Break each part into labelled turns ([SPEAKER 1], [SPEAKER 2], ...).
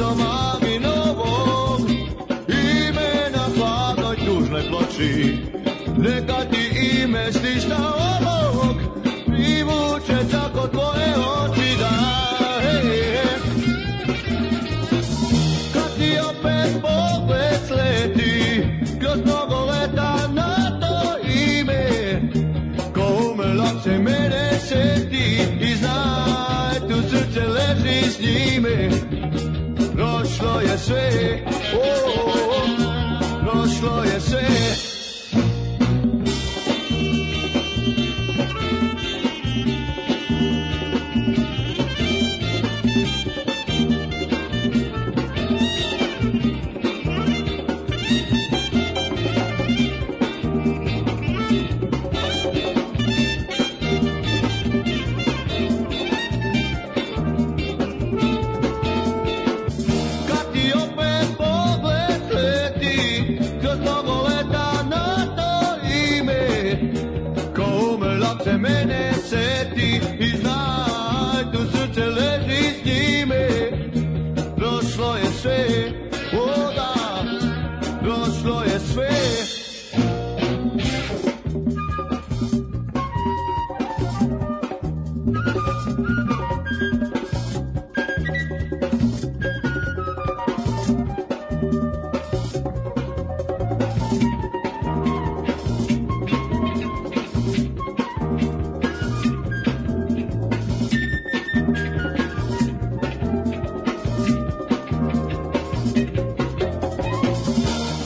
[SPEAKER 1] Toma mi novo ime na hladnoj tužnoj ploči Neka ti ime stišta ovog Privuče tako tvoje oči da hej, hej. Kad ti opet pogled sleti Kroz mnogo leta na to ime Ko umrla se mene seti I znaj tu srce leži s njime prošlo je sve, o, o, o, prošlo je sve. Kad ti opet pogled sleti, kroz mnogo leta na to ime, ko umrla se mene seti i znaj tu srce leži s njime. Prošlo je sve, o da, prošlo je sve.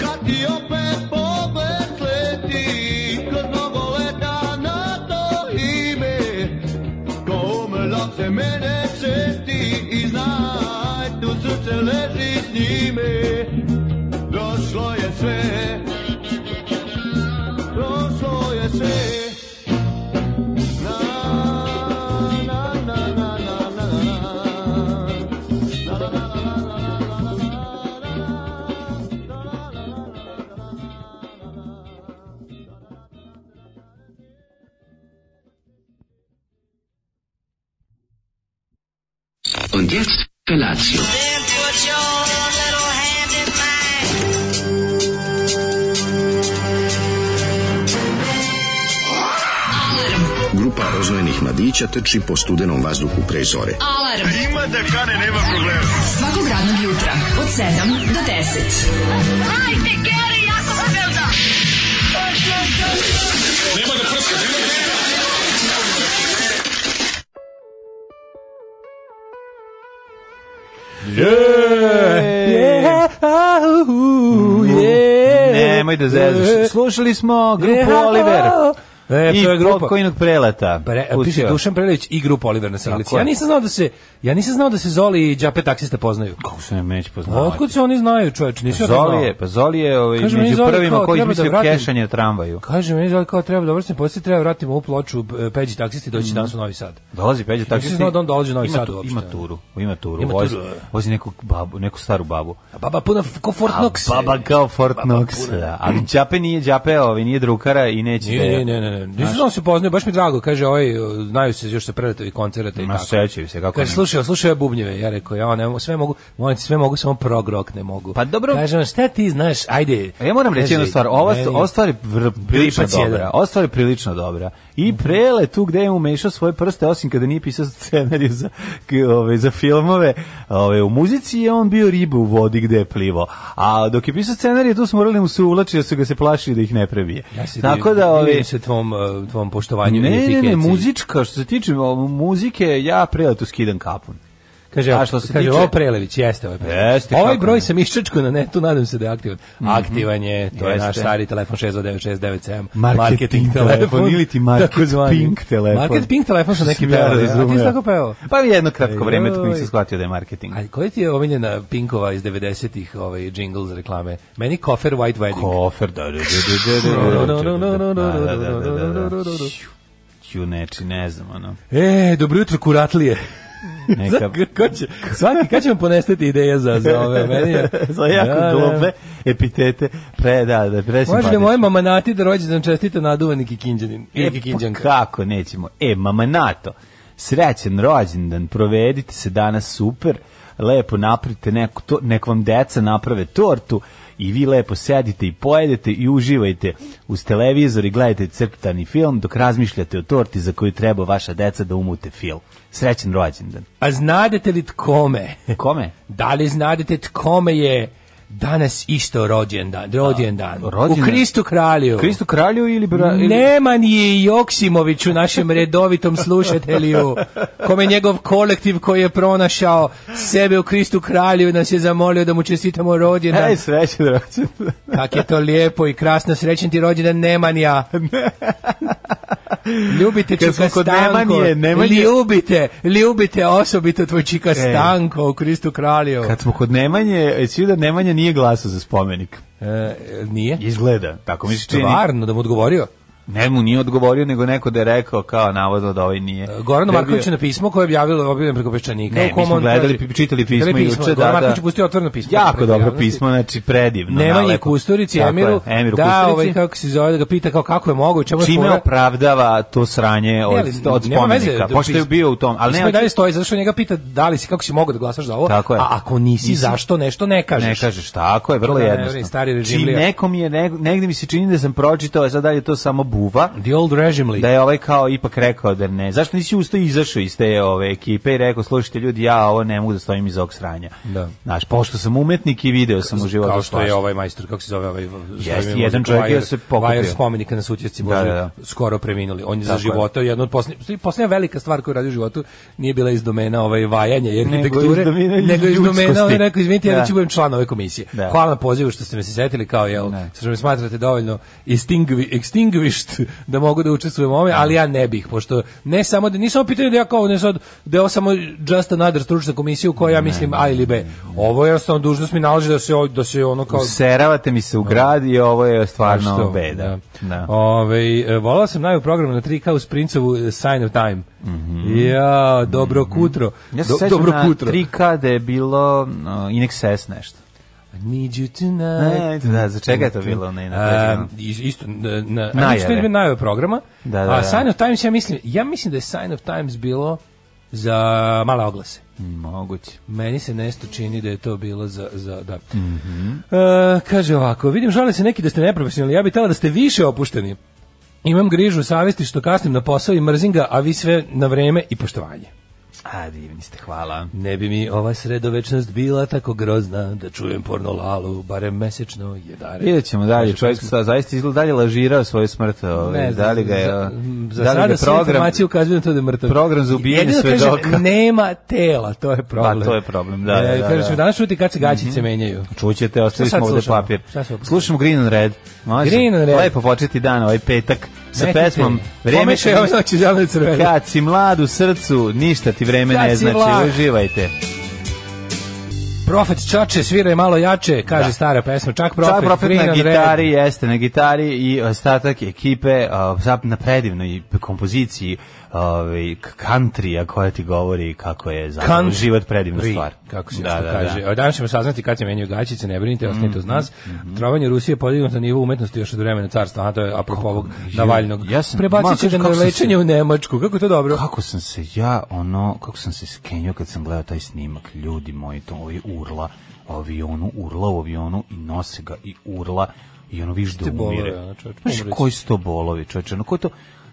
[SPEAKER 1] Kad ti opet pogled sleti, kroz mnogo leta na to ime, ko umrla se mene seti i znaj, tu srce leži s njime. Prošlo je sve, prošlo je sve. Na, na, na, na, na, na. Na, na, na, na, na, na, na, na, na.
[SPEAKER 2] Und jetzt Felatio.
[SPEAKER 3] Then put your little hand in mine.
[SPEAKER 4] Grupa roznojenih mladića teči po studenom vazduhu pre zore.
[SPEAKER 5] Alarm. Ima da kane, nema problema. Svakog radnog jutra, od 7 do 10. Hajde, Geri, jako se velda.
[SPEAKER 6] Nemoj da zezaš. Slušali smo grupu Oliver
[SPEAKER 7] E,
[SPEAKER 6] i
[SPEAKER 7] to je grupa. e,
[SPEAKER 6] pokojnog preleta.
[SPEAKER 7] Pre, piše
[SPEAKER 6] Pustio.
[SPEAKER 7] Dušan Prelić i grupa Oliver na singlici.
[SPEAKER 6] Tako je.
[SPEAKER 7] Ja nisam znao da se ja nisam znao da se Zoli i Đape taksista poznaju.
[SPEAKER 6] Kako se ne neće poznavati?
[SPEAKER 7] Otkud se oni znaju, čoveče? Nisam ja to
[SPEAKER 6] Zoli
[SPEAKER 7] znao.
[SPEAKER 6] je, pa Zoli je ovaj,
[SPEAKER 7] Kaže, meni
[SPEAKER 6] među
[SPEAKER 7] Zoli
[SPEAKER 6] prvima
[SPEAKER 7] kao,
[SPEAKER 6] koji
[SPEAKER 7] treba da
[SPEAKER 6] izmislio
[SPEAKER 7] vratim-
[SPEAKER 6] kešanje na tramvaju.
[SPEAKER 7] Kaže meni Zoli kao treba dobro se podsjeti, treba vratimo u ploču e, Peđi taksisti doći danas u Novi Sad.
[SPEAKER 6] Mhm. Dolazi Peđa
[SPEAKER 7] Nisam
[SPEAKER 6] taksisti.
[SPEAKER 7] znao da on dolazi u Novi
[SPEAKER 6] Ima
[SPEAKER 7] Sad
[SPEAKER 6] tu-
[SPEAKER 7] uopšte.
[SPEAKER 6] Ima turu, ima turu.
[SPEAKER 7] Ima
[SPEAKER 6] vozi,
[SPEAKER 7] turu.
[SPEAKER 6] vozi neku, babu, neku staru babu.
[SPEAKER 7] A baba puna f- ko Fort
[SPEAKER 6] A
[SPEAKER 7] Knox.
[SPEAKER 6] baba kao Fort Knox. da. Ali Đape nije Đape, ovaj, nije drukara i neće da je-
[SPEAKER 7] Ne, ne, ne, ne, ne. Nisam znao da se poznaju, baš mi drago, kaže, ovaj, e, znaju se još sa preletovi koncerata i
[SPEAKER 6] Ma,
[SPEAKER 7] tako.
[SPEAKER 6] sećaju se, kako
[SPEAKER 7] Kaže,
[SPEAKER 6] ne.
[SPEAKER 7] slušaj, slušaj ove bubnjeve, ja rekao, ja ne, mogu, sve mogu, molim te, sve mogu, samo prog rock ne mogu.
[SPEAKER 6] Pa dobro.
[SPEAKER 7] Kaže, on, šta ti znaš, ajde.
[SPEAKER 6] A Pa Ja moram reći
[SPEAKER 7] Kaže,
[SPEAKER 6] jednu stvar, ova,
[SPEAKER 7] meni-
[SPEAKER 6] ova stvar je vr- prilično
[SPEAKER 7] Lipac jedan. Mhm.
[SPEAKER 6] dobra. Ova stvar je prilično dobra. I prele tu gde je umešao svoje prste, osim kada nije pisao scenariju za, k- ove, za filmove, ove, u muzici je on bio riba u vodi gde je plivao. A dok je pisao scenariju, tu smo morali mu se uvlači da su ga se plašili da ih ne prebije.
[SPEAKER 7] Ja se
[SPEAKER 6] Tako
[SPEAKER 7] divim,
[SPEAKER 6] da, ove,
[SPEAKER 7] divim se tvom, e, tvom poštovanju i
[SPEAKER 6] ne, ne, ne,
[SPEAKER 7] etiketi.
[SPEAKER 6] muzička, što se tiče o, muzike, ja prele tu skidam kapun.
[SPEAKER 7] Kaže,
[SPEAKER 6] A što se
[SPEAKER 7] kaže,
[SPEAKER 6] tiče-
[SPEAKER 7] ovo Prelević, jeste ovaj Prelević.
[SPEAKER 6] Jeste,
[SPEAKER 7] ovaj
[SPEAKER 6] kako
[SPEAKER 7] broj
[SPEAKER 6] ne. Mhm.
[SPEAKER 7] sam iščačkao na netu, nadam se da je aktivan. Aktivan je, to je naš
[SPEAKER 6] Jeste.
[SPEAKER 7] stari telefon 62967.
[SPEAKER 6] Marketing telefon ili ti market pink telefon.
[SPEAKER 7] Market Pink telefon su neki
[SPEAKER 6] Sam ja
[SPEAKER 7] pevali, a ti si
[SPEAKER 6] razumeo.
[SPEAKER 7] tako pevao.
[SPEAKER 6] Pa jedno kratko vreme tu
[SPEAKER 7] Joj.
[SPEAKER 6] nisam shvatio da je marketing.
[SPEAKER 7] A koji ti je omiljena Pinkova iz 90-ih ovaj, jingle za reklame? Meni Kofer White Wedding.
[SPEAKER 6] Kofer, da, da, da, da, da, da, da, da, da, da, da, da. Ću neči, ne znam, ono.
[SPEAKER 7] E, dobro jutro, kuratlije.
[SPEAKER 6] Neka-
[SPEAKER 7] Za- ko će, svaki, kad će vam ponestati ideja za, za ove? Meni je,
[SPEAKER 6] Za
[SPEAKER 7] Da,
[SPEAKER 6] jako
[SPEAKER 7] da.
[SPEAKER 6] glupe epitete, pre, da, da, pre
[SPEAKER 7] Može li
[SPEAKER 6] simpatično.
[SPEAKER 7] moje mamanati da rođendan čestite naduvani kikinđanin? Ili
[SPEAKER 6] E, pa
[SPEAKER 7] kikinđanka?
[SPEAKER 6] kako nećemo? E, mama NATO, srećen rođendan, provedite se danas super. lepo napravite neku to, nek vam deca naprave tortu i vi lepo sedite i pojedete i uživajte uz televizor i gledajte crtani film dok razmišljate o torti za koju treba vaša deca da umute film. Srećen rođendan.
[SPEAKER 7] A znadete li tkome?
[SPEAKER 6] Kome?
[SPEAKER 7] Da li znadete tkome je danas isto rođendan? Rođendan.
[SPEAKER 6] rođendan?
[SPEAKER 7] U Kristu kralju.
[SPEAKER 6] Kristu kralju ili... Bra, Pa, ili...
[SPEAKER 7] Nema ni Joksimoviću, našem redovitom slušatelju, kome njegov kolektiv koji je pronašao sebe u Kristu kralju i nas je zamolio da mu čestitamo rođendan.
[SPEAKER 6] Ej, srećen rođendan.
[SPEAKER 7] Kak je to lijepo i krasno, srećen ti rođendan Nemanja. Ljubite
[SPEAKER 6] Kad smo
[SPEAKER 7] Čuka
[SPEAKER 6] kod
[SPEAKER 7] Stanko.
[SPEAKER 6] Nemanje, Nemanje-
[SPEAKER 7] Ljubite, ljubite osobito tvoj Čika Stanko u Kristu kralju.
[SPEAKER 6] Kad smo kod Nemanje, e, svi da Nemanja nije glasao za spomenik.
[SPEAKER 7] E, nije?
[SPEAKER 6] Izgleda, tako mi se čini.
[SPEAKER 7] Stvarno, da mu odgovorio.
[SPEAKER 6] Ne mu nije odgovorio, nego neko da je rekao kao navodno da ovaj nije.
[SPEAKER 7] Goran
[SPEAKER 6] Da je
[SPEAKER 7] Marković
[SPEAKER 6] bio-
[SPEAKER 7] na pismo koje je objavilo objavljeno preko peščanika.
[SPEAKER 6] Ne,
[SPEAKER 7] u kom
[SPEAKER 6] mi smo
[SPEAKER 7] on
[SPEAKER 6] gledali,
[SPEAKER 7] traži-
[SPEAKER 6] pi- čitali pismo
[SPEAKER 7] Čitali
[SPEAKER 6] juče,
[SPEAKER 7] Goran
[SPEAKER 6] da,
[SPEAKER 7] Marković
[SPEAKER 6] da.
[SPEAKER 7] je pustio otvoreno pismo.
[SPEAKER 6] Jako
[SPEAKER 7] preko
[SPEAKER 6] dobro
[SPEAKER 7] javnosti.
[SPEAKER 6] pismo, znači predivno.
[SPEAKER 7] Nemanje
[SPEAKER 6] nalepo.
[SPEAKER 7] Kusturici,
[SPEAKER 6] Tako je,
[SPEAKER 7] Emiru,
[SPEAKER 6] Emiru
[SPEAKER 7] da,
[SPEAKER 6] Kusturici.
[SPEAKER 7] ovaj, kako se zove, da ga pita kao kako je moguće, čemu je
[SPEAKER 6] čime
[SPEAKER 7] fora?
[SPEAKER 6] opravdava to sranje od,
[SPEAKER 7] ali
[SPEAKER 6] od
[SPEAKER 7] nema veze,
[SPEAKER 6] spomenika,
[SPEAKER 7] da
[SPEAKER 6] pošto je
[SPEAKER 7] pis-
[SPEAKER 6] bio u tom, ali
[SPEAKER 7] Pismo
[SPEAKER 6] ne,
[SPEAKER 7] i dalje stoji, zato što njega pita da li si, kako si mogao da glasaš za ovo,
[SPEAKER 6] Tako je.
[SPEAKER 7] a ako nisi,
[SPEAKER 6] Nisi.
[SPEAKER 7] zašto nešto ne kažeš.
[SPEAKER 6] ne kažeš, tako je, vrlo
[SPEAKER 7] Da, ne,
[SPEAKER 6] jednostavno.
[SPEAKER 7] ne, stari režim
[SPEAKER 6] Čim
[SPEAKER 7] lija.
[SPEAKER 6] nekom je, neg, negde mi se čini da sam pročitao, a sad dalje to samo buva,
[SPEAKER 7] The old regime li.
[SPEAKER 6] da je ovaj kao ipak rekao da ne. Zašto nisi ustao i izašao iz te ove ekipe i rekao, slušajte ljudi, ja ovo ne mogu da stojim iz ovog sranja.
[SPEAKER 7] Da.
[SPEAKER 6] Znaš, pošto sam umetnik i video sam u životu
[SPEAKER 7] kao što je
[SPEAKER 6] svašta.
[SPEAKER 7] ovaj majstor kako se zove ovaj
[SPEAKER 6] Jeste, jedan čovjek je se pokupio.
[SPEAKER 7] Vajer spomenika na Sutjevci Bože
[SPEAKER 6] Da, da, da.
[SPEAKER 7] skoro preminuli on je za
[SPEAKER 6] Tako je.
[SPEAKER 7] života jedna od posle poslednja velika stvar koju radi u životu nije bila iz domena ovaj vajanja i
[SPEAKER 6] Nego iz
[SPEAKER 7] arhitekture
[SPEAKER 6] domena
[SPEAKER 7] nego iz domena
[SPEAKER 6] ljudskosti.
[SPEAKER 7] on je rekao izvinite ja
[SPEAKER 6] Da.
[SPEAKER 7] neću budem član ove komisije
[SPEAKER 6] Da.
[SPEAKER 7] hvala na pozivu što ste me se setili kao jel što me smatrate dovoljno extingui- extinguished da mogu da učestvujem u ovome ali ja ne bih pošto ne samo da nisam pitanje da ja kao ne sad da je ovo samo just another stručna komisija u kojoj ja mislim A ili B ovo je jednostavno dužnost mi nalaže da se o- da se ono kao
[SPEAKER 6] Useravate mi se u grad i ovo je stvarno
[SPEAKER 7] što,
[SPEAKER 6] beda. Da.
[SPEAKER 7] Ovaj, e, volao sam najbolji program na 3K uz princovu e, Sign of Time. Ja, dobro kutro.
[SPEAKER 6] Mhm. Ja se
[SPEAKER 7] Do-
[SPEAKER 6] sećam
[SPEAKER 7] dobro
[SPEAKER 6] na
[SPEAKER 7] kutro.
[SPEAKER 6] 3K da je bilo uh, in excess nešto.
[SPEAKER 7] I Need you tonight.
[SPEAKER 6] Ne, da, za čega je to bilo na- na
[SPEAKER 7] A,
[SPEAKER 6] prezimenju?
[SPEAKER 7] is- e, isto, e, na, na,
[SPEAKER 6] Najave.
[SPEAKER 7] najave. Isto je bilo najave programa.
[SPEAKER 6] Da, da, da.
[SPEAKER 7] A Sign of Times, ja mislim, ja mislim da je Sign of Times bilo za male oglase.
[SPEAKER 6] e. Moguće.
[SPEAKER 7] Meni se nešto čini da je to bilo za... za da. E, kaže ovako, vidim žale se neki da ste neprofesionalni, ja bih tela da ste više opušteni. Imam grižu savesti što kasnim na posao i mrzim ga, a vi sve na vreme i poštovanje.
[SPEAKER 6] A, divni ste, hvala.
[SPEAKER 7] Ne bi mi ova sredovečnost bila tako grozna da čujem porno lalu, barem mesečno jedare.
[SPEAKER 6] Vidjet ćemo dalje, čovjek sa, zaista izgleda dalje lažirao svoju smrt, ovaj,
[SPEAKER 7] Ne znam,
[SPEAKER 6] da li ga je,
[SPEAKER 7] za, za
[SPEAKER 6] da li ga
[SPEAKER 7] sada sve
[SPEAKER 6] program,
[SPEAKER 7] informacije ukazuju na to da je mrtav.
[SPEAKER 6] program za ubijanje
[SPEAKER 7] Jedino kaže,
[SPEAKER 6] svedoka.
[SPEAKER 7] nema tela, to je problem.
[SPEAKER 6] Pa, to je problem, da, da, da,
[SPEAKER 7] kaže,
[SPEAKER 6] da. Mhm.
[SPEAKER 7] ćemo danas čuti kad se gaćice menjaju.
[SPEAKER 6] čućete, ostavili
[SPEAKER 7] Šta sad
[SPEAKER 6] smo ovde
[SPEAKER 7] slušamo?
[SPEAKER 6] papir.
[SPEAKER 7] Šta slušamo?
[SPEAKER 6] Slušamo Green on Red, može?
[SPEAKER 7] Green on Red.
[SPEAKER 6] Lepo početi dan, ovaj petak, sa
[SPEAKER 7] Metite.
[SPEAKER 6] pesmom Vreme
[SPEAKER 7] Pomešaj ove noći zelene znači i crvene.
[SPEAKER 6] Kad si mlad u srcu, ništa ti vreme
[SPEAKER 7] Kad
[SPEAKER 6] ne
[SPEAKER 7] si
[SPEAKER 6] znači,
[SPEAKER 7] mlad.
[SPEAKER 6] uživajte.
[SPEAKER 7] Profet čače, svira je malo jače, kaže stara pesma. Čak profet,
[SPEAKER 6] Čak Profet
[SPEAKER 7] Green
[SPEAKER 6] na
[SPEAKER 7] on Red.
[SPEAKER 6] gitari, jeste, na gitari i ostatak ekipe a, zap- na predivnoj kompoziciji ovaj country koja ti govori kako je zapravo
[SPEAKER 7] Country.
[SPEAKER 6] život predivna
[SPEAKER 7] Ri,
[SPEAKER 6] stvar.
[SPEAKER 7] Kako se da, kaže. A Danas ćemo saznati kad se menjaju gaćice, ne brinite, ostanite
[SPEAKER 6] Mhm,
[SPEAKER 7] uz nas. Trovanje Rusije je podignuto na nivo umetnosti još od vremena carstva, a to je apropo ovog Navalnog.
[SPEAKER 6] ja sam- ma,
[SPEAKER 7] Prebacit će
[SPEAKER 6] kaže,
[SPEAKER 7] ga na
[SPEAKER 6] kako sam
[SPEAKER 7] lečenje
[SPEAKER 6] se-
[SPEAKER 7] u Nemačku, kako je to dobro?
[SPEAKER 6] Kako sam se ja ono kako sam se skenio kad sam gledao taj snimak ljudi moji to ovi urla u avionu urla u avionu i nose ga i urla i ono viš da
[SPEAKER 7] Te bolove,
[SPEAKER 6] umire.
[SPEAKER 7] ono, čoveče,
[SPEAKER 6] Znaš,
[SPEAKER 7] umri će.
[SPEAKER 6] koji su to bolovi čoveče ono, koji to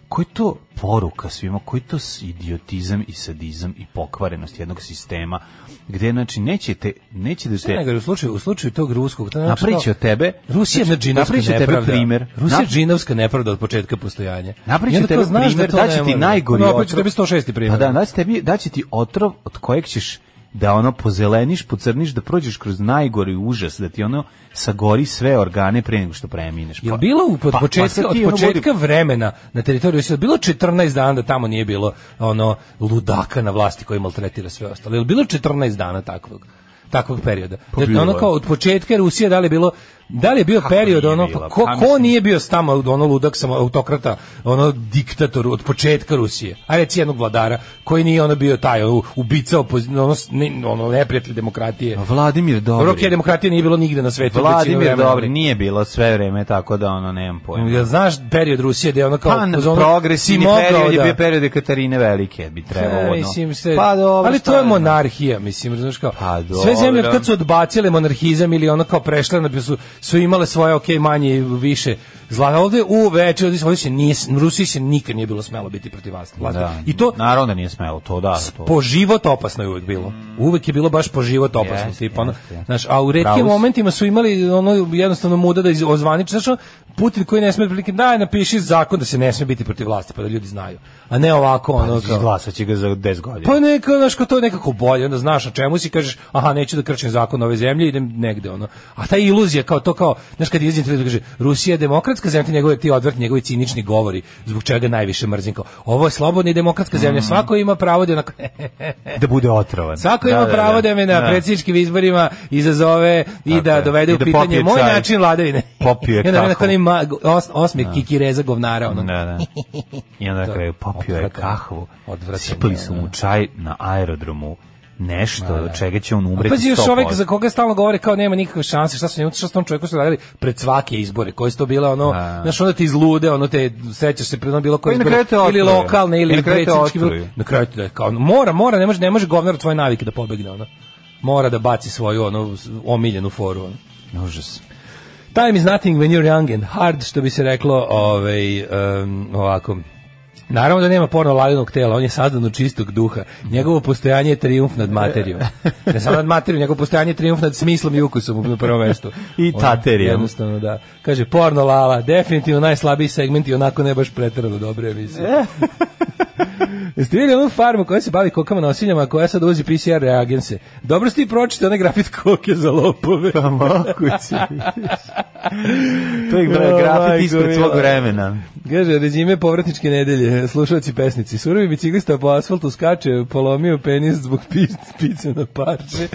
[SPEAKER 6] koji to poruka svima koji to s- idiotizam i sadizam i pokvarenost jednog sistema gde znači nećete neće da
[SPEAKER 7] Ne,
[SPEAKER 6] te
[SPEAKER 7] nego u slučaju, u slučaju tog ruskog, to je znači
[SPEAKER 6] napriči
[SPEAKER 7] kao-
[SPEAKER 6] od tebe
[SPEAKER 7] Rusija je
[SPEAKER 6] znači,
[SPEAKER 7] džinovska
[SPEAKER 6] napraviće od tebe
[SPEAKER 7] nepravda. Znači,
[SPEAKER 6] primer.
[SPEAKER 7] Rusija je
[SPEAKER 6] Nap-
[SPEAKER 7] džinovska nepravda od početka postojanja. I
[SPEAKER 6] Napravit će
[SPEAKER 7] onda
[SPEAKER 6] tebe
[SPEAKER 7] to znaš
[SPEAKER 6] primer,
[SPEAKER 7] to
[SPEAKER 6] da
[SPEAKER 7] ne
[SPEAKER 6] će ti
[SPEAKER 7] može.
[SPEAKER 6] najgori
[SPEAKER 7] Ono,
[SPEAKER 6] otrov.
[SPEAKER 7] opet će tebi 106.
[SPEAKER 6] Pa
[SPEAKER 7] primjer.
[SPEAKER 6] da, da će tebi, da će ti otrov od kojeg ćeš da ono pozeleniš, pocrniš, da prođeš kroz najgori užas, da ti ono sagori sve organe pre nego što premineš. Pa-
[SPEAKER 7] Jel bilo u- od početka,
[SPEAKER 6] sad ti
[SPEAKER 7] od
[SPEAKER 6] ono
[SPEAKER 7] početka
[SPEAKER 6] budi-
[SPEAKER 7] vremena na teritoriju Rusije, jel bilo 14 dana da tamo nije bilo ono ludaka na vlasti koji maltretira sve ostalo. Jel bilo 14 dana takvog? takvog perioda.
[SPEAKER 6] Pa
[SPEAKER 7] Znači,
[SPEAKER 6] bilo
[SPEAKER 7] ono
[SPEAKER 6] je.
[SPEAKER 7] kao od početka Rusije da li je bilo Da li je bio
[SPEAKER 6] Kako
[SPEAKER 7] period
[SPEAKER 6] nije
[SPEAKER 7] ono
[SPEAKER 6] bila?
[SPEAKER 7] ko,
[SPEAKER 6] Pa
[SPEAKER 7] ko
[SPEAKER 6] mislim-
[SPEAKER 7] nije bio s tamo ono ludak sam autokrata, ono diktator od početka Rusije. A reci jednog vladara koji nije ono bio taj ono, ubica opozi- ono, s- ne- ono neprijatelj demokratije.
[SPEAKER 6] Vladimir
[SPEAKER 7] Roke
[SPEAKER 6] Dobri.
[SPEAKER 7] demokratije nije bilo nigde na svetu. većinu
[SPEAKER 6] Vladimir
[SPEAKER 7] vremena.
[SPEAKER 6] Dobri nije bilo sve vreme tako da ono nemam pojma.
[SPEAKER 7] Jel znaš period Rusije gde je ono kao...
[SPEAKER 6] Pa,
[SPEAKER 7] uz ono,
[SPEAKER 6] progresivni
[SPEAKER 7] si mogao
[SPEAKER 6] period je
[SPEAKER 7] da-
[SPEAKER 6] bio period Katarine Velike, bi trebalo.
[SPEAKER 7] E,
[SPEAKER 6] ono.
[SPEAKER 7] mislim, sve,
[SPEAKER 6] pa dobro,
[SPEAKER 7] ali
[SPEAKER 6] šta
[SPEAKER 7] to je
[SPEAKER 6] ja znam.
[SPEAKER 7] monarhija, mislim, znaš kao.
[SPEAKER 6] Pa
[SPEAKER 7] sve zemlje
[SPEAKER 6] dobro.
[SPEAKER 7] kad su odbacile monarhizam ili ono kao prešle na su, su imale svoje ok manje i više zla. Ovde u veče ovde, se- ovde se nije Rusiji se nikad nije bilo smelo biti protiv vas. vlasti.
[SPEAKER 6] Da,
[SPEAKER 7] I to
[SPEAKER 6] naravno da nije smelo, to da. To.
[SPEAKER 7] po život opasno je uvek bilo. Uvek je bilo baš po život opasno.
[SPEAKER 6] Jeste,
[SPEAKER 7] tipa, ono,
[SPEAKER 6] jeste, jeste.
[SPEAKER 7] znaš, a u retkim
[SPEAKER 6] Pravo si.
[SPEAKER 7] momentima su imali ono jednostavno muda da iz- ozvaniče. Znaš, ono, Putin koji ne sme prilike, daj napiši zakon da se ne sme biti protiv vlasti, pa da ljudi znaju. A ne ovako,
[SPEAKER 6] Pa
[SPEAKER 7] ono, kao,
[SPEAKER 6] Izglasat će ga za 10 godina.
[SPEAKER 7] pa neka, znaš, kao to je nekako bolje, onda znaš na čemu si, kažeš, aha, neću da kršim zakon ove zemlje, idem negde, ono. A ta iluzija, kao to, kao, znaš, kad izvim televizor, kaže, Rusija je demokratska zemlja, ti njegove, ti odvrtni, njegovi cinični govori, zbog čega najviše mrzim, kao, ovo je slobodna i demokratska
[SPEAKER 6] Mm.
[SPEAKER 7] zemlja, svako ima pravo da, onako,
[SPEAKER 6] da bude otrovan.
[SPEAKER 7] svako ima pravo da, me na predsjedničkim izborima izazove i
[SPEAKER 6] Tako
[SPEAKER 7] da
[SPEAKER 6] je.
[SPEAKER 7] dovede u
[SPEAKER 6] I da
[SPEAKER 7] pitanje
[SPEAKER 6] popije
[SPEAKER 7] moj
[SPEAKER 6] čaj.
[SPEAKER 7] način vladavine.
[SPEAKER 6] Popio je
[SPEAKER 7] I onda mene
[SPEAKER 6] kahu.
[SPEAKER 7] tako ima os, osmeh kikireza govnara, ono.
[SPEAKER 6] Da, da. I onda na kraju popio je
[SPEAKER 7] Odvratno.
[SPEAKER 6] kahvu,
[SPEAKER 7] Odvratno,
[SPEAKER 6] sipali
[SPEAKER 7] da,
[SPEAKER 6] su
[SPEAKER 7] da.
[SPEAKER 6] mu čaj na aerodromu, nešto od čega će on umreti
[SPEAKER 7] Pazi, još
[SPEAKER 6] 100%.
[SPEAKER 7] čovjek za koga stalno govore kao nema nikakve šanse, šta su njemu, šta su tom čovjeku su radili pred svake izbore, koji su to bile ono,
[SPEAKER 6] A.
[SPEAKER 7] znaš, onda ti izlude, ono te sećaš se pred ono bilo koje
[SPEAKER 6] Pa i na
[SPEAKER 7] izbore,
[SPEAKER 6] kraju te
[SPEAKER 7] ili
[SPEAKER 6] otruju.
[SPEAKER 7] lokalne,
[SPEAKER 6] I
[SPEAKER 7] ili
[SPEAKER 6] na kraju te
[SPEAKER 7] predsjednički, bilo-
[SPEAKER 6] otruju.
[SPEAKER 7] na kraju te da, kao, ono, mora, mora, ne može, ne može govnar od svoje navike da pobegne, ono, mora da baci svoju, ono, omiljenu foru, ono.
[SPEAKER 6] Užas.
[SPEAKER 7] Time is nothing when you're young and hard, što bi se reklo ovaj, em, ovako. Naravno da nema porno lalinog tela, on je sazdan od čistog duha. Njegovo postojanje je trijumf nad materijom. Ne samo nad materijom, njegovo postojanje je trijumf nad smislom i ukusom u prvom mestu.
[SPEAKER 6] I
[SPEAKER 7] Ono,
[SPEAKER 6] taterijom.
[SPEAKER 7] Jednostavno, da. Kaže, porno lala, definitivno najslabiji segment i onako ne baš pretrano dobre
[SPEAKER 6] E.
[SPEAKER 7] emisije. Jeste vidjeli onu farmu koja se bavi kokama na osiljama, koja sad uvozi PCR reagense? Dobro ste i pročite one grafit koke za lopove.
[SPEAKER 6] Pa moguće. to je
[SPEAKER 7] O,
[SPEAKER 6] grafit
[SPEAKER 7] majko
[SPEAKER 6] ispred svog
[SPEAKER 7] mila.
[SPEAKER 6] vremena.
[SPEAKER 7] Kaže, rezime povratničke nedelje, slušalci pesnici. Surovi biciklista po asfaltu skače, polomio penis zbog pi- pice na parče.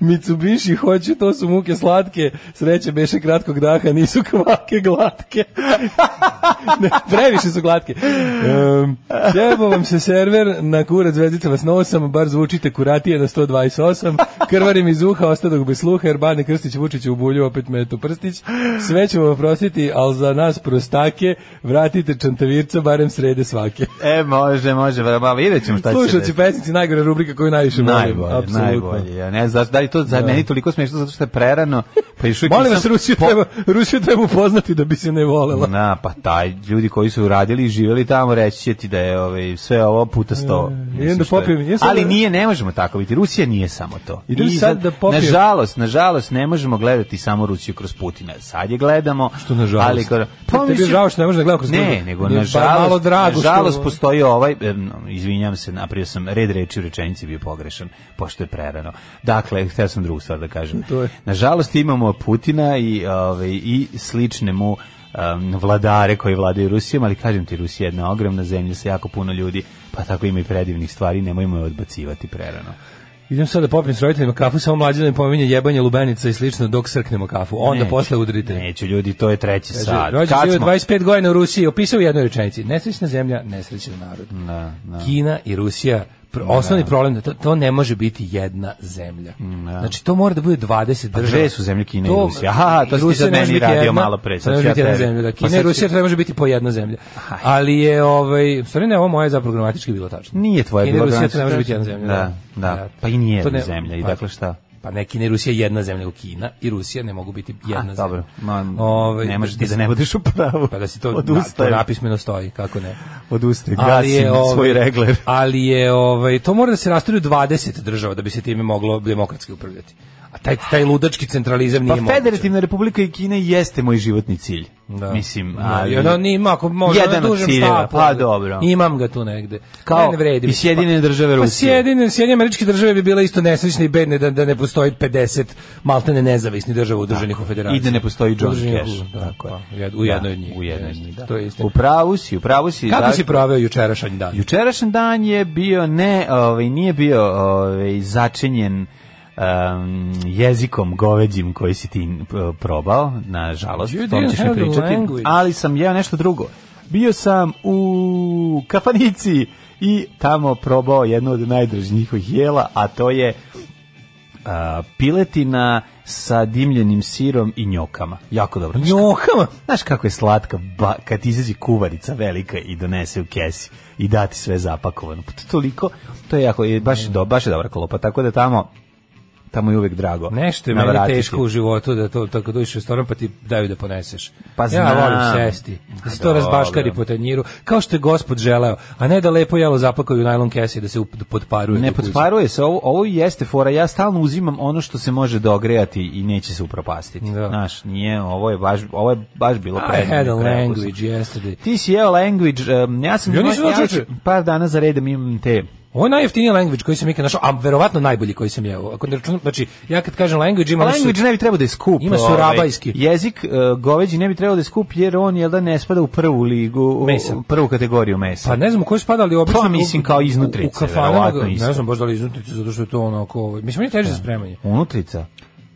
[SPEAKER 7] Mitsubishi hoće, to su muke slatke, sreće beše kratkog daha, nisu kvake glatke. ne, previše su glatke. Um, Jebo vam se server na kurac zvezdica vas nosom, bar zvučite kuratije na 128, krvarim iz uha, ostadog bez sluha, jer Bane Krstić Vučić u bulju opet metu prstić. Sve ćemo vam prostiti, ali za nas prostake, vratite čantavirca barem srede svake.
[SPEAKER 6] E, može, može, vrlo, vidjet ćemo šta će
[SPEAKER 7] Slušalci
[SPEAKER 6] desiti.
[SPEAKER 7] pesnici, najgore rubrika koju najviše volim.
[SPEAKER 6] Najbolje,
[SPEAKER 7] apsolutno.
[SPEAKER 6] najbolje. Ja ne znam zašto, da li to za meni toliko smešno zato što je prerano, pa još uvijek
[SPEAKER 7] Molim vas,
[SPEAKER 6] nisam
[SPEAKER 7] Rusiju
[SPEAKER 6] po-
[SPEAKER 7] treba, Rusiju treba upoznati da bi se ne volela.
[SPEAKER 6] Na, pa taj, ljudi koji su radili i živjeli tamo reći će ti da je ovaj, sve ovo puta sto. Mislim,
[SPEAKER 7] Mm, idem da
[SPEAKER 6] što je-
[SPEAKER 7] popijem, idem sad
[SPEAKER 6] Ali
[SPEAKER 7] da-
[SPEAKER 6] nije, ne možemo tako biti. Rusija nije samo to.
[SPEAKER 7] Idem
[SPEAKER 6] I
[SPEAKER 7] sad da popijem.
[SPEAKER 6] Nažalost, nažalost, ne možemo gledati samo Rusiju kroz Putina. Sad je gledamo.
[SPEAKER 7] Što nažalost?
[SPEAKER 6] Ali, ko-
[SPEAKER 7] Tebi je žao što ne možeš da gledam kroz
[SPEAKER 6] Ne,
[SPEAKER 7] Putina?
[SPEAKER 6] nego
[SPEAKER 7] Mi je bar
[SPEAKER 6] nažalost,
[SPEAKER 7] malo drago što-
[SPEAKER 6] nažalost postoji ovaj, em, izvinjam se, napravio sam red reči u rečenici bio pogrešan, pošto je prerano. Dakle, htio sam drugu stvar da kažem.
[SPEAKER 7] To je.
[SPEAKER 6] Nažalost imamo Putina i, ovaj, i slične mu em, vladare koji vladaju Rusijom, ali kažem ti, Rusija je jedna ogromna zemlja sa jako puno ljudi, pa tako ima i predivnih stvari, nemojmo je odbacivati prerano.
[SPEAKER 7] Idem sad da popijem s roditeljima kafu, samo mlađe da mi pominje jebanje lubenica i slično dok srknemo kafu. Onda
[SPEAKER 6] Neću,
[SPEAKER 7] posle udrite.
[SPEAKER 6] Neću, ljudi, to je treći
[SPEAKER 7] Sad,
[SPEAKER 6] sad.
[SPEAKER 7] rođen
[SPEAKER 6] Kad
[SPEAKER 7] živio
[SPEAKER 6] smo-
[SPEAKER 7] 25 godina u Rusiji, opisao u jednoj rečenici. Nesrećna zemlja, nesrećan narod.
[SPEAKER 6] Mm,
[SPEAKER 7] Kina i Rusija, pr- osnovni problem, da to, to ne može biti jedna zemlja.
[SPEAKER 6] Mm,
[SPEAKER 7] Znači, to mora da bude 20 država.
[SPEAKER 6] dve Pa su zemlje Kina i Rusija. Aha, to si ti
[SPEAKER 7] Rusija
[SPEAKER 6] sad
[SPEAKER 7] ne može
[SPEAKER 6] meni
[SPEAKER 7] biti
[SPEAKER 6] radio
[SPEAKER 7] jedna,
[SPEAKER 6] malo pre,
[SPEAKER 7] To
[SPEAKER 6] sad
[SPEAKER 7] ne
[SPEAKER 6] ću
[SPEAKER 7] može
[SPEAKER 6] ja
[SPEAKER 7] biti jedna
[SPEAKER 6] tebi.
[SPEAKER 7] zemlja. Da,
[SPEAKER 6] Pa
[SPEAKER 7] Kina
[SPEAKER 6] sad
[SPEAKER 7] i
[SPEAKER 6] ću-
[SPEAKER 7] Rusija to ne može biti po jedna zemlja. Ali je, ovaj, stvari ne, ovo moje zapravo gramatički bilo tačno.
[SPEAKER 6] Nije tvoja
[SPEAKER 7] Kina i
[SPEAKER 6] bila
[SPEAKER 7] Rusija to
[SPEAKER 6] granična
[SPEAKER 7] ne može
[SPEAKER 6] tačka.
[SPEAKER 7] biti jedna zemlja.
[SPEAKER 6] Da, da. Pa i nije
[SPEAKER 7] To ne-
[SPEAKER 6] zemlja. I
[SPEAKER 7] pa-
[SPEAKER 6] dakle šta?
[SPEAKER 7] Pa ne, Kina i Rusija je jedna zemlja u Kina i Rusija ne mogu biti jedna zemlja.
[SPEAKER 6] Pa, Dobro, ma,
[SPEAKER 7] Ovaj,
[SPEAKER 6] ne možeš ti da ne budeš u pravu.
[SPEAKER 7] pa da si to, na, to
[SPEAKER 6] odustaje,
[SPEAKER 7] napismeno stoji, kako ne.
[SPEAKER 6] odustaje, gasim
[SPEAKER 7] ovaj,
[SPEAKER 6] svoj regler.
[SPEAKER 7] Ali je, ovaj, to mora da se rastuju 20 država da bi se time moglo demokratski upravljati. A taj, taj ludački centralizam
[SPEAKER 6] Pa
[SPEAKER 7] nije moguć.
[SPEAKER 6] Federativna republika i Kina jeste moj životni cilj.
[SPEAKER 7] Da.
[SPEAKER 6] Mislim,
[SPEAKER 7] Da,
[SPEAKER 6] ali...
[SPEAKER 7] i ono, ni- ima, ako može,
[SPEAKER 6] jedan
[SPEAKER 7] ono
[SPEAKER 6] od
[SPEAKER 7] dužem
[SPEAKER 6] ciljeva,
[SPEAKER 7] štapu,
[SPEAKER 6] pa
[SPEAKER 7] ali
[SPEAKER 6] dobro.
[SPEAKER 7] Imam ga tu negde.
[SPEAKER 6] Kao
[SPEAKER 7] Ne, ne vredi
[SPEAKER 6] i
[SPEAKER 7] mi.
[SPEAKER 6] Sjedinjene države
[SPEAKER 7] Pa
[SPEAKER 6] Rusije.
[SPEAKER 7] Sjedinjene, Sjedinjene američke države bi bile isto nesrećne i bedne da, da ne postoji 50 maltene nezavisnih država udruženih u federaciji.
[SPEAKER 6] I da ne postoji John
[SPEAKER 7] Udruženih
[SPEAKER 6] Cash.
[SPEAKER 7] u- da,
[SPEAKER 6] Tako je.
[SPEAKER 7] pa, u jed- u jednoj od njih.
[SPEAKER 6] U jednoj od
[SPEAKER 7] Jeste,
[SPEAKER 6] njih, da.
[SPEAKER 7] To je isto.
[SPEAKER 6] U pravu si, u pravu si.
[SPEAKER 7] Kako
[SPEAKER 6] da-
[SPEAKER 7] si proveo jučerašanj dan?
[SPEAKER 6] Jučerašnji dan je bio ne, ovaj nije bio ovaj začinjen um, jezikom goveđim koji si ti uh, probao, na žalost,
[SPEAKER 7] You
[SPEAKER 6] to
[SPEAKER 7] didn't
[SPEAKER 6] ćeš mi
[SPEAKER 7] have the
[SPEAKER 6] pričati,
[SPEAKER 7] language.
[SPEAKER 6] ali sam jeo nešto drugo. Bio sam u kafanici i tamo probao jedno od najdražih njihovih jela, a to je a, piletina sa dimljenim sirom i njokama. Jako dobro.
[SPEAKER 7] Njohama.
[SPEAKER 6] Znaš kako je slatka ba, kad ti izađe kuvarica velika i donese u kesi i dati sve zapakovano. Pa to je toliko, to je jako, je baš, do, baš je dobra kolopa, tako da tamo tamo je uvek drago.
[SPEAKER 7] Nešto je meni
[SPEAKER 6] navratiti.
[SPEAKER 7] teško u životu da to tako dođeš u restoran pa ti daju da poneseš.
[SPEAKER 6] Pa
[SPEAKER 7] ja
[SPEAKER 6] znam.
[SPEAKER 7] volim sesti. Da se to
[SPEAKER 6] Dobro.
[SPEAKER 7] razbaškari po tanjiru, kao što je gospod želeo, a ne da lepo jelo zapakaju u najlon kesi i da se up- potparuje.
[SPEAKER 6] Ne
[SPEAKER 7] do kuće.
[SPEAKER 6] potparuje se, ovo, ovo jeste fora, ja stalno uzimam ono što se može dogrejati i neće se upropastiti.
[SPEAKER 7] Da.
[SPEAKER 6] Znaš, nije, ovo je baš, ovo je baš bilo
[SPEAKER 7] I had a
[SPEAKER 6] predivno, preukusno.
[SPEAKER 7] language yesterday.
[SPEAKER 6] Ti si jeo language, um, ja sam
[SPEAKER 7] Ja nisam
[SPEAKER 6] ja
[SPEAKER 7] znao, čoveče.
[SPEAKER 6] par dana za redom imam te
[SPEAKER 7] Ovo je najjeftiniji language koji sam ikad našao, a verovatno najbolji koji sam jeo. Ako ne računam, znači, ja kad kažem language, ima
[SPEAKER 6] Language ne bi trebao da je skup.
[SPEAKER 7] Ima su
[SPEAKER 6] ovaj,
[SPEAKER 7] rabajski.
[SPEAKER 6] Jezik uh, goveđi ne bi trebao da je skup jer on jel da ne spada u prvu ligu, u,
[SPEAKER 7] Mesa.
[SPEAKER 6] u prvu kategoriju mesa.
[SPEAKER 7] Pa ne znam u kojoj spada, ali obično...
[SPEAKER 6] Pa mislim kao iznutrice,
[SPEAKER 7] U, u kafanama,
[SPEAKER 6] verovatno
[SPEAKER 7] ga-
[SPEAKER 6] isto.
[SPEAKER 7] ne znam, baš da li iznutrice, zato što je to ono oko... Mislim, meni je teže za spremanje.
[SPEAKER 6] Unutrica.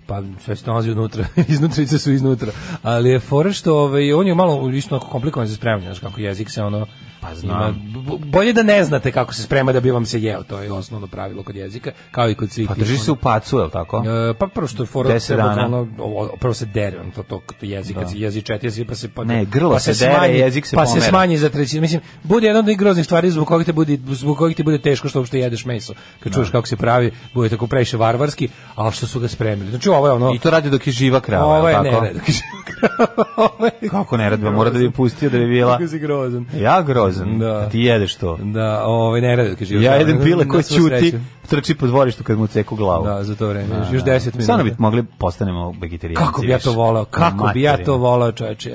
[SPEAKER 7] Pa sve se nalazi unutra, iznutrice su iznutra. Ali je fora što ovaj, on je malo isto onako komplikovan za spremanje, znaš kako jezik se ono...
[SPEAKER 6] Pa znam.
[SPEAKER 7] b- b- bolje da ne znate kako se sprema da bi vam se jeo, to je osnovno pravilo kod jezika, kao i kod svih.
[SPEAKER 6] Pa drži
[SPEAKER 7] tih,
[SPEAKER 6] se u pacu, jel tako?
[SPEAKER 7] E, pa prvo što je fora
[SPEAKER 6] Deset
[SPEAKER 7] treba
[SPEAKER 6] dana.
[SPEAKER 7] ono, ovo, prvo se dere, on to to to jezik, kad se jezik četiri, se pa se pa
[SPEAKER 6] Ne, grlo
[SPEAKER 7] pa
[SPEAKER 6] se dere,
[SPEAKER 7] smanji,
[SPEAKER 6] jezik se
[SPEAKER 7] pa
[SPEAKER 6] pomera.
[SPEAKER 7] se smanji za trećinu. Mislim, bude jedna od onih groznih stvari zbog kojih te bude zbog kojih ti bude teško što uopšte jedeš meso. Kad čuješ kako se pravi, bude tako previše varvarski, ali što su ga spremili. Znači ovo je ono
[SPEAKER 6] I to radi dok je živa krava,
[SPEAKER 7] ovo
[SPEAKER 6] jel
[SPEAKER 7] je
[SPEAKER 6] tako?
[SPEAKER 7] ne, ne, dok je-
[SPEAKER 6] Kako ne radi, Pa mora da bi pustio da bi bila...
[SPEAKER 7] Kako si grozan.
[SPEAKER 6] Ja grozan,
[SPEAKER 7] Da.
[SPEAKER 6] a ti jedeš to.
[SPEAKER 7] Da, ovaj ne radi dok je živ.
[SPEAKER 6] Ja jedem pile
[SPEAKER 7] Na
[SPEAKER 6] koji
[SPEAKER 7] svu
[SPEAKER 6] ćuti,
[SPEAKER 7] sreću.
[SPEAKER 6] trči po dvorištu kad mu ceku glavu.
[SPEAKER 7] Da, za to vreme. Još 10 minuta.
[SPEAKER 6] Stvarno bi mogli postanemo vegetarijanci.
[SPEAKER 7] Kako bi ja to
[SPEAKER 6] više.
[SPEAKER 7] volao? Kako bi ja to
[SPEAKER 6] Materine.
[SPEAKER 7] volao, čoveče?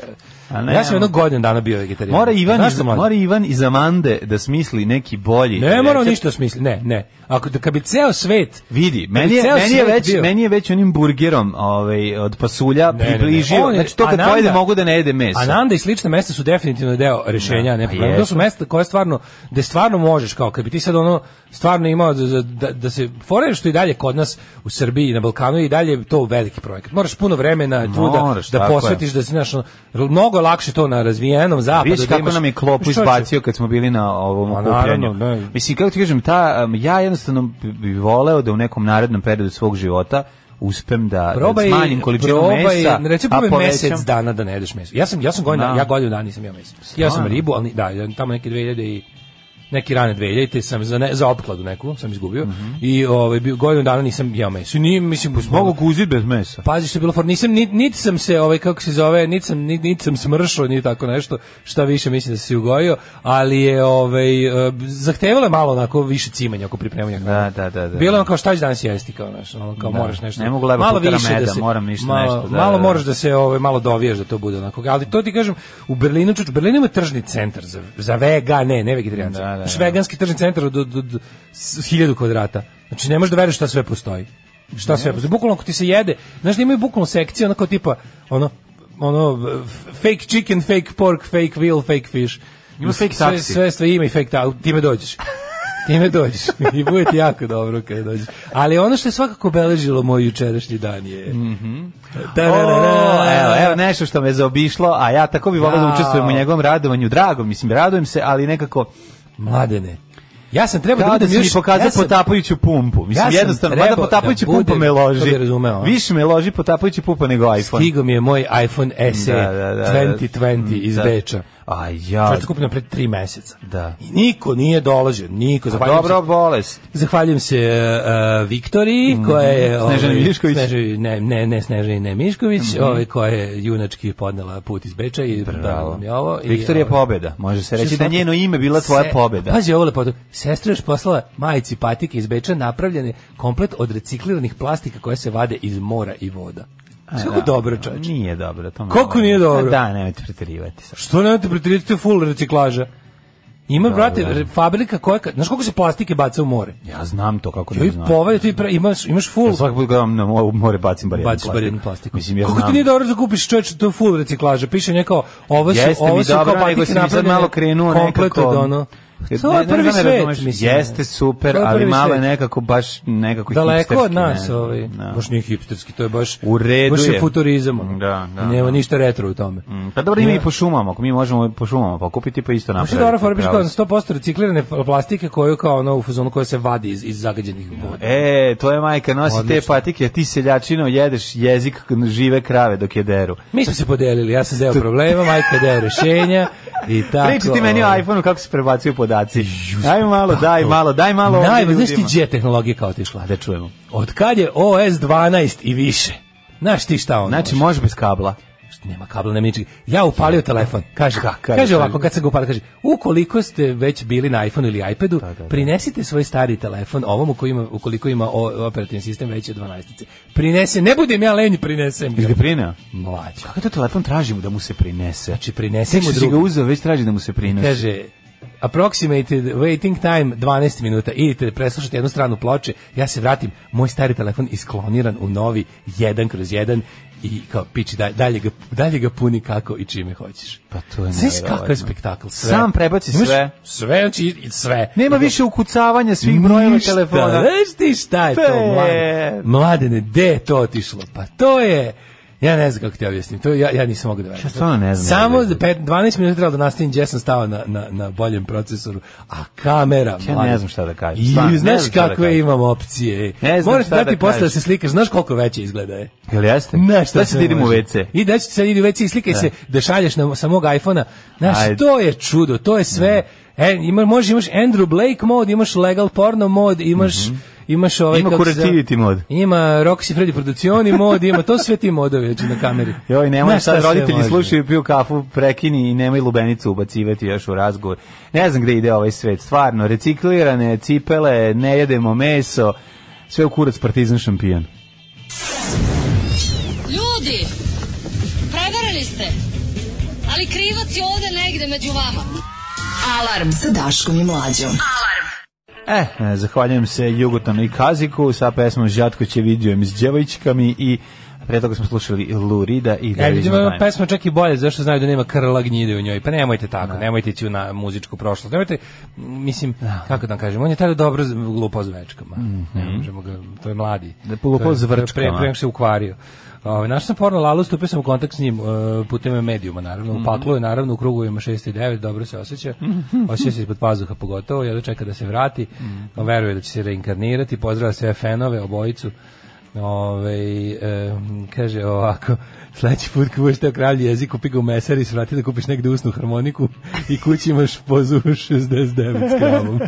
[SPEAKER 6] A ne,
[SPEAKER 7] ja sam
[SPEAKER 6] ono-
[SPEAKER 7] jednog godinu dana bio vegetarijan.
[SPEAKER 6] Pa Mora Ivan,
[SPEAKER 7] Znaš
[SPEAKER 6] iz,
[SPEAKER 7] što, mlađe?
[SPEAKER 6] mora Ivan iz Amande da smisli neki bolji.
[SPEAKER 7] Ne mora
[SPEAKER 6] recept.
[SPEAKER 7] ništa smisli. Ne, ne. Ako da kad bi ceo svet
[SPEAKER 6] Vidi,
[SPEAKER 7] kad bi
[SPEAKER 6] meni je,
[SPEAKER 7] ceo
[SPEAKER 6] meni je
[SPEAKER 7] svet
[SPEAKER 6] već
[SPEAKER 7] bio-
[SPEAKER 6] meni je već onim burgerom, ovaj od pasulja
[SPEAKER 7] Ne, ne, ne.
[SPEAKER 6] približio.
[SPEAKER 7] On je-
[SPEAKER 6] Znači to kad
[SPEAKER 7] Ananda-
[SPEAKER 6] pojede mogu da ne jede meso.
[SPEAKER 7] Ananda i slična mesta su definitivno deo rešenja,
[SPEAKER 6] Da,
[SPEAKER 7] ne
[SPEAKER 6] pa
[SPEAKER 7] problem. To
[SPEAKER 6] jesu.
[SPEAKER 7] su mesta koja stvarno, da stvarno možeš, kao kad bi ti sad ono, stvarno imao da, da- da, da se, fore što i dalje kod nas u Srbiji i na Balkanu i dalje je to veliki projekat. Moraš puno vremena, truda,
[SPEAKER 6] Moraš,
[SPEAKER 7] da
[SPEAKER 6] tako je.
[SPEAKER 7] posvetiš, da se, znaš, ono, mnogo je lakše to na razvijenom zapadu.
[SPEAKER 6] Vidiš
[SPEAKER 7] pa da
[SPEAKER 6] kako
[SPEAKER 7] imaš-
[SPEAKER 6] nam je klopu
[SPEAKER 7] Čoveče,
[SPEAKER 6] izbacio kad smo bili na ovom
[SPEAKER 7] Ma,
[SPEAKER 6] okupljanju.
[SPEAKER 7] naravno, ne.
[SPEAKER 6] Mislim, kako ti kažem, ta, um, ja jednostavno bi- bi voleo da u nekom narednom periodu svog života uspem da,
[SPEAKER 7] probaj,
[SPEAKER 6] da smanjim količinu
[SPEAKER 7] probaj,
[SPEAKER 6] mesa,
[SPEAKER 7] Reci
[SPEAKER 6] a
[SPEAKER 7] probaj
[SPEAKER 6] povećam.
[SPEAKER 7] mesec dana da ne jedeš meso. Ja sam ja sam godinu,
[SPEAKER 6] Da.
[SPEAKER 7] ja godinu dana nisam jeo meso. Ja sam ribu, ali da, ja tamo neke 2000 i neki rane 2000 sam za ne, za opkladu neku sam izgubio
[SPEAKER 6] Mhm.
[SPEAKER 7] i ovaj bio- godinu dana nisam jeo meso. Ni mislim
[SPEAKER 6] Mogu kuzit bez mesa.
[SPEAKER 7] Pazi što je bilo for nisam ni- niti sam se ovaj kako se zove niti sam ni- niti sam smršao ni tako nešto šta više mislim da sam se ugojio ali je ovaj eh, zahtevalo je malo onako više cimanja oko pripremanja hrane.
[SPEAKER 6] Da, da, da, da.
[SPEAKER 7] Bilo je ono kao šta ćeš danas jesti kao znaš, ono kao
[SPEAKER 6] Da.
[SPEAKER 7] moraš nešto.
[SPEAKER 6] Ne mogu leba
[SPEAKER 7] malo
[SPEAKER 6] putera
[SPEAKER 7] više
[SPEAKER 6] meda,
[SPEAKER 7] da se,
[SPEAKER 6] moram ništa
[SPEAKER 7] malo,
[SPEAKER 6] nešto, da,
[SPEAKER 7] malo
[SPEAKER 6] da, da.
[SPEAKER 7] moraš da se ovaj malo doviješ da to bude onako. Ali to ti kažem u Berlinu, čuč, Berlin ima tržni centar za za vegane, ne vegetarijance.
[SPEAKER 6] Da, da, da.
[SPEAKER 7] Znaš, veganski tržni centar od, od, od s- 1000 kvadrata. Znači ne možeš da veruješ šta sve postoji. Šta sve postoji. Bukvalno ako ti se jede, znaš da imaju bukvalno sekcije onako tipa ono ono f- fake chicken, fake pork, fake veal, fake fish.
[SPEAKER 6] Ima fake
[SPEAKER 7] sve,
[SPEAKER 6] taksi.
[SPEAKER 7] Sve, sve ima i fake taksi. Time dođeš. Time dođeš i bude ti jako dobro kada dođeš. Ali ono što je svakako obeležilo moj jučerašnji dan je...
[SPEAKER 6] Mhm. O,
[SPEAKER 7] Tararara.
[SPEAKER 6] evo, evo nešto što me zaobišlo, a ja tako bi volao da učestvujem u njegovom radovanju. Drago, mislim, radujem se, ali nekako
[SPEAKER 7] Mladene. Ja sam trebao
[SPEAKER 6] kao
[SPEAKER 7] da
[SPEAKER 6] da
[SPEAKER 7] budem
[SPEAKER 6] si mi
[SPEAKER 7] još...
[SPEAKER 6] pokazao
[SPEAKER 7] ja sam-
[SPEAKER 6] potapajuću pumpu. Mislim,
[SPEAKER 7] Ja sam
[SPEAKER 6] jednostavno, mada
[SPEAKER 7] trebao
[SPEAKER 6] potapajući
[SPEAKER 7] da
[SPEAKER 6] pumpa
[SPEAKER 7] budem-
[SPEAKER 6] me
[SPEAKER 7] to
[SPEAKER 6] loži.
[SPEAKER 7] bi razumeo.
[SPEAKER 6] Više me loži potapajući pumpa nego iPhone.
[SPEAKER 7] Stigao mi je moj iPhone SE
[SPEAKER 6] Da, da, da, da.
[SPEAKER 7] 2020 iz
[SPEAKER 6] Da.
[SPEAKER 7] Beča.
[SPEAKER 6] A ja,
[SPEAKER 7] Što je kupljeno pred tri meseca.
[SPEAKER 6] Da. Pa
[SPEAKER 7] I niko nije dolazio, niko. Zahvaljujem
[SPEAKER 6] dobro
[SPEAKER 7] se,
[SPEAKER 6] bolest.
[SPEAKER 7] zahvaljujem se uh, Viktoriji, koja je...
[SPEAKER 6] Mhm. Snežani
[SPEAKER 7] ovaj,
[SPEAKER 6] Mišković. Mhm.
[SPEAKER 7] Snežani- ne, ne, ne Snežani, ne Mišković, ovaj, koja je junački podnela put iz Beča i dala nam je ovo. i,
[SPEAKER 6] Viktor je
[SPEAKER 7] ovaj,
[SPEAKER 6] pobeda. Može se reći
[SPEAKER 7] Što
[SPEAKER 6] da
[SPEAKER 7] svaki-
[SPEAKER 6] njeno ime bila tvoja
[SPEAKER 7] Se-
[SPEAKER 6] pobeda.
[SPEAKER 7] Pazi ovo lepotu. Sestra je još poslala majici patike iz Beča napravljene komplet od recikliranih plastika koje se vade iz mora i voda. Kako dobro, čoveče.
[SPEAKER 6] Nije dobro. To mi
[SPEAKER 7] Kako
[SPEAKER 6] je-
[SPEAKER 7] nije dobro?
[SPEAKER 6] Da, nemojte preterivati. sad.
[SPEAKER 7] Što nemate pretirati full reciklaža? Ima, brate,
[SPEAKER 6] da.
[SPEAKER 7] re- fabrika koja... ka- Znaš koliko se plastike baca u more?
[SPEAKER 6] Ja znam to kako
[SPEAKER 7] To
[SPEAKER 6] ne
[SPEAKER 7] je
[SPEAKER 6] znam.
[SPEAKER 7] povelja, to je pra- imaš, imaš full...
[SPEAKER 6] Ja svaki put gledam na mo- more bacim bar jedan
[SPEAKER 7] baciš bar jednu plastiku.
[SPEAKER 6] Mislim, ja
[SPEAKER 7] Kako ti
[SPEAKER 6] znam.
[SPEAKER 7] nije dobro da kupiš čoveče, to je full reciklaža. Piše neko, ovo su,
[SPEAKER 6] Jeste mi
[SPEAKER 7] ovo su
[SPEAKER 6] dobro,
[SPEAKER 7] kao
[SPEAKER 6] nego
[SPEAKER 7] patike
[SPEAKER 6] sam i sad
[SPEAKER 7] napravljene
[SPEAKER 6] malo krenuo
[SPEAKER 7] komplet od
[SPEAKER 6] nekako.
[SPEAKER 7] ono... To je prvi
[SPEAKER 6] znam da
[SPEAKER 7] svet,
[SPEAKER 6] razumeš.
[SPEAKER 7] mislim.
[SPEAKER 6] Jeste super,
[SPEAKER 7] To je
[SPEAKER 6] ali
[SPEAKER 7] prvi
[SPEAKER 6] malo je
[SPEAKER 7] svet.
[SPEAKER 6] nekako baš nekako
[SPEAKER 7] Daleko
[SPEAKER 6] hipsterski,
[SPEAKER 7] od nas,
[SPEAKER 6] ne znam,
[SPEAKER 7] ovaj.
[SPEAKER 6] da.
[SPEAKER 7] Baš nije hipsterski, to je baš
[SPEAKER 6] U redu
[SPEAKER 7] baš
[SPEAKER 6] je.
[SPEAKER 7] futurizam. ono.
[SPEAKER 6] Da, da,
[SPEAKER 7] Nema
[SPEAKER 6] da.
[SPEAKER 7] ništa retro u tome.
[SPEAKER 6] Mm, Pa dobro, ima i po šumama, ako mi možemo po šumama pokupiti, pa isto
[SPEAKER 7] Baš je
[SPEAKER 6] napraviti.
[SPEAKER 7] dobra fora, biš kao
[SPEAKER 6] pravo.
[SPEAKER 7] 100% reciklirane plastike koju kao ono u fazonu koja se vadi iz, iz zagađenih voda.
[SPEAKER 6] E, tvoja majka nosi te
[SPEAKER 7] Odlično.
[SPEAKER 6] patike, a ti seljačino jedeš jezik žive krave dok je deru.
[SPEAKER 7] Mi smo se podelili, ja sam deo problema, majka je deo rešenja i tako.
[SPEAKER 6] Priči ti meni o
[SPEAKER 7] ovaj.
[SPEAKER 6] iPhone-u kako se prebacuju podaci. Daj malo, daj malo, daj malo ovdje
[SPEAKER 7] Naj, znaš ti
[SPEAKER 6] ljudima.
[SPEAKER 7] gdje je tehnologija kao otišla?
[SPEAKER 6] Da čujemo.
[SPEAKER 7] Od kad je OS 12 i više? Znaš ti šta ono?
[SPEAKER 6] Znači, može bez kabla.
[SPEAKER 7] nema kabla, nema ničega. Ja upalio telefon. Kaže,
[SPEAKER 6] Kakav je
[SPEAKER 7] kaže
[SPEAKER 6] čovjek.
[SPEAKER 7] ovako, kad se ga upalio, kaže, ukoliko ste već bili na iPhoneu ili iPadu, prinesite svoj stari telefon ovom u koji ima, ukoliko ima o- operativni sistem veći od 12. Prinese, ne budem ja lenji, prinesem
[SPEAKER 6] Jel
[SPEAKER 7] ga.
[SPEAKER 6] ga prineo?
[SPEAKER 7] Mlađa.
[SPEAKER 6] Kako to telefon tražimo da mu se prinese?
[SPEAKER 7] Znači, prinesem
[SPEAKER 6] Tek
[SPEAKER 7] mu
[SPEAKER 6] što si ga
[SPEAKER 7] drugi.
[SPEAKER 6] uzeo, već traži da mu se prinese.
[SPEAKER 7] Kaže, approximated waiting time 12 minuta. Idite, preslušajte jednu stranu ploče, ja se vratim, moj stari telefon iskloniran u novi jedan kroz jedan i kao piči dalje, dalje, ga, dalje ga puni kako i čime hoćeš.
[SPEAKER 6] Pa to je
[SPEAKER 7] Znaš
[SPEAKER 6] nevjerovatno.
[SPEAKER 7] kakav je spektakl? Sve.
[SPEAKER 6] Sam prebaci
[SPEAKER 7] Imaš
[SPEAKER 6] sve.
[SPEAKER 7] Sve, znači i- i sve.
[SPEAKER 6] Nema više ukucavanja svih brojeva
[SPEAKER 7] Ništa,
[SPEAKER 6] telefona.
[SPEAKER 7] Znaš ti šta je to,
[SPEAKER 6] Pe.
[SPEAKER 7] mladen? Mladene, gde je to otišlo? Pa to je... Ja ne znam kako ti objasnim, to ja, ja nisam mogu da verujem.
[SPEAKER 6] Ja stvarno ne znam.
[SPEAKER 7] Samo
[SPEAKER 6] Ja ne znam.
[SPEAKER 7] pet- 12 minuta je trebalo da nastavim gdje sam stao na, na, na boljem procesoru, a kamera...
[SPEAKER 6] Ja
[SPEAKER 7] mladen.
[SPEAKER 6] ne znam šta da kažem,
[SPEAKER 7] I
[SPEAKER 6] stvarno, ne
[SPEAKER 7] znaš
[SPEAKER 6] znam šta da
[SPEAKER 7] kakve
[SPEAKER 6] kažem.
[SPEAKER 7] imam opcije.
[SPEAKER 6] Ne znam
[SPEAKER 7] Moraš
[SPEAKER 6] šta
[SPEAKER 7] dati
[SPEAKER 6] da
[SPEAKER 7] posle da
[SPEAKER 6] kažem.
[SPEAKER 7] se slikaš, znaš koliko veće izgleda je.
[SPEAKER 6] Jel jeste?
[SPEAKER 7] Na šta
[SPEAKER 6] da se idemo u
[SPEAKER 7] može.
[SPEAKER 6] WC.
[SPEAKER 7] I da ćete sad idi u WC i slikaj se da šalješ na sa mog iPhona. Znaš,
[SPEAKER 6] Ajde.
[SPEAKER 7] to je čudo, to je sve. E, ima, može, imaš Andrew Blake mod, imaš legal porno mod, imaš imaš ovaj
[SPEAKER 6] Mhm. Ima
[SPEAKER 7] kako se zove-
[SPEAKER 6] curativity mod.
[SPEAKER 7] Ima Roxy Freddy producioni mod, ima to su sve ti modovi znači, na kameri.
[SPEAKER 6] Joj, nemoj
[SPEAKER 7] Znaš šta
[SPEAKER 6] sad
[SPEAKER 7] sve
[SPEAKER 6] roditelji
[SPEAKER 7] može.
[SPEAKER 6] slušaju, piju kafu, prekini i nemoj lubenicu ubacivati još u razgovor. Ne znam gde ide ovaj svet, stvarno. Reciklirane cipele, ne jedemo meso, sve u kurac partizan šampion.
[SPEAKER 8] Ljudi, prevarili ste. Ali krivac je ovde negde među vama.
[SPEAKER 5] Alarm sa Daškom i Mlađom.
[SPEAKER 6] E, e, zahvaljujem se Jugotanu i Kaziku sa pesmom Žatko će vidujem s djevojčkami i pre toga smo slušali Lurida i
[SPEAKER 7] Ja
[SPEAKER 6] There is
[SPEAKER 7] vidim,
[SPEAKER 6] no
[SPEAKER 7] ova
[SPEAKER 6] time.
[SPEAKER 7] E, pesma čak i bolje, zašto znaju da nema krla gnjide u njoj. Pa nemojte tako, nemojte ići na muzičku prošlost. Nemojte, m, mislim, kako da vam kažem, on je tada dobro z- glupo s večkama.
[SPEAKER 6] Mhm.
[SPEAKER 7] Ne možemo ga, to je mladi.
[SPEAKER 6] Da, glupo
[SPEAKER 7] To je-
[SPEAKER 6] s
[SPEAKER 7] to je pre-
[SPEAKER 6] vrčkama.
[SPEAKER 7] Pre nego što se ukvario. Ovaj našao sam porno Lalu, stupio sam u kontakt s njim e, putem medijuma, naravno. U paklu je, naravno, u krugovima 6 i 9, dobro se osjeća. Osjeća se ispod pazuha pogotovo, jedno čeka da se vrati. Pa Veruje da će se reinkarnirati, pozdravlja sve fenove, obojicu. Ove, kaže ovako, sledeći put kad budeš teo kralj jezik, kupi ga u mesari i svrati da kupiš negde usnu harmoniku i kući imaš pozu 69 s kravom.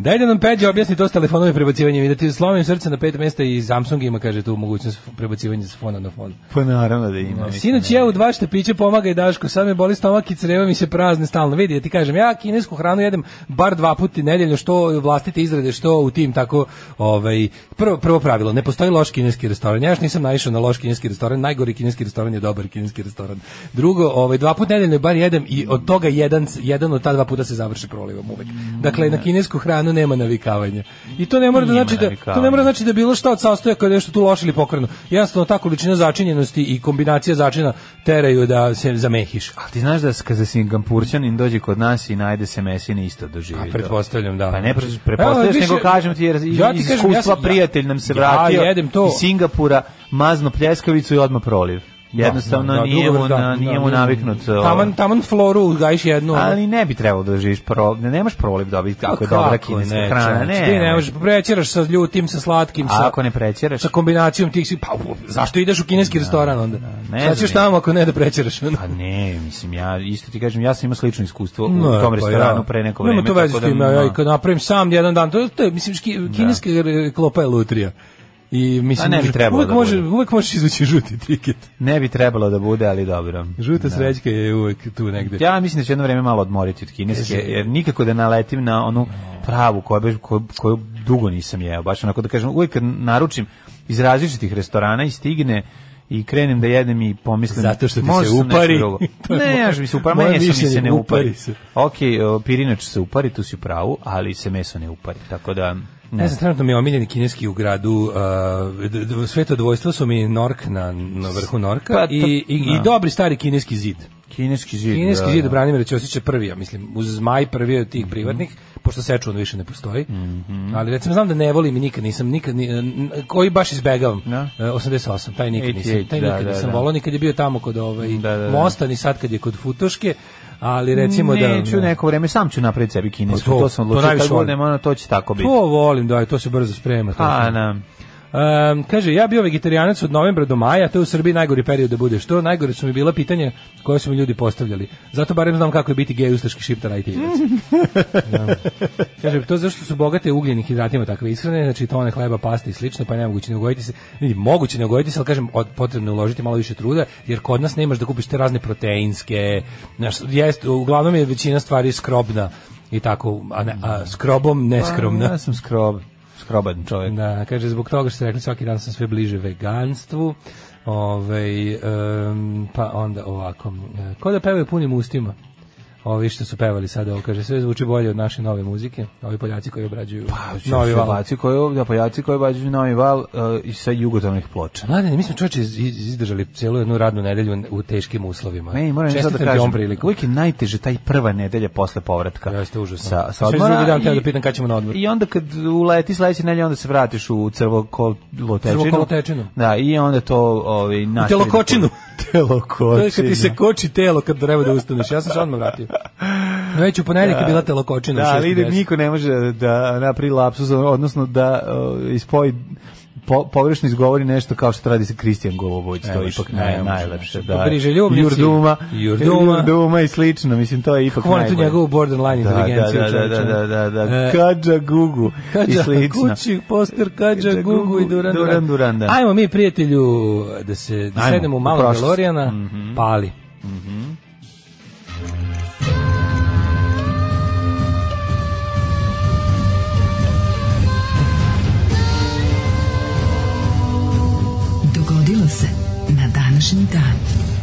[SPEAKER 7] Daj da nam Peđa objasni to s telefonovim prebacivanjem i da ti slomim srce na pet mesta i Samsung ima, kaže, tu mogućnost prebacivanja s fona na fon.
[SPEAKER 6] Pa naravno da ima. mislim.
[SPEAKER 7] Sinoć ja u dva štapića pomagaj Daško, sad me boli stomak i creva mi se prazne stalno. Vidi, ja ti kažem, ja kinesku hranu jedem bar dva puta nedeljno, što vlastite izrade, što u tim tako, ovaj, prvo, prvo pravilo, ne postoji loš kineski restoran. Ja još nisam naišao na loš kineski restoran, najgori kineski restoran je dobar kineski restoran. Drugo, ovaj, dva puta nedeljno bar jedem i od toga jedan, jedan od ta dva puta se završi prolivom uvek. Dakle, na kinesku hranu nema navikavanja. I to ne mora da
[SPEAKER 6] Ima
[SPEAKER 7] znači da, to ne
[SPEAKER 6] navikavanja.
[SPEAKER 7] mora znači da je bilo šta od sastoja kada je nešto tu loše ili pokvareno. Jednostavno ta količina začinjenosti i kombinacija začina teraju da se zamehiš.
[SPEAKER 6] Ali ti znaš da s- kada Singampurćanin dođe kod nas i najde se mesine isto doživi.
[SPEAKER 7] A
[SPEAKER 6] to.
[SPEAKER 7] pretpostavljam da.
[SPEAKER 6] Pa ne pre- pretpostavljaš,
[SPEAKER 7] Evo,
[SPEAKER 6] nego
[SPEAKER 7] više-
[SPEAKER 6] kažem ti jer iz
[SPEAKER 7] Ja ti kažem,
[SPEAKER 6] iskustva
[SPEAKER 7] ja sam- ja-
[SPEAKER 6] prijatelj nam se
[SPEAKER 7] ja
[SPEAKER 6] vratio
[SPEAKER 7] jedem to.
[SPEAKER 6] iz Singapura, mazno pljeskavicu i odmah proliv. Jednostavno
[SPEAKER 7] Da, da, da,
[SPEAKER 6] nije,
[SPEAKER 7] dugo
[SPEAKER 6] mu,
[SPEAKER 7] vrat-
[SPEAKER 6] na-
[SPEAKER 7] da,
[SPEAKER 6] nije
[SPEAKER 7] da,
[SPEAKER 6] mu
[SPEAKER 7] da.
[SPEAKER 6] naviknut.
[SPEAKER 7] Taman, taman floru gajiš jednu. ono.
[SPEAKER 6] Ali ne bi trebalo da živiš proliv. Ne nemaš proliv dobiti
[SPEAKER 7] Pa
[SPEAKER 6] ako je dobra
[SPEAKER 7] kako
[SPEAKER 6] kineska
[SPEAKER 7] ne,
[SPEAKER 6] hrana.
[SPEAKER 7] čoveče,
[SPEAKER 6] Ne,
[SPEAKER 7] Znači, ti ne možeš, prećeraš sa ljutim, sa slatkim,
[SPEAKER 6] A
[SPEAKER 7] sa,
[SPEAKER 6] ako ne prećeraš?
[SPEAKER 7] sa kombinacijom tih svih. Pa, u- zašto ideš u kineski restoran onda?
[SPEAKER 6] ne
[SPEAKER 7] Šta ćeš
[SPEAKER 6] znam ja.
[SPEAKER 7] tamo ako ne da prećeraš? ono?
[SPEAKER 6] Pa ne, mislim, ja isto ti kažem, ja sam imao slično iskustvo u
[SPEAKER 7] Ne,
[SPEAKER 6] tom
[SPEAKER 7] pa
[SPEAKER 6] restoranu
[SPEAKER 7] ja.
[SPEAKER 6] pre neko
[SPEAKER 7] Nema
[SPEAKER 6] vreme.
[SPEAKER 7] to veze
[SPEAKER 6] tako
[SPEAKER 7] s
[SPEAKER 6] da,
[SPEAKER 7] tim, ja, ja i
[SPEAKER 6] no.
[SPEAKER 7] kad napravim sam jedan dan, to, to je, mislim, ški- kineska r- klopa je lutrija. I mislim,
[SPEAKER 6] A Pa ne bi
[SPEAKER 7] žu-
[SPEAKER 6] trebalo
[SPEAKER 7] uvek,
[SPEAKER 6] da
[SPEAKER 7] može,
[SPEAKER 6] bude.
[SPEAKER 7] uvek možeš izvući žuti tiket.
[SPEAKER 6] Ne bi trebalo da bude, ali dobro.
[SPEAKER 7] Žuta srećka je uvek tu negde.
[SPEAKER 6] Ja mislim da ću jedno vrijeme malo odmoriti od kineske,
[SPEAKER 7] Kaže-
[SPEAKER 6] jer nikako da naletim na onu pravu koju, baš- koju, koju dugo nisam jeo. Baš onako da kažem, uvijek kad naručim iz različitih restorana i stigne i krenem da jedem i pomislim
[SPEAKER 7] Zato što ti
[SPEAKER 6] "Može
[SPEAKER 7] se
[SPEAKER 6] sam nešto
[SPEAKER 7] upari."
[SPEAKER 6] drugo."
[SPEAKER 7] To je
[SPEAKER 6] ne,
[SPEAKER 7] moje-
[SPEAKER 6] ja mi se upari,
[SPEAKER 7] moje
[SPEAKER 6] meso mi se
[SPEAKER 7] mišljenje,
[SPEAKER 6] ne
[SPEAKER 7] upari
[SPEAKER 6] upari.
[SPEAKER 7] se.
[SPEAKER 6] Ok, o, pirinač se upari, tu si u pravu, ali se meso ne upari. Tako da,
[SPEAKER 7] Ne
[SPEAKER 6] ne
[SPEAKER 7] znam, trenutno mi je omiljeni kineski u gradu, uh, d- d- sveto dvojstvo su mi Nork na, na vrhu Norka
[SPEAKER 6] Pa to-
[SPEAKER 7] i, i, i
[SPEAKER 6] da.
[SPEAKER 7] dobri stari kineski zid.
[SPEAKER 6] Kineski zid.
[SPEAKER 7] Kineski
[SPEAKER 6] da, Mhm.
[SPEAKER 7] zid
[SPEAKER 6] da.
[SPEAKER 7] Branimira Ćosića prvi, ja mislim, uz zmaj prvi od tih privatnih, pošto Sečuvan više ne postoji.
[SPEAKER 6] Mhm.
[SPEAKER 7] Ali recimo znam da ne volim i nikad nisam, nikad, ni- n- koji baš izbegavam.
[SPEAKER 6] Da.
[SPEAKER 7] E, 88, taj nikad
[SPEAKER 6] 88,
[SPEAKER 7] nisam, taj
[SPEAKER 6] da,
[SPEAKER 7] nikad
[SPEAKER 6] da,
[SPEAKER 7] nisam
[SPEAKER 6] da.
[SPEAKER 7] volao, nikad je bio tamo kod ovaj,
[SPEAKER 6] Da, da, da.
[SPEAKER 7] Mosta, ni sad kad je kod Futoške, ali recimo da...
[SPEAKER 6] Neću
[SPEAKER 7] da-
[SPEAKER 6] neko vreme, sam ću napraviti sebi kinesku,
[SPEAKER 7] Pa
[SPEAKER 6] to,
[SPEAKER 7] to,
[SPEAKER 6] sam
[SPEAKER 7] to
[SPEAKER 6] odlučio,
[SPEAKER 7] najviše
[SPEAKER 6] kad god
[SPEAKER 7] volim.
[SPEAKER 6] nema, ono, to će tako biti.
[SPEAKER 7] To volim, da, to se brzo sprema. to
[SPEAKER 6] A,
[SPEAKER 7] se-
[SPEAKER 6] na,
[SPEAKER 7] Um, kaže, ja bio vegetarijanac od novembra do maja, to je u Srbiji najgori period da budeš. To najgore su mi bila pitanja koje su mi ljudi postavljali. Zato barem znam kako je biti gej ustaški šiptar IT-evac. Da. Kaže, to zašto su bogate ugljenih hidratima takve ishrane, znači tone hleba, pasta i slično, pa je nemoguće ne ugojiti se. Vidi, moguće ne ugojiti se, ali kažem, od, potrebno je uložiti malo više truda, jer kod nas nemaš da kupiš te razne proteinske, znaš, jest, uglavnom je većina stvari skrobna i tako, a, ne, a skrobom neskromna.
[SPEAKER 6] Ja sam skrob, skroban čovjek.
[SPEAKER 7] Da, kaže, zbog toga što ste rekli, svaki dan sam sve bliže veganstvu. Ove, pa onda ovako. E, Ko da pevaju punim ustima? Ovi što su pevali sada, ovo kaže, sve zvuči bolje od naše nove muzike. Ovi Poljaci koji obrađuju
[SPEAKER 6] Pa,
[SPEAKER 7] novi val.
[SPEAKER 6] Pojaci koji ovdje, pojaci koji bađu novi val e, i sa jugotovnih ploča.
[SPEAKER 7] Mladene, mi smo čovječe iz- iz- izdržali cijelu jednu radnu nedelju u teškim uslovima.
[SPEAKER 6] Ne, moram nešto da
[SPEAKER 7] Čestitam ti ovom
[SPEAKER 6] kažem.
[SPEAKER 7] priliku.
[SPEAKER 6] Uvijek je najteže taj prva nedelja posle povratka.
[SPEAKER 7] Jeste užasno.
[SPEAKER 6] Sa, sa
[SPEAKER 7] Sve
[SPEAKER 6] odmora
[SPEAKER 7] drugi dan
[SPEAKER 6] i-
[SPEAKER 7] teo da pitam kad ćemo na odmor.
[SPEAKER 6] I onda kad uleti sledeće nedelje, onda se vratiš u crvokolotečinu.
[SPEAKER 7] Crvokolotečinu.
[SPEAKER 6] Da, i onda to ovaj, nastavi.
[SPEAKER 7] telokočinu.
[SPEAKER 6] telokočinu.
[SPEAKER 7] To je kad ti se koči telo kad treba da ustaneš. Ja sam se odmah vratio. Već u ponedeljak je bila telokočina. u
[SPEAKER 6] Da, ali
[SPEAKER 7] 6:10.
[SPEAKER 6] ide, niko ne može da, da napravi lapsus, odnosno da uh, ispoji po, površno izgovori nešto kao što radi se Kristijan Golubojć, to je
[SPEAKER 7] može,
[SPEAKER 6] ipak
[SPEAKER 7] ne
[SPEAKER 6] naj,
[SPEAKER 7] može,
[SPEAKER 6] najlepše.
[SPEAKER 7] ne
[SPEAKER 6] Da.
[SPEAKER 7] može. Briželjubnici,
[SPEAKER 6] Jurduma,
[SPEAKER 7] Jurduma.
[SPEAKER 6] Jurduma i slično, mislim, to je ipak
[SPEAKER 7] Kako volim tu
[SPEAKER 6] najbolje.
[SPEAKER 7] njegovu borderline
[SPEAKER 6] Da,
[SPEAKER 7] inteligenciju.
[SPEAKER 6] da, da, da,
[SPEAKER 7] čoveče.
[SPEAKER 6] da, da, da,
[SPEAKER 7] E,
[SPEAKER 6] Kadža Gugu i
[SPEAKER 7] Kađa
[SPEAKER 6] slično.
[SPEAKER 7] Kući, poster Kađa,
[SPEAKER 6] Kađa
[SPEAKER 7] Gugu, i Duran Duran.
[SPEAKER 6] Duran Duran, da.
[SPEAKER 7] Ajmo mi, prijatelju, da se da
[SPEAKER 6] Ajmo,
[SPEAKER 7] sedemo u
[SPEAKER 6] u
[SPEAKER 7] malo
[SPEAKER 6] prošlost. Mhm.
[SPEAKER 7] Delorijana, pali.
[SPEAKER 5] Dogodilo se na današnji dan.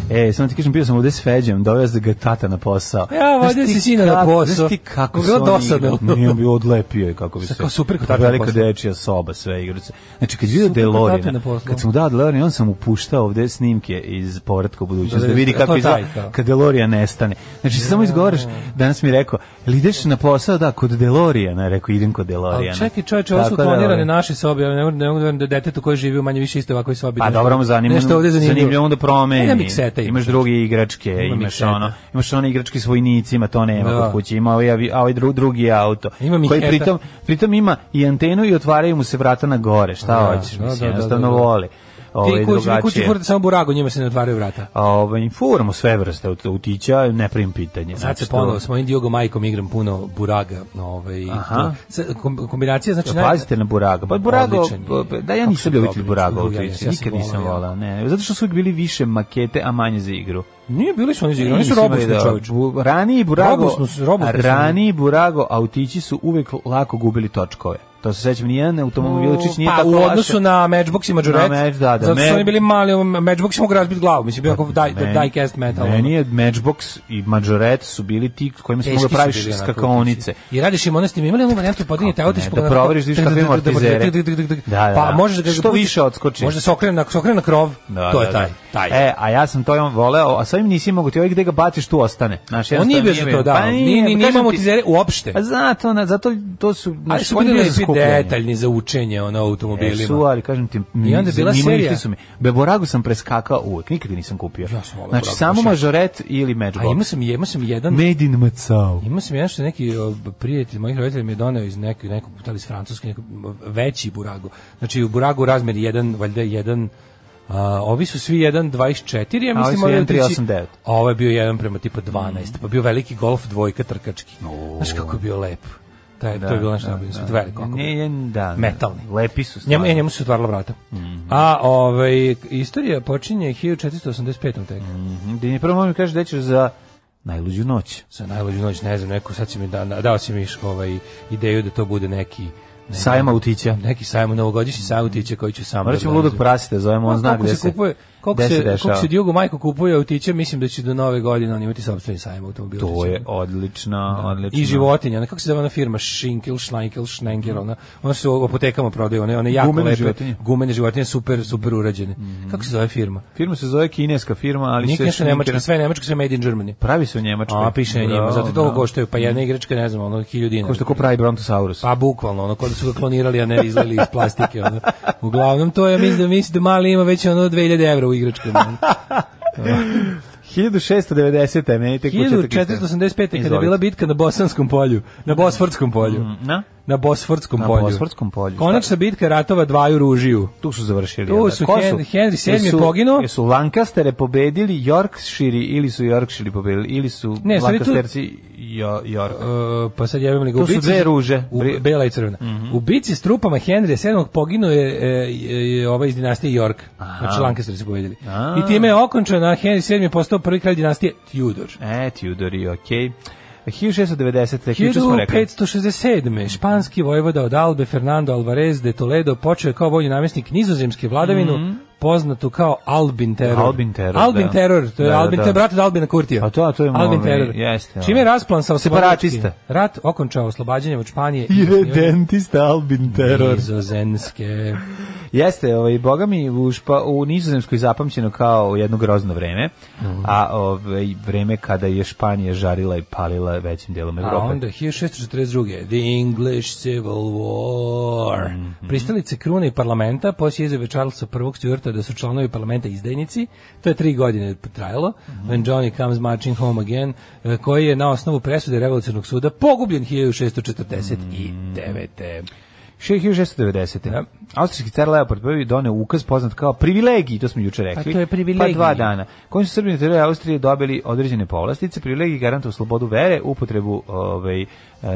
[SPEAKER 6] E, samo ti kažem, bio sam ovde s Feđem, dovez da ga tata na posao.
[SPEAKER 7] Ja,
[SPEAKER 6] Znaš
[SPEAKER 7] vodio
[SPEAKER 6] ti
[SPEAKER 7] si sina na
[SPEAKER 6] kako-
[SPEAKER 7] posao.
[SPEAKER 6] Znaš ti kako
[SPEAKER 7] Bilo
[SPEAKER 6] su oni
[SPEAKER 7] dosadno.
[SPEAKER 6] igrali? Nije on bio odlepio i kako bi se...
[SPEAKER 7] Kao super kod tata na
[SPEAKER 6] Velika
[SPEAKER 7] posao.
[SPEAKER 6] dečija soba, sve igrice. Znači, kad je vidio
[SPEAKER 7] Super kod tata
[SPEAKER 6] Delorina,
[SPEAKER 7] na poslu.
[SPEAKER 6] kad sam mu dao Delorina, on sam upuštao ovde snimke iz povratka u budućnost, da vidi
[SPEAKER 7] Da, to
[SPEAKER 6] kako
[SPEAKER 7] je taj,
[SPEAKER 6] izgleda
[SPEAKER 7] kao.
[SPEAKER 6] kad Delorija nestane. Znači, samo izgovaraš, danas mi je rekao, jel ideš na posao, da, kod Delorijana, rekao, idem kod Delorijana.
[SPEAKER 7] Ali čekaj čovječe, ovo su
[SPEAKER 6] Tako da,
[SPEAKER 7] klonirane
[SPEAKER 6] ovaj,
[SPEAKER 7] naše sobe, ja ne mogu ne mogu da verujem da detetu koji živi u manje više isto ovakvoj sobi.
[SPEAKER 6] Pa
[SPEAKER 7] nešto-
[SPEAKER 6] dobro, mu zanima.
[SPEAKER 7] Nešto ovde zanimljivo.
[SPEAKER 6] Zanimljivo da promeni.
[SPEAKER 7] Nema mikseta ima.
[SPEAKER 6] imaš druge igračke,
[SPEAKER 7] Ima
[SPEAKER 6] imaš
[SPEAKER 7] mikseta.
[SPEAKER 6] ono, imaš one igračke s vojnicima, to nema
[SPEAKER 7] Da.
[SPEAKER 6] kod kuće. Ima ovaj, avi- a ovaj dru- drugi auto.
[SPEAKER 7] Ima
[SPEAKER 6] koji
[SPEAKER 7] mikseta.
[SPEAKER 6] pritom, pritom ima i antenu i otvaraju mu se vrata na gore. Šta
[SPEAKER 7] Da,
[SPEAKER 6] hoćeš,
[SPEAKER 7] da,
[SPEAKER 6] mislim,
[SPEAKER 7] da, da,
[SPEAKER 6] jednostavno
[SPEAKER 7] da, da.
[SPEAKER 6] voli. Ovaj,
[SPEAKER 7] Ti koji su kući
[SPEAKER 6] drugačije.
[SPEAKER 7] furate samo burago, njima se ne otvaraju vrata.
[SPEAKER 6] A, Ovaj, furamo sve vrste ut- utića, ne primim pitanje.
[SPEAKER 7] Sad se
[SPEAKER 6] Znači,
[SPEAKER 7] ponovo
[SPEAKER 6] to-
[SPEAKER 7] s mojim Diogo Majkom igram puno buraga. Ovaj,
[SPEAKER 6] Aha. E,
[SPEAKER 7] s- kom- kombinacija, znači... naj-
[SPEAKER 6] Pazite na Buraga. Pa Burago,
[SPEAKER 7] Odličan je.
[SPEAKER 6] pa- da ja
[SPEAKER 7] Kako
[SPEAKER 6] nisam
[SPEAKER 7] su
[SPEAKER 6] bio
[SPEAKER 7] dobri.
[SPEAKER 6] ljubitelj Buraga u
[SPEAKER 7] Ja
[SPEAKER 6] Twitteru,
[SPEAKER 7] nisam, ja sam
[SPEAKER 6] nikad nisam
[SPEAKER 7] volao
[SPEAKER 6] volao. Ne, zato što su uvijek bili više makete, a manje za igru.
[SPEAKER 7] Nije bili su oni iz igre, oni su
[SPEAKER 6] Nisam
[SPEAKER 7] robusni
[SPEAKER 6] vidio.
[SPEAKER 7] čovječe.
[SPEAKER 6] Bu- Raniji Burago,
[SPEAKER 7] Robusno su- robusno su.
[SPEAKER 6] raniji Burago autići su uvek lako gubili točkove. To se sećam, nijedan automobiličić nije
[SPEAKER 7] pa,
[SPEAKER 6] tako
[SPEAKER 7] u
[SPEAKER 6] loše-
[SPEAKER 7] odnosu na Matchbox i Majoret.
[SPEAKER 6] Na Match, da, da,
[SPEAKER 7] Zato
[SPEAKER 6] Match-
[SPEAKER 7] su oni bili mali, Matchbox mogu razbiti glavu, mislim, bio kao die,
[SPEAKER 6] Meni-
[SPEAKER 7] diecast metal. ono.
[SPEAKER 6] Meni je Matchbox i Majoret su bili ti kojima se
[SPEAKER 7] Teški
[SPEAKER 6] mogli
[SPEAKER 7] su
[SPEAKER 6] praviš
[SPEAKER 7] bili onako
[SPEAKER 6] skakaonice.
[SPEAKER 7] kući. I radiš im ono s tim, imali ono varijantu podignete auto
[SPEAKER 6] ne,
[SPEAKER 7] ispod
[SPEAKER 6] da
[SPEAKER 7] onako-
[SPEAKER 6] proveriš, da vidiš kakve ima amortizere.
[SPEAKER 7] tik, tik, tik, tik, tik.
[SPEAKER 6] Da, da,
[SPEAKER 7] Pa
[SPEAKER 6] da.
[SPEAKER 7] možeš da ga
[SPEAKER 6] Što
[SPEAKER 7] pustiš-
[SPEAKER 6] više odskoči.
[SPEAKER 7] Možda se okrene na, se okrene na krov,
[SPEAKER 6] Da,
[SPEAKER 7] to
[SPEAKER 6] da,
[SPEAKER 7] je taj.
[SPEAKER 6] da.
[SPEAKER 7] taj.
[SPEAKER 6] E, a ja sam to on voleo, a svojim nisi mogao ti ovaj gde ga baciš tu ostane. Znaš,
[SPEAKER 7] On nije
[SPEAKER 6] jednostavno
[SPEAKER 7] bio za to, da.
[SPEAKER 6] Pa
[SPEAKER 7] nije, ni- nije
[SPEAKER 6] pa kažem
[SPEAKER 7] imao
[SPEAKER 6] ti-
[SPEAKER 7] amortizere uopšte.
[SPEAKER 6] Pa zato, na, zato to su...
[SPEAKER 7] Ali
[SPEAKER 6] znaš,
[SPEAKER 7] su
[SPEAKER 6] oni
[SPEAKER 7] bili
[SPEAKER 6] bio za
[SPEAKER 7] lepi
[SPEAKER 6] skupljanje.
[SPEAKER 7] detaljni za učenje ono, o automobilima.
[SPEAKER 6] E, su, ali kažem ti,
[SPEAKER 7] I onda je bila
[SPEAKER 6] zanimljivi
[SPEAKER 7] serija.
[SPEAKER 6] su mi. Beboragu sam preskakao uvek, nikad ga nisam kupio.
[SPEAKER 7] Ja sam volao
[SPEAKER 6] znači,
[SPEAKER 7] Boragu,
[SPEAKER 6] samo
[SPEAKER 7] baš ja.
[SPEAKER 6] mažoret ili matchbox.
[SPEAKER 7] A imao sam, imao sam jedan...
[SPEAKER 6] Made in Macau.
[SPEAKER 7] Imao sam jedan što je neki o, prijatelj mojih roditelja mi je doneo iz nekog, nekog da li iz Francuske, nekog veći burago. Znači u buragu razmer jedan, valjda jedan, a, ovi su svi 1.24, ja
[SPEAKER 6] A ovi
[SPEAKER 7] mislim
[SPEAKER 6] su
[SPEAKER 7] moraju
[SPEAKER 6] 1.389.
[SPEAKER 7] otići- A ovo je bio jedan prema tipa 12, pa bio veliki golf dvojka trkački. Znaš kako je bio lep. Taj, to je bilo nešto najbolje, da, veliko. ako-
[SPEAKER 6] Ne, ne, da.
[SPEAKER 7] Metalni.
[SPEAKER 6] Lepi su stvarno. Mhm.
[SPEAKER 7] Njemu, e, njemu su se otvarala vrata. A ovaj, istorija počinje 1485. tek.
[SPEAKER 6] Mhm, Da mi prvo možda kažeš da ćeš za najluđu noć.
[SPEAKER 7] za najluđu noć, ne znam, neko sad si mi da, da- dao si mi š- ovaj, ideju da to bude neki
[SPEAKER 6] Sajma utića.
[SPEAKER 7] neki sajam, novogodišnji sajam utiće koji ću sam
[SPEAKER 6] Mm. Morat ćemo
[SPEAKER 7] da
[SPEAKER 6] ludog
[SPEAKER 7] organizujem.
[SPEAKER 6] prasite, zovemo, on
[SPEAKER 7] Pa,
[SPEAKER 6] zna
[SPEAKER 7] koliko
[SPEAKER 6] gde
[SPEAKER 7] se
[SPEAKER 6] se...
[SPEAKER 7] kupuje, koliko
[SPEAKER 6] gde
[SPEAKER 7] se,
[SPEAKER 6] dešava.
[SPEAKER 7] koliko se Djugo Majko kupuje autiće, mislim da će do nove godine on imati sopstveni sajam automobila.
[SPEAKER 6] To je odlično, odlično.
[SPEAKER 7] i životinja, ona kako se zove ona firma Šinkel, Schneikel, Schnenger, ona, ona se u apotekama prodaju, one, one jako
[SPEAKER 6] Gumene
[SPEAKER 7] lepe
[SPEAKER 6] životinje. Mhm.
[SPEAKER 7] gumene životinje, super, super urađene. Kako se zove firma?
[SPEAKER 6] Firma se zove kineska firma, ali
[SPEAKER 7] Nije
[SPEAKER 6] se...
[SPEAKER 7] nešto nemačka, sve je nemačka, sve je made in Germany.
[SPEAKER 6] Pravi se u Njemačkoj.
[SPEAKER 7] A, piše na njima,
[SPEAKER 6] Da,
[SPEAKER 7] zato toliko
[SPEAKER 6] Pa, da.
[SPEAKER 7] koštaju, pa jedna igračka, ne znam, ono, hiljadu dinara.
[SPEAKER 6] Ko što ko pravi Brontosaurus.
[SPEAKER 7] Pa bukvalno, ono, kada su ga klonirali, a ne izleli iz plastike. Ono. Uglavnom, to je, mislim da, mislim da mali ima već ono 2000 evra u igračkama. ono.
[SPEAKER 6] 1690. Meni tek početak istine.
[SPEAKER 7] 1485. kada je
[SPEAKER 6] Izvolite.
[SPEAKER 7] bila bitka na Bosanskom polju, na Bosfordskom polju.
[SPEAKER 6] na?
[SPEAKER 7] Na Bosfordskom
[SPEAKER 6] Na
[SPEAKER 7] polju.
[SPEAKER 6] Bosfordskom polju,
[SPEAKER 7] Konačna bitka ratova dvaju ružiju.
[SPEAKER 6] Tu su završili.
[SPEAKER 7] Tu
[SPEAKER 6] jel da?
[SPEAKER 7] su
[SPEAKER 6] Ko
[SPEAKER 7] Hen- Henry VII je
[SPEAKER 6] Jesu-
[SPEAKER 7] poginuo.
[SPEAKER 6] Jesu Lancastere pobedili Yorkshire ili su Yorkshire pobedili ili su
[SPEAKER 7] Ne, sad je tu-
[SPEAKER 6] Lancasterci jo, York.
[SPEAKER 7] E, pa sad jebem li ga
[SPEAKER 6] To
[SPEAKER 7] u
[SPEAKER 6] su
[SPEAKER 7] bici-
[SPEAKER 6] dve ruže.
[SPEAKER 7] u,
[SPEAKER 6] Bri- Mhm.
[SPEAKER 7] bela i crvena. U bici s trupama Henrija VII poginuo je, e, e, e, ovaj iz dinastije York. Znači Lancaster su pobedili.
[SPEAKER 6] A.
[SPEAKER 7] I time je okončena, a Henry VII je postao prvi kralj dinastije Tudor.
[SPEAKER 6] E, Tudori, okej. 1690. tek juče smo rekli.
[SPEAKER 7] 1567. Španski vojvoda od Albe Fernando Alvarez de Toledo počeo je kao vojni namjesnik nizozemske vladavinu, poznatu kao Albin Terror.
[SPEAKER 6] Mhm. Albin Terror,
[SPEAKER 7] Albin
[SPEAKER 6] da.
[SPEAKER 7] Terror, to je
[SPEAKER 6] Da, da,
[SPEAKER 7] Albin,
[SPEAKER 6] da.
[SPEAKER 7] to je brat od Albina Kurtija.
[SPEAKER 6] Pa to- a to je
[SPEAKER 7] Albin
[SPEAKER 6] moj-
[SPEAKER 7] Terror.
[SPEAKER 6] jeste, ono.
[SPEAKER 7] Čime je rasplan sa oslobođački-
[SPEAKER 6] Separatista.
[SPEAKER 7] Rat okončao oslobađanjem od Španije i osnivanjem
[SPEAKER 6] Irredentista Albin Terror.
[SPEAKER 7] Nizozemske.
[SPEAKER 6] Jeste, ovaj boga mi u, špa, u Nizozemskoj zapamćeno kao jedno grozno vreme,
[SPEAKER 7] Mhm.
[SPEAKER 6] a ovaj vreme kada je Španija žarila i palila većim delom
[SPEAKER 7] A
[SPEAKER 6] Evrope.
[SPEAKER 7] Pa onda 1642. The English Civil War.
[SPEAKER 6] Mhm.
[SPEAKER 7] Pristalice krune i parlamenta, poslije izjave Charlesa I. Stuarta da su članovi parlamenta izdajnici, to je tri godine trajalo,
[SPEAKER 6] Mhm.
[SPEAKER 7] When Johnny Comes Marching Home Again, eh, koji je na osnovu presude Revolucionog suda pogubljen 1649.
[SPEAKER 6] 1690.
[SPEAKER 7] Da.
[SPEAKER 6] Austrijski car Leopold I doneo ukaz poznat kao privilegiji, to smo juče rekli.
[SPEAKER 7] A to je privilegij.
[SPEAKER 6] Pa dva dana. Kojim su Srbi na teritoriju Austrije dobili određene povlastice, privilegiji garantuju slobodu vere, upotrebu ovaj, eh,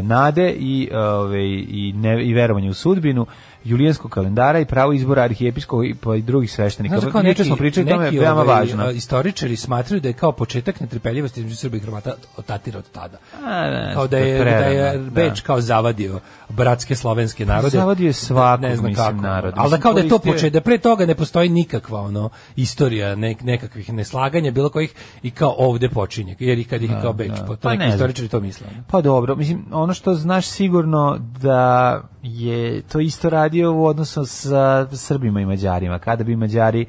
[SPEAKER 6] nade i, ovaj, i, ne, i verovanje u sudbinu, julijanskog kalendara i pravo izbora arhijepiskog i, pa i drugih sveštenika.
[SPEAKER 7] Znaš, kao
[SPEAKER 6] Juče smo pričali, to je
[SPEAKER 7] neki,
[SPEAKER 6] veoma
[SPEAKER 7] ovaj,
[SPEAKER 6] važno.
[SPEAKER 7] a, Istoričari smatraju da je kao početak netrpeljivosti između Srba i Hrvata od tatira od tada.
[SPEAKER 6] A, da,
[SPEAKER 7] kao da
[SPEAKER 6] to je
[SPEAKER 7] je, da je
[SPEAKER 6] prerano, da.
[SPEAKER 7] Beč kao zavadio bratske slovenske narode.
[SPEAKER 6] Zavadio je svakog,
[SPEAKER 7] ne znam
[SPEAKER 6] mislim,
[SPEAKER 7] kako.
[SPEAKER 6] naroda.
[SPEAKER 7] Ali da
[SPEAKER 6] Mislim,
[SPEAKER 7] kao da je to
[SPEAKER 6] koristio je-
[SPEAKER 7] početak, da pre toga ne postoji nikakva ono istorija nek, nekakvih neslaganja, bilo kojih i kao ovde počinje. Jer i kad ih je kao Beč, po, to
[SPEAKER 6] Pa
[SPEAKER 7] neki
[SPEAKER 6] ne znam.
[SPEAKER 7] istoričari to misle.
[SPEAKER 6] Pa dobro, mislim, ono što znaš sigurno da je to isto radio u odnosu sa Srbima i Mađarima. Kada bi Mađari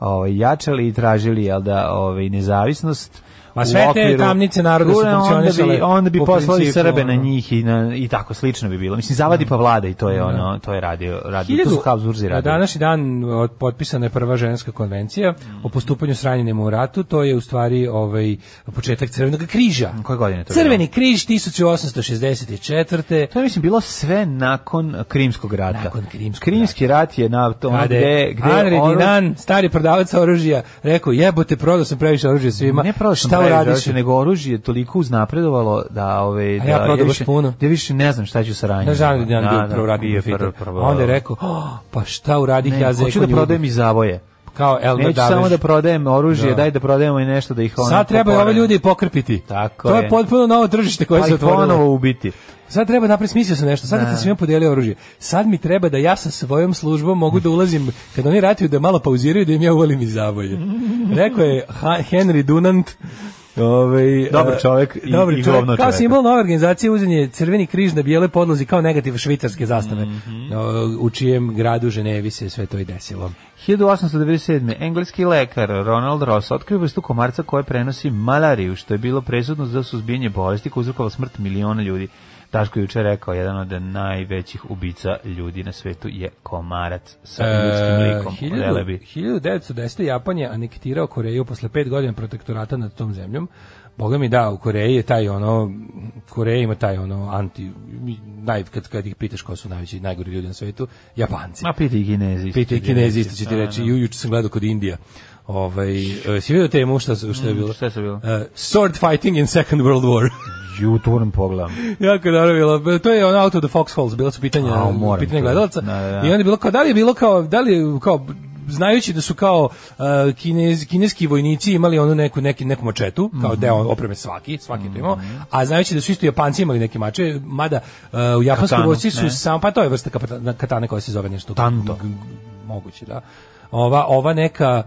[SPEAKER 6] ovaj, jačali i tražili jel da, ovaj, nezavisnost,
[SPEAKER 7] Ma
[SPEAKER 6] u
[SPEAKER 7] sve te
[SPEAKER 6] okviru-
[SPEAKER 7] tamnice naroda su
[SPEAKER 6] Onda bi-
[SPEAKER 7] funkcionisale
[SPEAKER 6] Onda bi
[SPEAKER 7] po
[SPEAKER 6] poslali
[SPEAKER 7] principu,
[SPEAKER 6] Srbe
[SPEAKER 7] ono.
[SPEAKER 6] na njih i, na, i tako slično bi bilo. Mislim, zavadi pa vlada i to je ono, to je radio. radio to su Habsburzi
[SPEAKER 7] Na
[SPEAKER 6] radili.
[SPEAKER 7] današnji dan od- potpisana je prva ženska konvencija o postupanju s ranjenima u ratu, to je u stvari ovaj početak Crvenog križa.
[SPEAKER 6] Koje godine je to bilo?
[SPEAKER 7] Crveni križ 1864.
[SPEAKER 6] To je mislim bilo sve nakon eh, Krimskog rata.
[SPEAKER 7] Nakon Krimskog
[SPEAKER 6] Krimski rat je na to ono
[SPEAKER 7] Kada
[SPEAKER 6] gde
[SPEAKER 7] je
[SPEAKER 6] gde
[SPEAKER 7] Henri
[SPEAKER 6] oruž-
[SPEAKER 7] Dinan, stari prodavac oružja, rekao jebote, prodao sam previše oružja svima.
[SPEAKER 6] Ne prodao sam
[SPEAKER 7] šta
[SPEAKER 6] previše
[SPEAKER 7] uradiš?
[SPEAKER 6] oružja, nego oružje je toliko uznapredovalo da ove
[SPEAKER 7] A
[SPEAKER 6] da
[SPEAKER 7] ja prodao baš
[SPEAKER 6] više,
[SPEAKER 7] puno.
[SPEAKER 6] da više ne znam šta ću sa ranjenim.
[SPEAKER 7] Na žanri Dinan bio prvo
[SPEAKER 6] bio
[SPEAKER 7] radio
[SPEAKER 6] je
[SPEAKER 7] profiter.
[SPEAKER 6] prvo- prvo-
[SPEAKER 7] Onda je rekao, "Oh, pa šta uradih
[SPEAKER 6] ne,
[SPEAKER 7] ja za
[SPEAKER 6] hoću da prodajem i zavoje.
[SPEAKER 7] kao Elmer
[SPEAKER 6] Neću samo
[SPEAKER 7] Davež.
[SPEAKER 6] da prodajem oružje,
[SPEAKER 7] Da.
[SPEAKER 6] daj da prodajemo i nešto da ih ono
[SPEAKER 7] Sad treba ove
[SPEAKER 6] poporemo.
[SPEAKER 7] ljudi pokrpiti.
[SPEAKER 6] Tako
[SPEAKER 7] to je.
[SPEAKER 6] je.
[SPEAKER 7] potpuno novo tržište koje
[SPEAKER 6] pa
[SPEAKER 7] se
[SPEAKER 6] ih
[SPEAKER 7] otvorilo.
[SPEAKER 6] ponovo ubiti.
[SPEAKER 7] Sad treba napraviti smislio sam nešto. Sad kad sam svima podelio oružje. Sad mi treba da ja sa svojom službom mogu da ulazim kad oni ratuju da malo pauziraju da im ja uvalim iz zavoje. Rekao je Ha- Henry Dunant Ovaj
[SPEAKER 6] Dobar
[SPEAKER 7] e,
[SPEAKER 6] čovek i-
[SPEAKER 7] dobar
[SPEAKER 6] i
[SPEAKER 7] čovek.
[SPEAKER 6] govno
[SPEAKER 7] Kao
[SPEAKER 6] čoveka.
[SPEAKER 7] simbol nove organizacije uzan je crveni križ na bijele podlozi kao negativ švicarske zastave.
[SPEAKER 6] Mhm.
[SPEAKER 7] O, U čijem gradu Ženevi se sve to i desilo.
[SPEAKER 6] 1897. engleski lekar Ronald Ross otkrio vrstu komarca koja prenosi malariju, što je bilo presudno za suzbijanje bolesti koja uzrokovala smrt miliona ljudi. Daško je juče rekao, jedan od najvećih ubica ljudi na svetu je komarac sa ljudskim likom.
[SPEAKER 7] E, hiljadu-
[SPEAKER 6] Odelebi.
[SPEAKER 7] 1910. Japan je anektirao Koreju posle pet godina protektorata nad tom zemljom. Boga mi da, u Koreji je taj ono, Koreja ima taj ono anti, naj, kad, kad ih pitaš ko su najveći, najgori ljudi na svetu, Japanci.
[SPEAKER 6] Ma piti i kinezi. isto
[SPEAKER 7] Pita i
[SPEAKER 6] će
[SPEAKER 7] Kinezi, isto će ti
[SPEAKER 6] Da,
[SPEAKER 7] reći, ju, juče sam gledao kod Indija. Ovaj, e, si vidio temu šta, su- šta je bilo?
[SPEAKER 6] Mm, šta se bilo?
[SPEAKER 7] E, sword fighting in Second World War.
[SPEAKER 6] Ju, to moram pogledam.
[SPEAKER 7] Jako je dobro bilo. To je ono out of the foxholes, bilo su pitanja,
[SPEAKER 6] A, moram
[SPEAKER 7] pitanja
[SPEAKER 6] to.
[SPEAKER 7] gledalaca.
[SPEAKER 6] Da, da, da.
[SPEAKER 7] I onda je bilo kao, da li je bilo kao, da li je kao znajući da su kao uh, kinez, kineski vojnici imali onu neku neki neku mačetu, kao
[SPEAKER 6] Mhm.
[SPEAKER 7] deo opreme svaki, svaki je to imao, a znajući da su isto Japanci imali neke mače, mada uh, u japanskoj
[SPEAKER 6] Katanu,
[SPEAKER 7] vojsci su
[SPEAKER 6] ne.
[SPEAKER 7] samo pa to je vrsta kapata- katane koja se zove nešto
[SPEAKER 6] Tanto.
[SPEAKER 7] g- g- moguće, da. Ova ova neka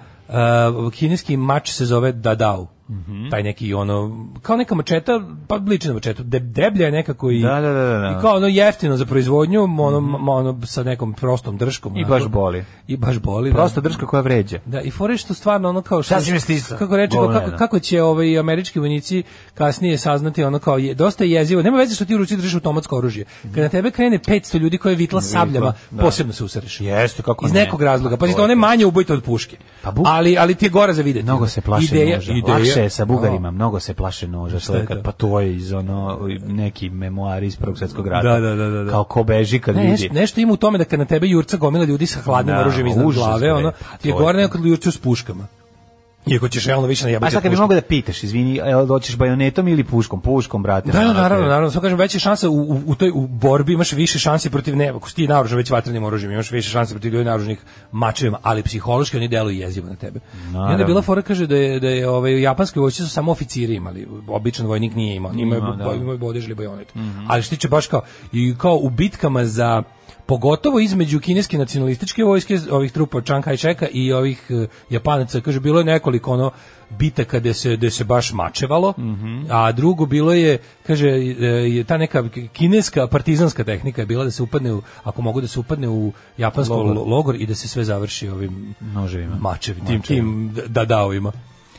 [SPEAKER 7] uh, kineski mač se zove dadao.
[SPEAKER 6] Mhm.
[SPEAKER 7] taj neki ono kao neka mačeta pa liči na mačetu de, deblja je nekako i
[SPEAKER 6] Da, da, da, da, da.
[SPEAKER 7] i kao ono jeftino za proizvodnju ono, ma- ono sa nekom prostom držkom
[SPEAKER 6] I
[SPEAKER 7] onako.
[SPEAKER 6] baš boli.
[SPEAKER 7] i baš boli da.
[SPEAKER 6] Prosta držka koja vređa.
[SPEAKER 7] Da, i fore što stvarno ono kao
[SPEAKER 6] Šta si mi stisla?
[SPEAKER 7] Kako reče
[SPEAKER 6] Govna
[SPEAKER 7] kako
[SPEAKER 6] jedna.
[SPEAKER 7] kako će ovaj američki vojnici kasnije saznati ono kao je dosta je jezivo. Nema veze što ti u ruci držiš automatsko oružje. Kad na tebe krene 500 ljudi koje vitla sabljama,
[SPEAKER 6] da.
[SPEAKER 7] posebno se usreš.
[SPEAKER 6] Jeste, kako
[SPEAKER 7] Iz
[SPEAKER 6] ne. Pa
[SPEAKER 7] nekog razloga.
[SPEAKER 6] To
[SPEAKER 7] Pazi,
[SPEAKER 6] je
[SPEAKER 7] to one
[SPEAKER 6] to.
[SPEAKER 7] manje ubojite od puške.
[SPEAKER 6] Pa bu-
[SPEAKER 7] ali ali ti je gore za videti.
[SPEAKER 6] Mnogo se plaše
[SPEAKER 7] Ideja-
[SPEAKER 6] noža.
[SPEAKER 7] ideja-
[SPEAKER 6] Lakše je sa bugarima,
[SPEAKER 7] O.
[SPEAKER 6] mnogo se plaše noža.
[SPEAKER 7] je
[SPEAKER 6] Šta
[SPEAKER 7] to?
[SPEAKER 6] Pa to je iz ono, neki memoari iz Prvog svjetskog rata.
[SPEAKER 7] Da, da, da, da, da.
[SPEAKER 6] Kao ko beži kad
[SPEAKER 7] Ne,
[SPEAKER 6] vidi.
[SPEAKER 7] nešto, nešto ima u tome da kad na tebe jurca gomila ljudi sa hladnim
[SPEAKER 6] Da,
[SPEAKER 7] oružjem iznad
[SPEAKER 6] užas,
[SPEAKER 7] glave,
[SPEAKER 6] bre.
[SPEAKER 7] ono,
[SPEAKER 6] Pa
[SPEAKER 7] ti je
[SPEAKER 6] to je
[SPEAKER 7] gore
[SPEAKER 6] to.
[SPEAKER 7] nego kad jurcu s puškama. Iako ćeš realno više najebati
[SPEAKER 6] A sad
[SPEAKER 7] od
[SPEAKER 6] kad bi
[SPEAKER 7] puške.
[SPEAKER 6] mogao da pitaš, izvini, jel doćeš bajonetom ili puškom? Puškom, brate.
[SPEAKER 7] Da, da,
[SPEAKER 6] ono,
[SPEAKER 7] naravno,
[SPEAKER 6] te-
[SPEAKER 7] naravno, samo kažem veće šanse u, u, u toj u borbi imaš više šanse protiv neba, ako si ti naoružan već vatrenim oružjem, imaš više šanse protiv ljudi naoružanih mačevima, ali psihološki oni deluju jezivo na tebe. I onda je bila fora kaže da je da je ovaj u japanskoj vojsci su samo oficiri imali, običan vojnik nije imao, imao
[SPEAKER 6] Ima,
[SPEAKER 7] ima,
[SPEAKER 6] da.
[SPEAKER 7] da. imao bodež ili bajonet. Ali što se tiče baš kao i kao u bitkama za pogotovo između kineske nacionalističke vojske ovih trupa Chiang Kai-sheka i ovih eh, Japanaca kaže bilo je nekoliko ono bitaka gde se gde se baš mačevalo a drugo bilo je kaže eh, je ta neka kineska partizanska tehnika je bila da se upadne u, ako mogu da se upadne u japanski
[SPEAKER 6] Logor.
[SPEAKER 7] logor, i da se sve završi ovim
[SPEAKER 6] Noževima.
[SPEAKER 7] mačevi tim tim dadaovima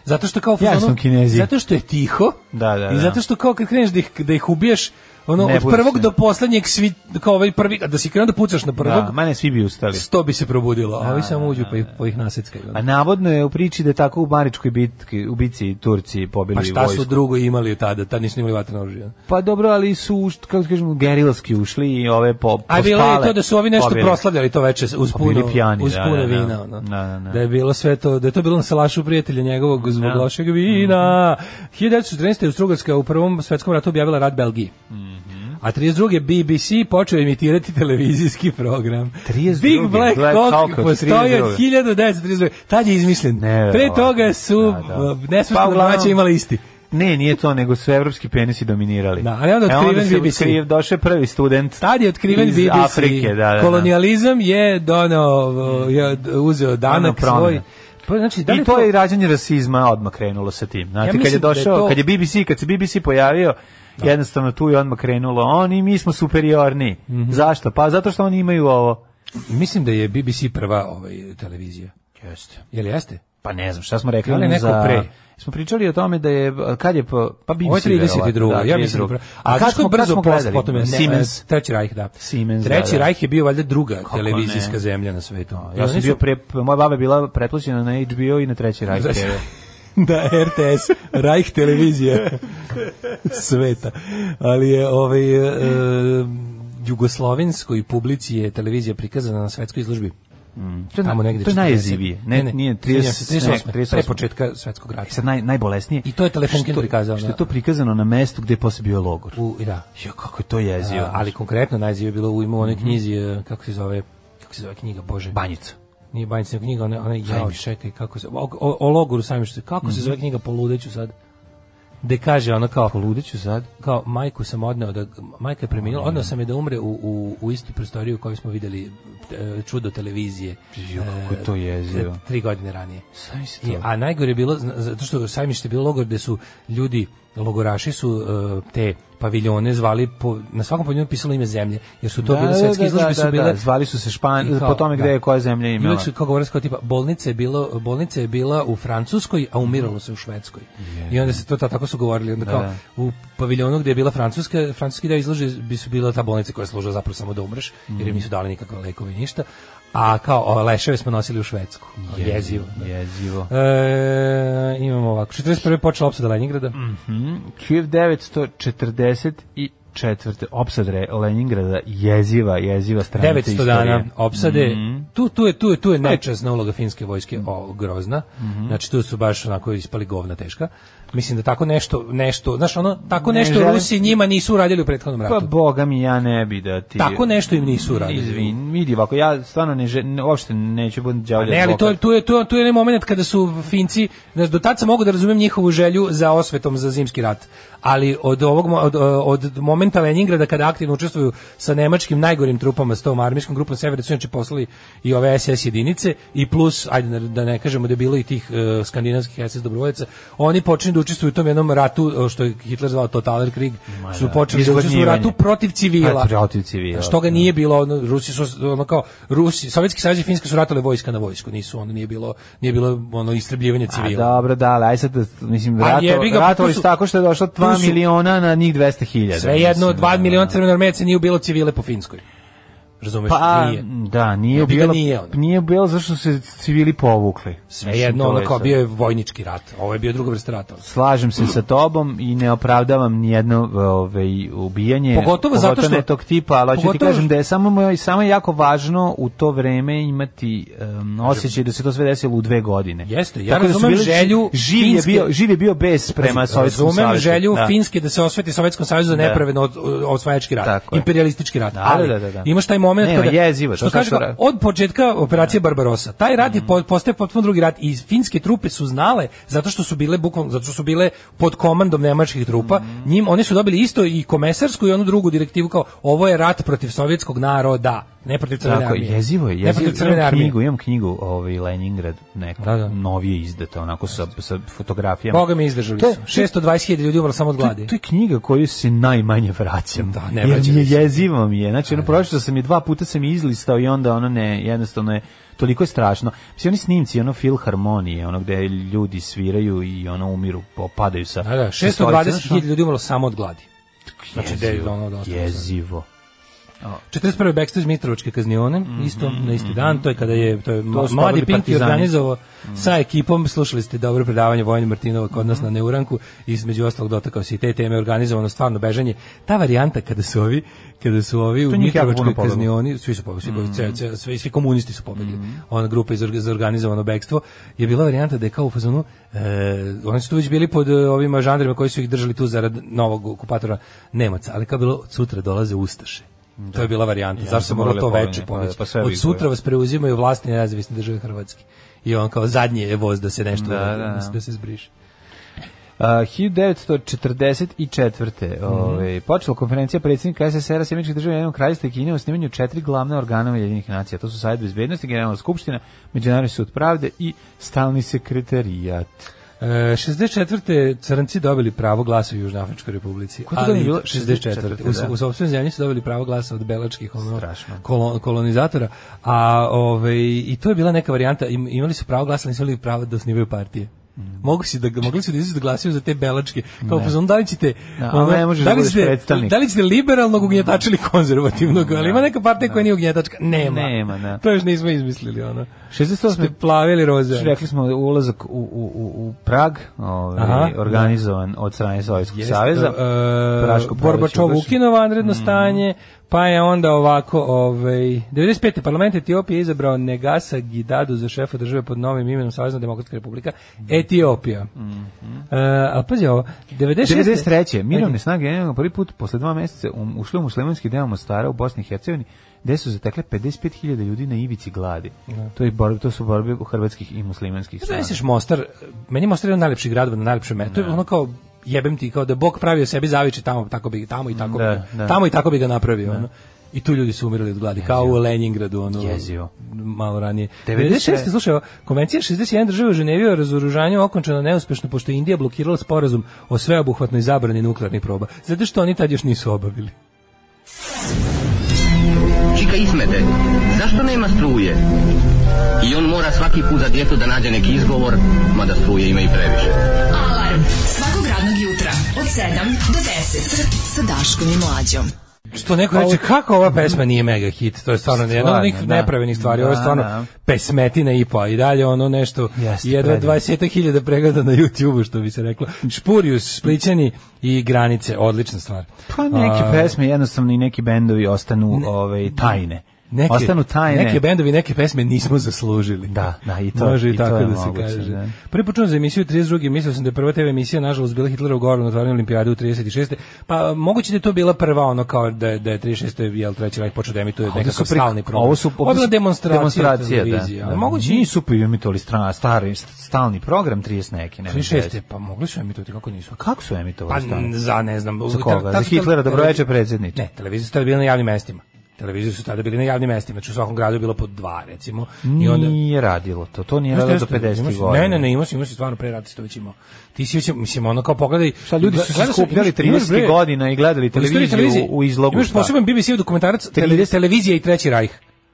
[SPEAKER 7] zato što kao u
[SPEAKER 6] Ja
[SPEAKER 7] fazonu-
[SPEAKER 6] sam Kinezi.
[SPEAKER 7] zato što je tiho
[SPEAKER 6] Da, da,
[SPEAKER 7] i
[SPEAKER 6] da.
[SPEAKER 7] zato što kao kad kreneš da ih, da ih ubiješ ono,
[SPEAKER 6] Ne
[SPEAKER 7] od
[SPEAKER 6] budiš
[SPEAKER 7] prvog
[SPEAKER 6] se.
[SPEAKER 7] do poslednjeg svi, kao ovaj prvi, a da si krenuo da pucaš na prvog,
[SPEAKER 6] Da, mene svi bi ustali.
[SPEAKER 7] sto bi se probudilo, a ovi samo uđu pa ih, pa ih naseckaju.
[SPEAKER 6] A navodno je u priči da je tako u Maričkoj bitki, u bici Turci pobili
[SPEAKER 7] Pa šta su
[SPEAKER 6] vojsku.
[SPEAKER 7] drugo imali tada, tad nisu imali vatreno oružje.
[SPEAKER 6] Pa dobro, ali su, uš- kako da kažemo, gerilski ušli i ove po,
[SPEAKER 7] A
[SPEAKER 6] pospale.
[SPEAKER 7] bilo je to da su ovi nešto
[SPEAKER 6] pobili.
[SPEAKER 7] proslavljali to veče uz
[SPEAKER 6] Pa bili
[SPEAKER 7] puno,
[SPEAKER 6] pijani,
[SPEAKER 7] uz
[SPEAKER 6] da,
[SPEAKER 7] puno
[SPEAKER 6] da, da.
[SPEAKER 7] vina. ono.
[SPEAKER 6] Da, da, da.
[SPEAKER 7] je bilo sve to, da je to bilo na salašu prijatelja njegovog zbog
[SPEAKER 6] Mhm.
[SPEAKER 7] lošeg vina. 1914. je Austrougarska u Prvom svetskom ratu objavila rad Belgiji.
[SPEAKER 6] Mhm.
[SPEAKER 7] A 32. BBC počeo imitirati televizijski program.
[SPEAKER 6] 32.,
[SPEAKER 7] Big Black
[SPEAKER 6] Black
[SPEAKER 7] Cock
[SPEAKER 6] Hawk od
[SPEAKER 7] postoji od
[SPEAKER 6] 32..
[SPEAKER 7] 1932. Tad je izmišljen. Pre
[SPEAKER 6] Neverovatno.
[SPEAKER 7] toga su
[SPEAKER 6] Da, da.
[SPEAKER 7] uh, nesvrstana
[SPEAKER 6] Pa uglavnom-
[SPEAKER 7] domaća imala isti.
[SPEAKER 6] Ne, nije to, nego su evropski penisi dominirali.
[SPEAKER 7] Da, ali onda
[SPEAKER 6] E,
[SPEAKER 7] otkriven
[SPEAKER 6] se
[SPEAKER 7] BBC.
[SPEAKER 6] otkriv- došao je prvi student.
[SPEAKER 7] Tad je otkriven
[SPEAKER 6] iz
[SPEAKER 7] BBC.
[SPEAKER 6] Afrike, da, da, da.
[SPEAKER 7] Kolonijalizam je donao, uh, je d- uzeo danak
[SPEAKER 6] Donao promene.
[SPEAKER 7] svoj. Pa, znači, da li
[SPEAKER 6] I to je i rađanje rasizma odmah krenulo sa tim. Znate,
[SPEAKER 7] Ja
[SPEAKER 6] kad je
[SPEAKER 7] mislim da je
[SPEAKER 6] došao,
[SPEAKER 7] to-
[SPEAKER 6] kad je BBC, kad se BBC pojavio, jednostavno tu je odmah krenulo. Oni, mi smo superiorni.
[SPEAKER 7] Mhm.
[SPEAKER 6] Zašto? Pa zato što oni imaju ovo.
[SPEAKER 7] Mislim da je BBC prva ovaj, televizija.
[SPEAKER 6] Jeste.
[SPEAKER 7] Jel jeste?
[SPEAKER 6] Pa ne znam, šta smo rekli?
[SPEAKER 7] Ili neko
[SPEAKER 6] za...
[SPEAKER 7] pre.
[SPEAKER 6] Smo pričali o tome da je, kad je, po- pa BBC.
[SPEAKER 7] Ovo je 32.
[SPEAKER 6] verovatno. Da,
[SPEAKER 7] ja mislim.
[SPEAKER 6] 32..
[SPEAKER 7] Da, a
[SPEAKER 6] kad
[SPEAKER 7] kako je
[SPEAKER 6] smo- kad
[SPEAKER 7] brzo
[SPEAKER 6] smo
[SPEAKER 7] posle
[SPEAKER 6] gledali?
[SPEAKER 7] potom je ne,
[SPEAKER 6] Siemens.
[SPEAKER 7] e, Treći rajh, da.
[SPEAKER 6] Siemens, da,
[SPEAKER 7] Treći
[SPEAKER 6] da.
[SPEAKER 7] rajh je bio valjda druga
[SPEAKER 6] ne?
[SPEAKER 7] televizijska zemlja na svetu.
[SPEAKER 6] Ja sam
[SPEAKER 7] Oni su-
[SPEAKER 6] bio pre, moja baba je bila pretplaćena na HBO i na treći rajk.
[SPEAKER 7] Znači, da RTS, Rajh televizija sveta. Ali je ovaj e, jugoslovenskoj publici je televizija prikazana na svetskoj izložbi.
[SPEAKER 6] To je,
[SPEAKER 7] Tamo negde
[SPEAKER 6] to je
[SPEAKER 7] 40.
[SPEAKER 6] najjezivije. Ne, nije 30,
[SPEAKER 7] izvinjavam se, 38.
[SPEAKER 6] ne, 38.
[SPEAKER 7] Pre početka svetskog rata.
[SPEAKER 6] I E sad naj, najbolesnije.
[SPEAKER 7] I to je Telefunken
[SPEAKER 6] što-
[SPEAKER 7] prikazao,
[SPEAKER 6] Što je
[SPEAKER 7] da.
[SPEAKER 6] to prikazano na mestu gde je posle bio logor.
[SPEAKER 7] U, da.
[SPEAKER 6] Jo, kako je to jezio.
[SPEAKER 7] A, ali konkretno najzivije je bilo u ime u onoj knjizi, e, kako se zove, kako se zove knjiga, bože.
[SPEAKER 6] banjica.
[SPEAKER 7] Nije banjica knjiga, ona ona ja čekaj kako se o, o, o logoru sajmištu. Kako se zove knjiga poludeću sad? De kaže ona kao poludeću sad, kao majku sam odneo da majka je preminula, odneo sam je da umre u u u istu prostoriju u kojoj smo videli e, čudo televizije.
[SPEAKER 6] Jo, kako je to jezio.
[SPEAKER 7] e, Tri godine ranije.
[SPEAKER 6] Sve isto.
[SPEAKER 7] I, a najgore je bilo, zna- zato što sajmište je bilo logor gde su ljudi, logoraši su e, te paviljone zvali, po, na svakom paviljonu pisalo ime zemlje, jer su to
[SPEAKER 6] Da,
[SPEAKER 7] bile
[SPEAKER 6] da,
[SPEAKER 7] svetske
[SPEAKER 6] da,
[SPEAKER 7] izložbe,
[SPEAKER 6] da,
[SPEAKER 7] su
[SPEAKER 6] da,
[SPEAKER 7] bile...
[SPEAKER 6] da, zvali su se Špan-
[SPEAKER 7] I
[SPEAKER 6] po tome gde je koja zemlja
[SPEAKER 7] I
[SPEAKER 6] imala.
[SPEAKER 7] uvijek su kao govorili kao tipa, bolnica pa je, bilo, bolnica je bila u Francuskoj, a umiralo se u Švedskoj. I onda se to ta- tako su govorili. Onda kao, u paviljonu gde je bila Francuska, francuski deo izlože bi su bila ta bolnica koja je služila zapravo samo da umreš, jer im
[SPEAKER 6] Mhm.
[SPEAKER 7] nisu dali nikakve lekove i ništa. A kao o, leševe smo nosili u Švedsku. Jezivo. da.
[SPEAKER 6] Jezivo.
[SPEAKER 7] E, imamo ovako. 41. počela opsada Leningrada.
[SPEAKER 6] Mhm. 1946. četvrte opsad Leningrada jeziva jeziva stranica
[SPEAKER 7] 900
[SPEAKER 6] istorije.
[SPEAKER 7] dana opsade.
[SPEAKER 6] Mhm.
[SPEAKER 7] Tu tu je tu je tu
[SPEAKER 6] Pa-
[SPEAKER 7] je nečasna uloga finske vojske o, grozna.
[SPEAKER 6] Mhm.
[SPEAKER 7] Znači tu su baš onako ispali govna teška. Mislim da tako nešto nešto, znaš ono, tako
[SPEAKER 6] Ne
[SPEAKER 7] nešto
[SPEAKER 6] želim-
[SPEAKER 7] Rusi njima nisu uradili u prethodnom
[SPEAKER 6] Pa
[SPEAKER 7] ratu.
[SPEAKER 6] boga mi ja ne bi da ti
[SPEAKER 7] Tako nešto im nisu uradili.
[SPEAKER 6] Izvin, vidi ovako, ja stvarno ne, žel, ne uopšte neću budem đavolja.
[SPEAKER 7] Pa Ne, ali to, je- tu je, tu, je- tu je onaj moment kada su Finci, znaš, do tad sam mogu da razumem njihovu želju za osvetom za zimski rat, ali od ovog, mo- od, od momenta Leningrada kada aktivno učestvuju sa nemačkim najgorim trupama, s tom armijskom grupom Severa, su inače poslali i ove SS jedinice i plus, ajde da ne kažemo da je bilo i tih e, skandinavskih SS dobrovoljaca, oni počinju da učestvuju u tom jednom ratu, e, što je Hitler zvao Totaler Krieg, su počeli
[SPEAKER 6] da,
[SPEAKER 7] da učestvuju u
[SPEAKER 6] izgladnjivanje.
[SPEAKER 7] ratu protiv civila.
[SPEAKER 6] Pa, protiv civila,
[SPEAKER 7] Što ga
[SPEAKER 6] da.
[SPEAKER 7] nije nije bilo ono Rusi su ono kao Rusi, Sovjetski savez i Finska su ratale vojska na vojsku, nisu ono nije bilo nije bilo ono istrebljivanje
[SPEAKER 6] A
[SPEAKER 7] civila.
[SPEAKER 6] dobro, da, ali aj sad, mislim,
[SPEAKER 7] A
[SPEAKER 6] rato,
[SPEAKER 7] jebi ga, pa
[SPEAKER 6] ratovali
[SPEAKER 7] tu su-
[SPEAKER 6] su tako što je došlo 2
[SPEAKER 7] tu su-
[SPEAKER 6] miliona na njih 200 hiljada.
[SPEAKER 7] Sve jedno,
[SPEAKER 6] mislim, ono.
[SPEAKER 7] 2
[SPEAKER 6] da,
[SPEAKER 7] miliona
[SPEAKER 6] da.
[SPEAKER 7] crvenoarmejaca nije ubilo civile po Finskoj. Razumeš?
[SPEAKER 6] Pa,
[SPEAKER 7] nije.
[SPEAKER 6] da, nije
[SPEAKER 7] Jebi ga,
[SPEAKER 6] bilo,
[SPEAKER 7] nije
[SPEAKER 6] nije,
[SPEAKER 7] ono.
[SPEAKER 6] nije bilo zašto su se civili povukli.
[SPEAKER 7] Sve
[SPEAKER 6] Mislim,
[SPEAKER 7] jedno,
[SPEAKER 6] to
[SPEAKER 7] ono
[SPEAKER 6] je
[SPEAKER 7] kao
[SPEAKER 6] sad.
[SPEAKER 7] bio je vojnički rat. Ovo je bio druga vrsta rata.
[SPEAKER 6] Slažem se sa tobom i ne opravdavam nijedno ovaj, ubijanje,
[SPEAKER 7] Pogotovo zato što-
[SPEAKER 6] ne tog tipa, ali hoću ti
[SPEAKER 7] pogotovo-
[SPEAKER 6] kažem da je samo, moj- samo je jako važno u to vreme imati um, osjećaj da se to sve desilo u dve godine.
[SPEAKER 7] Jeste, ja
[SPEAKER 6] Tako da su
[SPEAKER 7] razumem
[SPEAKER 6] bili-
[SPEAKER 7] želju
[SPEAKER 6] živ je,
[SPEAKER 7] Finske-
[SPEAKER 6] bio, živ je bio bes prema Sovjetskom
[SPEAKER 7] Razumem
[SPEAKER 6] savezu.
[SPEAKER 7] želju
[SPEAKER 6] Da.
[SPEAKER 7] Finske da se osveti Sovjetskom savezu za
[SPEAKER 6] Da.
[SPEAKER 7] nepravedno od- od- osvajački rat,
[SPEAKER 6] Tako je.
[SPEAKER 7] imperialistički rat.
[SPEAKER 6] Da,
[SPEAKER 7] ali
[SPEAKER 6] da, da, da.
[SPEAKER 7] imaš taj moment
[SPEAKER 6] Nema,
[SPEAKER 7] kada
[SPEAKER 6] jezivo je,
[SPEAKER 7] što
[SPEAKER 6] to sad
[SPEAKER 7] kaže
[SPEAKER 6] što Mhm.
[SPEAKER 7] kao,
[SPEAKER 6] ra-
[SPEAKER 7] od početka operacije Barbarosa. Taj rat je po- postaje potpuno drugi rat i finske trupe su znale zato što su bile bukvalno zato što su bile pod komandom nemačkih trupa,
[SPEAKER 6] Mhm.
[SPEAKER 7] njim oni su dobili isto i komesarsku i onu drugu direktivu kao ovo je rat protiv sovjetskog naroda, ne protiv crvene
[SPEAKER 6] Tako,
[SPEAKER 7] armije.
[SPEAKER 6] jezivo je,
[SPEAKER 7] Ne protiv
[SPEAKER 6] jezivo.
[SPEAKER 7] crvene
[SPEAKER 6] imam
[SPEAKER 7] armije.
[SPEAKER 6] knjigu, imam knjigu ovaj, Leningrad, neku,
[SPEAKER 7] Da, da.
[SPEAKER 6] novije izdata, onako sa, sa fotografijama.
[SPEAKER 7] Boga mi izdržali
[SPEAKER 6] To je-
[SPEAKER 7] su. 620.000 ljudi umrlo samo od
[SPEAKER 6] To,
[SPEAKER 7] gladi.
[SPEAKER 6] to je knjiga koju se najmanje vraćam.
[SPEAKER 7] Da, ne
[SPEAKER 6] Jer
[SPEAKER 7] vraćam
[SPEAKER 6] mi je
[SPEAKER 7] se.
[SPEAKER 6] jezivo mi je. Znači, ono, pročitao sam je dva puta sam je izlistao i onda ono ne, jednostavno je toliko je strašno. Mislim, oni snimci, ono filharmonije, ono gde ljudi sviraju i ono umiru, popadaju sa...
[SPEAKER 7] Da, da,
[SPEAKER 6] sa stolice, ono,
[SPEAKER 7] 620.000
[SPEAKER 6] znaš,
[SPEAKER 7] ljudi umrlo samo od gladi.
[SPEAKER 6] ono,
[SPEAKER 7] Znači, da je ono dosta.
[SPEAKER 6] Jezivo.
[SPEAKER 7] 41. backstage Mitrovačke kaznione, isto na isti dan, to je kada je to je
[SPEAKER 6] Mhm. To su
[SPEAKER 7] mladi
[SPEAKER 6] pobili
[SPEAKER 7] Pinki
[SPEAKER 6] partizani.
[SPEAKER 7] organizovao
[SPEAKER 6] Mhm.
[SPEAKER 7] sa ekipom, slušali ste dobro predavanje Vojne Martinova kod nas na Neuranku, između ostalog dotakao se i te teme organizovano stvarno bežanje. Ta varijanta kada su ovi, kada su ovi u
[SPEAKER 6] njih jako puno
[SPEAKER 7] Mitrovačkoj
[SPEAKER 6] pobeglo. Mhm.
[SPEAKER 7] kaznioni, svi su pobegli, svi, pobegli, ce- ce- svi, svi komunisti su pobegli. Ona grupa iz orga- za organizovano bekstvo je bila varijanta da je kao u fazonu e, oni su tu već bili pod e, ovima žandrima koji su ih držali tu zarad novog okupatora Nemaca, ali kao bilo od sutra dolaze ustaše. To je bila varijanta. Zašto
[SPEAKER 6] su
[SPEAKER 7] se moralo
[SPEAKER 6] morali
[SPEAKER 7] to
[SPEAKER 6] pobegnu,
[SPEAKER 7] veče
[SPEAKER 6] pa-
[SPEAKER 7] pobeći?
[SPEAKER 6] pa sve
[SPEAKER 7] Od
[SPEAKER 6] bi
[SPEAKER 7] sutra
[SPEAKER 6] izgledalo.
[SPEAKER 7] vas preuzimaju vlasti nezavisne države Hrvatske. I on kao zadnji je voz da se nešto
[SPEAKER 6] Da,
[SPEAKER 7] uradi,
[SPEAKER 6] da, da.
[SPEAKER 7] da se zbriše.
[SPEAKER 6] Uh,
[SPEAKER 7] Mhm.
[SPEAKER 6] 1944. ovaj, počela konferencija predsjednika SSR-a Sjemičkih država jednog kraljstva i Kine o snimanju četiri glavne organa Ujedinjenih nacija. To su Sajed bezbednosti, Generalna skupština, Međunarodni sud pravde i stalni sekretarijat.
[SPEAKER 7] E, 64. crnci dobili pravo glasa u Južnoafričkoj republici.
[SPEAKER 6] Koje godine je bilo?
[SPEAKER 7] 64. U,
[SPEAKER 6] da.
[SPEAKER 7] u sopstvenoj zemlji su dobili pravo glasa od belačkih ono,
[SPEAKER 6] Strašno.
[SPEAKER 7] kolon- kolonizatora. A, ovaj, I to je bila neka varijanta. Im- imali su pravo glasa, ali nisu imali pravo da osnivaju partije.
[SPEAKER 6] Mm.
[SPEAKER 7] Mogu si da mogli su da izađu da glasaju za te belačke. Kao pa da li ćete
[SPEAKER 6] Da, ali ne možeš da budeš predstavnik.
[SPEAKER 7] Da li ćete liberalnog ugnjetača ili konzervativnog, ali ima neka partija koja nije ugnjetačka. Nema.
[SPEAKER 6] Nema, da.
[SPEAKER 7] To još nismo izmislili ono.
[SPEAKER 6] 68.
[SPEAKER 7] Plave ili roze.
[SPEAKER 6] Znači, Rekli smo ulazak u, u, u, u Prag, ovaj,
[SPEAKER 7] Aha.
[SPEAKER 6] organizovan od strane Sovjetskog
[SPEAKER 7] Jeste,
[SPEAKER 6] saveza.
[SPEAKER 7] e,
[SPEAKER 6] Praško proljeće
[SPEAKER 7] Borbačov
[SPEAKER 6] ugašeno.
[SPEAKER 7] ukinuo vanredno stanje, pa je onda ovako, ovaj, 95. parlament Etiopije izabrao Negasa Gidadu za šefa države pod novim imenom Savezna demokratska republika Etiopija. E, ali pazi ovo, 96.
[SPEAKER 6] 93. Mirovne snage Ujedinjenog prvi put posle dva meseca um, ušle u muslimanski deo Mostara u Bosni i Hercegovini, gde su zatekle 55.000 ljudi na ivici gladi. To, je borbe, to su borbe hrvatskih i muslimanskih
[SPEAKER 7] Znaš,
[SPEAKER 6] snaga.
[SPEAKER 7] Pa misliš Mostar, meni je Mostar jedan od najlepših gradova na najlepšem metu, ono kao jebem ti kao da je Bog pravio sebi zaviče tamo tako bi tamo i tako
[SPEAKER 6] Mm, Da,
[SPEAKER 7] bi,
[SPEAKER 6] da.
[SPEAKER 7] tamo i tako bi ga napravio ono. I tu ljudi su umirali od gladi, kao u Leningradu, ono,
[SPEAKER 6] Jezivo.
[SPEAKER 7] malo ranije.
[SPEAKER 6] 96.
[SPEAKER 7] 96. slušaj, evo, konvencija 61 države u Ženevi o razoružanju okončana neuspešno, pošto je Indija blokirala sporazum o sveobuhvatnoj zabrani nuklearnih proba, zato što oni tad još nisu obavili.
[SPEAKER 2] Čika Ismete, zašto nema struje? I on mora svaki put za djetu da nađe neki izgovor, mada struje ima i previše.
[SPEAKER 5] Alarm svakog radnog jutra od 7 do 10 sa Daškom i Mlađom.
[SPEAKER 7] Što neko reče, kako ova pesma nije mega hit? To je stvarno
[SPEAKER 6] Stvarno,
[SPEAKER 7] jedna od onih
[SPEAKER 6] da.
[SPEAKER 7] nepravenih stvari. Ovo je
[SPEAKER 6] Da,
[SPEAKER 7] stvarno
[SPEAKER 6] da.
[SPEAKER 7] pesmetina i pa. I dalje ono nešto,
[SPEAKER 6] Jeste,
[SPEAKER 7] jedva
[SPEAKER 6] predivno.
[SPEAKER 7] 20.000 pregleda na YouTube-u, što bi se reklo. Špurius, Splićani i Granice, odlična stvar.
[SPEAKER 6] Pa neke
[SPEAKER 7] A,
[SPEAKER 6] pesme jednostavno i neki bendovi ostanu ovaj tajne.
[SPEAKER 7] Neke,
[SPEAKER 6] ostanu tajne.
[SPEAKER 7] Neke bendovi, neke pesme nismo zaslužili.
[SPEAKER 6] Da, da, i to-
[SPEAKER 7] Može i,
[SPEAKER 6] i to
[SPEAKER 7] tako
[SPEAKER 6] je
[SPEAKER 7] da se
[SPEAKER 6] moguće,
[SPEAKER 7] kaže.
[SPEAKER 6] da.
[SPEAKER 7] Prvi put čujem za emisiju 32. mislio sam da je prva TV emisija, nažalost, bila Hitlerov govor na otvaranju olimpijade u 36. Pa moguće da je to bila prva, ono kao da je, da je 36. jel treći rajk počeo da emituje
[SPEAKER 6] Ovde
[SPEAKER 7] nekakav
[SPEAKER 6] su pri-
[SPEAKER 7] stalni program.
[SPEAKER 6] Ovo su
[SPEAKER 7] Ovo je bila demonstracija,
[SPEAKER 6] demonstracija
[SPEAKER 7] televizije,
[SPEAKER 6] da.
[SPEAKER 7] ali
[SPEAKER 6] da.
[SPEAKER 7] Moguće i
[SPEAKER 6] nisu emitovali strana stari stalni program 30 neki, ne. znam
[SPEAKER 7] 36.
[SPEAKER 6] gde.
[SPEAKER 7] Pa mogli su emitovati, kako nisu?
[SPEAKER 6] Kako su
[SPEAKER 7] Pa
[SPEAKER 6] emitovali
[SPEAKER 7] n-
[SPEAKER 6] stalni?
[SPEAKER 7] za, ne znam.
[SPEAKER 6] Za koga? Za Hitlera, dobroveče predsjedniče.
[SPEAKER 7] Ne, televizije su tada bile na javnim mestima. Televizije su tada bile na javnim mestima, znači u svakom gradu je bilo po dva, recimo. I onda,
[SPEAKER 6] Nije radilo to. To nije radilo do
[SPEAKER 7] Jeste, jeste, imao
[SPEAKER 6] 50.
[SPEAKER 7] si-
[SPEAKER 6] godina.
[SPEAKER 7] Ne, ne, ne, imao si, imao si stvarno pre rata si to već imao. Ti si već, mislim, ono kao pogledaj...
[SPEAKER 6] Šta, ljudi su se
[SPEAKER 7] Gledao sam-
[SPEAKER 6] skupljali
[SPEAKER 7] imaš- imaš,
[SPEAKER 6] 30
[SPEAKER 7] bre,
[SPEAKER 6] godina i gledali
[SPEAKER 7] u istoriji
[SPEAKER 6] televiziju u, u izlogu.
[SPEAKER 7] Imaš
[SPEAKER 6] šta?
[SPEAKER 7] poseban BBC dokumentarac, tele,
[SPEAKER 6] 30.
[SPEAKER 7] televizija i treći rajh.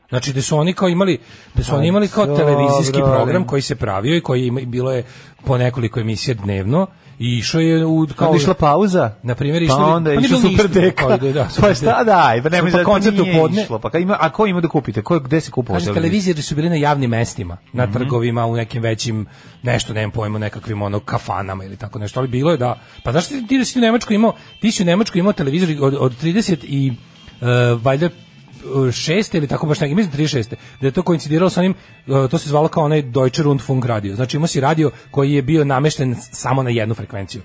[SPEAKER 7] Znači da su oni kao imali da su oni imali kao
[SPEAKER 6] Pa dobro,
[SPEAKER 7] televizijski
[SPEAKER 6] ali-
[SPEAKER 7] program koji se pravio i koji ima, bilo je po nekoliko emisija dnevno i išao je u
[SPEAKER 6] Kao
[SPEAKER 7] kao
[SPEAKER 6] Pa onda išla pauza.
[SPEAKER 7] Na primjer,
[SPEAKER 6] pa
[SPEAKER 7] išli bi-
[SPEAKER 6] onda
[SPEAKER 7] pa
[SPEAKER 6] je
[SPEAKER 7] nije
[SPEAKER 6] išao
[SPEAKER 7] bilo ništa,
[SPEAKER 6] super deka.
[SPEAKER 7] kao ide, da,
[SPEAKER 6] pa
[SPEAKER 7] Superdeka.
[SPEAKER 6] šta daj, pa nemoj
[SPEAKER 7] Pa
[SPEAKER 6] da
[SPEAKER 7] koncert
[SPEAKER 6] nije
[SPEAKER 7] u podne.
[SPEAKER 6] išlo. Pa ka ima, a ko ima da kupite? Ko, gde se kupovao?
[SPEAKER 7] Kaže, televizori su bili na javnim mestima, na trgovima, u nekim većim, nešto, nemam pojma, nekakvim ono, kafanama ili tako nešto, ali bilo je da, pa znaš ti, ti da si u Nemačkoj imao, ti si u Nemačkoj imao televizor od, od 30 i, uh, valjda, e, šeste ili tako baš neki, mislim 36. Da je to koincidiralo sa onim, e, to se zvalo kao onaj Deutsche Rundfunk radio. Znači imao si radio koji je bio namešten samo na jednu frekvenciju.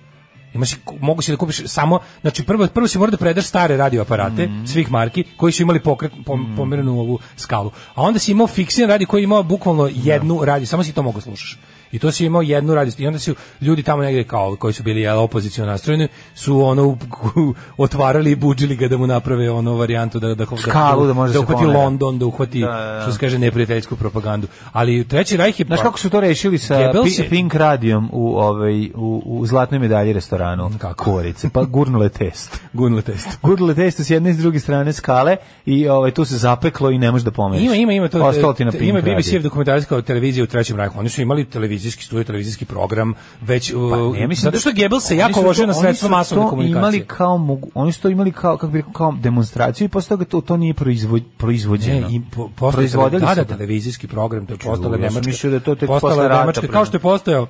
[SPEAKER 7] Ima si, mogu si da kupiš samo, znači prvo, prvo si mora da predaš stare radioaparate
[SPEAKER 6] Mhm.
[SPEAKER 7] svih marki koji su imali pokret, pom, pomerenu ovu skalu. A onda si imao fiksiran radio koji je imao bukvalno jednu radio, samo si to mogu slušaš. I to si imao jednu radio. I onda su ljudi tamo negde kao koji su bili jel, opozicijno nastrojeni su ono u- otvarali i buđili ga da mu naprave ono varijantu da da da,
[SPEAKER 6] Skalu da može se
[SPEAKER 7] uhvati
[SPEAKER 6] pomera.
[SPEAKER 7] London, da uhvati
[SPEAKER 6] Da, da, da.
[SPEAKER 7] što se kaže neprijateljsku propagandu. Ali treći rajh je
[SPEAKER 6] Znaš
[SPEAKER 7] pa-
[SPEAKER 6] kako su to rešili sa
[SPEAKER 7] Goebbels
[SPEAKER 6] Pi-
[SPEAKER 7] je-
[SPEAKER 6] Pink radijom u, ovaj, u, u zlatnoj medalji restoranu?
[SPEAKER 7] Mm, Kako?
[SPEAKER 6] Korice. Pa gurnule test.
[SPEAKER 7] gunule test.
[SPEAKER 6] Gurnule test s jedne i s druge strane skale i ovaj, tu se zapeklo i ne možeš da pomeriš.
[SPEAKER 7] Ima ima ima to.
[SPEAKER 6] Ostalo pa ti na
[SPEAKER 7] te-
[SPEAKER 6] Pink
[SPEAKER 7] Ima BBC
[SPEAKER 6] radiju.
[SPEAKER 7] dokumentarac kao televizija u trećem rajhu. Oni su imali televizijski studio, televizijski program već uh,
[SPEAKER 6] Pa Ne, mislim
[SPEAKER 7] zato što Goebbels se
[SPEAKER 6] oni
[SPEAKER 7] jako
[SPEAKER 6] su
[SPEAKER 7] ložio
[SPEAKER 6] to-
[SPEAKER 7] na
[SPEAKER 6] oni
[SPEAKER 7] sredstva
[SPEAKER 6] su
[SPEAKER 7] masovne
[SPEAKER 6] to
[SPEAKER 7] komunikacije.
[SPEAKER 6] Imali kao mogu, oni su to imali kao kako bih rekao kao demonstraciju i posle toga to to nije proizvoj, proizvođeno.
[SPEAKER 7] Ne, i po, postao
[SPEAKER 6] Proizvodili
[SPEAKER 7] da,
[SPEAKER 6] su
[SPEAKER 7] da,
[SPEAKER 6] to.
[SPEAKER 7] televizijski program, to je postala
[SPEAKER 6] ja sam
[SPEAKER 7] Nemačka.
[SPEAKER 6] mislio da je to tek
[SPEAKER 7] postala
[SPEAKER 6] posle rata
[SPEAKER 7] Nemačka, kao
[SPEAKER 6] prema.
[SPEAKER 7] što je postojao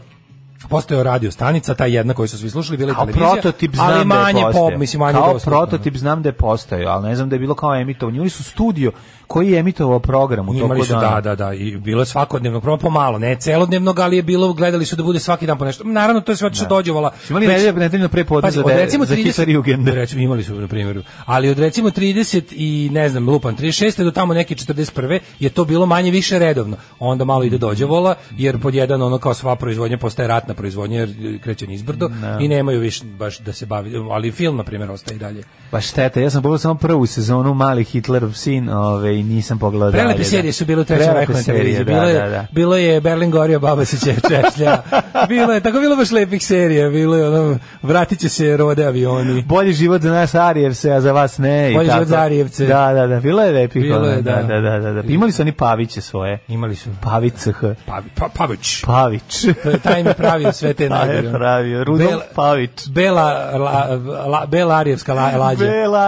[SPEAKER 7] postojao radio stanica, ta jedna koju su svi slušali, bila je
[SPEAKER 6] Kao
[SPEAKER 7] televizija.
[SPEAKER 6] prototip znam
[SPEAKER 7] ali manje
[SPEAKER 6] da je postojao.
[SPEAKER 7] pop, mislim manje
[SPEAKER 6] kao
[SPEAKER 7] dostupno.
[SPEAKER 6] prototip znam da je postojao, ali ne znam da je bilo kao emitovanje. Oni su studio koji je emitovao program u
[SPEAKER 7] Imali
[SPEAKER 6] toku
[SPEAKER 7] su,
[SPEAKER 6] dana.
[SPEAKER 7] da, da, da, i bilo je svakodnevno, prvo pomalo, ne celodnevnog, ali je bilo, gledali su da bude svaki dan po nešto. Naravno, to je sve što dođevala.
[SPEAKER 6] Imali
[SPEAKER 7] već-
[SPEAKER 6] nedelju- nedeljno prepodne
[SPEAKER 7] Pazi,
[SPEAKER 6] za
[SPEAKER 7] od
[SPEAKER 6] de-
[SPEAKER 7] recimo
[SPEAKER 6] za
[SPEAKER 7] 30
[SPEAKER 6] Hitlerjugend.
[SPEAKER 7] Recimo, imali su, na primjeru. Ali od recimo 30 i, ne znam, lupan, 36. do tamo neke 41. je to bilo manje više redovno. Onda malo ide
[SPEAKER 6] Mhm.
[SPEAKER 7] dođevola, jer pod jedan ono kao sva proizvodnja postaje ratna proizvodnja, jer kreće nizbrdo i nemaju više baš da se bavi. Ali film, na primjer, ostaje i dalje.
[SPEAKER 6] Pa šteta, ja sam pogledao samo prvu sezonu Mali Hitlerov sin, ove, i nisam pogledao dalje.
[SPEAKER 7] Prelepe
[SPEAKER 6] da.
[SPEAKER 7] serije su bile u trećem
[SPEAKER 6] Prelepe
[SPEAKER 7] reku na
[SPEAKER 6] serije,
[SPEAKER 7] televiziji.
[SPEAKER 6] da,
[SPEAKER 7] Bilo, je,
[SPEAKER 6] da, da.
[SPEAKER 7] bilo je Berlin Gorio, baba se će češlja. bilo je, tako je bilo baš lepih serija. Bilo je ono, vratit će se rode avioni.
[SPEAKER 6] Bolji život za nas Arijevce, a za vas ne. i
[SPEAKER 7] Bolji
[SPEAKER 6] tako.
[SPEAKER 7] život za Arijevce.
[SPEAKER 6] Da, da, da, bilo je lepih.
[SPEAKER 7] Bilo je,
[SPEAKER 6] da,
[SPEAKER 7] da.
[SPEAKER 6] da, da, da, da. Imali su oni paviće svoje.
[SPEAKER 7] Imali su.
[SPEAKER 6] Pavić CH.
[SPEAKER 7] Pavi, pa, Pavić.
[SPEAKER 6] Pavić.
[SPEAKER 7] Taj mi je pravio sve te
[SPEAKER 6] Taj je
[SPEAKER 7] najgore.
[SPEAKER 6] pravio. Rudolf
[SPEAKER 7] Bela-
[SPEAKER 6] Pavić.
[SPEAKER 7] Bela, la, la, Bela Arijevska la, lađa.
[SPEAKER 6] Bela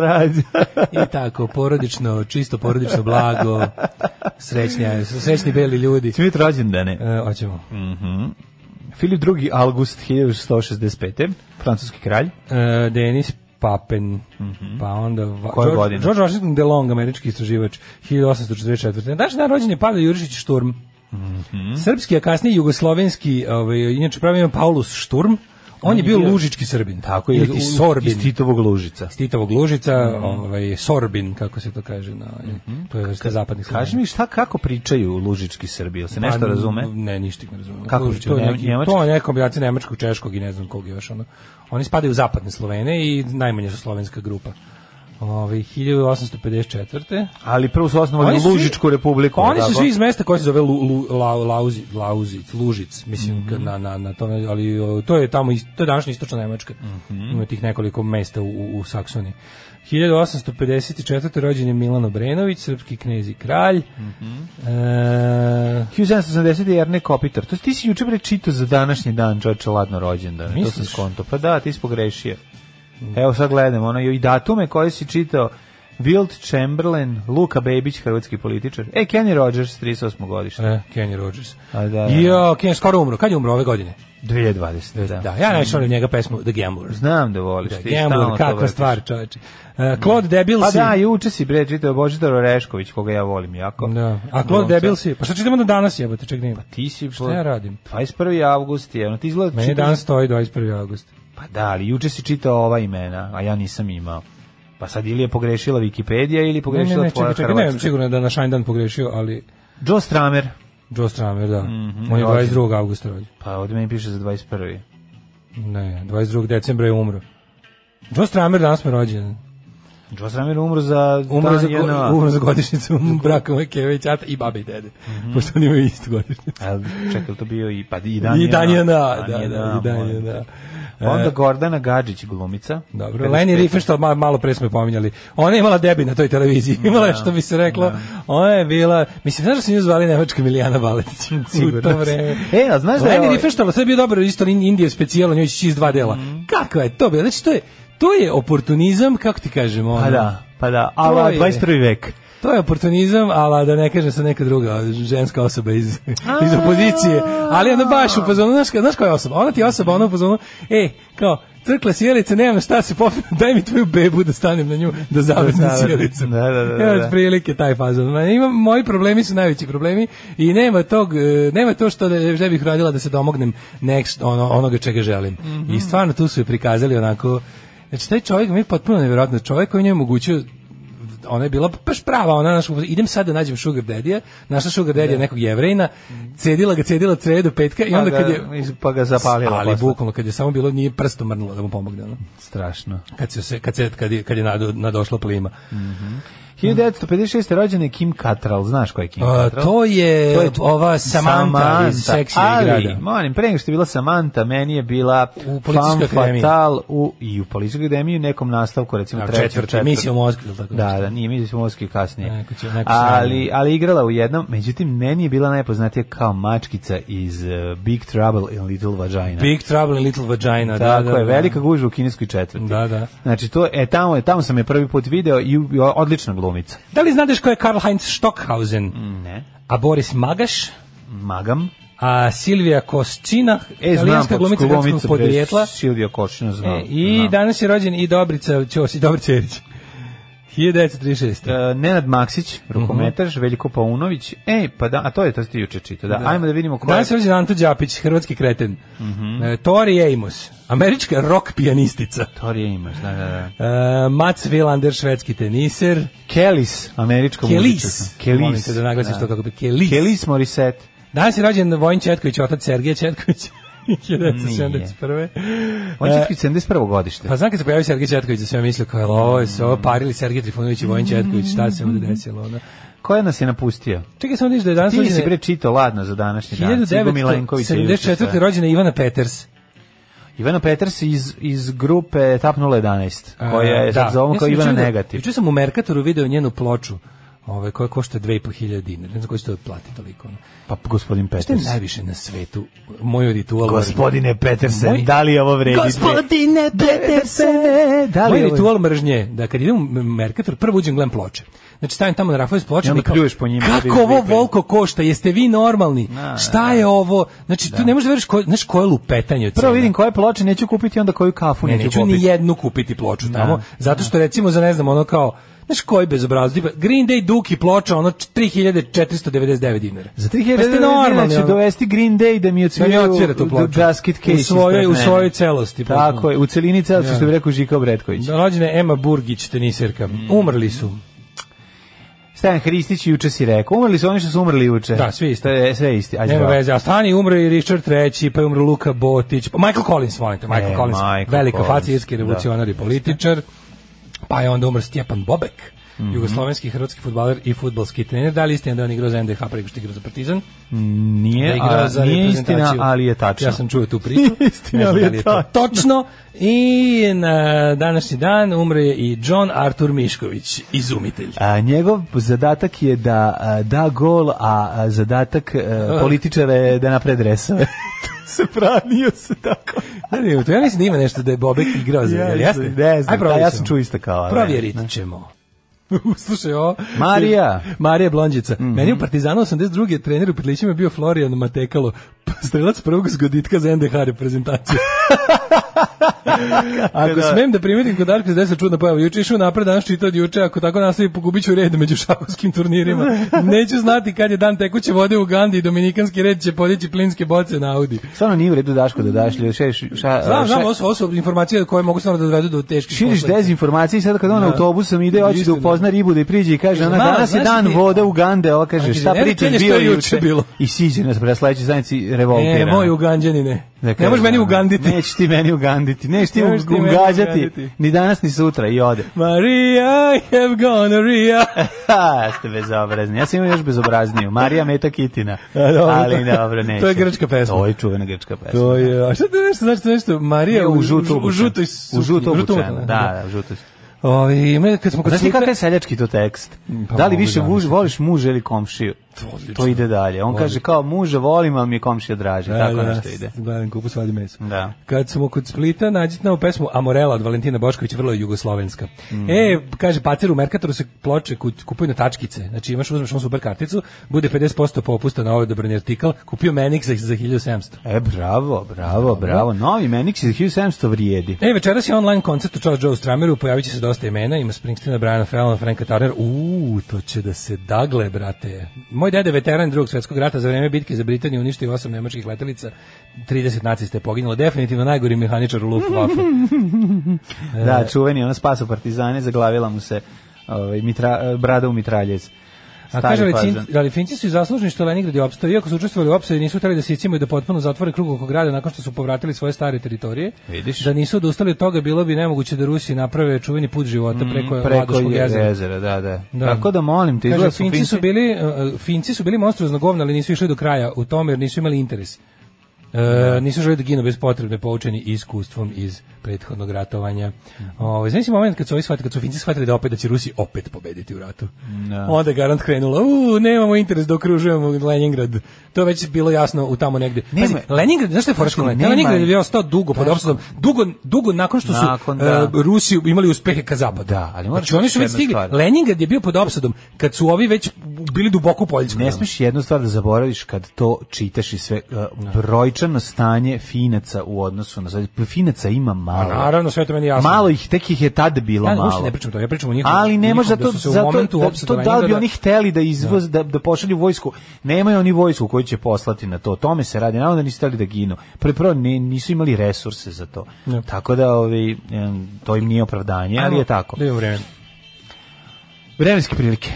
[SPEAKER 6] radja.
[SPEAKER 7] I tako, porodično, čisto porodično blago. Srećni, srećni beli ljudi.
[SPEAKER 6] Ćemo vidjeti rođendane.
[SPEAKER 7] E, hoćemo.
[SPEAKER 6] Filip II. August 1165. Francuski kralj.
[SPEAKER 7] E, Denis Papen, pa onda... Va-
[SPEAKER 6] Mhm. Koje
[SPEAKER 7] George-
[SPEAKER 6] godine?
[SPEAKER 7] George Washington DeLong, američki istraživač, 1844. Daš na rođenje Pavle Jurišić Šturm.
[SPEAKER 6] Mhm.
[SPEAKER 7] Srpski, a kasnije jugoslovenski, ovaj, inače pravi ime Paulus Šturm, on je bio lužički srbin.
[SPEAKER 6] Tako je.
[SPEAKER 7] Ili ti
[SPEAKER 6] iz-
[SPEAKER 7] Sorbin.
[SPEAKER 6] Iz Titovog lužica.
[SPEAKER 7] iz Titovog Lužica,
[SPEAKER 6] Mhm.
[SPEAKER 7] ovaj, Sorbin, kako se to kaže, na, to je vrsta zapadnih
[SPEAKER 6] Kaži
[SPEAKER 7] Slovena.
[SPEAKER 6] mi šta, kako pričaju lužički Srbi? Jel se nešto
[SPEAKER 7] Pa,
[SPEAKER 6] razume?
[SPEAKER 7] Ne, ništa ih ne razume.
[SPEAKER 6] Kako
[SPEAKER 7] to,
[SPEAKER 6] pričaju,
[SPEAKER 7] to, je
[SPEAKER 6] ne-
[SPEAKER 7] neki-
[SPEAKER 6] njemački?
[SPEAKER 7] to je neka kombinacija nemačkog, češkog i ne znam kog još. Ono. Oni spadaju u zapadne Slovene i najmanje su slovenska grupa. Ovaj, Ove, 1854.
[SPEAKER 6] Ali prvo su osnovali
[SPEAKER 7] Oni su svi-
[SPEAKER 6] Lužičku republiku.
[SPEAKER 7] Pa oni su
[SPEAKER 6] tako?
[SPEAKER 7] svi iz mesta koje se zove Lu, Lu, La, Lauzi, Lauzic, Lužic, mislim,
[SPEAKER 6] Mhm.
[SPEAKER 7] kad na, na, na tome, ali o, to je tamo, is- to je današnja istočna Nemačka.
[SPEAKER 6] Mhm.
[SPEAKER 7] Ima tih nekoliko mesta u, u, u Saksoniji. 1854. rođen je Milan Obrenović, srpski knez i kralj.
[SPEAKER 6] Mhm.
[SPEAKER 7] E,
[SPEAKER 6] 1780 je Erne Kopitar. To si- ti si juče bre čitao za današnji dan, čoveče, ladno rođendan. To sam
[SPEAKER 7] Misliš?
[SPEAKER 6] skonto. Pa da, ti si pogrešio. Evo sad gledam, ono, i datume koje si čitao, Wilt Chamberlain, Luka Bebić, hrvatski političar. E, Kenny Rogers, 38. godište.
[SPEAKER 7] E, Kenny Rogers.
[SPEAKER 6] A, da, da.
[SPEAKER 7] Jo, Kenny skoro umro. Kad je umro ove godine?
[SPEAKER 6] 2020. Da.
[SPEAKER 7] Da, ja najviše volim njega pesmu The Gambler.
[SPEAKER 6] Znam da voliš.
[SPEAKER 7] Da,
[SPEAKER 6] ti stalno to
[SPEAKER 7] Gambler, kakva
[SPEAKER 6] vrtiš.
[SPEAKER 7] stvar, čoveče. Uh, Claude Debil
[SPEAKER 6] Pa
[SPEAKER 7] si.
[SPEAKER 6] da, juče si bre čitao Božidar Orešković, koga ja volim jako.
[SPEAKER 7] Da. A Claude
[SPEAKER 6] Glumca.
[SPEAKER 7] Debil si. Pa šta čitamo da danas jebote, ček nema.
[SPEAKER 6] Ti si...
[SPEAKER 7] Šta ja radim?
[SPEAKER 6] 21. avgust je, ono, ti izgleda...
[SPEAKER 7] Meni
[SPEAKER 6] čitaš-
[SPEAKER 7] dan stoji 21. august.
[SPEAKER 6] Pa da, ali juče si čitao ova imena, a ja nisam imao. Pa sad ili je pogrešila Wikipedia ili je
[SPEAKER 7] Ne, ne,
[SPEAKER 6] pogrešila
[SPEAKER 7] ne,
[SPEAKER 6] tvoja
[SPEAKER 7] čekaj, čekaj, ne,
[SPEAKER 6] Hrvatska.
[SPEAKER 7] sigurno je da je na Šajndan pogrešio, ali
[SPEAKER 6] Joe Stramer,
[SPEAKER 7] Joe Stramer, da.
[SPEAKER 6] Mhm,
[SPEAKER 7] On je
[SPEAKER 6] rođen.
[SPEAKER 7] 22. augusta rođen.
[SPEAKER 6] pa ovdje meni piše za 21.
[SPEAKER 7] Ne, 22. decembra je umro. Joe Stramer danas me rođen.
[SPEAKER 6] Joe Stramer umro za...
[SPEAKER 7] Umro
[SPEAKER 6] dan
[SPEAKER 7] za,
[SPEAKER 6] januara.
[SPEAKER 7] go, umro za godišnicu braka moje keve i čata i babe i dede.
[SPEAKER 6] Mhm.
[SPEAKER 7] Pošto oni imaju istu godišnicu.
[SPEAKER 6] A, čekaj, to bio i, pa i dan
[SPEAKER 7] I dan je
[SPEAKER 6] januara.
[SPEAKER 7] na, da,
[SPEAKER 6] Dan
[SPEAKER 7] da, i dan je
[SPEAKER 6] molim te.
[SPEAKER 7] na.
[SPEAKER 6] Pa Onda Gordana Gadžić, glumica.
[SPEAKER 7] Dobro, Leni Riefenstahl, ma- malo pre smo je pominjali. Ona je imala debi na toj televiziji, imala je što bi se reklo. Ona je bila, mislim, znaš da su nju zvali Nemačka Milijana Baletić u to
[SPEAKER 6] Sigurno.
[SPEAKER 7] vreme.
[SPEAKER 6] E, a znaš da je
[SPEAKER 7] Leni
[SPEAKER 6] ovaj-
[SPEAKER 7] Riefenstahl, sve je bio dobro, isto in- Indije specijalno, njoj će iz dva dela.
[SPEAKER 6] Mhm.
[SPEAKER 7] Kakva je to bila? Znači, to je, to je oportunizam, kako ti ono, kažemo?
[SPEAKER 6] Pa da, pa da, ala
[SPEAKER 7] je-
[SPEAKER 6] 21. vek.
[SPEAKER 7] To je oportunizam, ali da ne kažem sa neka druga ženska osoba iz, iz opozicije. Ali ono baš u fazonu, znaš, ka- znaš koja je osoba? Ona ti je osoba, ona u fazonu, e, kao, crkla sjelice, nemam šta se popiti, daj mi tvoju bebu da stanem na nju, da zavrnem
[SPEAKER 6] zavrnem.
[SPEAKER 7] sjelicu.
[SPEAKER 6] Da, da, da,
[SPEAKER 7] Evo,
[SPEAKER 6] da.
[SPEAKER 7] otprilike taj fazon. Ma, Imam, moji problemi su najveći problemi i nema tog, e, nema to što da, da bih radila da se domognem next, ono, onoga čega želim. I stvarno tu su je prikazali onako, znači taj čovjek mi je potpuno nevjerojatno, čovjek koji njoj omogućio ona je bila baš prava, ona naš, idem sad da nađem Sugar Daddy-a, našla Sugar Daddy-a nekog jevrejna, cedila ga, cedila creje do petka i
[SPEAKER 6] Pa
[SPEAKER 7] onda
[SPEAKER 6] ga-
[SPEAKER 7] kad je...
[SPEAKER 6] iz- pa ga zapalila
[SPEAKER 7] Ali
[SPEAKER 6] posle.
[SPEAKER 7] bukvalno, kad je samo bilo, nije prstom mrnula da mu pomogne. Ono.
[SPEAKER 6] Strašno.
[SPEAKER 7] Kad, se, se- kad, se, kad je, kad je nado- nadošla plima.
[SPEAKER 6] 1956. rođen je Kim Cattrall, znaš ko je Kim
[SPEAKER 7] A,
[SPEAKER 6] Cattrall?
[SPEAKER 7] Pa, to, je
[SPEAKER 6] To je
[SPEAKER 7] E, ova Samantha, iz seksi
[SPEAKER 6] ali,
[SPEAKER 7] grada.
[SPEAKER 6] molim, pre nego što je bila Samantha, meni je bila
[SPEAKER 7] U
[SPEAKER 6] fan
[SPEAKER 7] Policijskoj akademiji.
[SPEAKER 6] fatal u, i u policijskoj akademiji u nekom nastavku, recimo
[SPEAKER 7] A,
[SPEAKER 6] trećem,
[SPEAKER 7] četvrti,
[SPEAKER 6] četvrtom.
[SPEAKER 7] misija u Moskvi, ili tako
[SPEAKER 6] Da,
[SPEAKER 7] nešto.
[SPEAKER 6] da, nije misija u Moskvi kasnije.
[SPEAKER 7] Neko će- neko će
[SPEAKER 6] ali, ali igrala u jednom, međutim, meni je bila najpoznatija kao mačkica iz eh, Big Trouble in Little Vagina.
[SPEAKER 7] Big Trouble in Little Vagina. da,
[SPEAKER 6] Tako
[SPEAKER 7] da,
[SPEAKER 6] je,
[SPEAKER 7] da.
[SPEAKER 6] velika gužva u kineskoj četvrti.
[SPEAKER 7] Da, da.
[SPEAKER 6] Znači, to, e, tamo, je- tamo sam je prvi put video i u- i odlična glumica.
[SPEAKER 7] Da li znadeš ko je Karl Heinz Stockhausen?
[SPEAKER 6] Ne.
[SPEAKER 7] A Boris Magaš?
[SPEAKER 6] Magam.
[SPEAKER 7] A Silvija Kosčina?
[SPEAKER 6] E, znam,
[SPEAKER 7] italijanska glumica hrvatskog
[SPEAKER 6] bre,
[SPEAKER 7] podrijetla.
[SPEAKER 6] Silvio Kočina, znam.
[SPEAKER 7] E, I
[SPEAKER 6] znam.
[SPEAKER 7] danas je rođen i Dobrica Ćosić, Dobrica Ćerić. 1936.
[SPEAKER 6] E, Nenad Maksić,
[SPEAKER 7] Mhm.
[SPEAKER 6] rukometaš, Veljko Paunović. E, pa da, a to je to ste juče čitao. Da. Ajmo da vidimo ko je. Mhm.
[SPEAKER 7] Danas je rođen Anto Đapić, hrvatski kreten. E, Tori Amos, američka rock pijanistica.
[SPEAKER 6] Torije imaš, da, da, da.
[SPEAKER 7] E, Mats Wilander, švedski teniser.
[SPEAKER 6] Kelis, američka
[SPEAKER 7] Kelis.
[SPEAKER 6] muzičarka.
[SPEAKER 7] Molim
[SPEAKER 6] Kelis.
[SPEAKER 7] te da naglasiš to kako bi. Kelis.
[SPEAKER 6] Kelis Morissette.
[SPEAKER 7] Danas je rođen Vojn Četković, otac Sergeja Četkovića. 1971.
[SPEAKER 6] On je
[SPEAKER 7] E,
[SPEAKER 6] četki 71. godište.
[SPEAKER 7] Pa znam kad se pojavio Sergej Četković, da sam ja mislio kao, jel ovo je se ovo parili Sergej Trifunović i Vojn Četković, šta se ovde desilo? Ono.
[SPEAKER 6] Ko je nas je napustio?
[SPEAKER 7] Čekaj samo da vidiš da je danas
[SPEAKER 6] Ti
[SPEAKER 7] rođen...
[SPEAKER 6] si bre čitao ladno za današnji dan. Cigo Milenković je juče sve.
[SPEAKER 7] 1974. rođena Ivana Peters.
[SPEAKER 6] Ivana Peters iz, iz grupe Etap 011, koja je
[SPEAKER 7] E,
[SPEAKER 6] sad zovom
[SPEAKER 7] Ja
[SPEAKER 6] kao
[SPEAKER 7] sam
[SPEAKER 6] Ivana
[SPEAKER 7] juče vidio-
[SPEAKER 6] Negativ.
[SPEAKER 7] Juče sam u Merkatoru video njenu ploču, ovaj, koja košta 2500 dinara. Ne znam koji će to plati toliko. Ono.
[SPEAKER 6] Pa gospodin
[SPEAKER 7] Što je
[SPEAKER 6] Peters.
[SPEAKER 7] najviše na svetu? Moj ritual...
[SPEAKER 6] Gospodine Petersen,
[SPEAKER 7] Moj-
[SPEAKER 6] da li ovo vredi?
[SPEAKER 7] Gospodine
[SPEAKER 6] Petersen, da li
[SPEAKER 7] Moj
[SPEAKER 6] ovo...
[SPEAKER 7] ritual mržnje, da kad idem u Merkator, prvo uđem gledam ploče. Znači stavim tamo na rafove s
[SPEAKER 6] I
[SPEAKER 7] pločama
[SPEAKER 6] onda
[SPEAKER 7] i kao,
[SPEAKER 6] pljuješ po njima, da
[SPEAKER 7] kako
[SPEAKER 6] vidiš
[SPEAKER 7] ovo
[SPEAKER 6] lipe."
[SPEAKER 7] volko košta, jeste vi normalni?
[SPEAKER 6] Na,
[SPEAKER 7] Šta je ovo? Znači tu ne možeš da veriš ko, znaš koje lupetanje od
[SPEAKER 6] Prvo
[SPEAKER 7] cena.
[SPEAKER 6] vidim koje ploče neću kupiti, onda koju kafu
[SPEAKER 7] Ne,
[SPEAKER 6] neću,
[SPEAKER 7] neću
[SPEAKER 6] popiti.
[SPEAKER 7] ni jednu kupiti ploču tamo, zato što recimo za ne znam ono kao Znaš koji bezobrazni, tipa Green Day Duki ploča, ono 3499 dinara.
[SPEAKER 6] Za
[SPEAKER 7] Pa
[SPEAKER 6] 3000
[SPEAKER 7] ste
[SPEAKER 6] dinara
[SPEAKER 7] normalni,
[SPEAKER 6] ću
[SPEAKER 7] ono.
[SPEAKER 6] dovesti Green Day da mi
[SPEAKER 7] Da mi
[SPEAKER 6] odsviraju
[SPEAKER 7] odsvira tu ploču.
[SPEAKER 6] basket case.
[SPEAKER 7] U svojoj-
[SPEAKER 6] ispred
[SPEAKER 7] u
[SPEAKER 6] mene.
[SPEAKER 7] svojoj celosti, pa
[SPEAKER 6] Tako
[SPEAKER 7] potpuno.
[SPEAKER 6] je, u celini celosti,
[SPEAKER 7] Ja.
[SPEAKER 6] što bi rekao Žika Obretković.
[SPEAKER 7] Rođena je Ema Burgić, teniserka.
[SPEAKER 6] Mm.
[SPEAKER 7] Umrli su.
[SPEAKER 6] Stajan Hristić juče si rekao, umrli su oni što su umrli juče.
[SPEAKER 7] Da, svi isti.
[SPEAKER 6] To je sve isti. Ajde,
[SPEAKER 7] Nema
[SPEAKER 6] zdravo.
[SPEAKER 7] veze, a stani umro i Richard III, pa je umro Luka Botić, pa Michael Collins, molim te, Michael
[SPEAKER 6] E,
[SPEAKER 7] Collins,
[SPEAKER 6] Michael
[SPEAKER 7] velika
[SPEAKER 6] Collins,
[SPEAKER 7] faca, irski revolucionar i političar, pa je onda umro Stjepan Bobek,
[SPEAKER 6] Mhm.
[SPEAKER 7] jugoslovenski hrvatski futbaler i futbalski trener, da li istina da je on igrao za NDH preko što je igrao za Partizan?
[SPEAKER 6] Nije,
[SPEAKER 7] da igra
[SPEAKER 6] E, a,
[SPEAKER 7] za
[SPEAKER 6] nije
[SPEAKER 7] reprezentaciju.
[SPEAKER 6] istina, ali je tačno.
[SPEAKER 7] Ja sam čuo tu priču.
[SPEAKER 6] Nije istina,
[SPEAKER 7] Ne znam
[SPEAKER 6] ali je
[SPEAKER 7] da li to
[SPEAKER 6] tačno.
[SPEAKER 7] Točno. I na današnji dan umre je i John Artur Mišković, izumitelj.
[SPEAKER 6] A, njegov zadatak je da a, da gol, a, a zadatak e, političara je da napred resove. Tu se branio se tako.
[SPEAKER 7] Ali, to ja mislim da ima nešto da je Bobek igrao za njega, jeste?
[SPEAKER 6] Ne znam,
[SPEAKER 7] Aj, provjerit
[SPEAKER 6] ja sam
[SPEAKER 7] ćemo.
[SPEAKER 6] čuo isto kao. ne.
[SPEAKER 7] Provjerit ćemo. Slušaj ovo.
[SPEAKER 6] Marija.
[SPEAKER 7] Marija Mhm. Blondjica. Meni u Partizanu 82. trener u Petlićima je bio Florijan Matekalo, strelac prvog zgoditka za NDH reprezentaciju. ako smem da primetim kod Darka se desa čudna pojava, juče je išao napred, danas čitao od juče, ako tako nastavi pogubit ću red među šahovskim turnirima. Neću znati kad je dan tekuće vode u Ugandi i dominikanski red će podići plinske boce na Audi.
[SPEAKER 6] Stvarno nije u redu Daško da daš ljudi. Še, ša,
[SPEAKER 7] Znam, znam,
[SPEAKER 6] še-
[SPEAKER 7] ovo su, ovo su informacije koje mogu stvarno da dovedu do teških
[SPEAKER 6] Širiš
[SPEAKER 7] posledica.
[SPEAKER 6] dezinformacije i sada kad on autobusom ide, hoće da
[SPEAKER 7] Istina.
[SPEAKER 6] upozna ribu da je priđe i kaže, ona
[SPEAKER 7] Mala,
[SPEAKER 6] danas je
[SPEAKER 7] znaš
[SPEAKER 6] dan
[SPEAKER 7] ti-
[SPEAKER 6] vode Ugande, ova kaže,
[SPEAKER 7] Znači,
[SPEAKER 6] šta
[SPEAKER 7] ne
[SPEAKER 6] pričaš
[SPEAKER 7] rečeni
[SPEAKER 6] bio
[SPEAKER 7] što je
[SPEAKER 6] juče?
[SPEAKER 7] juče bilo.
[SPEAKER 6] I siđe nas pre sledeće zajednici revoltira.
[SPEAKER 7] E, moj Uganđanine. Ne možeš meni uganditi.
[SPEAKER 6] Nećeš ti meni uganditi, nećeš ti
[SPEAKER 7] Nećeš ti meni
[SPEAKER 6] ugađati,
[SPEAKER 7] uganditi.
[SPEAKER 6] ni danas ni sutra i ode.
[SPEAKER 7] Maria, I have gonorrhea.
[SPEAKER 6] Ha, ste bezobrazni. Ja sam imao još bezobrazniju. Marija Meta Kitina.
[SPEAKER 7] A, dobro,
[SPEAKER 6] Ali
[SPEAKER 7] to-
[SPEAKER 6] dobro, neće.
[SPEAKER 7] to je grčka pesma.
[SPEAKER 6] To je čuvena grčka pesma.
[SPEAKER 7] To je, a šta to nešto znači to nešto? Marija
[SPEAKER 6] u žutu
[SPEAKER 7] u
[SPEAKER 6] obučena.
[SPEAKER 7] žutoj
[SPEAKER 6] U žutu obučena,
[SPEAKER 7] obučena,
[SPEAKER 6] da, da, u žutu.
[SPEAKER 7] Ovi, ima kad smo kod
[SPEAKER 6] Znaš ti
[SPEAKER 7] slika-
[SPEAKER 6] kakav je seljački to tekst?
[SPEAKER 7] Pa
[SPEAKER 6] da li
[SPEAKER 7] mogu
[SPEAKER 6] više
[SPEAKER 7] da
[SPEAKER 6] muž,
[SPEAKER 7] mislim.
[SPEAKER 6] voliš muža ili komšiju?
[SPEAKER 7] odlično.
[SPEAKER 6] To ide dalje. On kaže kao muža volim, ali mi je komšija draži.
[SPEAKER 7] Da,
[SPEAKER 6] Tako
[SPEAKER 7] da,
[SPEAKER 6] nešto ide.
[SPEAKER 7] Gledam kupu svadi meso.
[SPEAKER 6] Da.
[SPEAKER 7] Kad smo kod Splita, nađite novu pesmu Amorela od Valentina Boškovića, vrlo je jugoslovenska. E, kaže, pacer u Merkatoru se ploče kut- kupuju na tačkice. Znači, imaš, uzmeš on super karticu, bude 50% popusta na ovaj dobrani artikal, kupio Menix za, za 1700.
[SPEAKER 6] E, bravo, bravo, bravo. Novi Menix iz 1700 vrijedi.
[SPEAKER 7] E, večeras je online koncert u Charles Joe Strameru, pojavit će se dosta imena, ima Springsteena, Briana Fallona, Franka Turner, uuu, to će da se dagle, brate. Moj dede, veteran drugog svjetskog rata, za vreme bitke za Britaniju uništio osam nemačkih letelica, 30 naciste je poginulo, definitivno najgori mehaničar u Luftwaffe.
[SPEAKER 6] E. Da, čuveni, ona spasa partizane, zaglavila mu se ovaj, mitra, brada u mitraljez.
[SPEAKER 7] A
[SPEAKER 6] Stari
[SPEAKER 7] kaže, ali,
[SPEAKER 6] fazon.
[SPEAKER 7] Cin- ali Finci su i zaslužni što Leningrad je opstao, iako su učestvovali u opsadi, nisu hteli da se i da potpuno zatvore krug oko grada nakon što su povratili svoje stare teritorije.
[SPEAKER 6] Vidiš.
[SPEAKER 7] Da nisu odustali od toga, bilo bi nemoguće da Rusi naprave čuveni put života preko,
[SPEAKER 6] Mm, preko
[SPEAKER 7] Ladoškog jezera.
[SPEAKER 6] jezera. da, da,
[SPEAKER 7] Da.
[SPEAKER 6] Tako da molim te,
[SPEAKER 7] Kaže,
[SPEAKER 6] izgleda su
[SPEAKER 7] Finci, su bili, uh, Finci su bili monstruozno govna, ali nisu išli do kraja u tome jer nisu imali interes. E, nisu želi da ginu bez potrebe, poučeni iskustvom iz prethodnog ratovanja.
[SPEAKER 6] Mhm.
[SPEAKER 7] Ovaj znači moment kad su ovi shvatili, kad su Finci shvatili da opet da će Rusi opet pobediti u ratu. Onda je garant krenulo, u, nemamo interes da okružujemo Leningrad. To je već bilo jasno u tamo negde.
[SPEAKER 6] Nema-
[SPEAKER 7] Pazi, Leningrad, znaš što je foraško?
[SPEAKER 6] Nema-
[SPEAKER 7] Leningrad je bio ostao dugo pod opsadom, dugo, dugo nakon što su
[SPEAKER 6] Nakon, da.
[SPEAKER 7] e, Rusi imali uspehe ka zapadu.
[SPEAKER 6] Da, ali moraš
[SPEAKER 7] znači, oni su već
[SPEAKER 6] jednu
[SPEAKER 7] stigli.
[SPEAKER 6] stvar.
[SPEAKER 7] Leningrad je bio pod opsadom kad su ovi već bili duboko u Poljsku.
[SPEAKER 6] Ne smiješ jednu stvar da zaboraviš kad to čitaš i sve uh, brojčano stanje Finaca u odnosu na sad. Finaca ima malo.
[SPEAKER 7] Pa Naravno, sve to meni jasno.
[SPEAKER 6] Malo ih, tek ih je tad bilo
[SPEAKER 7] Ja ne,
[SPEAKER 6] malo.
[SPEAKER 7] uopšte ne pričam to, ja pričam o njihovom.
[SPEAKER 6] Ali ne
[SPEAKER 7] njihovom
[SPEAKER 6] može zato,
[SPEAKER 7] da su se u
[SPEAKER 6] zato
[SPEAKER 7] momentu
[SPEAKER 6] da,
[SPEAKER 7] opsade
[SPEAKER 6] to da li bi
[SPEAKER 7] Leningrada-
[SPEAKER 6] oni hteli da izvoz, da, da pošalju vojsku. Nemaju oni vojsku koju će poslati na to. Tome se radi, naravno da nisu hteli da ginu. Prvo, prvo ne, nisu imali resurse za to.
[SPEAKER 7] Ne.
[SPEAKER 6] Tako da ovaj, em, to im nije opravdanje, ali je tako.
[SPEAKER 7] Da je vreme.
[SPEAKER 6] Vremenske prilike.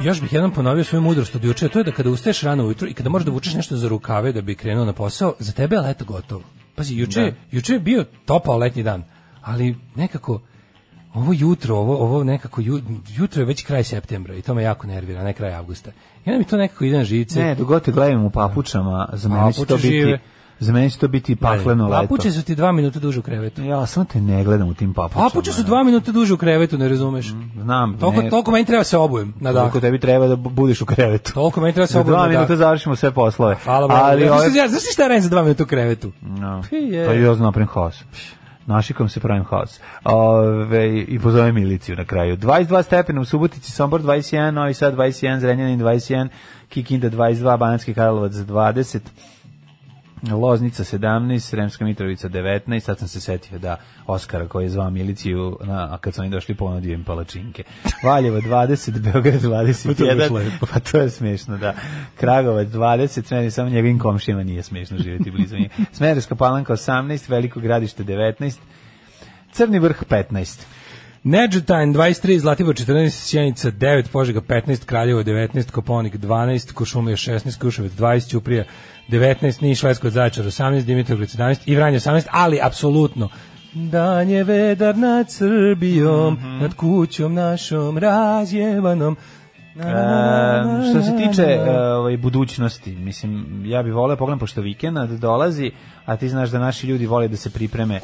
[SPEAKER 7] Još bih jednom ponovio svoju mudrost od juče, a to je da kada ustaješ rano ujutro i kada možeš da vučeš nešto za rukave da bi krenuo na posao, za tebe je leto gotovo. Pazi, juče, juče je bio topao letnji dan, ali nekako ovo jutro, ovo, ovo nekako ju- jutro je već kraj septembra i to me jako nervira, ne kraj avgusta. Ja mi to nekako ide na žice.
[SPEAKER 6] Ne, dok god te gledam u papučama, za mene će
[SPEAKER 7] Papuče
[SPEAKER 6] to biti
[SPEAKER 7] žive.
[SPEAKER 6] za mene će to biti pakleno leto.
[SPEAKER 7] Papuče su ti dva minuta duže u krevetu.
[SPEAKER 6] Ja samo te ne gledam u tim papučama.
[SPEAKER 7] Papuče su dva minuta duže u krevetu, ne razumeš?
[SPEAKER 6] Znam,
[SPEAKER 7] Toliko,
[SPEAKER 6] Mm. ne,
[SPEAKER 7] toliko meni treba se obujem na dah.
[SPEAKER 6] koliko tebi treba da bu- budiš u krevetu.
[SPEAKER 7] Toliko meni treba se
[SPEAKER 6] Za
[SPEAKER 7] obujem
[SPEAKER 6] dva
[SPEAKER 7] na
[SPEAKER 6] minuta
[SPEAKER 7] dah.
[SPEAKER 6] završimo sve poslove.
[SPEAKER 7] Hvala Bogu.
[SPEAKER 6] Ali
[SPEAKER 7] Ja,
[SPEAKER 6] ove...
[SPEAKER 7] znaš šta- Znaš ti šta ja radim za dva minuta u krevetu?
[SPEAKER 6] No, Pa
[SPEAKER 7] Pi je.
[SPEAKER 6] to je još napravim haos. Našikom se pravim haos. Ove, I pozovem miliciju na kraju. 22 stepena u Subotici, Sombor 21, Novi Sad 21, Zrenjanin 21, Kikinda 22, Banacki Karlovac 20, Loznica 17, Sremska Mitrovica 19, sad sam se setio da Oskara koji je zvao miliciju, na, a kad su oni došli ponudio im palačinke. Valjevo 20, Beograd 21,
[SPEAKER 7] Pa to je baš lepo.
[SPEAKER 6] pa to je smešno, da. Kragovac 20, meni samo njegovim komšijama nije smešno živjeti blizu njega. Smederska palanka 18, Veliko gradište 19, Crni vrh 15.
[SPEAKER 7] Nedžetajn 23, Zlatibor 14, Sjenica 9, Požega 15, Kraljevo 19, Koponik 12, Košumlija 16, Kruševac 20, Ćuprija 19, Niš, Lesko, Zaječar 18, Dimitrovgrad 17 i Vranje 18, ali apsolutno Dan je vedar nad Srbijom,
[SPEAKER 6] Mhm.
[SPEAKER 7] nad kućom našom razjevanom. Na, na, na, na,
[SPEAKER 6] E, što se
[SPEAKER 7] na,
[SPEAKER 6] tiče
[SPEAKER 7] na, na.
[SPEAKER 6] e, ovaj, budućnosti, mislim, ja bih voleo pogledam pošto vikend dolazi, a ti znaš da naši ljudi vole da se pripreme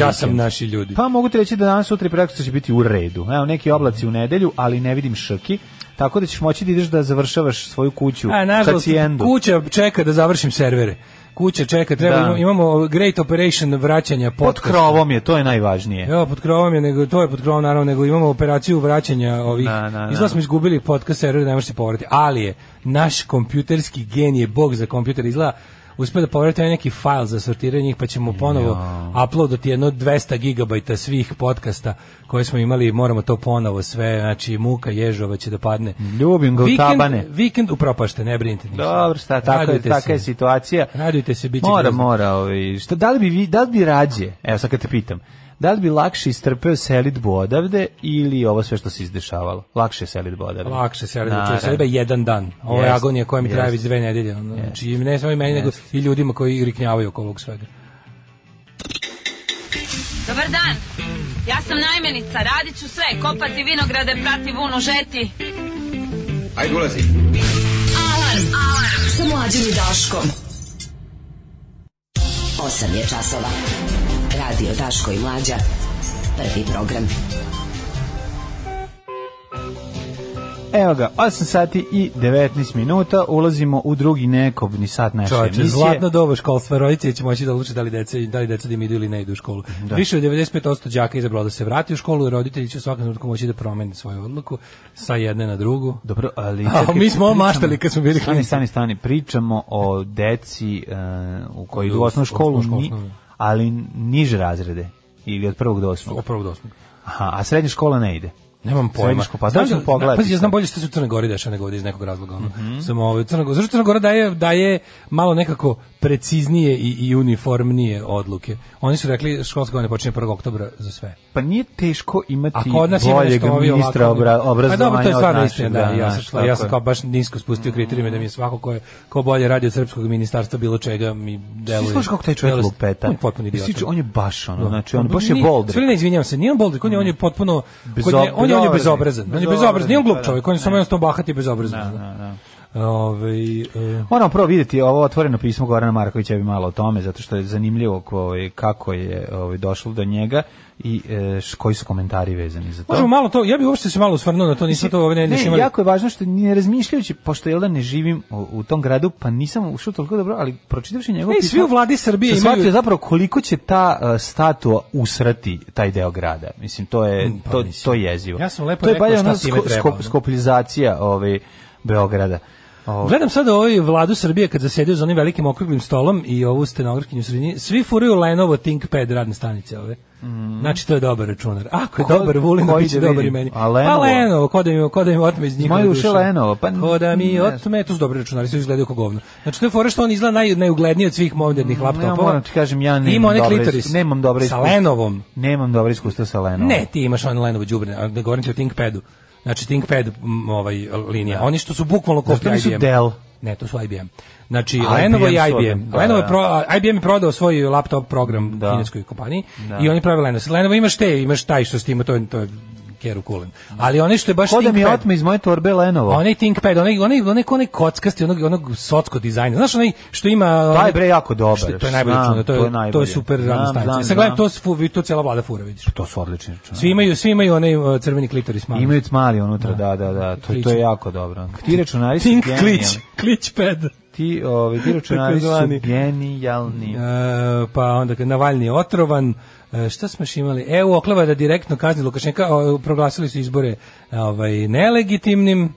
[SPEAKER 7] Ja sam naši ljudi.
[SPEAKER 6] Pa mogu ti reći da danas sutra i prekosutra će biti u redu. Evo neki oblaci u nedelju, ali ne vidim šrki. Tako da ćeš moći da ideš da završavaš svoju kuću
[SPEAKER 7] A, nažalost,
[SPEAKER 6] pacijendu.
[SPEAKER 7] Pa, kuća čeka da završim servere. Kuća čeka, treba,
[SPEAKER 6] Da.
[SPEAKER 7] imamo- imamo great operation vraćanja
[SPEAKER 6] Pod
[SPEAKER 7] podcasta.
[SPEAKER 6] krovom je, to je najvažnije.
[SPEAKER 7] Ja, pod krovom je, nego, to je pod krovom, naravno, nego imamo operaciju vraćanja ovih.
[SPEAKER 6] Da, da, da.
[SPEAKER 7] Izgleda smo izgubili podcast server, ne može se povratiti. Ali je, naš kompjuterski genije, bog za kompjuter, izgleda uspio da povrati onaj neki fajl za sortiranje njih, pa ćemo ponovo uploadati jedno 200 gigabajta svih podcasta koje smo imali, moramo to ponovo sve, znači muka Ježova će da padne.
[SPEAKER 6] Ljubim ga u
[SPEAKER 7] Vikend-
[SPEAKER 6] tabane.
[SPEAKER 7] Vikend upropašte, ne brinite. ništa.
[SPEAKER 6] Dobro, šta, tako je,
[SPEAKER 7] Radujte
[SPEAKER 6] taka je
[SPEAKER 7] se.
[SPEAKER 6] situacija.
[SPEAKER 7] Radujte se, bit će
[SPEAKER 6] Mora,
[SPEAKER 7] grozno.
[SPEAKER 6] mora. Ovaj, šta, da, li bi, vi- da li bi rađe, evo sad kad te pitam, da li bi lakše istrpeo selitbu odavde ili ovo sve što se izdešavalo? Lakše je selitbu odavde.
[SPEAKER 7] Lakše se radi,
[SPEAKER 6] Naravno.
[SPEAKER 7] čuje sebe jedan dan. Ovo je
[SPEAKER 6] Jeste,
[SPEAKER 7] agonija koja mi traje već
[SPEAKER 6] jeste.
[SPEAKER 7] dve nedelje. ono, Znači, ne samo i meni, nego i ljudima koji riknjavaju oko ovog svega.
[SPEAKER 6] Znači,
[SPEAKER 9] Dobar dan. Ja sam najmenica, radit ću sve, kopati vinograde, prati vunu, žeti.
[SPEAKER 4] Ajde, ulazi.
[SPEAKER 5] Alarm. Alarm. Sa mlađom i Daškom. 8 je časova. Radio Daško i Mlađa. Prvi program.
[SPEAKER 6] Evo ga, 8 sati i 19 minuta, ulazimo u drugi nekobni sat naše
[SPEAKER 7] Čovječe,
[SPEAKER 6] emisije.
[SPEAKER 7] zlatno doba školstva, roditelji će moći da odluče da li deca, da li deca da im idu ili ne idu u školu. Više od 95% đaka je izabralo da se vrati u školu i roditelji će u svakom trenutku moći da promene svoju odluku sa jedne na drugu.
[SPEAKER 6] Dobro, ali...
[SPEAKER 7] A,
[SPEAKER 6] čekaj,
[SPEAKER 7] mi smo ovo
[SPEAKER 6] pričamo-
[SPEAKER 7] maštali kad smo bili
[SPEAKER 6] Stani,
[SPEAKER 7] klinci.
[SPEAKER 6] stani, stani, pričamo o deci e, u koji idu u
[SPEAKER 7] U
[SPEAKER 6] osnovnu školu,
[SPEAKER 7] osnovnu
[SPEAKER 6] ni-
[SPEAKER 7] školu, da.
[SPEAKER 6] ali niže razrede, ili od prvog do osmog.
[SPEAKER 7] Opravo do osmog.
[SPEAKER 6] Aha, a srednja škola ne ide.
[SPEAKER 7] Nemam pojma.
[SPEAKER 6] Srednjoško, pa znam da ćemo pogledati
[SPEAKER 7] Pazi, ja znam
[SPEAKER 6] sad.
[SPEAKER 7] bolje što se u Crnoj Gori dešava nego ovde iz nekog razloga. Ono.
[SPEAKER 6] Mhm.
[SPEAKER 7] Samo ovaj Crna Gora, zašto Crna Gora daje daje malo nekako preciznije i, i uniformnije odluke. Oni su rekli školska godina počinje 1. oktobra za sve.
[SPEAKER 6] Pa nije teško imati
[SPEAKER 7] A kod nas ima
[SPEAKER 6] boljeg
[SPEAKER 7] nešto ovi
[SPEAKER 6] ministra
[SPEAKER 7] ovako.
[SPEAKER 6] obra,
[SPEAKER 7] Pa dobro,
[SPEAKER 6] obrazovanja
[SPEAKER 7] to je
[SPEAKER 6] od
[SPEAKER 7] stvarno
[SPEAKER 6] našeg,
[SPEAKER 7] istina, da. ja,
[SPEAKER 6] znaš,
[SPEAKER 7] sam, šla- ja
[SPEAKER 6] tako je. Mhm.
[SPEAKER 7] sam kao baš nisko spustio kriterijume da mi je svako ko, je, ko bolje radi od srpskog ministarstva bilo čega mi deluje.
[SPEAKER 6] Ti slušaš kako taj čovjek
[SPEAKER 7] deluje-
[SPEAKER 6] lupeta?
[SPEAKER 7] On je potpuno idiot.
[SPEAKER 6] Mislim, On je baš ono, znači on
[SPEAKER 7] Pa
[SPEAKER 6] baš je Mm.
[SPEAKER 7] nije-
[SPEAKER 6] boldrik.
[SPEAKER 7] Sve ne izvinjavam se, nije on boldrik, on je on je potpuno kod nje- on je on je bezobrazan. On je bezobrazan, nije on glup
[SPEAKER 6] Pa da,
[SPEAKER 7] čovjek, on je samo
[SPEAKER 6] ne.
[SPEAKER 7] jednostavno bahat i bezobrazan.
[SPEAKER 6] da,
[SPEAKER 7] Ovaj e,
[SPEAKER 6] Moramo prvo vidjeti ovo otvoreno pismo Gorana Markovića bi malo o tome, zato što je zanimljivo ko- ovaj, kako je ovaj, došlo do njega i e, š- koji su komentari vezani za to.
[SPEAKER 7] Možemo malo to, ja bih uopšte se malo osvrnuo na to, nisam to ove nedelje
[SPEAKER 6] Ne,
[SPEAKER 7] imali.
[SPEAKER 6] jako je važno što ne razmišljajući, pošto jel da ne živim u, u tom gradu, pa nisam ušao toliko dobro, ali pročitavši njegov
[SPEAKER 7] Ne, svi u vladi Srbije
[SPEAKER 6] sam
[SPEAKER 7] imaju
[SPEAKER 6] shvatio zapravo koliko će ta e, statua usrati taj deo grada. Mislim, to je,
[SPEAKER 7] pa
[SPEAKER 6] to,
[SPEAKER 7] mislim.
[SPEAKER 6] to je jezivo.
[SPEAKER 7] Ja sam lepo
[SPEAKER 6] to je
[SPEAKER 7] rekao
[SPEAKER 6] baš
[SPEAKER 7] šta
[SPEAKER 6] ono
[SPEAKER 7] time
[SPEAKER 6] sko-
[SPEAKER 7] treba,
[SPEAKER 6] skop-
[SPEAKER 7] ono.
[SPEAKER 6] skopolizacija ovaj, Beograda. Ovaj,
[SPEAKER 7] Gledam sad ovaj vladu Srbije kad zasedio za onim velikim okruglim stolom i ovu stenografkinju u sredini, svi furaju Lenovo ThinkPad radne stanice ove. Znači to je dobar računar. Ako je
[SPEAKER 6] Mhm. Ko-
[SPEAKER 7] dobar Vulin,
[SPEAKER 6] koji
[SPEAKER 7] bit će
[SPEAKER 6] da
[SPEAKER 7] dobar i
[SPEAKER 6] vidim?
[SPEAKER 7] meni.
[SPEAKER 6] A Lenovo?
[SPEAKER 7] Pa Lenovo, ko da mi, ko da mi otme iz njihove
[SPEAKER 6] moje
[SPEAKER 7] duše.
[SPEAKER 6] uše Lenovo, pa n-
[SPEAKER 7] ko da mi
[SPEAKER 6] ne.
[SPEAKER 7] otme, tu su dobri računari, svi izgledaju kao govno. Znači to je fora što on izgleda naj, najugledniji od svih modernih laptopova.
[SPEAKER 6] Mm, Ja moram ti kažem, ja nemam
[SPEAKER 7] Ima onaj
[SPEAKER 6] dobre
[SPEAKER 7] klitoris.
[SPEAKER 6] isku- nemam dobre
[SPEAKER 7] Sa
[SPEAKER 6] iskustvo.
[SPEAKER 7] Lenovom.
[SPEAKER 6] Nemam dobro iskustva sa Lenovom.
[SPEAKER 7] Ne, ti imaš ono Lenovo đubre, a ne govorim ti o ThinkPadu. Znači ThinkPad m, ovaj linija. Oni što su bukvalno
[SPEAKER 6] Zato
[SPEAKER 7] kopija
[SPEAKER 6] nisu
[SPEAKER 7] IBM.
[SPEAKER 6] Dell.
[SPEAKER 7] Ne, to su IBM. Znači
[SPEAKER 6] IBM
[SPEAKER 7] Lenovo i
[SPEAKER 6] su
[SPEAKER 7] IBM.
[SPEAKER 6] odlični, da,
[SPEAKER 7] Lenovo je
[SPEAKER 6] da.
[SPEAKER 7] pro, a, IBM je prodao svoj laptop program
[SPEAKER 6] Da.
[SPEAKER 7] kineskoj kompaniji i oni prave Lenovo. Sad Lenovo imaš te, imaš taj što s tim to je- to je keru kulen. Ali onaj što je baš
[SPEAKER 6] Ko da mi
[SPEAKER 7] ThinkPad-
[SPEAKER 6] otme iz moje torbe Lenovo?
[SPEAKER 7] Onaj ThinkPad, onaj, onaj, onaj, onaj kockasti, onog, onog socko dizajna. Znaš onaj što ima...
[SPEAKER 6] Taj
[SPEAKER 7] onaj-
[SPEAKER 6] bre jako dobar.
[SPEAKER 7] Što, to je najbolje
[SPEAKER 6] Znam,
[SPEAKER 7] računar, to,
[SPEAKER 6] to
[SPEAKER 7] je,
[SPEAKER 6] je najbolje.
[SPEAKER 7] to je super radna
[SPEAKER 6] Znam,
[SPEAKER 7] stanica.
[SPEAKER 6] znam,
[SPEAKER 7] Sad gledam,
[SPEAKER 6] znam.
[SPEAKER 7] to, fu- to cela vlada fura, vidiš.
[SPEAKER 6] To su odlični računari.
[SPEAKER 7] Svi imaju, svi imaju onaj uh, crveni klitoris mali.
[SPEAKER 6] Imaju mali unutra, da, da, da. To, to je jako dobro. Ti računari su
[SPEAKER 7] Think
[SPEAKER 6] genijalni.
[SPEAKER 7] klić, klić pad.
[SPEAKER 6] Ti, ovi, ti računari su
[SPEAKER 7] Takozvani.
[SPEAKER 6] genijalni.
[SPEAKER 7] E, pa onda kad Navalni je otrovan, e, šta smo još imali? EU okleva da direktno kazni Lukašenka, o, proglasili su izbore ovaj, nelegitimnim.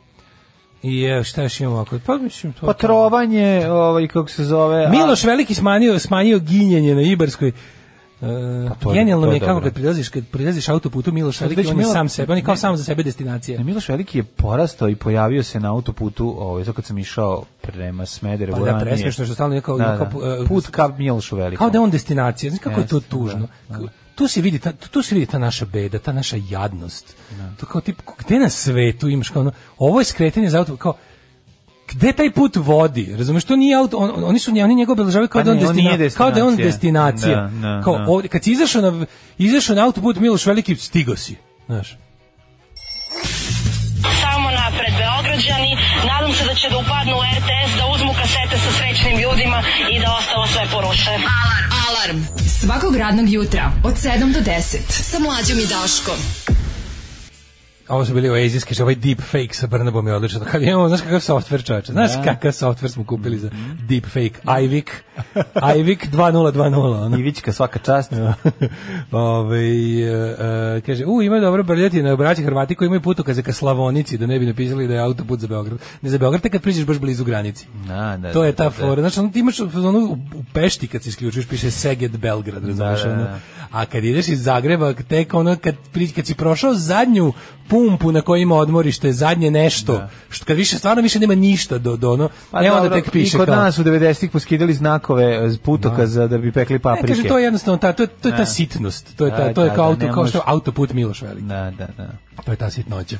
[SPEAKER 7] I e, šta još imamo ako? Pa mislim to.
[SPEAKER 6] Pa trovanje, ovaj, kako se zove... a-
[SPEAKER 7] Miloš Veliki smanjio, smanjio ginjenje na Ibarskoj. E,
[SPEAKER 6] Pa to je-
[SPEAKER 7] genijalno
[SPEAKER 6] to je
[SPEAKER 7] mi je kako
[SPEAKER 6] dobro.
[SPEAKER 7] kad prilaziš, kad prilaziš autoputu Miloš
[SPEAKER 6] Sad
[SPEAKER 7] Veliki,
[SPEAKER 6] već
[SPEAKER 7] on je
[SPEAKER 6] Milo-
[SPEAKER 7] sam sebe, on je kao sam za sebe destinacija.
[SPEAKER 6] Ne, Miloš Veliki je porastao i pojavio se na autoputu, ovaj, sad kad sam išao prema Smederevu.
[SPEAKER 7] Pa da,
[SPEAKER 6] ranije.
[SPEAKER 7] presmešno što stalno je kao-
[SPEAKER 6] Da,
[SPEAKER 7] kao pu-
[SPEAKER 6] da.
[SPEAKER 7] e,
[SPEAKER 6] Put ka Milošu Velikom.
[SPEAKER 7] Kao da je on destinacija. Znaš kako je to
[SPEAKER 6] Jeste,
[SPEAKER 7] tužno.
[SPEAKER 6] da, da.
[SPEAKER 7] Tu se vidi ta tu se vidi ta naša beda, ta naša jadnost. To kao tip gde na svetu imaš kao ono, ovo je skretanje za auto kao gde taj put vodi? Razumeš, to nije auto, on- on- oni su oni njega obeležavaju kao
[SPEAKER 6] Pa
[SPEAKER 7] da on
[SPEAKER 6] ne, on nije
[SPEAKER 7] destina- kao da je on
[SPEAKER 6] destinacija.
[SPEAKER 7] destinacija.
[SPEAKER 6] Da, da,
[SPEAKER 7] Kao
[SPEAKER 6] da.
[SPEAKER 7] ovdje, kad si izašao na izašao na autoput Miloš Veliki stigo si, znaš.
[SPEAKER 9] Samo napred Beograđani,
[SPEAKER 10] Nadam se da će da upadnu u RTS, da uzmu kasete sa srećnim ljudima i da ostalo sve poruše. Alarm!
[SPEAKER 5] Alarm. Svakog radnog jutra od 7 do 10. Sa mlađom i Daškom.
[SPEAKER 7] Ovo su bili Oasis, kaže, ovaj deep fake sa Brnabom je odlično. Kad imamo, znaš kakav softver čoveče, znaš
[SPEAKER 6] Da. Mhm.
[SPEAKER 7] kakav softver smo kupili za deep fake, iVic, iVic 2020, ono.
[SPEAKER 6] Ivićka svaka čast.
[SPEAKER 7] Ove, e, e, kaže, u, ima dobro brljati na braći Hrvati koji imaju putokaze ka Slavonici, da ne bi napisali da je autoput za Beograd. Ne za Beograd, te kad priđeš baš blizu granici.
[SPEAKER 6] Da, da,
[SPEAKER 7] to je
[SPEAKER 6] da,
[SPEAKER 7] ta
[SPEAKER 6] da.
[SPEAKER 7] fora. Znači, ono, ti imaš ono, u- u Pešti kad se isključuješ, piše Seged Belgrad, razumiješ?
[SPEAKER 6] da, da.
[SPEAKER 7] A kad ideš iz Zagreba, tek ono, kad, pri, kad si prošao zadnju pumpu na kojoj ima odmorište, zadnje nešto, što kad više, stvarno više nema ništa do, do ono, pa, e, onda
[SPEAKER 6] dobro,
[SPEAKER 7] tek piše
[SPEAKER 6] I kod
[SPEAKER 7] kao...
[SPEAKER 6] nas u 90-ih poskidali znakove z putoka za da bi pekli
[SPEAKER 7] Ne,
[SPEAKER 6] paprike.
[SPEAKER 7] kažem, E, to je jednostavno ta, to, je- to je ta sitnost. To je, ta,
[SPEAKER 6] Da,
[SPEAKER 7] to je
[SPEAKER 6] da,
[SPEAKER 7] kao,
[SPEAKER 6] da,
[SPEAKER 7] auto,
[SPEAKER 6] ne
[SPEAKER 7] kao što je
[SPEAKER 6] možeš.
[SPEAKER 7] autoput Miloš Veliki.
[SPEAKER 6] Da, da, da.
[SPEAKER 7] To je ta sitnoća.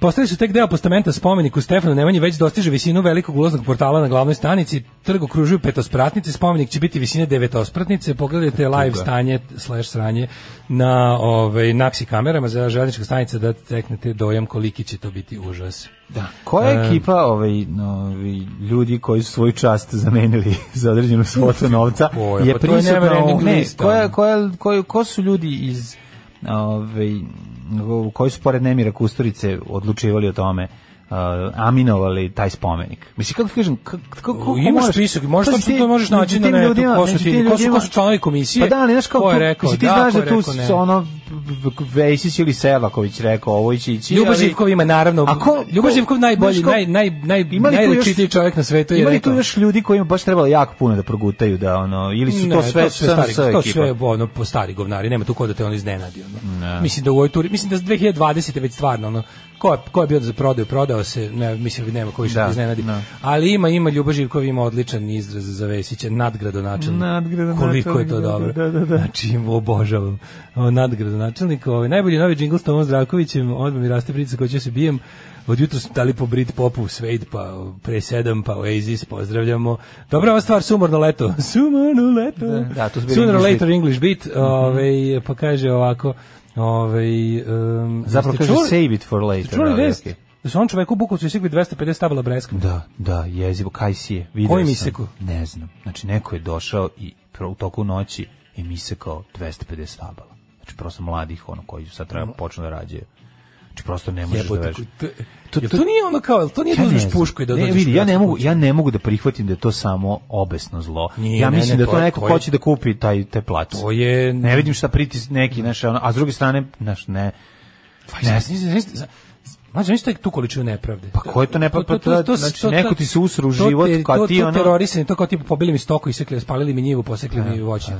[SPEAKER 7] Postali su tek deo postamenta spomeniku Stefanu Nemanji, već dostiže visinu velikog ulaznog portala na glavnoj stanici, trg okružuju petospratnice, spomenik će biti visine devetospratnice, pogledajte live stanje, slash sranje na ovaj, naksi kamerama za železnička stanica da teknete dojam koliki će to biti užas.
[SPEAKER 6] Da. Koja je ekipa ovaj, ovaj, ljudi koji su svoju čast zamenili za određenu svotu novca
[SPEAKER 7] Koja?
[SPEAKER 6] je
[SPEAKER 7] Pa to je never
[SPEAKER 6] prisutna u...
[SPEAKER 7] ending
[SPEAKER 6] Ne,
[SPEAKER 7] list,
[SPEAKER 6] koja,
[SPEAKER 7] ono.
[SPEAKER 6] koja, koja, ko su ljudi iz ovaj, koji su pored Nemira Kusturice odlučivali o tome uh, aminovali taj spomenik. Mislim, kako ti kažem, kako, kako, kako
[SPEAKER 7] Imaš
[SPEAKER 6] možeš-
[SPEAKER 7] spisak, možeš
[SPEAKER 6] Pazi,
[SPEAKER 7] to-
[SPEAKER 6] ti-
[SPEAKER 7] to možeš naći
[SPEAKER 6] među
[SPEAKER 7] na
[SPEAKER 6] tim
[SPEAKER 7] netu,
[SPEAKER 6] ljudima-
[SPEAKER 7] ko su
[SPEAKER 6] među
[SPEAKER 7] ti-
[SPEAKER 6] tim
[SPEAKER 7] ko su-
[SPEAKER 6] ljudima-
[SPEAKER 7] ko su članovi komisije,
[SPEAKER 6] Pa da, ali znaš kao,
[SPEAKER 7] ko je
[SPEAKER 6] tu-
[SPEAKER 7] rekao
[SPEAKER 6] mislim, ti
[SPEAKER 7] da,
[SPEAKER 6] znaš
[SPEAKER 7] ko
[SPEAKER 6] da,
[SPEAKER 7] je
[SPEAKER 6] tu
[SPEAKER 7] rekao ne.
[SPEAKER 6] s- ono Vejsić ili Selaković rekao, ovo će ići.
[SPEAKER 7] Ljubo
[SPEAKER 6] ali-
[SPEAKER 7] Živkov ima naravno.
[SPEAKER 6] A ko-
[SPEAKER 7] Ljubo
[SPEAKER 6] ko-
[SPEAKER 7] Živkov najbolji,
[SPEAKER 6] znaš ko-
[SPEAKER 7] naj, naj, naj,
[SPEAKER 6] Ima li tu još-
[SPEAKER 7] najrečitiji čovjek na svetu. je
[SPEAKER 6] Ima li tu
[SPEAKER 7] rekao.
[SPEAKER 6] još ljudi kojima baš trebalo jako puno da progutaju da ono ili su to
[SPEAKER 7] Ne,
[SPEAKER 6] sve
[SPEAKER 7] su stari,
[SPEAKER 6] SNS
[SPEAKER 7] to su
[SPEAKER 6] ekipa?
[SPEAKER 7] sve ono po stari govnari, nema tu ko da te on iznenadi ono. Mislim da u ovoj turi, mislim da s 2020 već stvarno ono ko je, ko je bio za prodaju, prodao se, ne, mislim da nema ko više
[SPEAKER 6] Da,
[SPEAKER 7] da, iznenadi.
[SPEAKER 6] da.
[SPEAKER 7] Ali ima ima Ljubo Živkov ima odličan izraz za Vesića, nadgradonačelnik.
[SPEAKER 6] Nadgradonačelnik,
[SPEAKER 7] Koliko je to
[SPEAKER 6] da,
[SPEAKER 7] dobro.
[SPEAKER 6] da, da, da.
[SPEAKER 7] Znači, im obožavam. O, nadgradonačelnik, ovaj najbolji novi džingl s Tomom Zdravkovićem, odmah mi raste pritisak hoću da se bijem. Od jutra su dali po Brit Popu, Svejd, pa o, pre sedam, pa Oasis, pozdravljamo. Dobra ova stvar, sumorno leto. Sumorno leto. Da,
[SPEAKER 6] da, to su bili
[SPEAKER 7] Sooner or
[SPEAKER 6] English Mhm.
[SPEAKER 7] later English beat. Ovaj, pa kaže ovako, ovaj, um,
[SPEAKER 6] Zapravo
[SPEAKER 7] jeste
[SPEAKER 6] kaže
[SPEAKER 7] čuli-
[SPEAKER 6] save it for later.
[SPEAKER 7] jeste čuli
[SPEAKER 6] ali
[SPEAKER 7] vest?
[SPEAKER 6] okej.
[SPEAKER 7] Da su on čoveku u Bukovcu isekli 250 stabla breskve.
[SPEAKER 6] Da, da, jezivo, kaj si je, vidio
[SPEAKER 7] Kojim
[SPEAKER 6] sam.
[SPEAKER 7] iseku?
[SPEAKER 6] Ne znam. Znači, neko je došao i pro- u toku noći i misekao 250 stabala. Znači, prosto mladih, ono, koji sad treba počnu da rađaju. Znači, prosto ne možeš da
[SPEAKER 7] Jebote,
[SPEAKER 6] veš.
[SPEAKER 7] ko- to- jel to nije ono kao, jel to nije da
[SPEAKER 6] ne
[SPEAKER 7] uzmeš
[SPEAKER 6] znam.
[SPEAKER 7] pušku i da
[SPEAKER 6] ne,
[SPEAKER 7] dođeš
[SPEAKER 6] vidi, ja ne
[SPEAKER 7] breskvu?
[SPEAKER 6] mogu ja ne mogu da prihvatim da je to samo obesno zlo.
[SPEAKER 7] Nije,
[SPEAKER 6] ja
[SPEAKER 7] ne,
[SPEAKER 6] mislim
[SPEAKER 7] ne,
[SPEAKER 6] da
[SPEAKER 7] to
[SPEAKER 6] to
[SPEAKER 7] je-
[SPEAKER 6] neko
[SPEAKER 7] to je-
[SPEAKER 6] hoće da kupi taj taj plac.
[SPEAKER 7] To je...
[SPEAKER 6] Ne vidim šta pritis neki, znaš, ono, a s druge strane, znaš, ne.
[SPEAKER 7] Ne, Mađo, niste tu količinu nepravde.
[SPEAKER 6] Pa ko je to nepravda? Pa to- znači, neko ti se usru u
[SPEAKER 7] to
[SPEAKER 6] život,
[SPEAKER 7] te-
[SPEAKER 6] kao
[SPEAKER 7] to-
[SPEAKER 6] ti,
[SPEAKER 7] to
[SPEAKER 6] ono-
[SPEAKER 7] terorisanje, to kao ti pobili mi stoku, isekli, raspalili mi njivu, posekli mi voćnjak.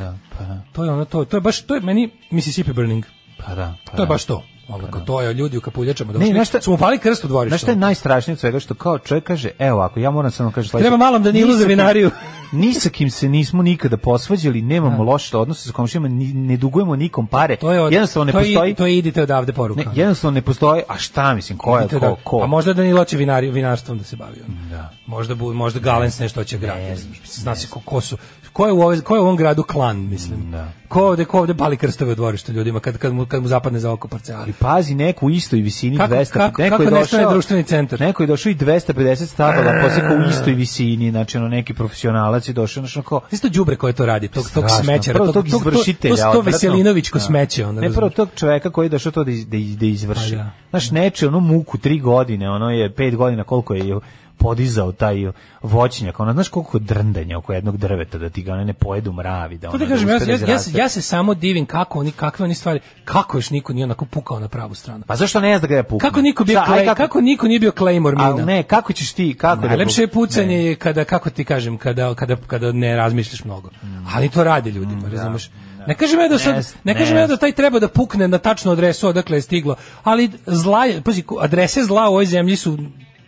[SPEAKER 7] To je ono to, to je baš, to je meni Mississippi Burning.
[SPEAKER 6] Pa da, pa
[SPEAKER 7] To je
[SPEAKER 6] da.
[SPEAKER 7] baš to. Ono, kao to je ljudi u kapuljačama došli,
[SPEAKER 6] znaš šta-
[SPEAKER 7] su mu pali krst u dvorištu.
[SPEAKER 6] Znaš šta je najstrašnije od svega što kao čovjek kaže, evo ako ja moram samo kaže sledeće.
[SPEAKER 7] Treba malom Danilu za vinariju.
[SPEAKER 6] Ni sa kim se nismo nikada posvađali, nemamo loše odnose sa komšijama, ni, ne dugujemo nikom pare.
[SPEAKER 7] To je od-
[SPEAKER 6] jednostavno ne
[SPEAKER 7] to je-
[SPEAKER 6] postoji.
[SPEAKER 7] To je idite odavde
[SPEAKER 6] ne,
[SPEAKER 7] poruka.
[SPEAKER 6] jednostavno ne postoji. A šta mislim, ko je
[SPEAKER 7] Idite
[SPEAKER 6] ko,
[SPEAKER 7] odavde.
[SPEAKER 6] ko?
[SPEAKER 7] A možda Danilo će vinari, vinarstvom da se bavi. on. Možda, bu, možda Galens nešto će grad. Ne, zna se ko, ko su. Ko je, u ove, ko je u ovom gradu klan, mislim. Ko ovde, ko ovde bali krstove u dvorištu ljudima kad, kad, mu, kad mu zapadne za oko parcela.
[SPEAKER 6] Ali pazi, neko u istoj visini
[SPEAKER 7] Kako-
[SPEAKER 6] 200,
[SPEAKER 7] kako-
[SPEAKER 6] neko
[SPEAKER 7] kako
[SPEAKER 6] je
[SPEAKER 7] nestane
[SPEAKER 6] došao
[SPEAKER 7] društveni centar?
[SPEAKER 6] Neko je došao i 250 stabala, poseka u istoj visini, znači ono neki profesionalac je došao, znači ono kao
[SPEAKER 7] Isto đubre koje to radi, tog, tog
[SPEAKER 6] Strašno.
[SPEAKER 7] smećera,
[SPEAKER 6] Prvo
[SPEAKER 7] tog, tog, tog,
[SPEAKER 6] izvršitelja,
[SPEAKER 7] to, to
[SPEAKER 6] odvratno.
[SPEAKER 7] Veselinovićko
[SPEAKER 6] Da.
[SPEAKER 7] smeće. Onda,
[SPEAKER 6] Ne prvo
[SPEAKER 7] razumeš?
[SPEAKER 6] tog čoveka koji je došao to da, iz, da, iz- da izvrši.
[SPEAKER 7] Pa da.
[SPEAKER 6] Znaš, neče onu muku tri godine, ono je pet godina koliko je podizao taj voćnjak. Ono, znaš koliko drndanja oko jednog drveta da ti ga one ne pojedu mravi. Da
[SPEAKER 7] To
[SPEAKER 6] ono,
[SPEAKER 7] ti kažem,
[SPEAKER 6] da
[SPEAKER 7] ja,
[SPEAKER 6] uspe da
[SPEAKER 7] ja, ja, se-
[SPEAKER 6] izraste.
[SPEAKER 7] ja se samo divim kako oni, kakve oni stvari, kako još niko nije onako pukao na pravu stranu.
[SPEAKER 6] Pa zašto ne zna da ga je pukne?
[SPEAKER 7] Kako niko, bio
[SPEAKER 6] Šta, aj,
[SPEAKER 7] Clay- kako niko nije bio Claymore
[SPEAKER 6] A,
[SPEAKER 7] mina?
[SPEAKER 6] ne, kako ćeš ti, kako da
[SPEAKER 7] Najlepše
[SPEAKER 6] puk-
[SPEAKER 7] je pucanje je kada, kako ti kažem, kada, kada, kada ne razmišljaš mnogo. Ali to rade ljudima, razumeš? Ne kažem ja da sad,
[SPEAKER 6] Jest,
[SPEAKER 7] ne kažem
[SPEAKER 6] jest.
[SPEAKER 7] ja da taj treba da pukne na tačnu adresu odakle je stiglo, ali zla, je- pazi, ko- adrese zla u ovoj zemlji su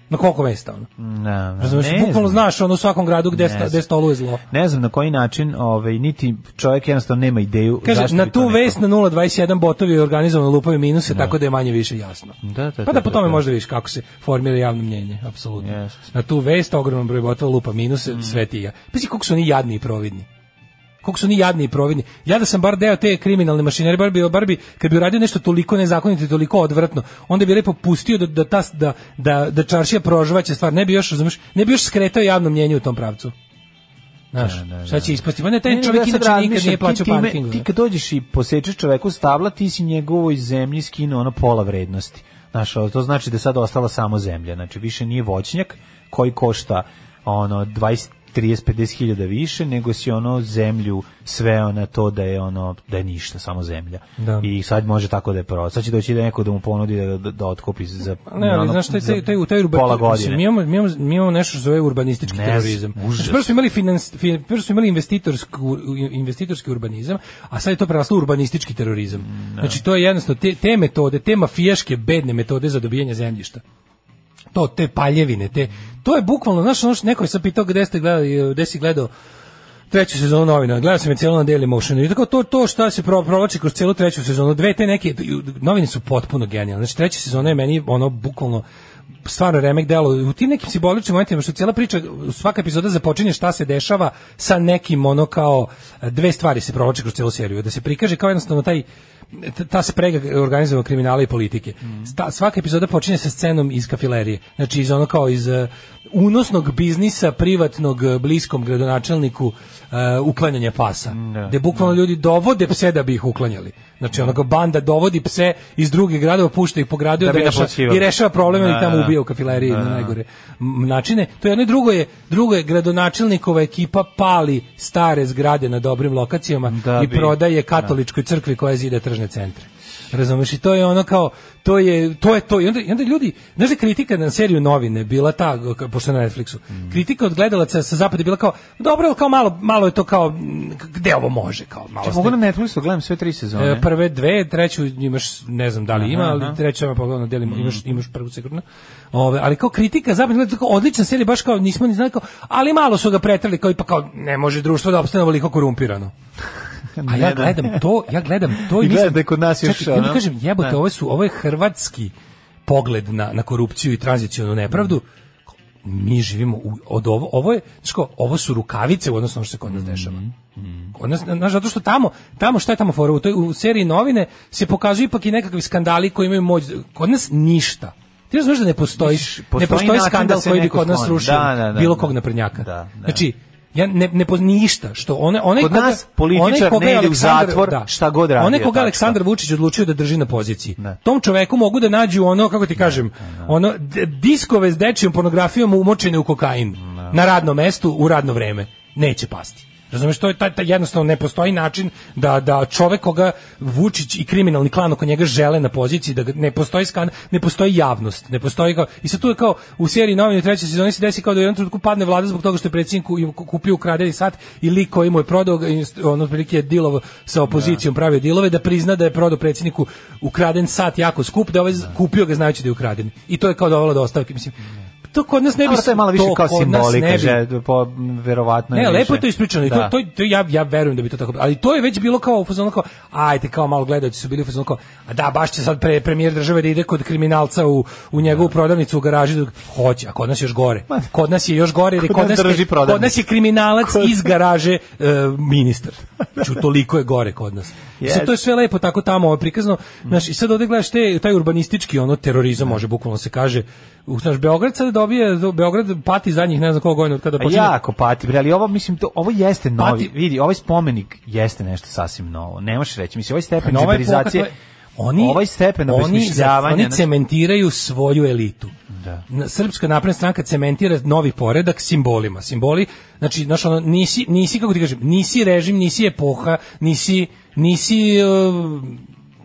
[SPEAKER 7] na koliko mesta, ono.
[SPEAKER 6] Ne, ne,
[SPEAKER 7] Razumeš,
[SPEAKER 6] Mm. Pa ne
[SPEAKER 7] bukvalno
[SPEAKER 6] znam.
[SPEAKER 7] znaš ono u svakom gradu gde, sta,
[SPEAKER 6] znam.
[SPEAKER 7] gde stoluje zlo.
[SPEAKER 6] Ne znam na koji način, ovaj, niti čovjek jednostavno nema ideju.
[SPEAKER 7] Kaže,
[SPEAKER 6] zašto
[SPEAKER 7] na
[SPEAKER 6] bi to
[SPEAKER 7] tu
[SPEAKER 6] neko-
[SPEAKER 7] vest na 0.21 botovi organizovano lupaju minuse, tako da je manje više jasno.
[SPEAKER 6] Da, da,
[SPEAKER 7] pa da,
[SPEAKER 6] da,
[SPEAKER 7] po
[SPEAKER 6] da,
[SPEAKER 7] tome
[SPEAKER 6] da.
[SPEAKER 7] možda vidiš kako se formira javno mnjenje, apsolutno.
[SPEAKER 6] Jeste. Mm.
[SPEAKER 7] Na tu vest ogroman broj botova lupa minuse, sve ti ja. Pazi koliko su oni jadni i providni. koliko su oni jadni i providni. Ja da sam bar deo te kriminalne mašinerije, bar bi, bar bi, kad bi uradio nešto toliko nezakonito i toliko odvratno, onda bi lepo pustio da, da, ta, da, da, da čaršija prožvaće stvar. Ne bi još, razumeš, ne bi još skretao javno mnjenje u tom pravcu. Znaš, šta će ispasti? Ma ne, taj
[SPEAKER 6] Ne,
[SPEAKER 7] čovjek
[SPEAKER 6] ja sad
[SPEAKER 7] inače nikad
[SPEAKER 6] razmišljam,
[SPEAKER 7] nije
[SPEAKER 6] ti
[SPEAKER 7] plaćao
[SPEAKER 6] time-
[SPEAKER 7] parking.
[SPEAKER 6] Ti kad dođeš i posečeš čoveku stabla, ti si njegovoj zemlji skinuo ono pola vrednosti. Znaš, ali to znači da je sad ostala samo zemlja. Znači, više nije voćnjak koji košta ono 20 30-50 hiljada više, nego si ono zemlju sveo na to da je ono da je ništa, samo zemlja.
[SPEAKER 7] Da.
[SPEAKER 6] I sad može tako da je prvo. Sad će doći da neko da mu ponudi da, da, da otkupi za
[SPEAKER 7] Pa Ne, ali
[SPEAKER 6] ono,
[SPEAKER 7] znaš, taj,
[SPEAKER 6] za
[SPEAKER 7] taj, taj, taj, urba-
[SPEAKER 6] pola
[SPEAKER 7] mislim,
[SPEAKER 6] godine.
[SPEAKER 7] Mi imamo, mi, imamo, mi imamo nešto što zove urbanistički
[SPEAKER 6] Ne,
[SPEAKER 7] terorizam.
[SPEAKER 6] užas.
[SPEAKER 7] Znači, prvo su imali, finans, fi- prvo su imali investitorsku, investitorski urbanizam, a sad je to preraslo u urbanistički terorizam.
[SPEAKER 6] Mm,
[SPEAKER 7] Znači, to je jednostavno, te, te metode, te mafijaške bedne metode za dobijanje zemljišta to te paljevine, te to je bukvalno, znaš, ono što neko je sad pitao gde ste gledali, gde si gledao treću sezonu novina. Gledao sam je cijelo na Daily Motionu. I tako to to šta se pro, provlači kroz cijelu treću sezonu, dve te neke novine su potpuno genijalne. Znači treća sezona je meni ono bukvalno stvarno remek delo u tim nekim simboličnim momentima što cijela priča svaka epizoda započinje šta se dešava sa nekim ono kao dve stvari se provlače kroz cijelu seriju da se prikaže kao jednostavno taj t- ta sprega organizovanog kriminala i politike.
[SPEAKER 6] Mhm.
[SPEAKER 7] Ta, svaka epizoda počinje sa scenom iz kafilerije. Znači iz ono kao iz e, unosnog biznisa privatnog e, bliskom gradonačelniku e, uklanjanja pasa.
[SPEAKER 6] Mhm,
[SPEAKER 7] Gde bukvalno ljudi dovode pse da bi ih uklanjali. Znači onako banda dovodi pse iz drugih gradova, pušta ih po gradu
[SPEAKER 6] Da
[SPEAKER 7] da
[SPEAKER 6] bi
[SPEAKER 7] i rešava-
[SPEAKER 6] naplaćivali.
[SPEAKER 7] i rešava probleme
[SPEAKER 6] Da,
[SPEAKER 7] i tamo
[SPEAKER 6] da.
[SPEAKER 7] ubija u kafileriji na najgore m, načine. To je jedno i drugo je, drugo je gradonačelnikova ekipa pali stare zgrade na dobrim lokacijama
[SPEAKER 6] Da
[SPEAKER 7] i
[SPEAKER 6] bi-
[SPEAKER 7] prodaje katoličkoj crkvi koja zida tržne centre. Razumeš, i to je ono kao, to je to. Je to. I, onda, I onda ljudi, znaš da je kritika na seriju novine bila ta, k- pošto je na Netflixu, kritika od gledalaca sa zapada je bila kao, dobro, ali kao malo, malo je to kao, m, k- gde ovo može, kao malo. ste-
[SPEAKER 6] Mogu na Netflixu, gledam sve tri sezone.
[SPEAKER 7] E, prve dve, treću imaš ne znam da li ima,
[SPEAKER 6] Aha,
[SPEAKER 7] ali
[SPEAKER 6] aha. Mhm.
[SPEAKER 7] treću sam pogledao na delima, imaš imaš prvu sigurno. Ove, ali kao kritika zapravo gleda tako odlična serija baš kao nismo ni znali kao, ali malo su ga pretrali kao ipak kao ne može društvo da opstane ovoliko korumpirano. A ja
[SPEAKER 6] Ne, da.
[SPEAKER 7] gledam to, ja gledam to
[SPEAKER 6] I
[SPEAKER 7] mislim-
[SPEAKER 6] gledam da je kod nas još,
[SPEAKER 7] Čekaj, ja
[SPEAKER 6] ono,
[SPEAKER 7] da kažem, jebote,
[SPEAKER 6] ne.
[SPEAKER 7] ovo su ovo je hrvatski pogled na na korupciju i tranzicionu nepravdu.
[SPEAKER 6] Mhm.
[SPEAKER 7] Mi živimo u, od ovo, ovo je, znaš kao, ovo su rukavice u odnosu na ono što se kod
[SPEAKER 6] Mhm.
[SPEAKER 7] nas dešava. Kod nas, znaš, zato što tamo, tamo šta je tamo fora, u, toj, u seriji novine se pokazuju ipak i nekakvi skandali koji imaju moć, kod nas ništa. Ti razumeš da ne postoji,
[SPEAKER 6] Misliš,
[SPEAKER 7] ne
[SPEAKER 6] postoji
[SPEAKER 7] postoji
[SPEAKER 6] način
[SPEAKER 7] skandal
[SPEAKER 6] da se
[SPEAKER 7] koji bi
[SPEAKER 6] neko
[SPEAKER 7] kod nas
[SPEAKER 6] skloni.
[SPEAKER 7] rušio
[SPEAKER 6] Da, da, da,
[SPEAKER 7] bilo
[SPEAKER 6] da.
[SPEAKER 7] kog naprednjaka.
[SPEAKER 6] Da, da.
[SPEAKER 7] Znači, ja ne, ne poz- ništa što one one
[SPEAKER 6] Kod nas političar ne ide u zatvor, šta god radio,
[SPEAKER 7] One koga
[SPEAKER 6] tačno.
[SPEAKER 7] Aleksandar Vučić odlučio da drži na poziciji.
[SPEAKER 6] Ne.
[SPEAKER 7] Tom čoveku mogu da nađu ono kako ti kažem, ono d- diskove s dečijom pornografijom umočene u kokain na radnom mestu u radno vreme. Neće pasti. Razumeš, to je taj, taj jednostavno ne postoji način da, da čovek koga Vučić i kriminalni klan oko njega žele na poziciji, da ga- ne postoji skan, ne postoji javnost, ne postoji kao, i sad tu je kao u seriji novine treće sezoni se desi kao da u jednom trenutku padne vlada zbog toga što je predsjednik ku- kupio ukradeni sat i lik koji mu je prodao, ga, inst- on otprilike je dilov sa opozicijom pravio dilove, da prizna da je prodao predsjedniku ukraden sat jako skup, da je ovaj z- kupio ga znajući da je ukraden. I to je kao dovelo do ostavke, mislim. To kod nas ne bi
[SPEAKER 6] Dobro, to je malo više
[SPEAKER 7] to
[SPEAKER 6] kao
[SPEAKER 7] kod nas ne
[SPEAKER 6] simbolika,
[SPEAKER 7] bi-
[SPEAKER 6] že, po, verovatno
[SPEAKER 7] ne,
[SPEAKER 6] je
[SPEAKER 7] lepo je
[SPEAKER 6] više.
[SPEAKER 7] to ispričano i to,
[SPEAKER 6] Da.
[SPEAKER 7] to, to ja, ja verujem da bi to tako bilo. Ali to je već bilo kao u fazonu kao, ajte kao malo gledaoci su bili u fazonu kao, a da, baš će sad pre, premijer države da ide kod kriminalca u, u njegovu prodavnicu u garaži. Da, hoće, a kod nas je još gore. Kod nas je još gore jer je
[SPEAKER 6] Kod
[SPEAKER 7] kod,
[SPEAKER 6] nas
[SPEAKER 7] nas,
[SPEAKER 6] drži
[SPEAKER 7] je,
[SPEAKER 6] prodavnicu.
[SPEAKER 7] kod nas je kriminalac iz garaže e, ministar. Znači, toliko je gore kod nas. I sad
[SPEAKER 6] Yes.
[SPEAKER 7] to je sve lepo tako tamo ovaj, prikazano. Znaš, I sad ovde gledaš te, taj urbanistički ono terorizam, može bukvalno se kaže. U, Znaš, Beograd sad dobije, Beograd pati zadnjih ne znam koliko godina od kada
[SPEAKER 6] A
[SPEAKER 7] počinje.
[SPEAKER 6] Pa jako pati, bre, ali ovo, mislim, to, ovo jeste novi,
[SPEAKER 7] Pati-
[SPEAKER 6] vidi, ovaj spomenik jeste nešto sasvim novo, nemaš reći, mislim, ovaj stepen
[SPEAKER 7] Nova epoha,
[SPEAKER 6] džiberizacije,
[SPEAKER 7] to je- oni
[SPEAKER 6] ovaj stepen
[SPEAKER 7] oni,
[SPEAKER 6] obesmišljavanja,
[SPEAKER 7] oni
[SPEAKER 6] znači-
[SPEAKER 7] cementiraju svoju elitu.
[SPEAKER 6] Da.
[SPEAKER 7] Na- Srpska napredna stranka cementira novi poredak simbolima. Simboli, znači, znaš, ono, nisi, nisi, kako ti kažem, nisi režim, nisi epoha, nisi, nisi, uh,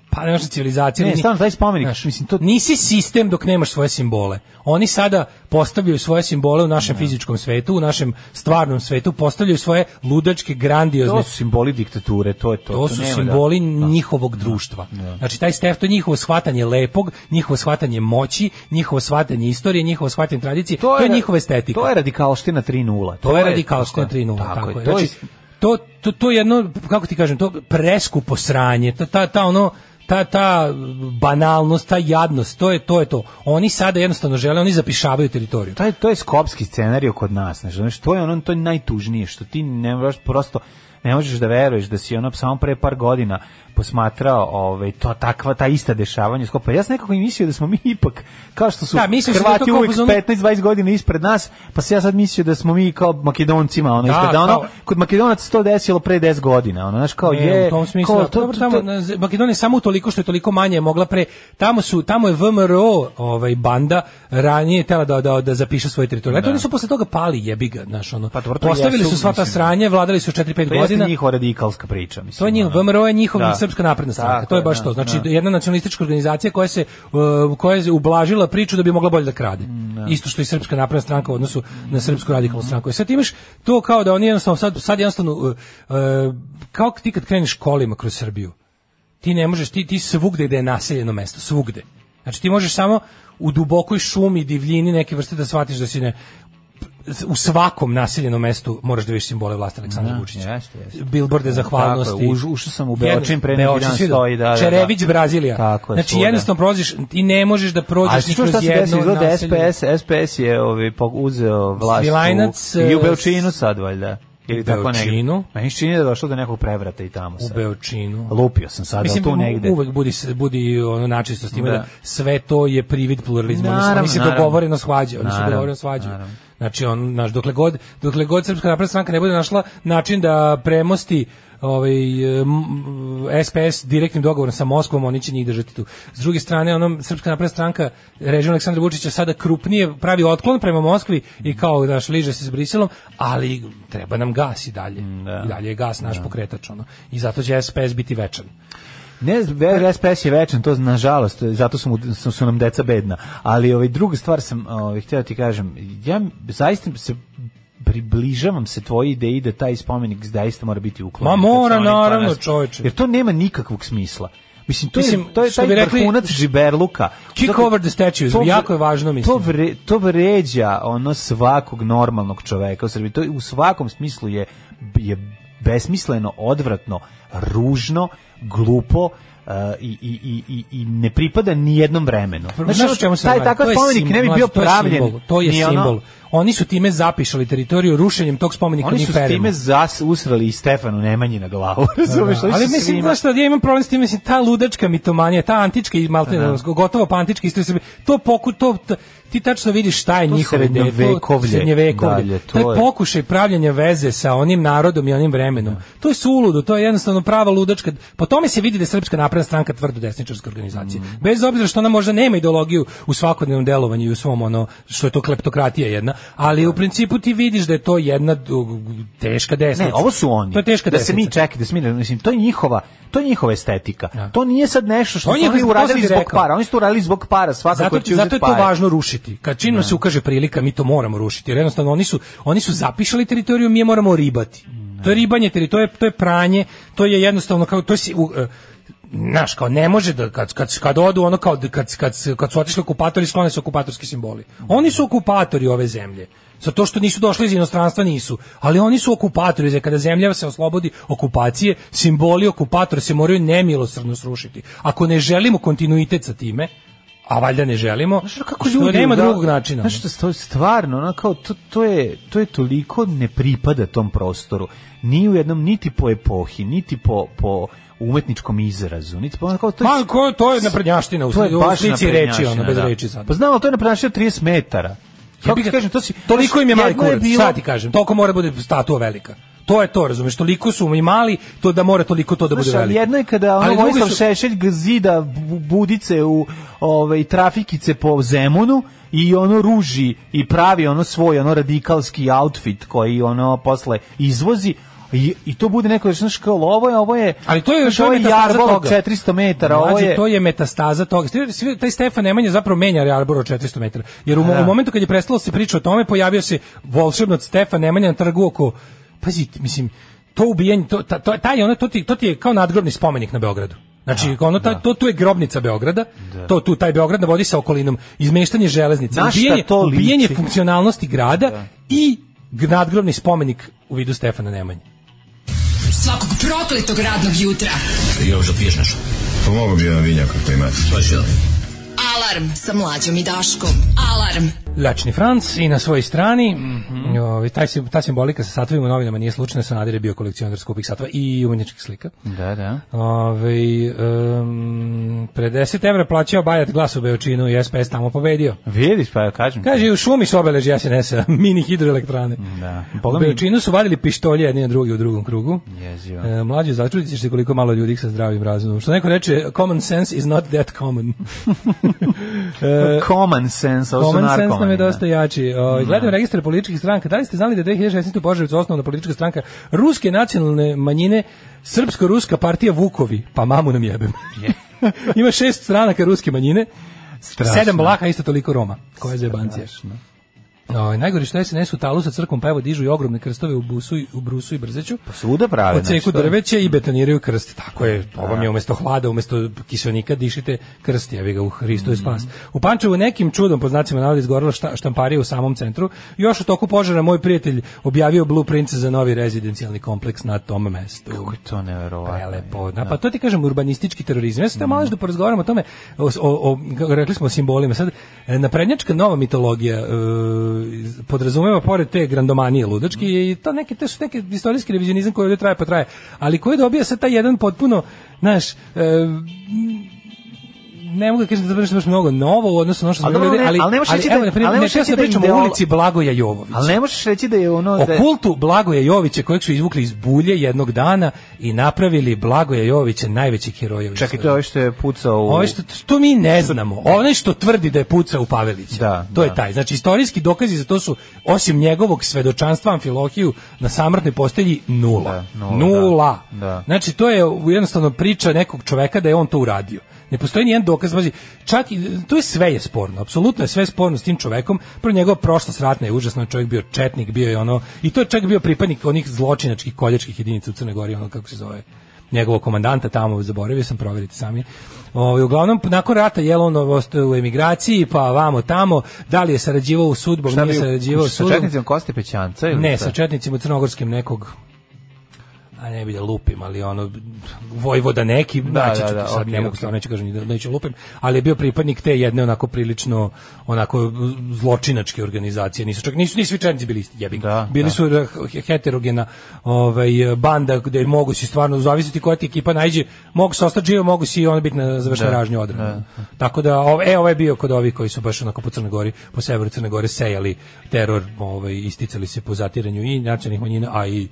[SPEAKER 7] pa ne znam, civilizacija.
[SPEAKER 6] Ne,
[SPEAKER 7] ni-
[SPEAKER 6] stvarno, taj spomenik, mislim, to-
[SPEAKER 7] Nisi sistem dok nemaš svoje simbole. Oni sada postavljaju svoje simbole u našem fizičkom svetu, u našem stvarnom svetu, postavljaju svoje ludačke, grandiozne
[SPEAKER 6] to su simboli diktature, to je
[SPEAKER 7] Pa
[SPEAKER 6] to.
[SPEAKER 7] to su
[SPEAKER 6] nema da-
[SPEAKER 7] simboli njihovog društva. Znači taj stef to je njihovo shvatanje lepog, njihovo shvatanje moći, njihovo shvatanje istorije, njihovo shvatanje tradicije, to, je, njihova estetika.
[SPEAKER 6] To je radikalština 3.0.
[SPEAKER 7] To je radikalština 3.0, tako, je. Znači, to, to, to je jedno, kako ti kažem, to preskupo sranje, ta, ta, ta ono, ta, ta banalnost, ta jadnost, to je to. Je to. Oni sada jednostavno žele, oni zapišavaju teritoriju.
[SPEAKER 6] To je, to je skopski scenario kod nas, ne znaš, to je ono, to je najtužnije, što ti ne možeš prosto, ne možeš da veruješ da si ono samo pre par godina posmatrao ovaj to takva ta ista dešavanja skopa. Ja sam nekako i mislio da smo mi ipak kao što su
[SPEAKER 7] Da, mislio sam da je to
[SPEAKER 6] Hrvati
[SPEAKER 7] kao
[SPEAKER 6] uvek
[SPEAKER 7] fazon-
[SPEAKER 6] 15-20 godina ispred nas, pa se ja sad mislio da smo mi kao Makedoncima, ono
[SPEAKER 7] Da,
[SPEAKER 6] ispred da, ono
[SPEAKER 7] kao-
[SPEAKER 6] kod Makedonaca se to desilo pre 10 godina, ono znaš kao
[SPEAKER 7] Ne,
[SPEAKER 6] je
[SPEAKER 7] u tom smislu.
[SPEAKER 6] kao,
[SPEAKER 7] ako dobro, tamo, na Z- Makedonija je samo toliko što je toliko manje mogla pre tamo su tamo je VMRO, ovaj banda ranije tela da da da zapiše svoje teritorije. Da. Oni su posle toga pali jebiga, znaš ono.
[SPEAKER 6] Pa dobro, to
[SPEAKER 7] Postavili
[SPEAKER 6] jesu,
[SPEAKER 7] su sva ta
[SPEAKER 6] mislim.
[SPEAKER 7] sranja, vladali su 4-5
[SPEAKER 6] To jeste
[SPEAKER 7] godina.
[SPEAKER 6] njihova radikalska priča, mislim.
[SPEAKER 7] To je njih,
[SPEAKER 6] ono.
[SPEAKER 7] VMRO je njihov
[SPEAKER 6] Da.
[SPEAKER 7] srpska napredna stranka,
[SPEAKER 6] Tako
[SPEAKER 7] to je
[SPEAKER 6] je,
[SPEAKER 7] baš
[SPEAKER 6] da,
[SPEAKER 7] to. Znači,
[SPEAKER 6] da.
[SPEAKER 7] jedna nacionalistička organizacija koja se uh, koja je ublažila priču da bi mogla bolje da krade.
[SPEAKER 6] Mm,
[SPEAKER 7] Isto što i srpska napredna stranka u odnosu na srpsku radikalnu stranku. I sad imaš to kao da oni jednostavno, sad, sad jednostavno, uh, uh, kao ti kad kreneš kolima kroz Srbiju, ti ne možeš, ti, ti svugde gde je naseljeno mesto, svugde. Znači ti možeš samo u dubokoj šumi, divljini neke vrste da shvatiš da si ne, u svakom naseljenom mestu moraš da vidiš simbole vlasti Aleksandra
[SPEAKER 6] Da,
[SPEAKER 7] Vučića.
[SPEAKER 6] jeste, jeste.
[SPEAKER 7] Bilborde zahvalnosti.
[SPEAKER 6] Tako je, uš- ušao sam u
[SPEAKER 7] Jedno-
[SPEAKER 6] Beočin, pre neki
[SPEAKER 7] Beočin,
[SPEAKER 6] dan
[SPEAKER 7] svi do-
[SPEAKER 6] stoji, da, da, da.
[SPEAKER 7] Čerević, Brazilija.
[SPEAKER 6] Tako je,
[SPEAKER 7] znači
[SPEAKER 6] svuda.
[SPEAKER 7] jednostavno prođeš i ne možeš da
[SPEAKER 6] A
[SPEAKER 7] prođeš
[SPEAKER 6] si
[SPEAKER 7] ni
[SPEAKER 6] čuo
[SPEAKER 7] kroz
[SPEAKER 6] šta se desilo?
[SPEAKER 7] jedno
[SPEAKER 6] Izgleda
[SPEAKER 7] naselje.
[SPEAKER 6] SPS, SPS je ovaj, pog- uzeo vlast
[SPEAKER 7] Svilajnac,
[SPEAKER 6] u, i u
[SPEAKER 7] eh,
[SPEAKER 6] Belčinu sad, valjda. Ili tako
[SPEAKER 7] Beočinu?
[SPEAKER 6] negdje. Meni se čini da je došlo do nekog prevrata i tamo
[SPEAKER 7] U
[SPEAKER 6] sad.
[SPEAKER 7] Beočinu.
[SPEAKER 6] Lupio sam sad, ali tu
[SPEAKER 7] u-
[SPEAKER 6] negde.
[SPEAKER 7] uvek budi, s- budi ono načisto s time da.
[SPEAKER 6] Da.
[SPEAKER 7] sve to je privid pluralizma. Oni su-
[SPEAKER 6] Naravno,
[SPEAKER 7] oni se
[SPEAKER 6] naravno.
[SPEAKER 7] dogovoreno svađaju. Oni se
[SPEAKER 6] Naravno,
[SPEAKER 7] dogovoreno svađaju.
[SPEAKER 6] naravno.
[SPEAKER 7] Znači, on, naš, dokle, god, dokle god Srpska napredna stranka ne bude našla način da premosti ovaj em, SPS direktnim dogovorom sa Moskvom, oni će njih držati tu. S druge strane, onom Srpska napredna stranka režim Aleksandra Vučića sada krupnije pravi otklon prema Moskvi i kao naš liže se s Briselom, ali treba nam gas i dalje. I dalje je gas naš pokretač ono. I zato će SPS biti večan.
[SPEAKER 6] Ne, ve- SPS je večan, to nažalost, zato su, mu, su, su nam deca bedna. Ali ovaj, druga stvar sam ovaj, htio ti kažem, ja zaista se približavam se tvoji ideji da taj spomenik zaista mora biti uklonjen.
[SPEAKER 7] Ma mora,
[SPEAKER 6] Kad se oni
[SPEAKER 7] naravno,
[SPEAKER 6] danas-
[SPEAKER 7] čoveče.
[SPEAKER 6] Jer to nema nikakvog smisla. Mislim, to
[SPEAKER 7] Mislim,
[SPEAKER 6] je, to je
[SPEAKER 7] što
[SPEAKER 6] taj
[SPEAKER 7] bi rekli,
[SPEAKER 6] vrhunac žiberluka.
[SPEAKER 7] kick
[SPEAKER 6] Zato-
[SPEAKER 7] over the statues,
[SPEAKER 6] to vre-
[SPEAKER 7] jako je važno, mislim.
[SPEAKER 6] To, vre, to vređa ono svakog normalnog čoveka u Srbiji. To je u svakom smislu je, je besmisleno, odvratno, ružno, glupo, e, i, i, i, i, i ne pripada ni jednom vremenu. Znači,
[SPEAKER 7] Znaš o čemu se
[SPEAKER 6] ono taj
[SPEAKER 7] radi?
[SPEAKER 6] takav
[SPEAKER 7] To je
[SPEAKER 6] spomenik
[SPEAKER 7] simbol,
[SPEAKER 6] ne bi
[SPEAKER 7] mlađe,
[SPEAKER 6] bio
[SPEAKER 7] to je
[SPEAKER 6] pravljen.
[SPEAKER 7] simbol, To je
[SPEAKER 6] ni ono-
[SPEAKER 7] simbol. Oni su time zapišali teritoriju rušenjem tog spomenika
[SPEAKER 6] Oni su s
[SPEAKER 7] Uniferima.
[SPEAKER 6] time zas, usrali i Stefanu Nemanji na glavu.
[SPEAKER 7] Da,
[SPEAKER 6] Razumeš? Oni
[SPEAKER 7] ali
[SPEAKER 6] su
[SPEAKER 7] mislim
[SPEAKER 6] svima-
[SPEAKER 7] da šta ja imam problem s tim mislim ta ludačka mitomanija ta antička i malte gotovo pa antička istorija Srbije, to poku to t- ti tačno vidiš šta je
[SPEAKER 6] To
[SPEAKER 7] njihovo
[SPEAKER 6] srednjovekovlje, dalje,
[SPEAKER 7] to,
[SPEAKER 6] to
[SPEAKER 7] je
[SPEAKER 6] je-
[SPEAKER 7] pokušaj pravljenja veze sa onim narodom i onim vremenom to je suludo to je jednostavno prava ludačka po tome se vidi da je srpska napredna stranka tvrdo desničarska organizacija
[SPEAKER 6] Mm.
[SPEAKER 7] bez obzira što ona možda nema ideologiju u svakodnevnom delovanju i u svom ono što je to kleptokratija jedna ali u principu ti vidiš da je to jedna uh, teška desnica
[SPEAKER 6] Ne, ovo su oni.
[SPEAKER 7] to je teška
[SPEAKER 6] da se
[SPEAKER 7] desnica
[SPEAKER 6] mi čekaj, da se mi ne- mislim to je njihova, to je njihova estetika. To nije sad nešto što
[SPEAKER 7] On
[SPEAKER 6] su
[SPEAKER 7] je-
[SPEAKER 6] oni
[SPEAKER 7] to sam
[SPEAKER 6] uradili
[SPEAKER 7] ti
[SPEAKER 6] zbog
[SPEAKER 7] rekao.
[SPEAKER 6] para. Oni su to uradili zbog para, svakako
[SPEAKER 7] Zato,
[SPEAKER 6] će
[SPEAKER 7] zato
[SPEAKER 6] uzeti
[SPEAKER 7] je to
[SPEAKER 6] pare.
[SPEAKER 7] važno rušiti. Kad čim nam se ukaže prilika, mi to moramo rušiti. Jer jednostavno oni su, oni su zapišali teritoriju, mi je moramo ribati. To je ribanje teritorije, to je, to je pranje, to je jednostavno kao, to je, si- u, e, znaš, kao ne može da, kad, kad, kad odu ono kao, da- kad, kad, kad su otišli okupatori, sklone se okupatorski simboli. Oni su okupatori ove zemlje. Zato što nisu došli iz inostranstva nisu, ali oni su okupatori, znači kada zemlja se oslobodi okupacije, simboli okupatora se moraju nemilosrdno srušiti. Ako ne želimo kontinuitet sa time, a valjda ne želimo,
[SPEAKER 6] Znaš ono
[SPEAKER 7] ono kako ljudi nema drugog načina.
[SPEAKER 6] Znaš što to je stvarno, ono kao to, to je to je toliko ne pripada tom prostoru. Ni u jednom niti po epohi, niti po po umetničkom izrazu, niti po ono kao to je
[SPEAKER 7] Ma, ko- to je naprednjaština u
[SPEAKER 6] to je
[SPEAKER 7] sli- u
[SPEAKER 6] baš
[SPEAKER 7] slici
[SPEAKER 6] naprednjačina,
[SPEAKER 7] reči, ono, bez
[SPEAKER 6] da.
[SPEAKER 7] reči sad.
[SPEAKER 6] Pa znam, ali to je naprednjačina 30 metara. Kako
[SPEAKER 7] Jebi
[SPEAKER 6] ti
[SPEAKER 7] ga,
[SPEAKER 6] kažem, to si,
[SPEAKER 7] toliko im je mali
[SPEAKER 6] jedno
[SPEAKER 7] kurac,
[SPEAKER 6] bilo-
[SPEAKER 7] sad ti kažem, toliko mora da bude statua velika. To je to, razumeš, toliko su mi mali, to da mora toliko to da bude
[SPEAKER 6] Znaš, ali
[SPEAKER 7] veliko.
[SPEAKER 6] jedno je kada ono
[SPEAKER 7] Ali drugi
[SPEAKER 6] Vojislav
[SPEAKER 7] su-
[SPEAKER 6] Šešelj g- zida bu- budice u ovaj, trafikice po Zemunu i ono ruži i pravi ono svoj ono radikalski outfit koji ono posle izvozi I, i to bude neko reći, znaš, kao, ovo je, ovo je,
[SPEAKER 7] Ali to je
[SPEAKER 6] znaš, ovo je
[SPEAKER 7] metastaza
[SPEAKER 6] jarbol od
[SPEAKER 7] toga.
[SPEAKER 6] 400 metara, ovo
[SPEAKER 7] Mlađe,
[SPEAKER 6] je,
[SPEAKER 7] to je metastaza toga. Svi- svi- Taj Stefan Nemanja zapravo menja Arbor od 400 metara. Jer u, mo-
[SPEAKER 6] Da.
[SPEAKER 7] u momentu kad je prestalo se priča o tome, pojavio se volšebno Stefan Nemanja na trgu oko... Pazi, mislim, to ubijanje, to, ta, to, taj, ono, to, ti, to ti je kao nadgrobni spomenik na Beogradu. Znači, ono, ta, to tu je grobnica Beograda, to tu, taj Beograd navodi sa okolinom, izmeštanje železnice,
[SPEAKER 6] Na šta
[SPEAKER 7] ubijanje,
[SPEAKER 6] to liči?
[SPEAKER 7] ubijanje funkcionalnosti grada i g- nadgrobni spomenik u vidu Stefana Nemanje.
[SPEAKER 5] Svakog prokletog radnog jutra.
[SPEAKER 11] Pomogao bi jedan vinjak ako imate.
[SPEAKER 5] Alarm Alarm sa mlađom i Daškom. Alarm.
[SPEAKER 7] Ljačni Franc i na svojoj strani
[SPEAKER 6] Mhm.
[SPEAKER 7] ovaj, taj, sim- ta simbolika sa satovima u novinama nije slučajna, Sanadir je bio kolekcionar skupih satova i umetničkih slika.
[SPEAKER 6] Da, da.
[SPEAKER 7] Ove, um, pre 10 evra plaćao Bajat glas u Beočinu i SPS tamo pobedio.
[SPEAKER 6] Vidiš, pa ja kažem.
[SPEAKER 7] Kaže, u šumi su obeleži SNS-a, mini hidroelektrane.
[SPEAKER 6] Da.
[SPEAKER 7] U
[SPEAKER 6] Pogledaj mi-
[SPEAKER 7] Beočinu su vadili pištolje jedni na drugi u drugom krugu.
[SPEAKER 6] Jezivo.
[SPEAKER 7] E, mlađe, začudit ćeš se koliko malo ljudi sa zdravim razumom. Što neko reče, common sense is not that common. e,
[SPEAKER 6] Common sense, ovo su
[SPEAKER 7] Common sense nam
[SPEAKER 6] narkomani.
[SPEAKER 7] je
[SPEAKER 6] da. Mhm.
[SPEAKER 7] dosta jači. O, gledam registar političkih stranka. Da li ste znali da je 2016. u Požarevcu osnovna politička stranka ruske nacionalne manjine Srpsko-ruska partija Vukovi? Pa mamu nam jebem. Ima šest stranaka ruske manjine,
[SPEAKER 6] Strašno.
[SPEAKER 7] sedam Vlaha, isto toliko Roma. Koja je zebancija. O, najgore što je SNS u talu sa crkvom, pa evo dižu i ogromne krstove u, busu, i- u brusu i brzeću.
[SPEAKER 6] Svuda prave. znači,
[SPEAKER 7] Odseku
[SPEAKER 6] to je-
[SPEAKER 7] drveće i betoniraju krst. Tako je, ovo mi je umesto hlada, umesto kiselnika dišite krst, jevi ga u Hristu je spas. U Pančevu nekim čudom, po znacima navoda, izgorela šta, štamparija u samom centru. Još u toku požara moj prijatelj objavio blueprint za novi rezidencijalni kompleks na tom mestu.
[SPEAKER 6] Kako je to neverovatno.
[SPEAKER 7] Prelepo. Da, pa to ti kažem urbanistički terorizam. Ja sam
[SPEAKER 6] Mm.
[SPEAKER 7] teo malo da porazgovaramo o tome, o, o, o, kako rekli smo o simbolima. Sad, e, naprednjačka nova mitologija e, iz- podrazumeva pored te grandomanije ludačke i to neke, te su neke istorijski revizionizam koji ovdje traje pa traje, ali koji dobija sad taj jedan potpuno, znaš, e, m, ne mogu da kažem da je to nešto baš mnogo novo u odnosu na ono što
[SPEAKER 6] Ali
[SPEAKER 7] smo
[SPEAKER 6] dobro,
[SPEAKER 7] ljudi,
[SPEAKER 6] ne-
[SPEAKER 7] ali,
[SPEAKER 6] ali ne možeš reći
[SPEAKER 7] evo,
[SPEAKER 6] da-
[SPEAKER 7] na primjer,
[SPEAKER 6] ali ne možeš
[SPEAKER 7] ne, ja
[SPEAKER 6] reći
[SPEAKER 7] sad
[SPEAKER 6] da je
[SPEAKER 7] pričam o
[SPEAKER 6] ideolo-
[SPEAKER 7] ulici Blagoja Jovovića
[SPEAKER 6] Ali ne možeš reći da je ono...
[SPEAKER 7] Pa o
[SPEAKER 6] da je-
[SPEAKER 7] kultu Blagoja Jovića kojeg su izvukli iz bulje jednog dana i napravili Blagoja Jovića najvećih heroja. u
[SPEAKER 6] Čekaj,
[SPEAKER 7] istoriji.
[SPEAKER 6] to je ovaj što je pucao u...
[SPEAKER 7] Ovo što, to mi ne znamo. Onaj što tvrdi da je pucao u Pavelića.
[SPEAKER 6] Da,
[SPEAKER 7] to
[SPEAKER 6] da.
[SPEAKER 7] je taj. Znači, istorijski dokazi za to su, osim njegovog svedočanstva Amfilohiju, na samrtnoj postelji nula.
[SPEAKER 6] Da, nula,
[SPEAKER 7] Nula.
[SPEAKER 6] da, da.
[SPEAKER 7] Znači, to je jednostavno priča nekog čoveka da je on to uradio. Ne postoji nijedan dokaz, pazi, čak i, to je sve je sporno, apsolutno je sve sporno s tim čovekom, prvo njegova prošlost ratna je užasna, čovjek bio četnik, bio je ono, i to je čak bio pripadnik onih zločinačkih koljačkih jedinica u Crnoj Gori, ono kako se zove, njegovog komandanta tamo, zaboravio sam, provjerite sami. Ovaj, uglavnom, nakon rata je on ostao u emigraciji, pa vamo tamo, da li je sarađivao u sudbom,
[SPEAKER 6] Šta
[SPEAKER 7] nije
[SPEAKER 6] bi-
[SPEAKER 7] sarađivao s
[SPEAKER 6] Sa
[SPEAKER 7] sudbom.
[SPEAKER 6] četnicima Koste Pećanca ili
[SPEAKER 7] Ne,
[SPEAKER 6] šta?
[SPEAKER 7] sa četnicima crnogorskim nekog a ne bi da lupim, ali ono Vojvoda neki, da, naći ću
[SPEAKER 6] da,
[SPEAKER 7] ti
[SPEAKER 6] da,
[SPEAKER 7] sad,
[SPEAKER 6] okej,
[SPEAKER 7] ne mogu
[SPEAKER 6] okej.
[SPEAKER 7] stvarno neću kažem ni da neću lupim, ali je bio pripadnik te jedne onako prilično onako zločinačke organizacije, nisu čak nisu ni svi četnici bili isti, jebi ga.
[SPEAKER 6] Da,
[SPEAKER 7] bili
[SPEAKER 6] da.
[SPEAKER 7] su eh, heterogena ovaj, banda gde mogu si stvarno, zavisiti koja ti ekipa najđe, mogu se ostati živo, mogu si i ono biti na završnoj
[SPEAKER 6] Da,
[SPEAKER 7] ražnju odrena. Tako da, ov, e, ovaj je bio kod ovih koji su baš onako po Crnoj Gori, po severu Crne Gore sejali teror, ovaj, isticali se po zatiranju i nacionalnih manjina, a i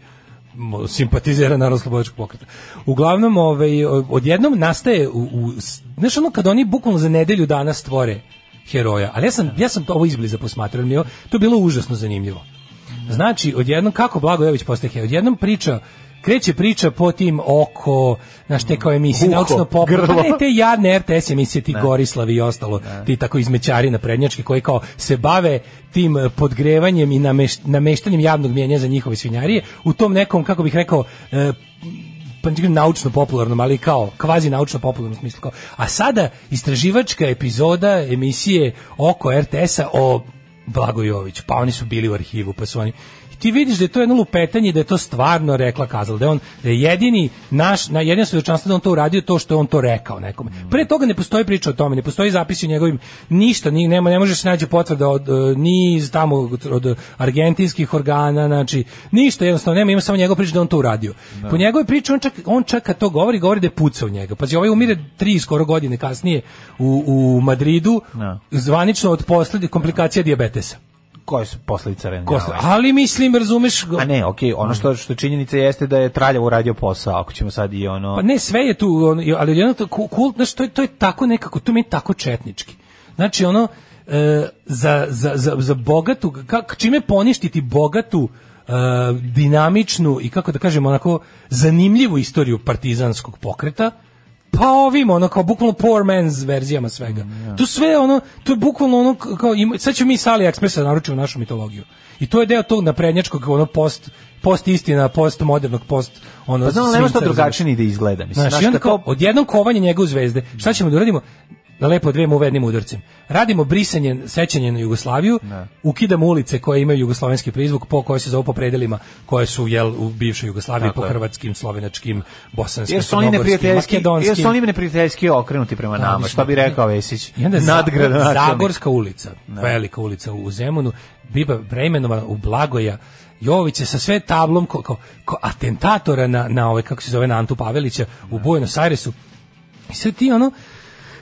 [SPEAKER 7] mo- simpatizera narodno slobodačkog pokreta. Uglavnom, ovaj, odjednom nastaje, u, u, s- znaš ono kad oni bukvalno za nedelju dana stvore heroja, ali ja sam, ja sam to ovo izbliza posmatrao, jer mi je ovo- to je bilo užasno zanimljivo. Znači, odjednom, kako Blagojević postaje heroj? Odjednom priča, kreće priča po tim oko, znaš, te kao emisije,
[SPEAKER 6] Uho,
[SPEAKER 7] naučno pop,
[SPEAKER 6] grlo.
[SPEAKER 7] pa ne, te jadne RTS emisije, ti Gorislavi i ostalo, ti tako izmećari naprednjački koji kao se bave tim eh, podgrevanjem i nameš- nameštanjem javnog mjenja za njihove svinjarije, u tom nekom, kako bih rekao, eh, pa ne kažem naučno popularnom, ali kao kvazi naučno popularnom smislu. Kao. A sada istraživačka epizoda emisije oko RTS-a o Blagojoviću, pa oni su bili u arhivu, pa su oni I ti vidiš da je to jedno lupetanje, da je to stvarno rekla kazala, da je on da je jedini naš, na jedino svedočanstvo da on to uradio to što je on to rekao nekome. Pre toga ne postoji priča o tome, ne postoji zapis o njegovim ništa, ni, nema, ne može se naći potvrda od, e, ni iz tamo od, od argentinskih organa, znači ništa jednostavno nema, ima samo njegov priča da on to uradio. Po njegovoj priči on čak, on čak kad to govori, govori da je pucao u njega. Pazi, ovaj umire tri skoro godine kasnije u, u Madridu,
[SPEAKER 6] Da.
[SPEAKER 7] zvanično od posledi komplikacija dijabetesa.
[SPEAKER 6] Koje su posledice
[SPEAKER 7] Kosle.
[SPEAKER 6] rendjala?
[SPEAKER 7] Ali mislim, razumeš,
[SPEAKER 6] ovaj A ne, okej, ono što što činjenica jeste da je Traljavo uradio posao, ako ćemo sad i ono...
[SPEAKER 7] Pa ne, sve je tu, on, ali jedno to ku- kult, znaš, to je, to je tako nekako, to mi je tako četnički. Znači, ono, e, za, za, za, za bogatu, kak, čime poništiti bogatu, e, dinamičnu i, kako da kažem, onako zanimljivu istoriju partizanskog pokreta, pa ovim, ono, kao bukvalno poor man's verzijama svega.
[SPEAKER 6] Mm,
[SPEAKER 7] Tu sve, ono, to je bukvalno ono, k- kao, ima, sad ćemo mi sa AliExpressa naručiti u našu mitologiju. I to je deo tog naprednjačkog, ono, post, post istina, post modernog, post, ono,
[SPEAKER 6] Pa znam, ali nema
[SPEAKER 7] svinca,
[SPEAKER 6] što
[SPEAKER 7] razumeš?
[SPEAKER 6] drugačije ni da izgleda. Mislim,
[SPEAKER 7] Znaš, i onda kao, odjednom kovanje njega u zvezde. Šta ćemo da uradimo? da lepo odrijemo u jednim udarcem. Radimo brisanje sećanja na Jugoslaviju, ukidamo ulice koje imaju jugoslovenski prizvuk, po koje se zovu po predelima koje su jel u bivšoj Jugoslaviji
[SPEAKER 6] Tako
[SPEAKER 7] po
[SPEAKER 6] je.
[SPEAKER 7] hrvatskim, slovenačkim, bosanskim,
[SPEAKER 6] Jer su oni
[SPEAKER 7] crnogorskim,
[SPEAKER 6] neprijateljski, jer su
[SPEAKER 7] makedonskim.
[SPEAKER 6] oni neprijateljski okrenuti prema nama,
[SPEAKER 7] Odlično.
[SPEAKER 6] šta bi rekao Vesić?
[SPEAKER 7] I onda Nadgrad,
[SPEAKER 6] Nadgradonačelnik.
[SPEAKER 7] Zagorska ulica, velika ulica u Zemunu, biva preimenovana u Blagoja. Jović je sa sve tablom ko, ko, ko atentatora na, na ove, kako se zove, na Antu Pavelića u Buenos Airesu. I sad ti ono,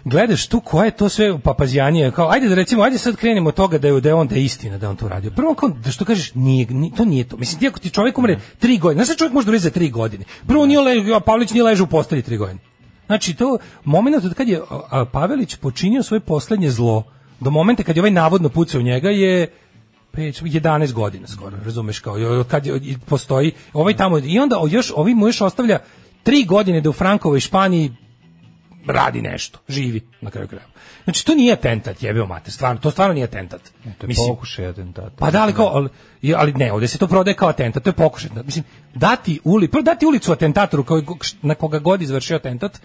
[SPEAKER 7] gledaš tu koje je to sve papazjanije, kao ajde da recimo, ajde sad krenemo od toga da je, da je on da je istina da je on to radio. Prvo kao, da što kažeš, nije, ni- to nije to. Mislim, ti ako ti čovjek umre tri godine, znaš da čovjek može da umre za tri godine. Prvo nije ležao, Pavlić nije ležao u postelji tri godine. Znači, to moment od kad je a, a, Pavelić počinio svoje poslednje zlo, do momenta kad je ovaj navodno pucao u njega je peć 11 godina skoro, razumeš kao i od kad je, i postoji ovaj tamo i onda o, još ovi mu još ostavlja tri godine da u Frankovoj Španiji radi nešto, živi na kraju krajeva. Znači to nije atentat, jebeo mater, stvarno, to stvarno nije atentat.
[SPEAKER 6] To je
[SPEAKER 7] Mislim,
[SPEAKER 6] pokušaj ono. atentata.
[SPEAKER 7] pa da li kao, ali, i- ali ne, ovdje se to prodaje kao atentat, to je pokušaj. Mislim, dati, uli, prvo dati ulicu atentatoru koji, na koga god izvršio atentat,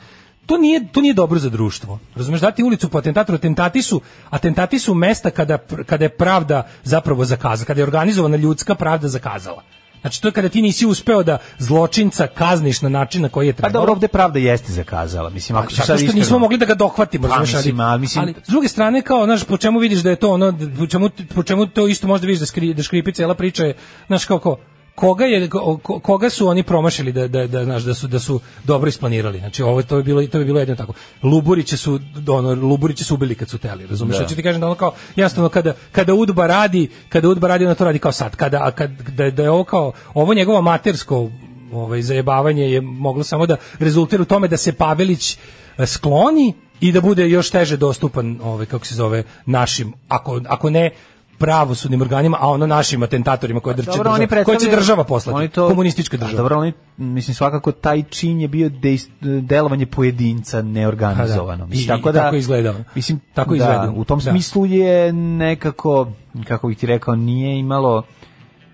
[SPEAKER 7] to nije, to nije dobro za društvo. Razumeš, dati ulicu po atentatoru, atentati su, atentati su mesta kada, pr- kada je pravda zapravo zakazala, kada je organizovana ljudska pravda zakazala. Znači, to je kada ti nisi uspeo da zločinca kazniš na način na koji je
[SPEAKER 6] Pa
[SPEAKER 7] trebalo.
[SPEAKER 6] dobro, ovde pravda jeste zakazala. Mislim, ako
[SPEAKER 7] Pa
[SPEAKER 6] ću
[SPEAKER 7] Zato
[SPEAKER 6] sad
[SPEAKER 7] što nismo
[SPEAKER 6] iskreno-
[SPEAKER 7] mogli da ga dohvatimo,
[SPEAKER 6] Pa,
[SPEAKER 7] razumeš, ali-
[SPEAKER 6] mislim, ali mislim-
[SPEAKER 7] ali s druge strane kao, znaš, po čemu vidiš da je to ono, po čemu, po čemu to isto možda vidiš da, skri, da škripi cela priča je, znaš, kao, ko- koga, je, ko- ko- koga su oni promašili da, da, da, znaš, da, su, da su dobro isplanirali. Znači, ovo, to, je bilo, to je bilo jedno tako. Luburiće su, ono, Luburiće su ubili kad su teli, razumiješ? Hoću ti kažem da ono kao, jasno, kada, kada Udba radi, kada Udba radi, ono to radi kao sad. Kada, a kad, da, da je ovo kao, ovo njegovo matersko ovaj, zajebavanje je moglo samo da rezultira u tome da se Pavelić e, skloni i da bude još teže dostupan ovaj kako se zove našim ako ako ne pravosudnim organima, a ono našim atentatorima koje, drče
[SPEAKER 6] Pa Dobro, oni
[SPEAKER 7] država, koje će
[SPEAKER 6] predstavljaju-
[SPEAKER 7] država poslati,
[SPEAKER 6] oni to-
[SPEAKER 7] komunistička
[SPEAKER 6] A
[SPEAKER 7] država.
[SPEAKER 6] Dobro, oni, mislim, svakako taj čin je bio dejst, delovanje pojedinca
[SPEAKER 7] A, Pa da.
[SPEAKER 6] neorganizovano. Mislim,
[SPEAKER 7] I- i tako izgleda ono.
[SPEAKER 6] Mislim,
[SPEAKER 7] Tako
[SPEAKER 6] tako da,
[SPEAKER 7] izgleda.
[SPEAKER 6] u tom
[SPEAKER 7] Da.
[SPEAKER 6] smislu je nekako, kako bih ti rekao, nije imalo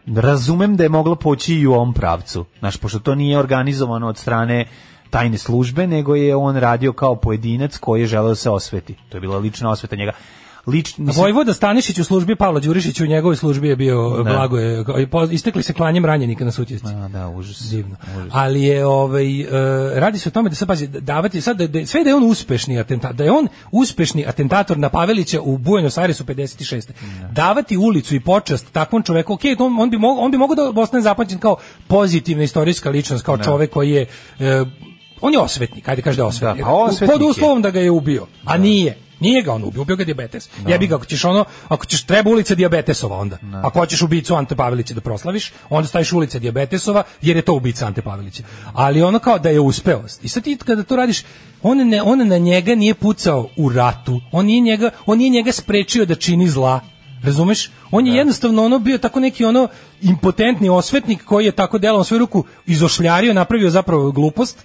[SPEAKER 6] razumem da je moglo poći i u ovom pravcu. Znaš, pošto to nije organizovano od strane tajne službe, nego je on radio kao pojedinac koji je želeo da se osveti. To je bila lična osveta njega. Lič, mislim,
[SPEAKER 7] Vojvoda Stanišić u službi Pavla Đurišića u njegovoj službi je bio blago je istekli se klanjem ranjenika na sutjesci.
[SPEAKER 6] A, da, užas.
[SPEAKER 7] divno. Ali je ovaj e, radi se o tome da se pazi davati sad da, da- sve da je on uspešni atentator, da je on uspešni atentator na Pavelića u Buenos Airesu 56. Davati ulicu i počast takvom čoveku, okej, on, on bi mogao on bi mogao da ostane zapamćen kao pozitivna istorijska ličnost, kao čovek koji je e, on je osvetnik, ajde kaže da je osvetnik.
[SPEAKER 6] Da, pa osvetnik
[SPEAKER 7] Pod
[SPEAKER 6] je.
[SPEAKER 7] uslovom da ga je ubio, a nije. Nije ga on ubio, ubio ga dijabetes. Jebi ga, ako ćeš ono, ako ćeš treba ulica dijabetesova onda. Ako hoćeš ubicu Ante Pavelića da proslaviš, onda staviš ulica dijabetesova, jer je to ubica Ante Pavelića. Ali ono kao da je uspeo. I sad ti kada to radiš, on, ne, on na njega nije pucao u ratu, on nije njega, on nije njega sprečio da čini zla. Razumeš? On je jednostavno ono bio tako neki ono impotentni osvetnik koji je tako delom svoju ruku izošljario, napravio zapravo glupost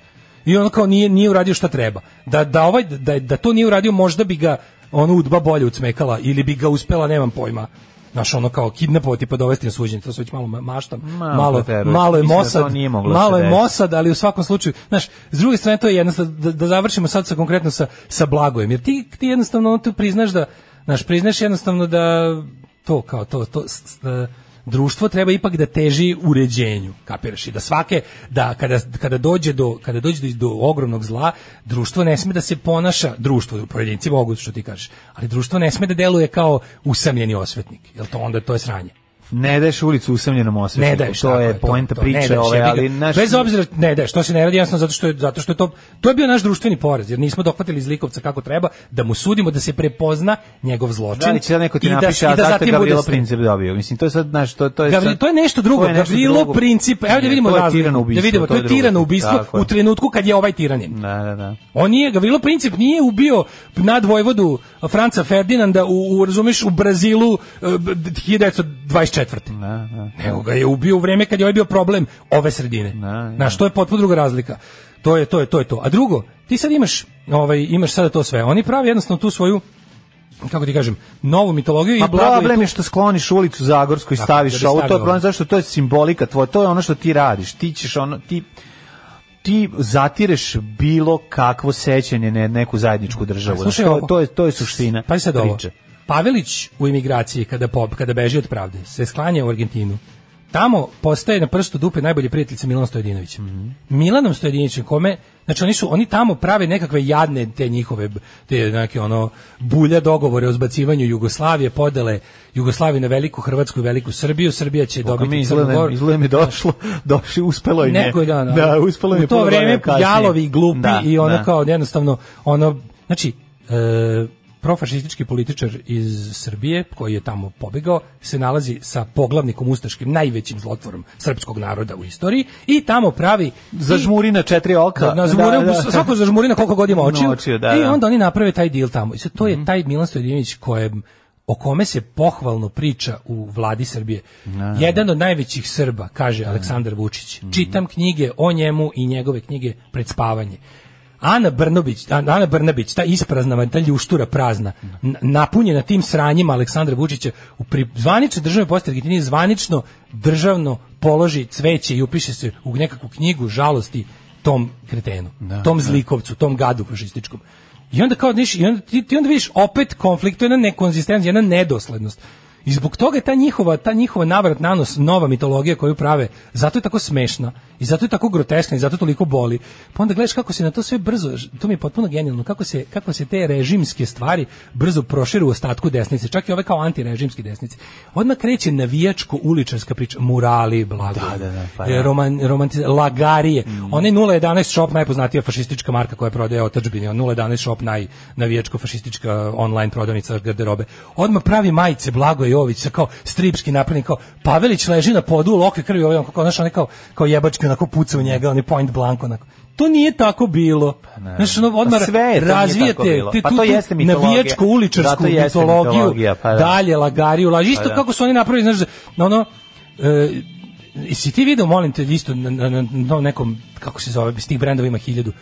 [SPEAKER 7] i on kao nije nije uradio šta treba. Da da ovaj da da to nije uradio možda bi ga ono udba bolje ucmekala ili bi ga uspela, nemam pojma. Znaš, ono kao kidnapovati pa dovesti na suđenje, to se već malo ma- maštam.
[SPEAKER 6] Malo
[SPEAKER 7] Malo,
[SPEAKER 6] preteruješ.
[SPEAKER 7] malo je
[SPEAKER 6] Mislim da
[SPEAKER 7] Mosad,
[SPEAKER 6] to nije moglo da se
[SPEAKER 7] malo je
[SPEAKER 6] desi.
[SPEAKER 7] Mosad, ali u svakom slučaju, znaš, s druge strane to je jednostavno, da, da završimo sad sa konkretno sa, sa Blagojem, jer ti, ti jednostavno ono tu priznaš da, znaš, priznaš jednostavno da to kao to, to s- s- e, društvo treba ipak da teži uređenju, kapiraš, i da svake, da kada, kada dođe, do, kada dođe do, do ogromnog zla, društvo ne sme da se ponaša, društvo, pojedinci mogu, što ti kažeš, ali društvo ne sme da deluje kao usamljeni osvetnik, jer to onda to je sranje.
[SPEAKER 6] ne daješ ulicu usamljenom osvetniku.
[SPEAKER 7] Ne daješ,
[SPEAKER 6] ovaj, to
[SPEAKER 7] tako
[SPEAKER 6] je
[SPEAKER 7] to,
[SPEAKER 6] poenta
[SPEAKER 7] to, ne
[SPEAKER 6] priče,
[SPEAKER 7] daješ,
[SPEAKER 6] ove,
[SPEAKER 7] jebi ga.
[SPEAKER 6] ali naš...
[SPEAKER 7] ovaj, bez obzira ne daješ, to se ne radi jasno zato što je zato što je to to je bio naš društveni porez, jer nismo dohvatili zlikovca kako treba da mu sudimo da se prepozna njegov zločin.
[SPEAKER 6] Da li će sad neko ti
[SPEAKER 7] i da-
[SPEAKER 6] napiše,
[SPEAKER 7] i
[SPEAKER 6] a
[SPEAKER 7] da
[SPEAKER 6] zašto
[SPEAKER 7] zatim
[SPEAKER 6] je
[SPEAKER 7] bude
[SPEAKER 6] Gavrilo
[SPEAKER 7] sre-
[SPEAKER 6] Princip dobio? Mislim, to je sad, znaš, to, to je
[SPEAKER 7] Gavri-
[SPEAKER 6] sad-
[SPEAKER 7] to je nešto drugo.
[SPEAKER 6] to je nešto
[SPEAKER 7] Gavrilo
[SPEAKER 6] drugo.
[SPEAKER 7] princip, evo da
[SPEAKER 6] Ne,
[SPEAKER 7] vidimo
[SPEAKER 6] to je
[SPEAKER 7] razliku,
[SPEAKER 6] tirano ubistvo,
[SPEAKER 7] Da vidimo, to je
[SPEAKER 6] drugo.
[SPEAKER 7] tirano ubistvo
[SPEAKER 6] Tako je.
[SPEAKER 7] u trenutku kad je ovaj tiranin.
[SPEAKER 6] Da, da, da.
[SPEAKER 7] On nije, Gavrilo Princip nije ubio nad Vojvodu Franca Ferdinanda u, u razumeš, u Brazilu e, b- 1924.
[SPEAKER 6] Da, da.
[SPEAKER 7] Nego ga je ubio u vreme kad je ovaj bio problem ove sredine.
[SPEAKER 6] Da,
[SPEAKER 7] Znaš, to je potpuno druga razlika. To je, to je, to je to. A drugo, ti sad imaš, ovaj, imaš sada to sve. Oni pravi jednostavno tu svoju kako ti kažem, novu mitologiju
[SPEAKER 6] Pa
[SPEAKER 7] i blago je
[SPEAKER 6] problem
[SPEAKER 7] tu-
[SPEAKER 6] je što skloniš ulicu Zagorsku i
[SPEAKER 7] Tako,
[SPEAKER 6] staviš
[SPEAKER 7] da bi
[SPEAKER 6] ovo, to je
[SPEAKER 7] stavio
[SPEAKER 6] problem
[SPEAKER 7] ovo.
[SPEAKER 6] zašto to je simbolika tvoja, to je ono što ti radiš, ti ćeš ono, ti ti zatireš bilo kakvo sećanje na neku zajedničku državu.
[SPEAKER 7] Pa Slušaj
[SPEAKER 6] Znaš, to,
[SPEAKER 7] ovo.
[SPEAKER 6] to, je, to je suština
[SPEAKER 7] Pa sad ovo.
[SPEAKER 6] priče.
[SPEAKER 7] Pavelić u imigraciji kada pop, kada beži od pravde, se sklanja u Argentinu. Tamo postaje na prstu dupe najbolji prijatelj sa Milanom Stojadinovićem.
[SPEAKER 6] Mhm.
[SPEAKER 7] Milanom Stojadinovićem kome, znači oni su oni tamo prave nekakve jadne te njihove te neke ono bulja dogovore o zbacivanju Jugoslavije, podele Jugoslavije na veliku Hrvatsku i veliku Srbiju, Srbija će
[SPEAKER 6] Boga mi
[SPEAKER 7] dobiti Crnu
[SPEAKER 6] izgleda,
[SPEAKER 7] Goru.
[SPEAKER 6] izgleda mi došlo, došlo, uspelo je
[SPEAKER 7] Neko je da, da.
[SPEAKER 6] da, uspelo je
[SPEAKER 7] U to vreme jalovi i glupi i ono
[SPEAKER 6] da.
[SPEAKER 7] kao jednostavno ono znači e, profašistički političar iz Srbije koji je tamo pobegao se nalazi sa poglavnikom ustaškim najvećim zlotvorom srpskog naroda u istoriji i tamo pravi
[SPEAKER 6] Zažmuri na četiri oka.
[SPEAKER 7] Da, na žmurinu, svako zažmuri na koliko god ima očiju. Mhm.
[SPEAKER 6] Noćiju, da,
[SPEAKER 7] I
[SPEAKER 6] da.
[SPEAKER 7] onda oni naprave taj deal tamo. I sad to je taj Milan Stojadinović kojem o kome se pohvalno priča u vladi Srbije. Jedan od najvećih Srba, kaže Aleksandar Vučić. Čitam knjige o njemu i njegove knjige pred spavanje. Ana Brnobić, An- Ana Brnabić, ta isprazna, ta ljuštura prazna, n- napunjena tim sranjima Aleksandra Vučića, u pri, zvanično državnoj postavi Argentini, zvanično državno položi cveće i upiše se u nekakvu knjigu žalosti tom kretenu, tom zlikovcu, tom gadu fašističkom. I onda kao znaš, i onda, ti, ti onda vidiš opet konflikt, to je jedna nekonzistencija, jedna nedoslednost. I zbog toga je ta njihova, ta njihova navrat na nos, nova mitologija koju prave, zato je tako smešna i zato je tako groteskna i zato toliko boli. Pa onda gledaš kako se na to sve brzo, to mi je potpuno genijalno, kako se, kako se te režimske stvari brzo prošire u ostatku desnice, čak i ove kao antirežimski desnice. Odmah kreće navijačko-uličarska priča, murali, blago,
[SPEAKER 6] pa
[SPEAKER 7] e, roman, romantiz- lagarije.
[SPEAKER 6] Mm.
[SPEAKER 7] Onaj 011 shop najpoznatija fašistička marka koja prodaje otadžbine, on 011 shop naj navijačko fašistička online prodavnica garderobe. Odmah pravi majice Blago Jović sa kao stripski napravljen kao Pavelić leži na podu u lokvi krvi, ovaj on kao našao kao kao jebački onako puca u njega, onaj point blank onako. To nije tako bilo. Znaš, ono, odmah
[SPEAKER 6] Pa sve je to nije tako
[SPEAKER 7] razvijate
[SPEAKER 6] bilo.
[SPEAKER 7] ti
[SPEAKER 6] Pa
[SPEAKER 7] tu,
[SPEAKER 6] to
[SPEAKER 7] tu
[SPEAKER 6] jeste mitologija.
[SPEAKER 7] navijačko uličarsku
[SPEAKER 6] Da, to jeste
[SPEAKER 7] mitologiju,
[SPEAKER 6] mitologija, pa da.
[SPEAKER 7] dalje lagariju, laži isto
[SPEAKER 6] Pa da.
[SPEAKER 7] kako su oni napravili, znaš, na ono e, I si ti video, molim te, isto na, na, na, na nekom, kako se zove, s tih brendova ima hiljadu,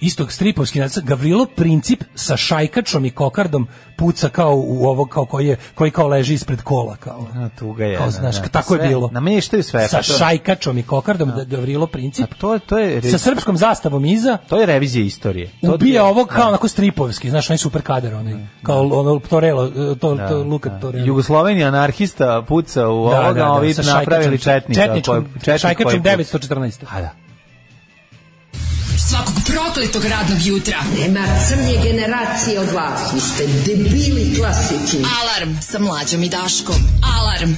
[SPEAKER 7] istog stripovski nacrt, Gavrilo Princip sa šajkačom i kokardom puca kao u ovo, kao koji, je, koji kao leži ispred kola. Kao.
[SPEAKER 6] A, tuga je,
[SPEAKER 7] Kao,
[SPEAKER 6] da,
[SPEAKER 7] znaš,
[SPEAKER 6] da.
[SPEAKER 7] tako
[SPEAKER 6] Sve,
[SPEAKER 7] je bilo.
[SPEAKER 6] namještaju sve,
[SPEAKER 7] Sa
[SPEAKER 6] pa to-
[SPEAKER 7] šajkačom i kokardom, da. Gavrilo Princip.
[SPEAKER 6] A to je- to je re-
[SPEAKER 7] Sa srpskom zastavom iza,
[SPEAKER 6] To je revizija istorije. To ti je-
[SPEAKER 7] ubija ovog kao onako stripovski, znaš, onaj super kadar, onaj, kao ono, Torelo, to, to,
[SPEAKER 6] Da,
[SPEAKER 7] Luka
[SPEAKER 6] da.
[SPEAKER 7] Torelo.
[SPEAKER 6] Jugosloveni anarhista puca u ovoga, da, Pa ovi
[SPEAKER 7] sa
[SPEAKER 6] napravili
[SPEAKER 7] šajkačom.
[SPEAKER 6] četnika.
[SPEAKER 7] Četničkom,
[SPEAKER 6] koji- četnik koji
[SPEAKER 7] šajkačom
[SPEAKER 6] puca.
[SPEAKER 7] 914.
[SPEAKER 6] A da.
[SPEAKER 5] Svakog prokletog radnog jutra.
[SPEAKER 11] Nema crnje generacije od vas. Vi ste debili klasični.
[SPEAKER 5] Alarm sa mlađom i Daškom. Alarm.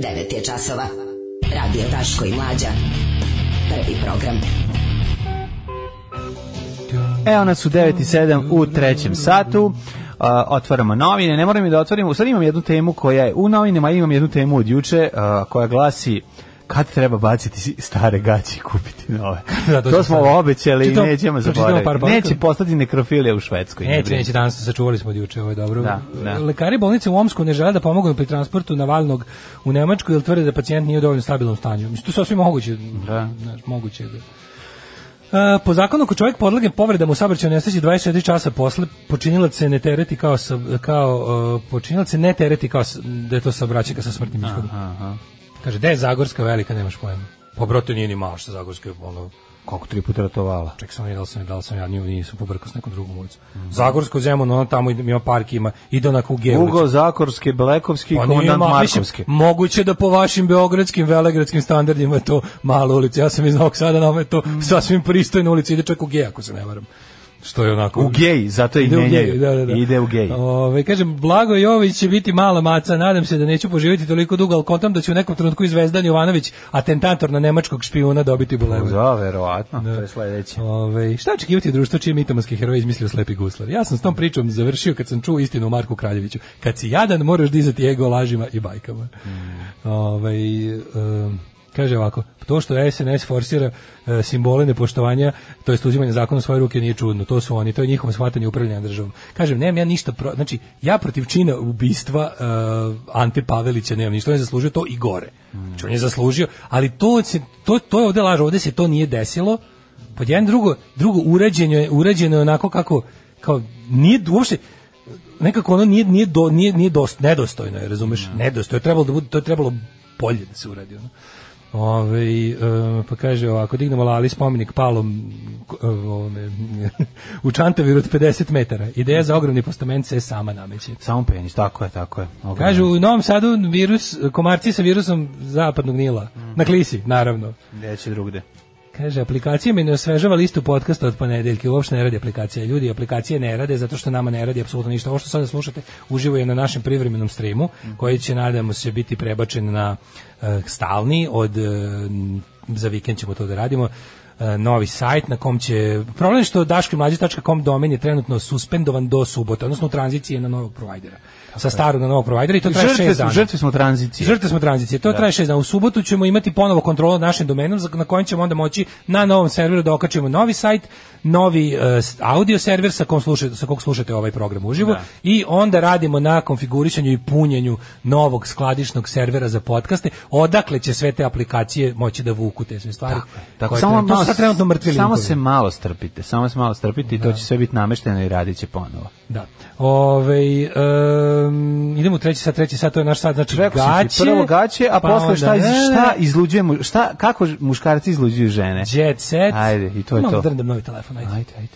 [SPEAKER 11] 9 je časova. Radio Daško i Mlađa. Prvi program.
[SPEAKER 6] Evo nas u 9 i 7 u trećem satu. A, otvaramo novine, ne moram i da otvorim, u stvari imam jednu temu koja je u novinama, imam jednu temu od juče a, koja glasi kad treba baciti si- stare gaće i kupiti nove.
[SPEAKER 7] Da, to
[SPEAKER 6] to
[SPEAKER 7] sam
[SPEAKER 6] smo
[SPEAKER 7] stavio.
[SPEAKER 6] obećali i
[SPEAKER 7] Čitam-
[SPEAKER 6] nećemo
[SPEAKER 7] pročitam par
[SPEAKER 6] zaboraviti.
[SPEAKER 7] poruka.
[SPEAKER 6] Neće postati nekrofilija u Švedskoj. ne
[SPEAKER 7] Neće,
[SPEAKER 6] brini.
[SPEAKER 7] neće, E, danas sačuvali smo od juče, ovo je dobro.
[SPEAKER 6] Da, da.
[SPEAKER 7] Lekari bolnice u Omsku ne žele da pomognu pri transportu Navalnog u Nemačku jer tvrde da pacijent nije u dovoljno stabilnom stanju. Mislim, to je sasvim moguće.
[SPEAKER 6] Da.
[SPEAKER 7] Znaš, moguće je da... E, po zakonu ako čovjek podlegne povredama u saobraćaju nesreći 24 časa posle počinilac se ne tereti kao sa, kao e, počinilac se ne tereti kao sa, da je to saobraćaj sa smrtnim ishodom. Kaže da je Zagorska velika nemaš pojma. Pa brate nije ni malo što Zagorska je ono
[SPEAKER 6] Koliko tri puta ratovala.
[SPEAKER 7] ček sam videl sam, da li sam ja nju nisam pobrkao s nekom drugom ulicom. Zagorsko Zemun, ono tamo ima park, ima, ide onako u Gevlicu.
[SPEAKER 6] Ugo, Zakorske, Blekovski,
[SPEAKER 7] Pa nije
[SPEAKER 6] Komandant
[SPEAKER 7] ma-
[SPEAKER 6] Markovski.
[SPEAKER 7] Mislim, moguće da po vašim beogradskim, velegradskim standardima je to mala ulica. Ja sam iz Novog Sada, nama je to sasvim pristojna ulica. Ide čak u gej, ako se ne varam. Što je onako...
[SPEAKER 6] U gej, zato i
[SPEAKER 7] Ide u
[SPEAKER 6] menjaju.
[SPEAKER 7] gej, da, da, da.
[SPEAKER 6] Ide u gej.
[SPEAKER 7] Ove, kažem, Blago Jović će biti mala maca, nadam se da neću poživjeti toliko dugo, ali kontam da će u nekom trenutku i Zvezdan Jovanović, atentator na nemačkog špijuna, dobiti bulevar.
[SPEAKER 6] Da, verovatno, to je sledeće.
[SPEAKER 7] Ove, šta očekivati od društva čije mitomanske heroje izmislio slepi guslar? Ja sam s tom pričom završio kad sam čuo istinu o Marku Kraljeviću. Kad si jadan, moraš dizati ego lažima i bajkama. Ovaj, em, kaže ovako, to što SNS forsira e, simbole nepoštovanja, to je uzimanje zakona u svoje ruke nije čudno, to su oni, to je njihovo shvatanje upravljanja državom. Kažem, nemam ja ništa, pro, znači, ja protiv čina ubistva e, Ante Pavelića nemam ništa, on je zaslužio to i gore. Znači, on je zaslužio, ali to, se, to, to je ovde laž, ovde se to nije desilo, pod jedan drugo, drugo urađeno je, urađeno je onako kako, kao, nije uopšte, nekako ono nije nije do, nije nije dost, nedostojno je, razumeš? Nedostojno je trebalo da bude to je trebalo bolje da se uradi ono. Ove, e, pa kaže ovako, dignemo lali spomenik palom e, ovome, u čantaviru od 50 metara. Ideja za ogromni postament se sama nameće.
[SPEAKER 6] Samo penis, tako je, tako je. Ogromno.
[SPEAKER 7] Kažu u Novom Sadu virus, komarci sa virusom zapadnog Nila. Na klisi, naravno.
[SPEAKER 6] Neće drugde.
[SPEAKER 7] Kaže, aplikacija mi ne osvežava listu podcasta od ponedeljke, uopšte ne radi aplikacija. Ljudi, aplikacije ne rade zato što nama ne radi apsolutno ništa. Ovo što sada slušate uživo je na našem privremenom streamu,
[SPEAKER 6] Mhm.
[SPEAKER 7] koji će, nadamo se, biti prebačen na eh, stalni, od, eh, za vikend ćemo to da radimo, eh, novi sajt na kom će... Problem je što daškimlađe.com domen je trenutno suspendovan do subote, odnosno u tranziciji je na novog provajdera. Sa starog na novog provajdera i to traje
[SPEAKER 6] Žrtve,
[SPEAKER 7] šest
[SPEAKER 6] smo-
[SPEAKER 7] dana.
[SPEAKER 6] žrtve smo tranzicije.
[SPEAKER 7] Žrtve smo tranzicije. To traje šest dana. U subotu ćemo imati ponovo kontrolu nad našim domenom za- na kojem ćemo onda moći na novom serveru da okačimo novi sajt, novi e, s- audio server sa kom slušate, sa kog slušate ovaj program uživo i onda radimo na konfigurisanju i punjenju novog skladišnog servera za podcaste. Odakle će sve te aplikacije moći da vuku te sve stvari?
[SPEAKER 6] Tako,
[SPEAKER 7] koje
[SPEAKER 6] samo
[SPEAKER 7] trenutno- to
[SPEAKER 6] malo,
[SPEAKER 7] su sad trenutno mrtvi
[SPEAKER 6] samo
[SPEAKER 7] linkovi.
[SPEAKER 6] se malo strpite, samo se malo strpite i to će sve biti namešteno i radit će ponovo.
[SPEAKER 7] Da. Ove, em, idemo u treći sat, treći sat, to je naš sat, znači
[SPEAKER 6] Rekao sam ti,
[SPEAKER 7] gaće.
[SPEAKER 6] prvo gaće, a
[SPEAKER 7] pa
[SPEAKER 6] posle
[SPEAKER 7] onda-
[SPEAKER 6] šta, iz-
[SPEAKER 7] Ne, ne,
[SPEAKER 6] šta izluđujemo, šta, kako ž- muškarci izluđuju žene?
[SPEAKER 7] Jet set.
[SPEAKER 6] Ajde, i to je
[SPEAKER 7] Malo
[SPEAKER 6] to.
[SPEAKER 7] drndam novi telefon, ajde.
[SPEAKER 6] Ajde, ajde.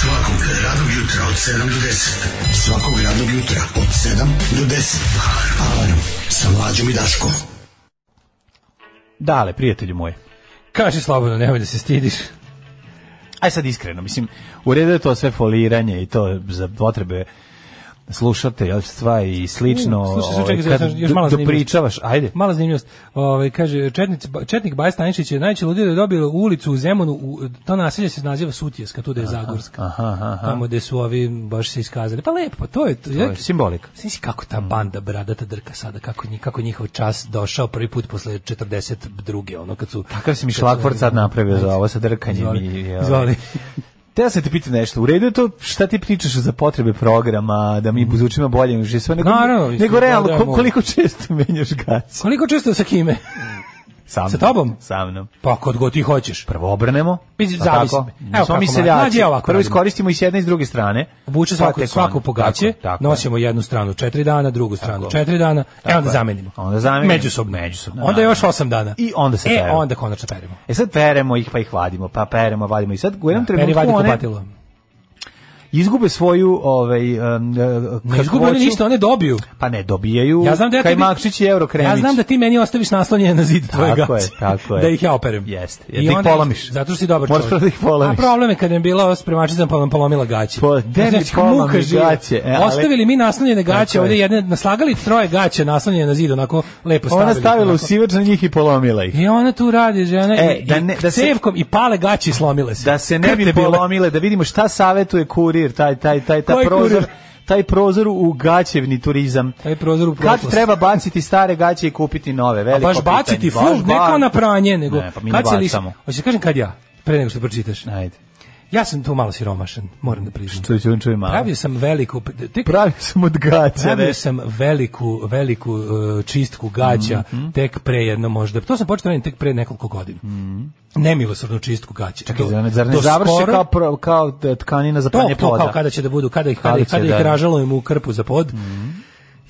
[SPEAKER 12] Svakog radnog jutra od 7 do 10. Svakog radnog jutra od 7 do 10. Alarm sa mlađom i Daškom.
[SPEAKER 6] Dale, prijatelju moj.
[SPEAKER 7] Kaži slobodno, nemoj da se stidiš.
[SPEAKER 6] Aj sad iskreno, mislim, u redu je to sve foliranje i to za potrebe slušateljstva i slično.
[SPEAKER 7] U, slušaj,
[SPEAKER 6] ovaj,
[SPEAKER 7] slušaj, čekaj,
[SPEAKER 6] kad
[SPEAKER 7] još- još malo
[SPEAKER 6] do-
[SPEAKER 7] zanimljivosti.
[SPEAKER 6] dopričavaš, ajde.
[SPEAKER 7] Mala zanimljivost. Ovaj kaže četnic četnik Baja Stanišić je najče ludio da je dobio ulicu u Zemunu, u, to naselje se naziva Sutjeska, tu da je Zagorska.
[SPEAKER 6] Aha, aha.
[SPEAKER 7] Tamo gde su ovi baš se iskazali. Pa lepo, pa to je to.
[SPEAKER 6] je Mm. simbolika.
[SPEAKER 7] Znaš si kako ta banda bradata drka sada, kako, nji- kako njihov čas došao prvi put posle 42. ono kad su...
[SPEAKER 6] Kakav si mi šlagvort sad napravio za ovo sa drkanjem
[SPEAKER 7] Izvoli,
[SPEAKER 6] i... ovaj.
[SPEAKER 7] izvoli.
[SPEAKER 6] Te sam te pitati nešto, u redu je to šta ti pričaš za potrebe programa, da mi zvučimo bolje nego sve, nego,
[SPEAKER 7] Mm. Naravno, mislim,
[SPEAKER 6] nego realno,
[SPEAKER 7] da,
[SPEAKER 6] ko-
[SPEAKER 7] da,
[SPEAKER 6] koliko često menjaš gaće?
[SPEAKER 7] Koliko često sa kime?
[SPEAKER 6] Sa, mnom.
[SPEAKER 7] Sa tobom?
[SPEAKER 6] Sa mnom.
[SPEAKER 7] Pa kod god ti hoćeš.
[SPEAKER 6] Prvo obrnemo,
[SPEAKER 7] Mislim,
[SPEAKER 6] pa
[SPEAKER 7] zavisi.
[SPEAKER 6] tako?
[SPEAKER 7] Evo kako,
[SPEAKER 6] Smo mi
[SPEAKER 7] mlađe, mlađe,
[SPEAKER 6] seljaci,
[SPEAKER 7] ja ovako
[SPEAKER 6] prvo
[SPEAKER 7] radim.
[SPEAKER 6] iskoristimo i s jedne i s druge strane.
[SPEAKER 7] Obuče
[SPEAKER 6] Pa
[SPEAKER 7] svaku,
[SPEAKER 6] tek
[SPEAKER 7] svaku
[SPEAKER 6] onda.
[SPEAKER 7] pogaće,
[SPEAKER 6] Tako, tako je.
[SPEAKER 7] nosimo jednu stranu četiri dana, drugu stranu četiri dana, e
[SPEAKER 6] Tako
[SPEAKER 7] onda
[SPEAKER 6] je.
[SPEAKER 7] zamenimo.
[SPEAKER 6] Onda zamenimo.
[SPEAKER 7] Međusobno.
[SPEAKER 6] Međusobno,
[SPEAKER 7] Onda
[SPEAKER 6] da.
[SPEAKER 7] još osam dana.
[SPEAKER 6] I onda se
[SPEAKER 7] E,
[SPEAKER 6] peremo.
[SPEAKER 7] onda konačno perimo.
[SPEAKER 6] E sad peremo ih pa ih vadimo, pa peremo, vadimo i sad u jednom
[SPEAKER 7] Peri
[SPEAKER 6] trenutku
[SPEAKER 7] vadi
[SPEAKER 6] one
[SPEAKER 7] kupatilo.
[SPEAKER 6] izgube svoju ovaj um,
[SPEAKER 7] Ne izgube one ništa, one dobiju.
[SPEAKER 6] pa ne dobijaju.
[SPEAKER 7] Ja znam da ja tebi-
[SPEAKER 6] Kajmakčić i Eurokremić.
[SPEAKER 7] Ja znam da ti meni ostaviš naslonjene na zid tvoje gaće.
[SPEAKER 6] Tako je, tako je.
[SPEAKER 7] Da ih ja operem.
[SPEAKER 6] Jeste, jer
[SPEAKER 7] I
[SPEAKER 6] ti
[SPEAKER 7] onda-
[SPEAKER 6] polomiš.
[SPEAKER 7] Zato što si dobar
[SPEAKER 6] Moraš
[SPEAKER 7] čovjek.
[SPEAKER 6] prvo da ih polomiš.
[SPEAKER 7] A problem je kad je bila spremačica pa nam polomila gaće.
[SPEAKER 6] Pa, gde mi
[SPEAKER 7] Znači, muka
[SPEAKER 6] polomi
[SPEAKER 7] živa.
[SPEAKER 6] gaće, e, ali-
[SPEAKER 7] Ostavili mi naslonjene gaće,
[SPEAKER 6] je.
[SPEAKER 7] ovdje jedne naslagali troje gaće naslonjene na zid, onako lepo stavili.
[SPEAKER 6] Ona Pa stavila u
[SPEAKER 7] onako.
[SPEAKER 6] sivač na njih i polomila ih.
[SPEAKER 7] I ona tu radi, žena,
[SPEAKER 6] E,
[SPEAKER 7] i,
[SPEAKER 6] da
[SPEAKER 7] da
[SPEAKER 6] ne- da se-
[SPEAKER 7] cevkom i pale gaći slomile se.
[SPEAKER 6] Da se ne bi
[SPEAKER 7] Krte bile.
[SPEAKER 6] polomile, da vidimo šta savetuje kurir, taj taj taj taj
[SPEAKER 7] Koji
[SPEAKER 6] prozor,
[SPEAKER 7] kurir?
[SPEAKER 6] taj prozor u gaćevni turizam.
[SPEAKER 7] Taj prozor u
[SPEAKER 6] Kad
[SPEAKER 7] prošlost.
[SPEAKER 6] treba baciti stare gaće i kupiti nove,
[SPEAKER 7] A
[SPEAKER 6] veliko
[SPEAKER 7] baš
[SPEAKER 6] pitanje.
[SPEAKER 7] baciti
[SPEAKER 6] Baš
[SPEAKER 7] full, ne
[SPEAKER 6] ba-
[SPEAKER 7] kao na pranje, nego...
[SPEAKER 6] Ne, pa mi ne
[SPEAKER 7] kad se lis-
[SPEAKER 6] bacamo.
[SPEAKER 7] Hoćeš da kažem kad ja, pre nego što pročitaš.
[SPEAKER 6] Ajde.
[SPEAKER 7] Ja sam tu malo siromašan, moram da priznam.
[SPEAKER 6] Čuj, čuj, čuj malo.
[SPEAKER 7] Pravio sam veliku... Tek,
[SPEAKER 6] Pravio sam od gaća,
[SPEAKER 7] Pravio
[SPEAKER 6] ne.
[SPEAKER 7] sam veliku, veliku uh, čistku gaća
[SPEAKER 6] Mhm,
[SPEAKER 7] tek pre jedno možda. To sam počeo raditi tek pre nekoliko godina. Nemilosrdnu čistku gaća.
[SPEAKER 6] Mhm. Čekaj,
[SPEAKER 7] Do-
[SPEAKER 6] zar ne- zar ne
[SPEAKER 7] do
[SPEAKER 6] završe
[SPEAKER 7] skoro-
[SPEAKER 6] kao, pro- kao t- tkanina za
[SPEAKER 7] to,
[SPEAKER 6] pranje
[SPEAKER 7] to
[SPEAKER 6] ploda?
[SPEAKER 7] kao kada će da budu, kada ih, kada,
[SPEAKER 6] Kada
[SPEAKER 7] ih-
[SPEAKER 6] će,
[SPEAKER 7] kada
[SPEAKER 6] da. Mhm.
[SPEAKER 7] ih ražalujem u krpu za pod.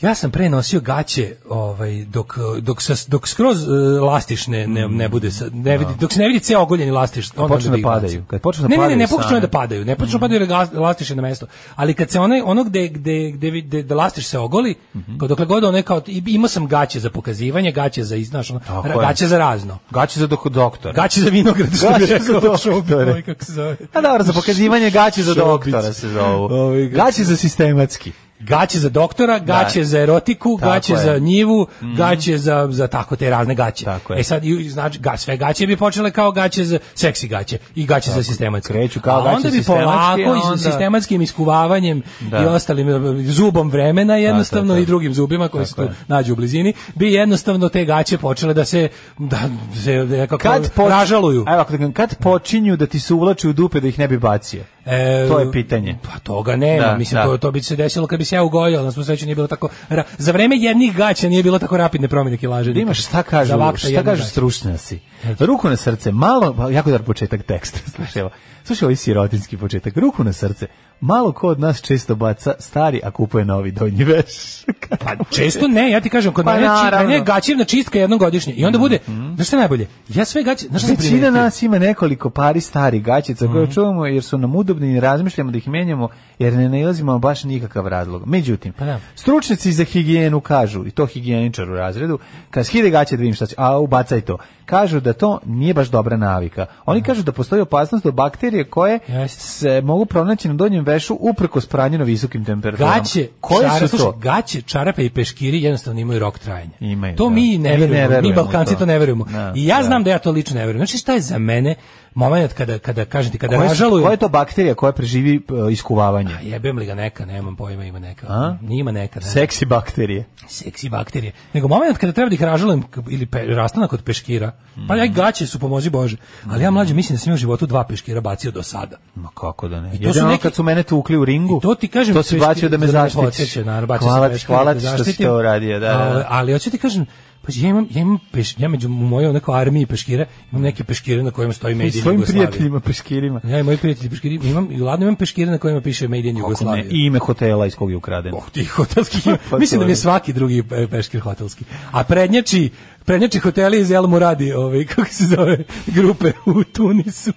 [SPEAKER 7] Ja sam pre nosio gaće ovaj, dok, dok, sa, dok skroz e, lastiš ne, ne, ne bude, sa- ne vidi, dok se ne vidi ceo ogoljeni lastiš. onda
[SPEAKER 6] počnu
[SPEAKER 7] onda ih
[SPEAKER 6] da padaju,
[SPEAKER 7] bacim.
[SPEAKER 6] kad počnu da
[SPEAKER 7] ne, ne, ne,
[SPEAKER 6] padaju
[SPEAKER 7] ne počnu
[SPEAKER 6] same. Mhm.
[SPEAKER 7] da padaju, ne počnu da padaju jer las- lastiš je na mesto. Ali kad se onaj, ono gde, gde, gde, vi- gde, gde lastiš se ogoli,
[SPEAKER 6] Mhm.
[SPEAKER 7] kao dokle god onaj kao, i- imao sam gaće za pokazivanje, gaće za iznaš, ono,
[SPEAKER 6] Tako
[SPEAKER 7] ra-
[SPEAKER 6] je.
[SPEAKER 7] gaće za razno.
[SPEAKER 6] Gaće za dok- doktora.
[SPEAKER 7] Gaće za vinograd, što bi
[SPEAKER 6] Gaće za
[SPEAKER 7] rekao,
[SPEAKER 6] doktore.
[SPEAKER 7] šob, ovaj, kako se zove.
[SPEAKER 6] A Pa dobro, za pokazivanje gaće za
[SPEAKER 7] Šobić.
[SPEAKER 6] doktora se zovu.
[SPEAKER 7] Ovi ga-
[SPEAKER 6] Gaće za sistematski.
[SPEAKER 7] gaće za doktora, gaće za erotiku,
[SPEAKER 6] Tako
[SPEAKER 7] gaće
[SPEAKER 6] je. Mhm.
[SPEAKER 7] za njivu, gaće za, za tako te razne gaće.
[SPEAKER 6] Tako je.
[SPEAKER 7] e sad, i- znači, ga, sve gaće bi počele kao gaće za seksi gaće i gaće za sistematski.
[SPEAKER 6] Kreću kao
[SPEAKER 7] a
[SPEAKER 6] gaće
[SPEAKER 7] onda bi polako
[SPEAKER 6] sistematski,
[SPEAKER 7] i
[SPEAKER 6] a onda-
[SPEAKER 7] sa sistematskim iskuvavanjem
[SPEAKER 6] Da.
[SPEAKER 7] i ostalim e, zubom vremena jednostavno
[SPEAKER 6] Tako je, tako je.
[SPEAKER 7] i drugim zubima koji se tu
[SPEAKER 6] Tako je.
[SPEAKER 7] nađu u blizini, bi jednostavno te gaće počele da se, da, se nekako
[SPEAKER 6] Kad poč-
[SPEAKER 7] ražaluju.
[SPEAKER 6] Ajde, ovako da kažem, kad počinju da ti se uvlače u dupe da ih ne bi bacio?
[SPEAKER 7] E,
[SPEAKER 6] To je pitanje.
[SPEAKER 7] Pa toga nema,
[SPEAKER 6] Da,
[SPEAKER 7] mislim
[SPEAKER 6] da.
[SPEAKER 7] to to bi se desilo kad bi se ja ugojio, ali na svu sreću nije bilo tako ra- za vreme jednih gaća nije bilo tako rapidne promjene kilaže.
[SPEAKER 6] Da imaš šta kažu, šta kažu stručnjaci. Ruku na srce, malo, pa, jako dar početak teksta, znaš, evo. Slušaj ovaj sirotinski početak. Ruku na srce. Malo ko od nas često baca stari, a kupuje novi donji veš.
[SPEAKER 7] pa često ne, ja ti kažem, kod
[SPEAKER 6] Pa
[SPEAKER 7] mene, či-
[SPEAKER 6] naravno. Mhm.
[SPEAKER 7] mene je gaćivna čistka jednom godišnje. I onda bude, znaš šta je najbolje? Ja sve gaće, znaš šta sam
[SPEAKER 6] Većina
[SPEAKER 7] primetio? Mhm.
[SPEAKER 6] nas ima nekoliko pari starih gaćica koje čuvamo jer su nam udobni i razmišljamo da ih menjamo jer ne nailazimo baš nikakav razlog. Međutim,
[SPEAKER 7] Pa
[SPEAKER 6] stručnjaci za higijenu kažu, i to higijeničar u razredu, kad skide gaće da vidim šta će, a ubacaj to. Kažu da to nije baš dobra navika. Oni kažu da postoji opasnost od bakterije koje se mogu pronaći na donjem vešu uprkos pranju na visokim temperaturama.
[SPEAKER 7] Gaće,
[SPEAKER 6] koje
[SPEAKER 7] čara-
[SPEAKER 6] su
[SPEAKER 7] slušaj,
[SPEAKER 6] to?
[SPEAKER 7] gaće, čarape i peškiri jednostavno imaju rok trajanja.
[SPEAKER 6] Imaju,
[SPEAKER 7] to
[SPEAKER 6] da.
[SPEAKER 7] mi ne
[SPEAKER 6] Mi ne
[SPEAKER 7] verujemo, mi,
[SPEAKER 6] verujemo
[SPEAKER 7] Balkanci
[SPEAKER 6] to.
[SPEAKER 7] to. ne verujemo.
[SPEAKER 6] Da,
[SPEAKER 7] I ja
[SPEAKER 6] da.
[SPEAKER 7] znam da ja to lično ne verujem. Znači šta je za mene moment kada kada kažem ti kada
[SPEAKER 6] Koje, su-
[SPEAKER 7] ražalujem,
[SPEAKER 6] koja je to bakterija koja preživi e, iskuvavanje?
[SPEAKER 7] jebem li ga neka, nemam pojma, ima neka.
[SPEAKER 6] A?
[SPEAKER 7] Nije ima neka. Ne.
[SPEAKER 6] Seksi bakterije.
[SPEAKER 7] seksi bakterije. Nego moment kada treba da ih ražalujem k- ili pe, rastanak od peškira, pa ja gaće su pomozi Bože. Ali ja mlađe mislim da sam ja u životu dva peškira bacio do sada.
[SPEAKER 6] Ma kako da ne?
[SPEAKER 7] I to su
[SPEAKER 6] Jedino
[SPEAKER 7] neki-
[SPEAKER 6] kad su mene tukli u ringu,
[SPEAKER 7] I to ti kažem,
[SPEAKER 6] to si
[SPEAKER 7] peškir-
[SPEAKER 6] bacio da me
[SPEAKER 7] za
[SPEAKER 6] zaštitiš.
[SPEAKER 7] podsjeća, naravno, bacio sam
[SPEAKER 6] hvala ti,
[SPEAKER 7] peškir
[SPEAKER 6] hvala
[SPEAKER 7] da
[SPEAKER 6] ti što si
[SPEAKER 7] zaštitim.
[SPEAKER 6] to uradio. Da,
[SPEAKER 7] Ali,
[SPEAKER 6] da.
[SPEAKER 7] ali hoću ti kažem, pa ja imam, ja imam peš, ja među u mojoj nekoj armiji peškira, imam neke peškire na kojima stoji Made in
[SPEAKER 6] I svojim
[SPEAKER 7] Jugoslavia.
[SPEAKER 6] prijateljima peškirima.
[SPEAKER 7] Ja i moji prijatelji peškiri, imam, i ladno imam peškire na kojima piše Made in
[SPEAKER 6] Kako ne,
[SPEAKER 7] Jugoslavia.
[SPEAKER 6] I ime hotela iz kog je ukraden.
[SPEAKER 7] Oh, tih hotelskih ima.
[SPEAKER 6] Pa
[SPEAKER 7] Mislim
[SPEAKER 6] to
[SPEAKER 7] da mi je
[SPEAKER 6] je.
[SPEAKER 7] svaki drugi e, peškir hotelski. A prednjači, prednjači hoteli iz El Muradi, ovaj, kako se zove, grupe u Tunisu.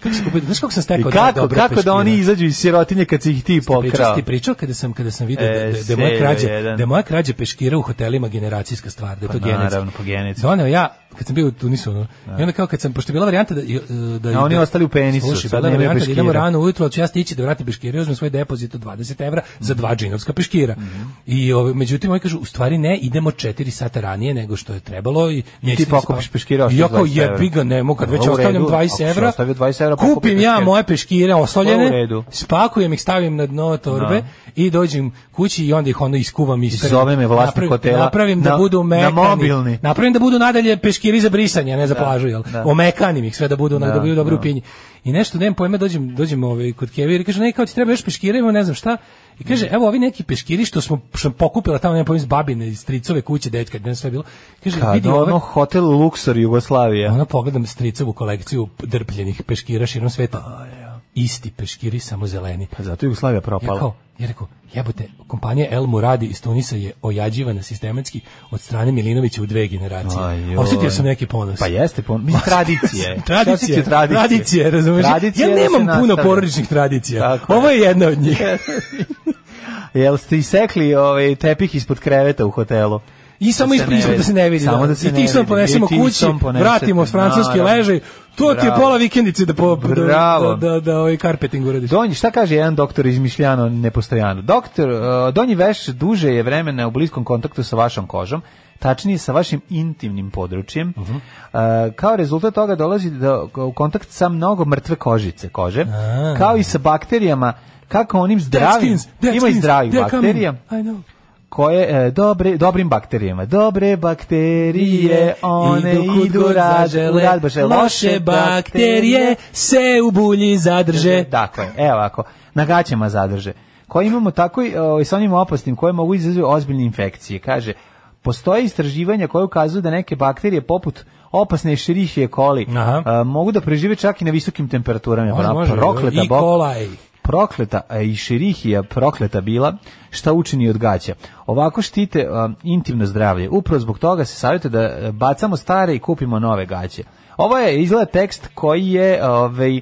[SPEAKER 7] Kako se kupiti? Znaš kako sam
[SPEAKER 6] I
[SPEAKER 7] stekao dva
[SPEAKER 6] kako,
[SPEAKER 7] dobra
[SPEAKER 6] kako da
[SPEAKER 7] peškira?
[SPEAKER 6] oni izađu iz sirotinje kad si ih ti
[SPEAKER 7] Pričao
[SPEAKER 6] pokrao?
[SPEAKER 7] si ti pričao kada sam kada sam video
[SPEAKER 6] E,
[SPEAKER 7] da, da, da je
[SPEAKER 6] Seljo
[SPEAKER 7] moja krađa,
[SPEAKER 6] jedan.
[SPEAKER 7] da je moja krađa peškira u hotelima generacijska stvar, da je
[SPEAKER 6] Pa
[SPEAKER 7] to genetski.
[SPEAKER 6] naravno, po genetici.
[SPEAKER 7] Doneo ja kad sam bio u Tunisu, ono, i onda kao kad sam, pošto je bila varijanta da... e, da,
[SPEAKER 6] A oni ostali u penisu,
[SPEAKER 7] Slušaj,
[SPEAKER 6] sad
[SPEAKER 7] bila je
[SPEAKER 6] nemaju
[SPEAKER 7] varijanta da idemo
[SPEAKER 6] peškira.
[SPEAKER 7] rano ujutro, ali ću ja stići da vratim peškire, uzmem svoj depozit od 20 evra za dva džinovska peškira.
[SPEAKER 6] Mhm.
[SPEAKER 7] I ovaj, međutim, oni kažu, u stvari ne, idemo 4 sata ranije nego što je trebalo. I,
[SPEAKER 6] I ti pokupiš peškira.
[SPEAKER 7] I ja kao jebi ga, ne mogu, kad već ostavljam 20 evra,
[SPEAKER 6] Ostavio 20 evra pa pokupi
[SPEAKER 7] kupim ja
[SPEAKER 6] peškir.
[SPEAKER 7] moje peškire
[SPEAKER 6] Pa u
[SPEAKER 7] osoljene,
[SPEAKER 6] redu.
[SPEAKER 7] spakujem ih, stavim na dno torbe
[SPEAKER 6] Da.
[SPEAKER 7] i dođem kući i onda ih ono iskuvam i
[SPEAKER 6] Zove me vlasnik
[SPEAKER 7] napravim,
[SPEAKER 6] hotela
[SPEAKER 7] Napravim da
[SPEAKER 6] na-
[SPEAKER 7] budu
[SPEAKER 6] na
[SPEAKER 7] mekani.
[SPEAKER 6] mobilni.
[SPEAKER 7] Napravim da budu nadalje peškiri za brisanje, a ne za
[SPEAKER 6] Da,
[SPEAKER 7] plažu, jel?
[SPEAKER 6] da.
[SPEAKER 7] Omekanim ih sve da budu, da,
[SPEAKER 6] Da,
[SPEAKER 7] da budu dobro
[SPEAKER 6] da.
[SPEAKER 7] u pinji. I nešto, nemam pojma, dođem, dođem ovaj, kod Kevi i kaže, ne, kao ti treba još peškira, imam ne znam šta. I kaže, evo ovi neki peškiri što smo što sam pokupila tamo, nemam pojma, iz babine, iz stricove kuće, detka, ne znam sve bilo. Kaže,
[SPEAKER 6] Kad
[SPEAKER 7] vidi
[SPEAKER 6] ono
[SPEAKER 7] ove,
[SPEAKER 6] hotel Luxor Jugoslavija.
[SPEAKER 7] ono pogledam stricovu kolekciju drpljenih peškira širom sveta. Isti peškiri, samo zeleni.
[SPEAKER 6] Pa zato je Jugoslavija
[SPEAKER 7] Ja kao,
[SPEAKER 6] propala.
[SPEAKER 7] ja rekao, jebote, kompanija El Muradi iz Tunisa je ojađivana sistematski od strane Milinovića u dve generacije.
[SPEAKER 6] Ajoj.
[SPEAKER 7] Osjetio sam neki ponos.
[SPEAKER 6] Pa jeste, pon... mislim, tradicije.
[SPEAKER 7] Tradicije,
[SPEAKER 6] Osjetio tradicije.
[SPEAKER 7] tradicije, razumeš?
[SPEAKER 6] Tradicije
[SPEAKER 7] ja
[SPEAKER 6] da se
[SPEAKER 7] nemam puno
[SPEAKER 6] nastavlja.
[SPEAKER 7] porodičnih tradicija.
[SPEAKER 6] Tako je.
[SPEAKER 7] Ovo je jedna od njih.
[SPEAKER 6] Jel ste isekli ovaj tepih ispod kreveta u hotelu?
[SPEAKER 7] I samo
[SPEAKER 6] Da se ne
[SPEAKER 7] ispričam da se ne vidi.
[SPEAKER 6] Samo da se
[SPEAKER 7] I
[SPEAKER 6] ne
[SPEAKER 7] ti sam
[SPEAKER 6] vidi.
[SPEAKER 7] ponesemo
[SPEAKER 6] I ti
[SPEAKER 7] kući,
[SPEAKER 6] sam ponesete,
[SPEAKER 7] vratimo s francuski
[SPEAKER 6] naravno.
[SPEAKER 7] ležaj. To ti je
[SPEAKER 6] Bravo.
[SPEAKER 7] pola vikendice da, po, da,
[SPEAKER 6] Bravo.
[SPEAKER 7] da, da, da ovaj karpeting uradiš.
[SPEAKER 6] Donji, šta kaže jedan doktor izmišljano nepostojano? Doktor, e, donji veš duže je vremena u bliskom kontaktu sa vašom kožom, tačnije sa vašim intimnim područjem.
[SPEAKER 7] Mhm.
[SPEAKER 6] E, kao rezultat toga dolazi do, u kontakt sa mnogo mrtve kožice kože,
[SPEAKER 7] A.
[SPEAKER 6] kao i sa bakterijama, kako onim
[SPEAKER 7] Dead
[SPEAKER 6] zdravim,
[SPEAKER 7] skins, dead
[SPEAKER 6] ima i
[SPEAKER 7] skins,
[SPEAKER 6] zdravih
[SPEAKER 7] they're coming.
[SPEAKER 6] bakterija,
[SPEAKER 7] I know.
[SPEAKER 6] koje e, dobre, dobrim bakterijama. Dobre bakterije, one
[SPEAKER 7] Idu
[SPEAKER 6] idu,
[SPEAKER 7] kud god
[SPEAKER 6] rad- u
[SPEAKER 7] zažele,
[SPEAKER 6] radbože.
[SPEAKER 7] loše bakterije se u bulji zadrže.
[SPEAKER 6] Dakle, evo ovako, na gaćama zadrže. Koje imamo tako i ovaj, sa onim opasnim koje mogu izazvati ozbiljne infekcije. Kaže, postoje istraživanja koje ukazuju da neke bakterije poput opasne šerihije koli
[SPEAKER 7] Aha.
[SPEAKER 6] a, mogu da prežive čak i na visokim temperaturama.
[SPEAKER 7] Može,
[SPEAKER 6] Ona
[SPEAKER 7] može.
[SPEAKER 6] prokleta
[SPEAKER 7] I
[SPEAKER 6] bok-
[SPEAKER 7] kolaj.
[SPEAKER 6] prokleta a i šerihija prokleta bila šta učini od gaća ovako štite um, intimno zdravlje upravo zbog toga se savjetuje da e, bacamo stare i kupimo nove gaće ovo je izgleda tekst koji je ovaj e,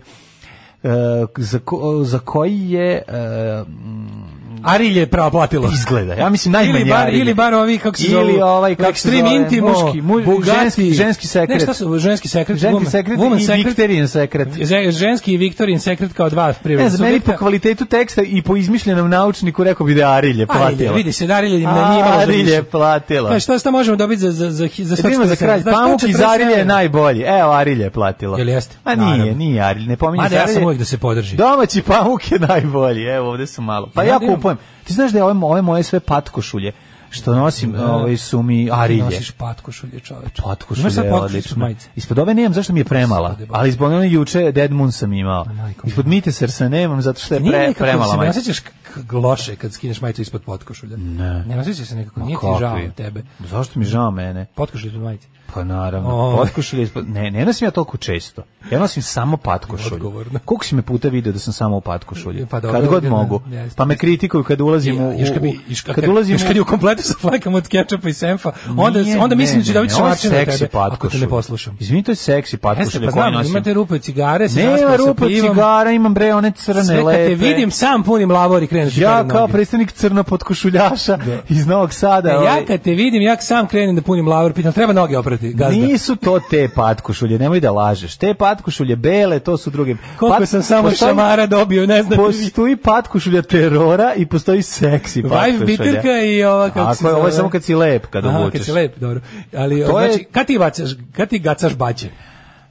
[SPEAKER 6] za, ko- za koji je e,
[SPEAKER 7] Arilje je pravo platilo.
[SPEAKER 6] izgleda ja mislim najmanje
[SPEAKER 7] ili bar,
[SPEAKER 6] Arilje.
[SPEAKER 7] ili bar ono- ovi kako se
[SPEAKER 6] Ili
[SPEAKER 7] zovu
[SPEAKER 6] ovaj, kako se
[SPEAKER 7] Extreme
[SPEAKER 6] zove,
[SPEAKER 7] intimo
[SPEAKER 6] muški, mu-
[SPEAKER 7] Bugatti
[SPEAKER 6] ženski- ženski sekret.
[SPEAKER 7] ne šta su ženski sekret
[SPEAKER 6] ženski
[SPEAKER 7] woman-
[SPEAKER 6] sekret
[SPEAKER 7] woman
[SPEAKER 6] i
[SPEAKER 7] sekret,
[SPEAKER 6] Viktorin sekret
[SPEAKER 7] Ze- ženski i Viktorin sekret kao dva privredna
[SPEAKER 6] ne znam, meni po kvalitetu teksta i po izmišljenom naučniku rekao bi da je Arilje platila.
[SPEAKER 7] Arilje, vidi se da Arilje na nije imala za
[SPEAKER 6] Arilje
[SPEAKER 7] više.
[SPEAKER 6] platila.
[SPEAKER 7] Pa šta šta možemo dobiti za za za za
[SPEAKER 6] E, da ima za kraj,
[SPEAKER 7] Pa,
[SPEAKER 6] pamuk iz Arilje je najbolji. Evo, Arilje je platila.
[SPEAKER 7] Jel jeste?
[SPEAKER 6] A nije,
[SPEAKER 7] Naravno.
[SPEAKER 6] nije Arilje, ne pominje
[SPEAKER 7] Mada
[SPEAKER 6] se
[SPEAKER 7] ja
[SPEAKER 6] Arilje.
[SPEAKER 7] sam uvijek da se podrži.
[SPEAKER 6] Domaći pamuk je najbolji, evo ovde su malo. Pa
[SPEAKER 7] Ja
[SPEAKER 6] ja,
[SPEAKER 7] da imam-
[SPEAKER 6] kupujem. Ti znaš da je ove, mo- ove moje sve patkošulje što nosim, ove su mi
[SPEAKER 7] Arilje.
[SPEAKER 6] Arilje.
[SPEAKER 7] Nosiš patkošulje, čoveče.
[SPEAKER 6] Patkošulje
[SPEAKER 7] Imaš sad
[SPEAKER 6] je
[SPEAKER 7] patkošulje
[SPEAKER 6] odlično.
[SPEAKER 7] majice?
[SPEAKER 6] Ispod ove nemam, zašto mi je premala?
[SPEAKER 7] Gospode Bože.
[SPEAKER 6] Ali zbog one juče Dead Moon sam imao.
[SPEAKER 7] Pa majko
[SPEAKER 6] Ispod Mite Sersa nemam, zato što je
[SPEAKER 7] Nije
[SPEAKER 6] pre,
[SPEAKER 7] nekako,
[SPEAKER 6] premala
[SPEAKER 7] se ne
[SPEAKER 6] majica.
[SPEAKER 7] osjećaš k- gloše kad skineš majicu ispod potkošulja.
[SPEAKER 6] Ne.
[SPEAKER 7] Ne osjećaš se nekako,
[SPEAKER 6] Ma
[SPEAKER 7] nije ti
[SPEAKER 6] kakvi?
[SPEAKER 7] žao tebe.
[SPEAKER 6] Zašto mi je žao mene?
[SPEAKER 7] Potkošulje ispod majice.
[SPEAKER 6] Pa naravno,
[SPEAKER 7] O.
[SPEAKER 6] potkošulje ispod... Ne, ne nosim ja toliko često. Ja nosim samo patkošulje.
[SPEAKER 7] Odgovorno.
[SPEAKER 6] Koliko si me puta video da sam samo u patkošulje?
[SPEAKER 7] Pa dobro,
[SPEAKER 6] kad god
[SPEAKER 7] da,
[SPEAKER 6] mogu.
[SPEAKER 7] jeste.
[SPEAKER 6] Pa me kritikuju kad ulazim u...
[SPEAKER 7] Još kad,
[SPEAKER 6] u-
[SPEAKER 7] bi, još kad,
[SPEAKER 6] kad ulazim
[SPEAKER 7] još kad je
[SPEAKER 6] u-
[SPEAKER 7] u kompletu sa flakama od kečapa i senfa, onda,
[SPEAKER 6] Nije,
[SPEAKER 7] onda mislim da ću
[SPEAKER 6] ne,
[SPEAKER 7] dobiti
[SPEAKER 6] ne, ovo je
[SPEAKER 7] šamarčinu od
[SPEAKER 6] seksi
[SPEAKER 7] tebe, ako te
[SPEAKER 6] patkošulje.
[SPEAKER 7] ne poslušam.
[SPEAKER 6] Izvini, to je seksi
[SPEAKER 7] Jeste,
[SPEAKER 6] patkošulje
[SPEAKER 7] pa
[SPEAKER 6] koje
[SPEAKER 7] znam,
[SPEAKER 6] nosim.
[SPEAKER 7] imate rupe od cigare, se
[SPEAKER 6] Nema
[SPEAKER 7] raspada sa
[SPEAKER 6] rupa
[SPEAKER 7] pivom.
[SPEAKER 6] cigara, imam bre one crne
[SPEAKER 7] Sve kad
[SPEAKER 6] lepe.
[SPEAKER 7] te vidim, sam punim lavor i krenu ti pere
[SPEAKER 6] Ja
[SPEAKER 7] noge.
[SPEAKER 6] kao predstavnik crno potkošuljaša iz Novog Sada.
[SPEAKER 7] E,
[SPEAKER 6] ovaj,
[SPEAKER 7] ja kad te vidim, ja sam krenem da punim lavor, pitam, treba noge oprati, gazda.
[SPEAKER 6] Nisu to te patkošulje, nemoj da lažeš. Te patkošulje bele, to su druge.
[SPEAKER 7] Koliko sam samo šamara dobio, ne znam.
[SPEAKER 6] Postoji patkošulja terora i postoji seksi patkošulja.
[SPEAKER 7] Vajf bitirka i ova kako
[SPEAKER 6] Tako
[SPEAKER 7] se
[SPEAKER 6] je, ovo je
[SPEAKER 7] zove.
[SPEAKER 6] samo kad si lep, kad
[SPEAKER 7] Aha,
[SPEAKER 6] obučeš.
[SPEAKER 7] Kad si lep, dobro. Ali,
[SPEAKER 6] To je-
[SPEAKER 7] znači, kad ti, bacaš, kad ti gacaš baće?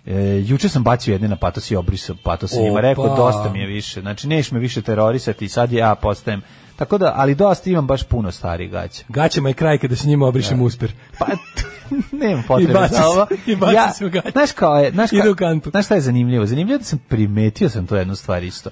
[SPEAKER 6] E, juče sam bacio jedne na patos i obrisao patos i njima
[SPEAKER 7] Opa.
[SPEAKER 6] rekao dosta mi je više. Znači neš me više terorisati i sad ja postajem. Tako da, ali dosta imam baš puno starih gaća.
[SPEAKER 7] Gaćama je kraj kada se njima obrišem usper.
[SPEAKER 6] Pa, Nema potrebe
[SPEAKER 7] I baci
[SPEAKER 6] za ovo.
[SPEAKER 7] se- i baci se u gaće.
[SPEAKER 6] Znaš kao je, znaš,
[SPEAKER 7] Ide u
[SPEAKER 6] kao,
[SPEAKER 7] kantu.
[SPEAKER 6] znaš šta je zanimljivo? Zanimljivo je da sam primetio sam to jednu stvar isto.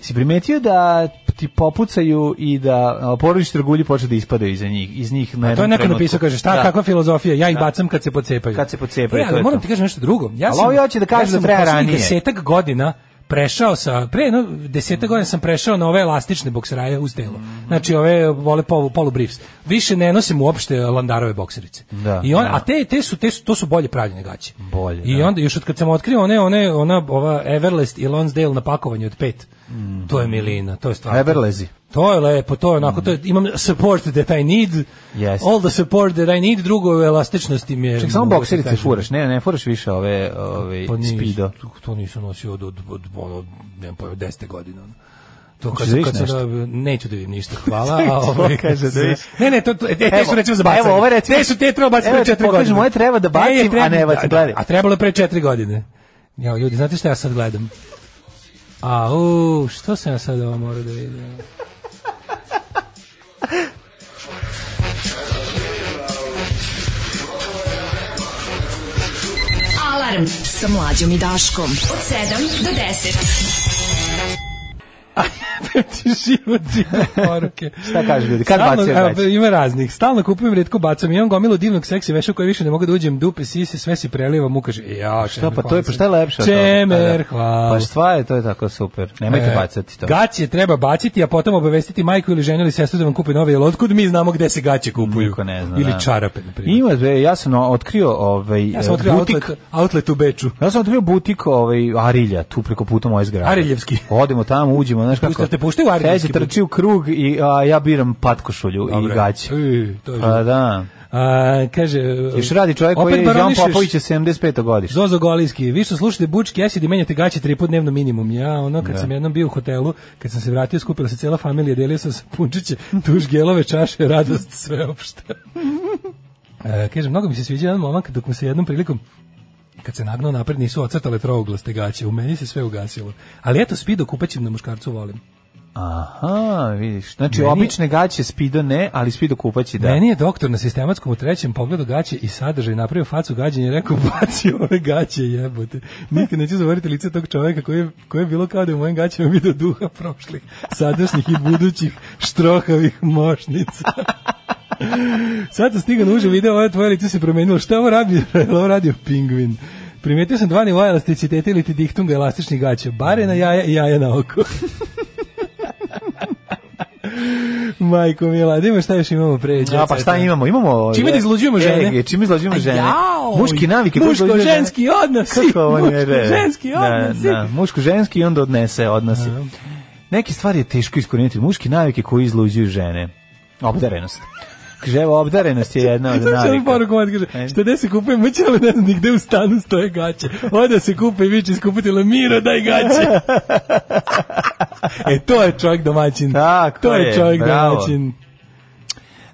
[SPEAKER 6] Si primetio da ti popucaju i da a, porodični trgulji počne da ispadaju iza njih, iz njih na
[SPEAKER 7] A to je
[SPEAKER 6] jednom
[SPEAKER 7] neko
[SPEAKER 6] trenutku.
[SPEAKER 7] napisao, kaže, šta,
[SPEAKER 6] Da.
[SPEAKER 7] kakva filozofija, ja ih
[SPEAKER 6] Da.
[SPEAKER 7] bacam kad se pocepaju.
[SPEAKER 6] Kad se pocepaju,
[SPEAKER 7] E,
[SPEAKER 6] to
[SPEAKER 7] ali
[SPEAKER 6] je
[SPEAKER 7] moram
[SPEAKER 6] to.
[SPEAKER 7] ti kažem nešto drugo. Ja
[SPEAKER 6] Ali
[SPEAKER 7] sam,
[SPEAKER 6] ovi hoće da kažu da
[SPEAKER 7] ja sam u
[SPEAKER 6] treba
[SPEAKER 7] poslednjih
[SPEAKER 6] ranije.
[SPEAKER 7] desetak godina prešao sa, pre no, desetak godina sam prešao na ove elastične bokseraje uz telo.
[SPEAKER 6] Mhm.
[SPEAKER 7] Znači, ove vole polu, polu briefs. Više ne nosim uopšte landarove bokserice.
[SPEAKER 6] Da,
[SPEAKER 7] I on,
[SPEAKER 6] da.
[SPEAKER 7] A te, te, su, te su, to su bolje pravljene gaće.
[SPEAKER 6] Bolje,
[SPEAKER 7] I
[SPEAKER 6] da.
[SPEAKER 7] onda, još od kad sam otkrio one, one, ona, ova Everlast i Lonsdale na pakovanju od pet.
[SPEAKER 6] Mhm.
[SPEAKER 7] To je milina, to je stvarno.
[SPEAKER 6] Everlezi.
[SPEAKER 7] To je lepo, to je onako, to je, imam support that I need,
[SPEAKER 6] Jeste.
[SPEAKER 7] all the support that I need, drugo elastičnosti mi je...
[SPEAKER 6] Ček, samo
[SPEAKER 7] mogu ti
[SPEAKER 6] bokserice
[SPEAKER 7] kažem.
[SPEAKER 6] furaš, ne, ne furaš više ove, ove
[SPEAKER 7] Pa nis-
[SPEAKER 6] speedo.
[SPEAKER 7] To nisam nosio od, od, od, ono, od, nemam pojma, desete godine. ono. To
[SPEAKER 6] Hoćeš
[SPEAKER 7] kad,
[SPEAKER 6] da vidiš
[SPEAKER 7] kad sam,
[SPEAKER 6] nešto?
[SPEAKER 7] da- neću da vidim ništa, hvala.
[SPEAKER 6] Čekaj,
[SPEAKER 7] a
[SPEAKER 6] to
[SPEAKER 7] ovaj-
[SPEAKER 6] kaže da vidiš.
[SPEAKER 7] Ne, ne, to, to, e, te, te su recimo za bacanje.
[SPEAKER 6] Evo, ovo je recimo-
[SPEAKER 7] Te su te treba baciti
[SPEAKER 6] Evo
[SPEAKER 7] pre
[SPEAKER 6] ti
[SPEAKER 7] četiri
[SPEAKER 6] pokažem,
[SPEAKER 7] godine.
[SPEAKER 6] ovo je treba da bacim,
[SPEAKER 7] E, treba-
[SPEAKER 6] a ne bacim,
[SPEAKER 7] da,
[SPEAKER 6] gledaj.
[SPEAKER 7] A trebalo je pre četiri godine. Ja, ljudi, znate šta ja sad gledam? A, u, što sam ja sad ovo morao da vidim?
[SPEAKER 5] Alarm sa mlađom i Daškom. Od 7 do 10.
[SPEAKER 7] ti život čita poruke.
[SPEAKER 6] Šta kažu ljudi, kad
[SPEAKER 7] Stalno-
[SPEAKER 6] bacio
[SPEAKER 7] evo,
[SPEAKER 6] gaće?
[SPEAKER 7] Ima raznih. Stalno kupujem, redko bacam. Imam gomilu divnog seksi veša koje više ne mogu da uđem. Dupe, sise, sve si prelivam. Mu kaže, "E, ja,
[SPEAKER 6] Šta pa to je, pa šta je lepše? od toga?
[SPEAKER 7] Čemer,
[SPEAKER 6] Pa da.
[SPEAKER 7] hvala.
[SPEAKER 6] Pa šta je, to je tako super. Nemojte
[SPEAKER 7] E,
[SPEAKER 6] bacati to.
[SPEAKER 7] Gaće treba baciti, a potom obavestiti majku ili ženu ili sestru da vam kupe nove, jer otkud mi znamo gde se gaće kupuju?
[SPEAKER 6] Niko ne zna,
[SPEAKER 7] Ili
[SPEAKER 6] da.
[SPEAKER 7] čarape, na primjer.
[SPEAKER 6] Ima, bre, ja sam no, otkrio ovaj,
[SPEAKER 7] Ja sam
[SPEAKER 6] e,
[SPEAKER 7] otkrio
[SPEAKER 6] butik.
[SPEAKER 7] outlet, outlet u Beču.
[SPEAKER 6] Ja sam otkrio butik ovaj, Arilja, tu preko puta moje zgrade.
[SPEAKER 7] Ariljevski.
[SPEAKER 6] Odemo tamo, uđemo, znaš kako.
[SPEAKER 7] Pušta- te puštaju u Ariljevski
[SPEAKER 6] Feđa trči u krug i a, ja biram patkošulju i gaće.
[SPEAKER 7] Ej, to je
[SPEAKER 6] Pa da.
[SPEAKER 7] A, kaže...
[SPEAKER 6] Još radi čovjek koji je
[SPEAKER 7] opet
[SPEAKER 6] iz Jovan
[SPEAKER 7] baronišeš.
[SPEAKER 6] Popović je 75. godište.
[SPEAKER 7] Zozo Golijski, vi što slušate Bučki Acid i menjate gaće tri put dnevno minimum. Ja, ono, kad sam jednom bio u hotelu, kad sam se vratio, skupila se cijela familija, delio sam se punčiće, tuž gelove, čaše, radost, sveopšta. E, kaže, mnogo mi se sviđa jedan momak dok mu se jednom prilikom kad se nagnuo napred nisu ocrtale trouglaste gaće, u meni se sve ugasilo. Ali eto, spido kupaćim na muškarcu volim.
[SPEAKER 6] Aha, vidiš. Znači,
[SPEAKER 7] Meni-
[SPEAKER 6] obične gaće spido ne, ali spido kupaći da.
[SPEAKER 7] Meni je doktor na sistematskom u trećem pogledu gaće i sadržaj napravio facu gađenja i rekao baci ove gaće jebote. Nikad neću zavariti lice tog čoveka koji je, koji je bilo kao da je u mojim gaćama vidio duha prošlih, sadašnjih i budućih štrohavih mošnica. Sad sam stigao na uži video, ovo tvoje lice se promenilo. Šta ovo radi? Jel Ovo radio pingvin. Primetio sam dva nivoa elasticiteta ili ti diktunga elastičnih gaća. Bare na jaja i jaja na oko. Majko mila, da ima šta još imamo pre?
[SPEAKER 6] A pa šta imamo? Imamo
[SPEAKER 7] Čime da izluđujemo žene?
[SPEAKER 6] E, čime izluđujemo žene?
[SPEAKER 7] Jao!
[SPEAKER 6] Muški navike. koje
[SPEAKER 7] Muško,
[SPEAKER 6] izluđuju žene.
[SPEAKER 7] ženski odnosi.
[SPEAKER 6] Kako ovo nije
[SPEAKER 7] Muško,
[SPEAKER 6] red?
[SPEAKER 7] ženski odnosi.
[SPEAKER 6] Da, da, muško ženski i onda odnese odnosi. Neke stvari je teško iskorijeniti. Muški navike koji izluđuju žene. Obdarenost. Kaže, evo, obdarenost je jedna
[SPEAKER 7] Sad
[SPEAKER 6] od
[SPEAKER 7] će mi
[SPEAKER 6] navika. E.
[SPEAKER 7] poruku mati kaže, šta gde se kupuje mrće, ali ne znam ni gde u stanu stoje gaće. Ode se kupe i viče iskupitila, Miro, daj gaće. e, to je čovjek domaćin.
[SPEAKER 6] Tako
[SPEAKER 7] to je,
[SPEAKER 6] je,
[SPEAKER 7] čovjek
[SPEAKER 6] bravo.
[SPEAKER 7] domaćin.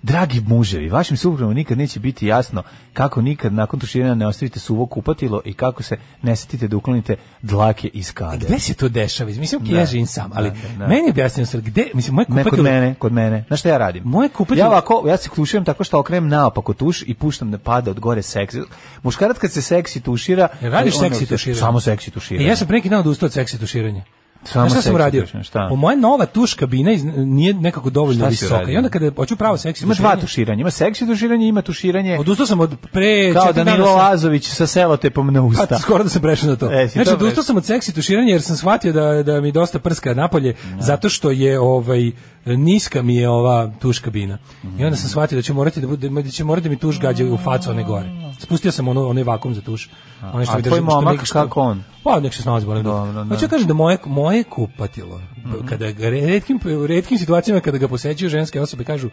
[SPEAKER 6] Dragi muževi, vašim suprugama nikad neće biti jasno kako nikad nakon tuširanja ne ostavite suvo kupatilo i kako se ne setite da uklonite dlake iz kade.
[SPEAKER 7] Gde se to dešava? Mislim, ok, ja
[SPEAKER 6] Da.
[SPEAKER 7] živim sam, ali
[SPEAKER 6] Da, da, da.
[SPEAKER 7] meni je objasnio stvar, gde, mislim, moje
[SPEAKER 6] Ne, kod
[SPEAKER 7] kupatilo...
[SPEAKER 6] mene, kod mene. Znaš šta ja radim?
[SPEAKER 7] Moje kupatilo...
[SPEAKER 6] Ja ovako, ja se tuširam tako što okrenem naopako tuš i puštam da pada od gore seksi. Muškarac kad se seksi tušira...
[SPEAKER 7] Jel E, radiš
[SPEAKER 6] ono,
[SPEAKER 7] seksi tuširanje?
[SPEAKER 6] Samo seksi tuširanje.
[SPEAKER 7] E, ja sam pre neki dan odustao od seksi tuširanja. Samo šta sam
[SPEAKER 6] seksi
[SPEAKER 7] radio?
[SPEAKER 6] tušenje, šta?
[SPEAKER 7] O, moja nova tuš kabina iz, nije nekako dovoljno
[SPEAKER 6] Šta si
[SPEAKER 7] visoka.
[SPEAKER 6] uradio?
[SPEAKER 7] I onda kada hoću pravo seksi
[SPEAKER 6] Ima dva
[SPEAKER 7] tuširanje-
[SPEAKER 6] tuširanja, ima seksi tuširanje, ima tuširanje.
[SPEAKER 7] Odustao sam od pre
[SPEAKER 6] Kao
[SPEAKER 7] četiri dana
[SPEAKER 6] Danilo
[SPEAKER 7] sam-
[SPEAKER 6] Lazović sa selotepom na usta.
[SPEAKER 7] Pa, skoro da sam prešao na to.
[SPEAKER 6] E, si
[SPEAKER 7] znači,
[SPEAKER 6] to
[SPEAKER 7] odustao
[SPEAKER 6] prešao.
[SPEAKER 7] sam od seksi tuširanja jer sam shvatio da, da mi dosta prska napolje, zato što je ovaj niska mi je ova tuš kabina. I onda
[SPEAKER 6] Mhm.
[SPEAKER 7] sam shvatio da će morati da, bude, da će morati da mi tuš gađa u facu one gore. Spustio sam ono, onaj vakum za tuš. Onaj
[SPEAKER 6] A
[SPEAKER 7] mi
[SPEAKER 6] tvoj
[SPEAKER 7] što mi-
[SPEAKER 6] momak, kako on?
[SPEAKER 7] Pa, nek se snalazi bolim. Dobro,
[SPEAKER 6] da. Mhm.
[SPEAKER 7] Hoću da kažem da moje, moje kupatilo, kada ga, redkim, u redkim situacijama kada ga posećuju ženske osobe, kažu,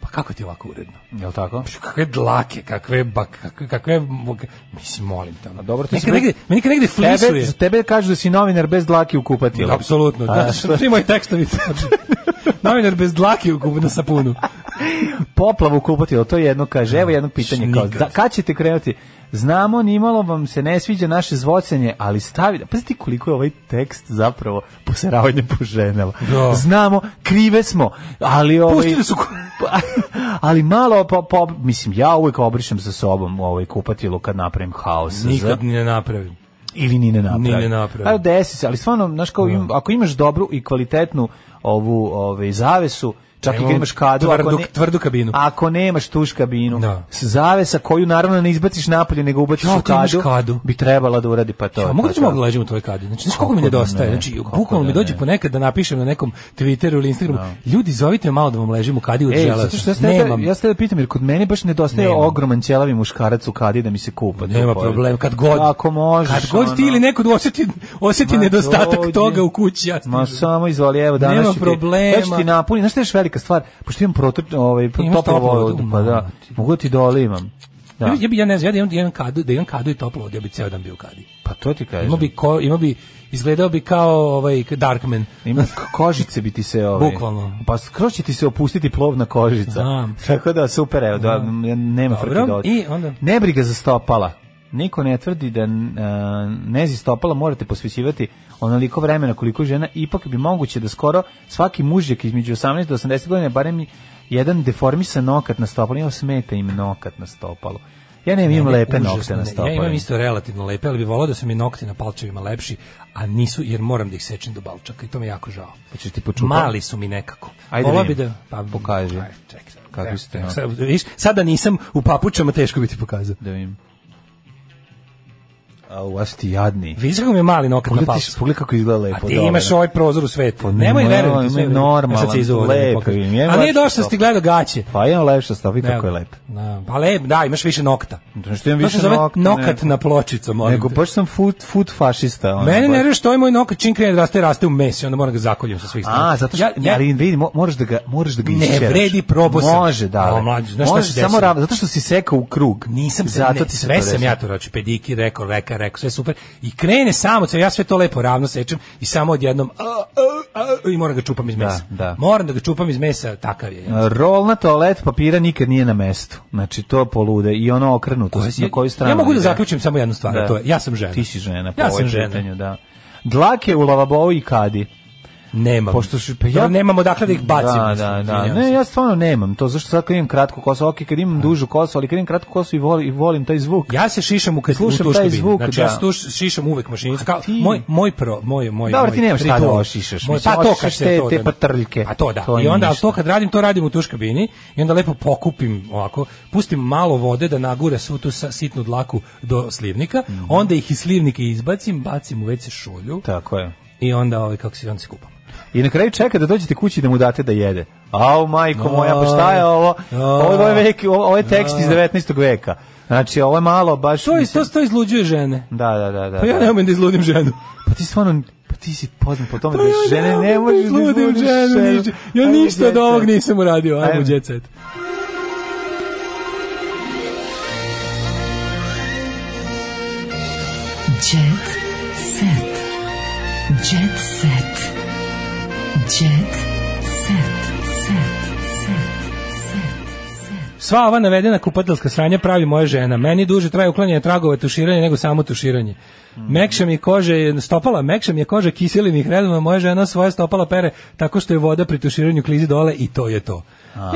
[SPEAKER 7] pa kako ti je ovako uredno?
[SPEAKER 6] Jel tako?
[SPEAKER 7] kakve dlake, kakve bak, kakve, kakve mislim molim te. ono.
[SPEAKER 6] Dobro, ti
[SPEAKER 7] Nekad
[SPEAKER 6] si-
[SPEAKER 7] negde, meni kad negde
[SPEAKER 6] Tebe,
[SPEAKER 7] flisuje.
[SPEAKER 6] za tebe kažu da si novinar bez dlake u kupatilu.
[SPEAKER 7] Apsolutno,
[SPEAKER 6] A,
[SPEAKER 7] da,
[SPEAKER 6] šta-
[SPEAKER 7] svi moji tekstovi. Novinar bez dlake u kubu na sapunu.
[SPEAKER 6] poplavu kupatilo, to je jedno kaže, evo jedno pitanje kao,
[SPEAKER 7] Nikad.
[SPEAKER 6] da, kad ćete krenuti? Znamo, nimalo vam se ne sviđa naše zvocanje, ali stavi, pazite koliko je ovaj tekst zapravo poseravanje po ženama.
[SPEAKER 7] Da.
[SPEAKER 6] Znamo, krive smo, ali ovaj...
[SPEAKER 7] Pustili su ku-
[SPEAKER 6] ali malo, po, po, mislim, ja uvijek obrišem sa sobom ovaj kupatilo kad napravim haos.
[SPEAKER 7] Nikad ni ne napravim.
[SPEAKER 6] ili ni ne napravi.
[SPEAKER 7] Ni ne napravi.
[SPEAKER 6] A desi se, ali stvarno, znaš, kao, im- ako imaš dobru i kvalitetnu ovu ovaj, zavesu, čak i
[SPEAKER 7] Nemam
[SPEAKER 6] kad imaš kadu, ako,
[SPEAKER 7] tvrdu- tvrdu kabinu.
[SPEAKER 6] ako nemaš tuš kabinu,
[SPEAKER 7] Da.
[SPEAKER 6] s zavesa koju naravno ne izbaciš napolje, nego ubaciš
[SPEAKER 7] Ja,
[SPEAKER 6] u
[SPEAKER 7] ti imaš
[SPEAKER 6] kadu,
[SPEAKER 7] kadu.
[SPEAKER 6] bi trebala da uradi pa to.
[SPEAKER 7] Pa mogu da
[SPEAKER 6] pa
[SPEAKER 7] ću
[SPEAKER 6] to.
[SPEAKER 7] mogu da ležim u tvojoj kadi. Znači, znaš koliko mi
[SPEAKER 6] Kako da
[SPEAKER 7] nedostaje?
[SPEAKER 6] ne?
[SPEAKER 7] Znači,
[SPEAKER 6] Kako
[SPEAKER 7] bukvalno
[SPEAKER 6] da
[SPEAKER 7] mi dođe
[SPEAKER 6] ne?
[SPEAKER 7] ponekad da napišem na nekom Twitteru ili Instagramu, ljudi, zovite me malo da vam ležim u kadi od
[SPEAKER 6] Ej,
[SPEAKER 7] žela.
[SPEAKER 6] E, zato što ja ste
[SPEAKER 7] Nemam.
[SPEAKER 6] ja ste pitam jer kod mene baš nedostaje
[SPEAKER 7] Nemam.
[SPEAKER 6] ogroman ćelavi muškarac u kadi da mi se kupa.
[SPEAKER 7] Nema
[SPEAKER 6] To je-
[SPEAKER 7] problem, kad god.
[SPEAKER 6] Ako možeš.
[SPEAKER 7] Kad god ti
[SPEAKER 6] ono.
[SPEAKER 7] ili neko osjeti, osjeti
[SPEAKER 6] Ma,
[SPEAKER 7] nedostatak
[SPEAKER 6] dođi.
[SPEAKER 7] toga u kući, ja
[SPEAKER 6] Ma
[SPEAKER 7] stižem.
[SPEAKER 6] samo izvoli, evo danas
[SPEAKER 7] Nema
[SPEAKER 6] ću ti-
[SPEAKER 7] problema.
[SPEAKER 6] danas ću ti napuni. Znaš šta je još velika stvar? Pošto imam protor, ovaj,
[SPEAKER 7] Imaš
[SPEAKER 6] toplo
[SPEAKER 7] toplu vodu,
[SPEAKER 6] vodu, pa da.
[SPEAKER 7] ma, ti.
[SPEAKER 6] Mogu da ti dolimam. Da.
[SPEAKER 7] Ja, bi, ja bi- ja ne znam, ja da imam, da imam kadu, da imam kadu i toplo vodu, ja bi ceo dan bio u kadi.
[SPEAKER 6] Pa to ti kažem.
[SPEAKER 7] Ima bi, ko, ima bi, izgledao bi kao ovaj Darkman.
[SPEAKER 6] Ima k- kožice bi ti se ovaj.
[SPEAKER 7] Bukvalno.
[SPEAKER 6] Pa skroz će ti se opustiti plovna kožica.
[SPEAKER 7] Znam.
[SPEAKER 6] Tako da super, evo, da, m, nema
[SPEAKER 7] Dobro,
[SPEAKER 6] frke dođe.
[SPEAKER 7] i onda?
[SPEAKER 6] Ne briga za stopala. Niko ne tvrdi da n- a, nezi stopala morate posvećivati onoliko vremena koliko žena, ipak bi moguće da skoro svaki mužjak između 18 do 80 godina barem jedan deformisan nokat na stopalu, ja smeta im nokat na stopalu. Ja ne imam
[SPEAKER 7] Mene
[SPEAKER 6] lepe
[SPEAKER 7] užasno
[SPEAKER 6] nokte
[SPEAKER 7] ne-
[SPEAKER 6] na stopalu.
[SPEAKER 7] Ja imam isto relativno lepe, ali bi volao da su mi nokti na palčevima lepši, a nisu jer moram da ih sečem do balčaka i to mi je jako žao.
[SPEAKER 6] Pa ćeš ti počupati?
[SPEAKER 7] Mali su mi nekako.
[SPEAKER 6] Ajde
[SPEAKER 7] Volao
[SPEAKER 6] vidim.
[SPEAKER 7] bi da pa
[SPEAKER 6] Pokaži.
[SPEAKER 7] Ajde, čekaj.
[SPEAKER 6] Kakvi su ti
[SPEAKER 7] Evo,
[SPEAKER 6] nokti?
[SPEAKER 7] sad, vidiš, sada nisam u papučama, teško bi ti pokazao.
[SPEAKER 6] Da vidim. A u vas ti jadni.
[SPEAKER 7] Vidiš kako mi je mali nokat na
[SPEAKER 6] Pogledaj,
[SPEAKER 7] palcu.
[SPEAKER 6] ti- pogledaj kako izgleda lepo.
[SPEAKER 7] A ti
[SPEAKER 6] dobro.
[SPEAKER 7] imaš ovaj prozor u svetu. Nemoj
[SPEAKER 6] nemoj,
[SPEAKER 7] verovati.
[SPEAKER 6] ima
[SPEAKER 7] sve vreme.
[SPEAKER 6] normalan,
[SPEAKER 7] Sad se izuvo da mi
[SPEAKER 6] lep,
[SPEAKER 7] pokaže.
[SPEAKER 6] vidim, ima
[SPEAKER 7] A nije
[SPEAKER 6] lepši
[SPEAKER 7] došao
[SPEAKER 6] top.
[SPEAKER 7] si gledao gaće.
[SPEAKER 6] Pa imam lepša stav, vidi kako je
[SPEAKER 7] Evo.
[SPEAKER 6] lep.
[SPEAKER 7] Da, pa lep, da, imaš više nokta.
[SPEAKER 6] Zato što imam
[SPEAKER 7] To se
[SPEAKER 6] više
[SPEAKER 7] zove
[SPEAKER 6] nokta,
[SPEAKER 7] nokat
[SPEAKER 6] nego-
[SPEAKER 7] na pločicu, molim
[SPEAKER 6] Nego
[SPEAKER 7] te.
[SPEAKER 6] baš sam food, food fašista. ono,
[SPEAKER 7] Mene
[SPEAKER 6] baš.
[SPEAKER 7] nervira što je moj nokat čim krene da raste, raste u mesi, onda moram ga zakoljem sa svih strana.
[SPEAKER 6] A, zato što,
[SPEAKER 7] Ja- ja-
[SPEAKER 6] ali vidi, mo- moraš da ga, moraš da ga
[SPEAKER 7] Ne
[SPEAKER 6] iščeraš.
[SPEAKER 7] vredi, probao sam.
[SPEAKER 6] Može, da.
[SPEAKER 7] A,
[SPEAKER 6] da.
[SPEAKER 7] mlađe, znaš šta se
[SPEAKER 6] Može,
[SPEAKER 7] desilo?
[SPEAKER 6] Samo ravno, zato što si sekao u krug.
[SPEAKER 7] nisam se,
[SPEAKER 6] zato
[SPEAKER 7] ne,
[SPEAKER 6] ti se
[SPEAKER 7] sve
[SPEAKER 6] to
[SPEAKER 7] sam
[SPEAKER 6] desilo.
[SPEAKER 7] ja to raču, pediki, rekao, reka, rekao, sve super. I krene samo, sve, ja sve to lepo ravno sečem i samo odjednom a, a, a, i moram ga čupam iz mesa.
[SPEAKER 6] da.
[SPEAKER 7] Moram da ga čupam iz mesa, takav je.
[SPEAKER 6] Rol na toalet papira nikad nije na mestu. Znači, to polude i ono okrenuto.
[SPEAKER 7] Koje-
[SPEAKER 6] na koju stranu
[SPEAKER 7] ja mogu da
[SPEAKER 6] ide.
[SPEAKER 7] zaključim samo jednu stvar, a
[SPEAKER 6] Da.
[SPEAKER 7] to je, ja sam žena.
[SPEAKER 6] Ti si žena, pa po
[SPEAKER 7] ja
[SPEAKER 6] ovom
[SPEAKER 7] sam žena.
[SPEAKER 6] pitanju, da. Dlake u lavabou i kadi.
[SPEAKER 7] Nemam.
[SPEAKER 6] Pošto su- pa ja-
[SPEAKER 7] Dobro, nemam odakle da ih bacim.
[SPEAKER 6] Da,
[SPEAKER 7] mislim,
[SPEAKER 6] da, da.
[SPEAKER 7] izvinjavam
[SPEAKER 6] Ne,
[SPEAKER 7] se.
[SPEAKER 6] ja stvarno nemam to. Zašto sad kad imam kratku kosu, ok, kad imam dužu kosu, ali kad imam kratku kosu i volim, i volim taj zvuk.
[SPEAKER 7] Ja se šišam u kad
[SPEAKER 6] Slušam
[SPEAKER 7] u tuš
[SPEAKER 6] taj
[SPEAKER 7] kabini.
[SPEAKER 6] zvuk,
[SPEAKER 7] znači,
[SPEAKER 6] da.
[SPEAKER 7] ja se tuš, šišam uvek mašinicu. Kao,
[SPEAKER 6] ti?
[SPEAKER 7] moj, moj pro, moj, moj,
[SPEAKER 6] Dobro,
[SPEAKER 7] moj
[SPEAKER 6] ti nemaš šta
[SPEAKER 7] ritual.
[SPEAKER 6] da ošišaš,
[SPEAKER 7] Moj,
[SPEAKER 6] mislim,
[SPEAKER 7] pa to
[SPEAKER 6] ošišaš
[SPEAKER 7] kad se
[SPEAKER 6] te-
[SPEAKER 7] to,
[SPEAKER 6] te
[SPEAKER 7] da-
[SPEAKER 6] patrljke.
[SPEAKER 7] Pa to da.
[SPEAKER 6] To
[SPEAKER 7] I
[SPEAKER 6] nije
[SPEAKER 7] onda, ali
[SPEAKER 6] ništa.
[SPEAKER 7] to kad radim, to radim u tuš kabini i onda lepo pokupim ovako, pustim malo vode da nagura svu tu sa- sitnu dlaku do slivnika,
[SPEAKER 6] Mhm.
[SPEAKER 7] onda ih iz slivnika izbacim, bacim u WC šolju
[SPEAKER 6] Tako je.
[SPEAKER 7] i onda ovaj, kako se, onda se kupam.
[SPEAKER 6] I na kraju čeka da dođete kući da mu date da jede. Au, majko moja, pa šta je ovo? Ovo je, ovo je, veki- ovo ovo je tekst iz 19. veka. Znači, ovo je malo baš...
[SPEAKER 7] To, je,
[SPEAKER 6] mislim-
[SPEAKER 7] to, to izluđuje žene.
[SPEAKER 6] Da, da, da. da
[SPEAKER 7] Pa ja
[SPEAKER 6] da.
[SPEAKER 7] ne umem da izludim ženu.
[SPEAKER 6] Pa ti stvarno, pa ti si poznat po tome
[SPEAKER 7] Pa
[SPEAKER 6] da
[SPEAKER 7] ja
[SPEAKER 6] žene ne
[SPEAKER 7] umem da
[SPEAKER 6] možeš da
[SPEAKER 7] izludim
[SPEAKER 6] izludiš
[SPEAKER 7] ženu.
[SPEAKER 6] ženu.
[SPEAKER 7] ništa. Ja
[SPEAKER 6] Ajmo u
[SPEAKER 7] ništa od
[SPEAKER 6] djeca.
[SPEAKER 7] ovog nisam uradio. Ajmo,
[SPEAKER 6] Ajmo.
[SPEAKER 7] u jet set.
[SPEAKER 5] Jet set. Jet set. Jet set. Set. Set. Set. Set.
[SPEAKER 7] Sva ova navedena kupateljska sranja pravi moja žena. Meni duže traje uklanjanje tragova tuširanja nego samo tuširanje. Mekša mi je kože stopala, mekša mi je kože kiselinih redova, moja žena svoje stopala pere tako što je voda pri tuširanju klizi dole i to je to.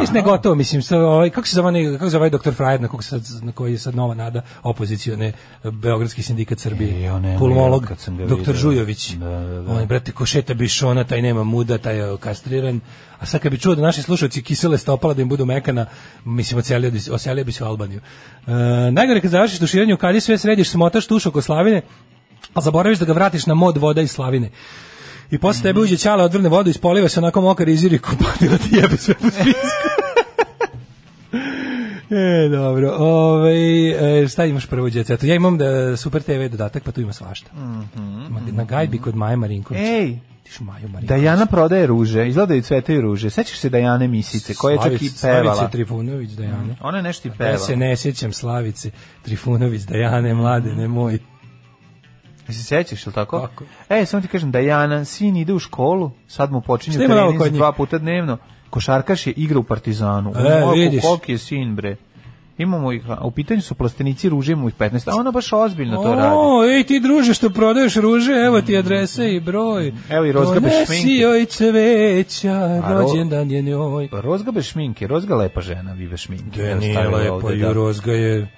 [SPEAKER 7] Nis ne gotovo, mislim, sa, ovaj, kako se zove, onaj- kako se zove ovaj doktor Frajer, na, kog sad, na koji je sad nova nada opozicione eh, Beogradski sindikat
[SPEAKER 6] E,
[SPEAKER 7] Srbije, pulmolog,
[SPEAKER 6] kad sam ga
[SPEAKER 7] doktor
[SPEAKER 6] video.
[SPEAKER 7] Žujović. On je, Ovaj, brate, ko šeta bišona, taj nema muda, taj je kastriran. A sad kad bi čuo da naši slušalci kisele stopala da im budu mekana, mislim, ocelio bi, se- ocelio bi se u Albaniju. E, najgore kad završiš tuširanje u kadi sve središ, smotaš tuš oko slavine, a zaboraviš da ga vratiš na mod voda iz slavine. I posle tebe uđe ćala, odvrne vodu, ispoliva se onako mokar iziri kupatila ti jebe sve po spisku. E, dobro. Ovaj e, šta imaš prvo đece? Eto, ja imam da Super TV dodatak, pa tu ima svašta. Ma, Na gajbi kod Maje Marinković.
[SPEAKER 6] Ej!
[SPEAKER 7] Tiš Maju Marinković.
[SPEAKER 6] Dajana prodaje ruže, izgleda i cvete i ruže. Sećaš se Dajane Misice, koja je čak i
[SPEAKER 7] Slavice-
[SPEAKER 6] pevala.
[SPEAKER 7] Slavice Trifunović, Dajane.
[SPEAKER 6] Ona je nešto i
[SPEAKER 7] Ja
[SPEAKER 6] pevala.
[SPEAKER 7] se ne sjećam Slavice Trifunović, Dajane, mlade,
[SPEAKER 6] Mm-hmm.
[SPEAKER 7] ne moj.
[SPEAKER 6] Jel se sećaš, ili tako? tako? E, samo ti kažem, Dajana, sin ide u školu, sad mu počinju
[SPEAKER 7] Šta ima novo
[SPEAKER 6] trening
[SPEAKER 7] kod
[SPEAKER 6] za
[SPEAKER 7] njih?
[SPEAKER 6] dva puta dnevno. Košarkaš je igra u Partizanu.
[SPEAKER 7] E,
[SPEAKER 6] E,
[SPEAKER 7] vidiš.
[SPEAKER 6] Koliki je sin, bre. Imamo ih, a u pitanju su plastenici ruže, imamo ih 15, a ona baš ozbiljno to radi.
[SPEAKER 7] O, ej ti druže što prodaješ ruže, evo ti adrese i broj.
[SPEAKER 6] Evo i rozgabe šminke.
[SPEAKER 7] Donesi joj cveća,
[SPEAKER 6] A ro-
[SPEAKER 7] rođendan je njoj.
[SPEAKER 6] Rozga bez šminke, rozga lepa žena, vive šminke.
[SPEAKER 7] Da,
[SPEAKER 6] Evo,
[SPEAKER 7] nije
[SPEAKER 6] stavila
[SPEAKER 7] lepo,
[SPEAKER 6] ovde,
[SPEAKER 7] pa i
[SPEAKER 6] da. Mhm.
[SPEAKER 7] Rozga je...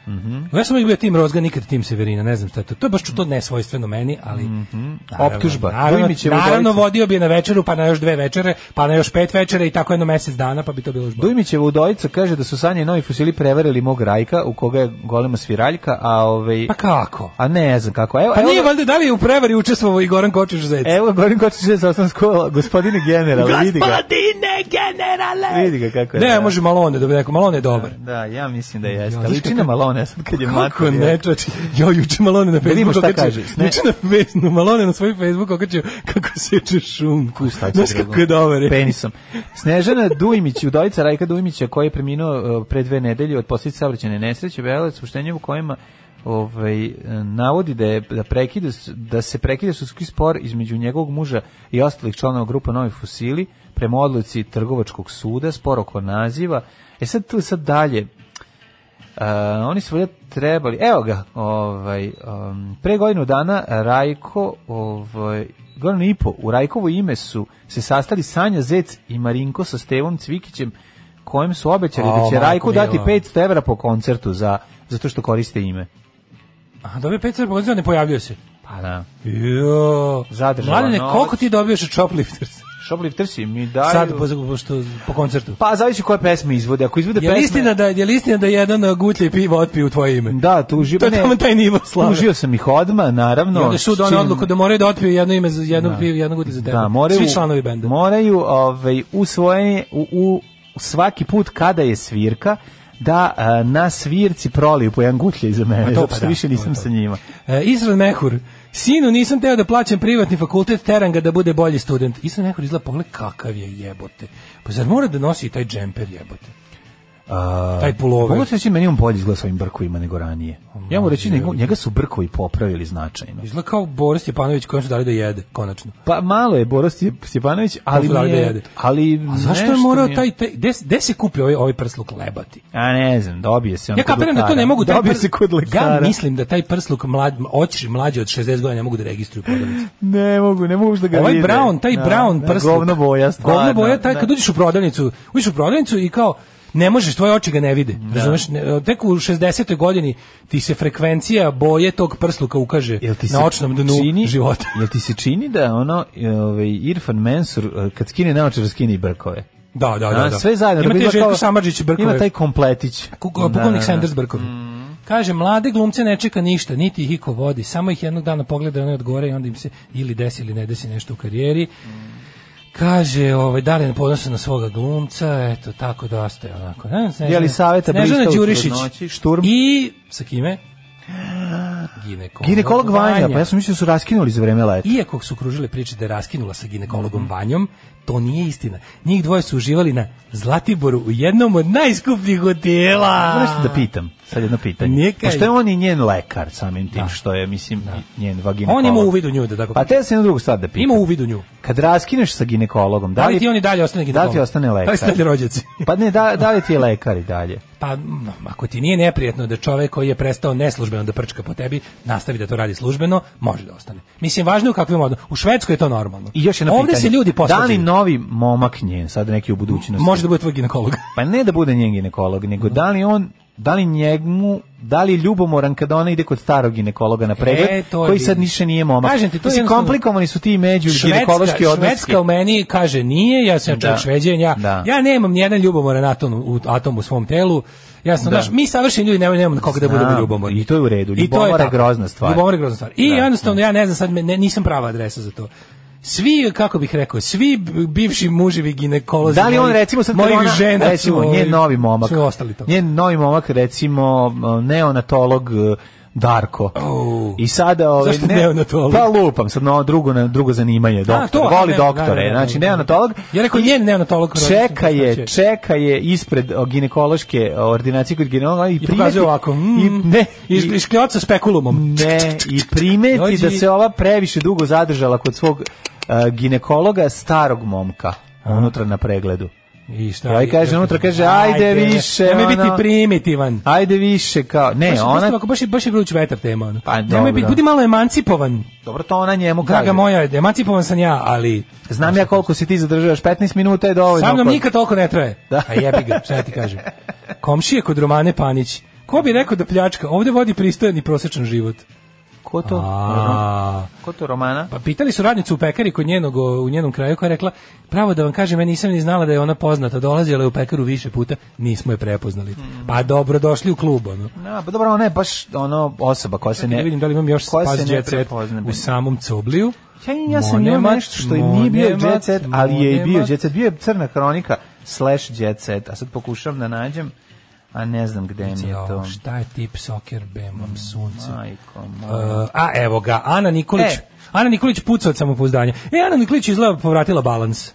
[SPEAKER 7] Ja sam uvijek bio tim Rozga, nikad tim Severina, ne znam šta je to. To je baš to nesvojstveno meni, ali... naravno,
[SPEAKER 6] Mhm. Optužba.
[SPEAKER 7] Naravno,
[SPEAKER 6] Dujmićeva
[SPEAKER 7] naravno
[SPEAKER 6] udovica.
[SPEAKER 7] vodio bi je na večeru, pa na još dve večere, pa na još pet večere i tako jedno mesec dana, pa bi to bilo još bolje.
[SPEAKER 6] Dujmićeva udojica kaže da su Sanja i Novi Fusili prevarili mog Rajka, u koga je golema sviraljka, a ovaj...
[SPEAKER 7] Pa kako?
[SPEAKER 6] A ne znam kako. Evo,
[SPEAKER 7] Pa
[SPEAKER 6] evo
[SPEAKER 7] nije
[SPEAKER 6] ga-
[SPEAKER 7] valjda da li je u prevari učestvovao i Goran Kočiš Zec?
[SPEAKER 6] Evo, Goran Kočić je sa osnovna škola, gospodine general, E, vidi ga.
[SPEAKER 7] Gospodine generale!
[SPEAKER 6] Vidi ga kako je.
[SPEAKER 7] Ne,
[SPEAKER 6] da.
[SPEAKER 7] može Malone, da bi rekao, Malone je dobar.
[SPEAKER 6] Da, ja mislim da jeste.
[SPEAKER 7] Ja,
[SPEAKER 6] Ali liči na Malone, sad kad E, je
[SPEAKER 7] Kako
[SPEAKER 6] mater.
[SPEAKER 7] ne, čoč, jo, juče Malone na
[SPEAKER 6] Vidimo
[SPEAKER 7] Facebooku
[SPEAKER 6] šta
[SPEAKER 7] okačio,
[SPEAKER 6] kaže, ne.
[SPEAKER 7] juče na Facebooku, Malone na svoj Facebooku okačio kako seče šunku, znaš kako je dobar. je.
[SPEAKER 6] Penisom. Snežana Dujmić, udovica Rajka Dujmića, koji je preminuo uh, pre dve nedelje od posljedica saobraćajne nesreće, objavila je saopštenje u kojima ovaj, eh, navodi da, je, da, prekida, s- da se prekida sudski spor između njegovog muža i ostalih članova grupa Novi Fusili prema odluci Trgovačkog suda, spor oko naziva. E sad tu sad dalje, Uh, oni su valjda trebali, evo ga, ovaj, um, pre godinu dana Rajko, ovaj, godinu i po, u Rajkovo ime su se sastali Sanja Zec i Marinko sa Stevom Cvikićem, kojem su obećali
[SPEAKER 7] O,
[SPEAKER 6] da će
[SPEAKER 7] majko
[SPEAKER 6] Rajku dati
[SPEAKER 7] mila.
[SPEAKER 6] 500 evra po koncertu za, zato što koriste ime.
[SPEAKER 7] A dobio pet crpa, ne pojavljuje se.
[SPEAKER 6] Pa da.
[SPEAKER 7] Jo.
[SPEAKER 6] Zadržala
[SPEAKER 7] Mladene,
[SPEAKER 6] novac.
[SPEAKER 7] koliko ti dobijaš od Shoplifters?
[SPEAKER 6] Shopliftersi mi daju...
[SPEAKER 7] Sad po, po, što, po koncertu.
[SPEAKER 6] Pa zavisi koje pesme izvode. Ako izvode
[SPEAKER 7] Je li
[SPEAKER 6] pesme...
[SPEAKER 7] istina da je li istina da jedan uh, gutlje piva otpije u tvoje ime?
[SPEAKER 6] Da, tužio...
[SPEAKER 7] To je
[SPEAKER 6] ne,
[SPEAKER 7] tamo taj nivo slave.
[SPEAKER 6] Tužio sam ih odmah, naravno.
[SPEAKER 7] I onda je sud
[SPEAKER 6] Čim-
[SPEAKER 7] donio odluku da ono moraju da otpiju jedno ime za jedno pivo, jedno gutlje za tebe.
[SPEAKER 6] Da, moraju,
[SPEAKER 7] Svi članovi benda.
[SPEAKER 6] Moraju ovaj, u svoje, u, u svaki put kada je svirka, da a, na svirci proliju po jedan gutlje iza mene,
[SPEAKER 7] Ma to
[SPEAKER 6] zato
[SPEAKER 7] pa
[SPEAKER 6] što
[SPEAKER 7] da,
[SPEAKER 6] više
[SPEAKER 7] to je
[SPEAKER 6] nisam
[SPEAKER 7] to.
[SPEAKER 6] sa njima.
[SPEAKER 7] E, Isran Mehur, sinu nisam teo da plaćam privatni fakultet, teram ga da bude bolji student. Isran Mehur izgleda, pogled kakav je jebote. Pa zar mora da nosi i taj džemper jebote?
[SPEAKER 6] A,
[SPEAKER 7] Taj pulover.
[SPEAKER 6] Mogu ti reći, meni on bolje izgleda s ovim brkovima nego ranije. Ja mu reći, njega, njega su brkovi popravili značajno.
[SPEAKER 7] Izgleda kao Boris Stjepanović kojem su dali da jede, konačno.
[SPEAKER 6] Pa malo je Boros Stje- Stjepanović, ali
[SPEAKER 7] su dali
[SPEAKER 6] mi je-
[SPEAKER 7] da jede.
[SPEAKER 6] ali
[SPEAKER 7] A zašto je
[SPEAKER 6] nešto
[SPEAKER 7] morao
[SPEAKER 6] mi
[SPEAKER 7] taj, taj gde, gde se kupio ovaj, ovaj prsluk lebati?
[SPEAKER 6] A ne znam, dobije se on
[SPEAKER 7] Ja
[SPEAKER 6] kod
[SPEAKER 7] kapiram da to
[SPEAKER 6] lekara.
[SPEAKER 7] ne mogu taj
[SPEAKER 6] Dobije
[SPEAKER 7] prs-
[SPEAKER 6] se kod lekara.
[SPEAKER 7] Ja mislim da taj prsluk mlad oči mlađi od 60 godina ne mogu da registruju prodavnicu.
[SPEAKER 6] Ne mogu, ne mogu uopšte da ga
[SPEAKER 7] Ovaj
[SPEAKER 6] vide.
[SPEAKER 7] brown, taj
[SPEAKER 6] Da,
[SPEAKER 7] brown
[SPEAKER 6] da,
[SPEAKER 7] prsluk.
[SPEAKER 6] Govno boja, stvarno.
[SPEAKER 7] Govno boja, taj
[SPEAKER 6] da.
[SPEAKER 7] kad uđeš u prodavnicu, uđeš u prodavnicu i kao ne možeš, tvoje oči ga ne vide. Razumeš? Ne, Tek u 60. godini ti se frekvencija boje tog prsluka ukaže
[SPEAKER 6] Jel ti se
[SPEAKER 7] na očnom dnu
[SPEAKER 6] čini-
[SPEAKER 7] života.
[SPEAKER 6] Jel ti se čini da ono e, ovaj Irfan Mensur e, kad skine naočare skine i brkove?
[SPEAKER 7] Da, Pa da, da.
[SPEAKER 6] A,
[SPEAKER 7] da.
[SPEAKER 6] Sve zajedno.
[SPEAKER 7] Ima
[SPEAKER 6] da bi
[SPEAKER 7] taj
[SPEAKER 6] izgledao
[SPEAKER 7] Željko
[SPEAKER 6] kao-
[SPEAKER 7] Samardžić Brkove.
[SPEAKER 6] Ima taj kompletić.
[SPEAKER 7] Kugo, pukovnik Sanders Brkovi.
[SPEAKER 6] Mm-hmm.
[SPEAKER 7] Kaže, mlade glumce ne čeka ništa, niti ih iko vodi, samo ih jednog dana pogleda, oni odgovore i onda im se ili desi ili ne desi nešto u karijeri.
[SPEAKER 6] Mm-hmm.
[SPEAKER 7] Kaže, ovaj, da li ne podnose na svoga glumca, eto, tako da ostaje onako. Ne, Snežana-
[SPEAKER 6] Jelisaveta
[SPEAKER 7] Snežana
[SPEAKER 6] Brista u
[SPEAKER 7] Đurišić.
[SPEAKER 6] trudnoći, Šturm.
[SPEAKER 7] I, sa kime? Ginekolog,
[SPEAKER 6] Ginekolog Vanja, pa ja sam mislio da su raskinuli za vreme leta.
[SPEAKER 7] iako su kružile priče da je raskinula sa ginekologom
[SPEAKER 6] Mm-hmm.
[SPEAKER 7] Vanjom, to nije istina. Njih dvoje su uživali na Zlatiboru u jednom od najskupljih hotela.
[SPEAKER 6] Moram nešto da pitam, sad jedno pitanje.
[SPEAKER 7] Nije kaj.
[SPEAKER 6] Pošto je on i njen lekar samim tim, što je, mislim, njen vaginekolog.
[SPEAKER 7] On ima uvid u nju, da tako
[SPEAKER 6] Pa
[SPEAKER 7] pa
[SPEAKER 6] te se na drugu stvar da pitam.
[SPEAKER 7] Ima uvid u nju.
[SPEAKER 6] kad raskineš sa ginekologom,
[SPEAKER 7] Da li ti on i dalje ostane ginekolog?
[SPEAKER 6] Da li ti ostane lekar?
[SPEAKER 7] Da li ste dalje rođaci?
[SPEAKER 6] pa ne, da, da li ti je lekar i dalje?
[SPEAKER 7] Pa, m, ako ti nije neprijetno da čovek koji je prestao neslužbeno da prčka po tebi, nastavi da to radi službeno, može da ostane. Mislim, važno je u kakvim odnosima. U Švedskoj je to normalno.
[SPEAKER 6] I još jedno
[SPEAKER 7] Ovde
[SPEAKER 6] pitanje.
[SPEAKER 7] se ljudi
[SPEAKER 6] Da li
[SPEAKER 7] posvađaju.
[SPEAKER 6] novi momak njen, sad neki u budućnosti?
[SPEAKER 7] Može da bude tvoj ginekolog.
[SPEAKER 6] pa ne da bude njen ginekolog, nego da li on da li njemu, da li je ljubomoran kada ona ide kod starog ginekologa na pregled,
[SPEAKER 7] E, to je
[SPEAKER 6] koji
[SPEAKER 7] bilo.
[SPEAKER 6] sad više nije momak.
[SPEAKER 7] Kažem ti, to je
[SPEAKER 6] Mislim,
[SPEAKER 7] jednostavno-
[SPEAKER 6] komplikovani su ti i među ginekološki
[SPEAKER 7] Švedska,
[SPEAKER 6] odnosi.
[SPEAKER 7] Švedska u meni kaže nije, ja sam
[SPEAKER 6] Da.
[SPEAKER 7] čovjek šveđan, ja,
[SPEAKER 6] Da.
[SPEAKER 7] ja nemam nijedan ljubomoran atom u, atom u svom telu, ja sam,
[SPEAKER 6] Da.
[SPEAKER 7] znaš, mi savršeni ljudi nemamo, nemamo na koga da budemo
[SPEAKER 6] Znam,
[SPEAKER 7] ljubomorni.
[SPEAKER 6] I to je u redu.
[SPEAKER 7] I to
[SPEAKER 6] Ljubomora je
[SPEAKER 7] tako.
[SPEAKER 6] grozna stvar.
[SPEAKER 7] Ljubomora je grozna stvar. I jednostavno, ja ne znam sad, me- ne, nisam prava adresa za to. Svi, kako bih rekao, svi b- bivši muževi ginekolozi
[SPEAKER 6] Da li on
[SPEAKER 7] mojih-
[SPEAKER 6] recimo sad kad
[SPEAKER 7] mojih
[SPEAKER 6] ona,
[SPEAKER 7] žena
[SPEAKER 6] recimo,
[SPEAKER 7] su,
[SPEAKER 6] njen
[SPEAKER 7] ovaj,
[SPEAKER 6] novi momak,
[SPEAKER 7] su ostali to.
[SPEAKER 6] njen novi momak recimo m, neonatolog e, Darko. I sada ovaj
[SPEAKER 7] Zašto neonatolog?
[SPEAKER 6] Pa lupam, sad no, drugo na drugo zanimanje, doktor.
[SPEAKER 7] to,
[SPEAKER 6] voli
[SPEAKER 7] ne,
[SPEAKER 6] doktore.
[SPEAKER 7] da, da, da,
[SPEAKER 6] znači
[SPEAKER 7] da.
[SPEAKER 6] neonatolog.
[SPEAKER 7] Ja rekao njen neonatolog.
[SPEAKER 6] Čeka je,
[SPEAKER 7] Znači,
[SPEAKER 6] čeka je ispred o, ginekološke o, ordinacije kod ginekologa i
[SPEAKER 7] I
[SPEAKER 6] primeti-
[SPEAKER 7] pokazuje ovako, mm,
[SPEAKER 6] i, ne,
[SPEAKER 7] iz,
[SPEAKER 6] i-
[SPEAKER 7] iz kljoca spekulumom.
[SPEAKER 6] ne, i primeti
[SPEAKER 7] Dođi.
[SPEAKER 6] da se ova previše dugo zadržala kod svog e, ginekologa starog momka unutra na pregledu.
[SPEAKER 7] I šta?
[SPEAKER 6] Ovaj kaže unutra, kaže, ajde više,
[SPEAKER 7] Nemoj biti
[SPEAKER 6] ono.
[SPEAKER 7] primitivan. Pa
[SPEAKER 6] Ajde više kao, ne,
[SPEAKER 7] baš, je-
[SPEAKER 6] ona
[SPEAKER 7] Baš, je- baš, je- baš je vruć vetar tema. Ono.
[SPEAKER 6] Pa,
[SPEAKER 7] Nemoj
[SPEAKER 6] dobro.
[SPEAKER 7] biti, budi malo emancipovan.
[SPEAKER 6] Dobro, to ona njemu kaže.
[SPEAKER 7] Draga moja, emancipovan sam ja, ali
[SPEAKER 6] Znam ja koliko si ti zadržavaš, 15 minuta je dovoljno.
[SPEAKER 7] sa mnom
[SPEAKER 6] Pa-
[SPEAKER 7] nikad toliko ne traje. A jebi ga, šta ja ti kažem. Komšije kod Romane Panić. Ko bi rekao da pljačka? Ovde vodi pristojan i prosječan život.
[SPEAKER 6] Ko to?
[SPEAKER 7] A.
[SPEAKER 6] Ko to Romana?
[SPEAKER 7] Pa pitali su radnicu u pekari kod njenog o, u njenom kraju koja je rekla: "Pravo da vam kažem, ja nisam ni znala da je ona poznata. Dolazila je u pekaru više puta, nismo je prepoznali."
[SPEAKER 6] Mm.
[SPEAKER 7] Pa dobro došli u klub, ono.
[SPEAKER 6] No, pa dobro, ona je baš ono osoba koja se
[SPEAKER 7] Ne
[SPEAKER 6] ne...
[SPEAKER 7] vidim da li imam još
[SPEAKER 6] koja se
[SPEAKER 7] spas
[SPEAKER 6] ne
[SPEAKER 7] jet set
[SPEAKER 6] prepozna.
[SPEAKER 7] u samom cobliju.
[SPEAKER 6] Ja, ja sam imao
[SPEAKER 7] Monemat,
[SPEAKER 6] nešto što i nije bio
[SPEAKER 7] Monemat,
[SPEAKER 6] jet set, ali je i bio
[SPEAKER 7] Monemat.
[SPEAKER 6] jet set. Bio je crna kronika slash jet set, a sad pokušavam da nađem, a ne znam gde mi je to.
[SPEAKER 7] Jao, šta je tip soker bemam sunce?
[SPEAKER 6] Majko moja.
[SPEAKER 7] Uh, a evo ga, Ana Nikolić.
[SPEAKER 6] E.
[SPEAKER 7] Ana Nikolić puca od samopouzdanja. E, Ana Nikolić izgleda povratila balans.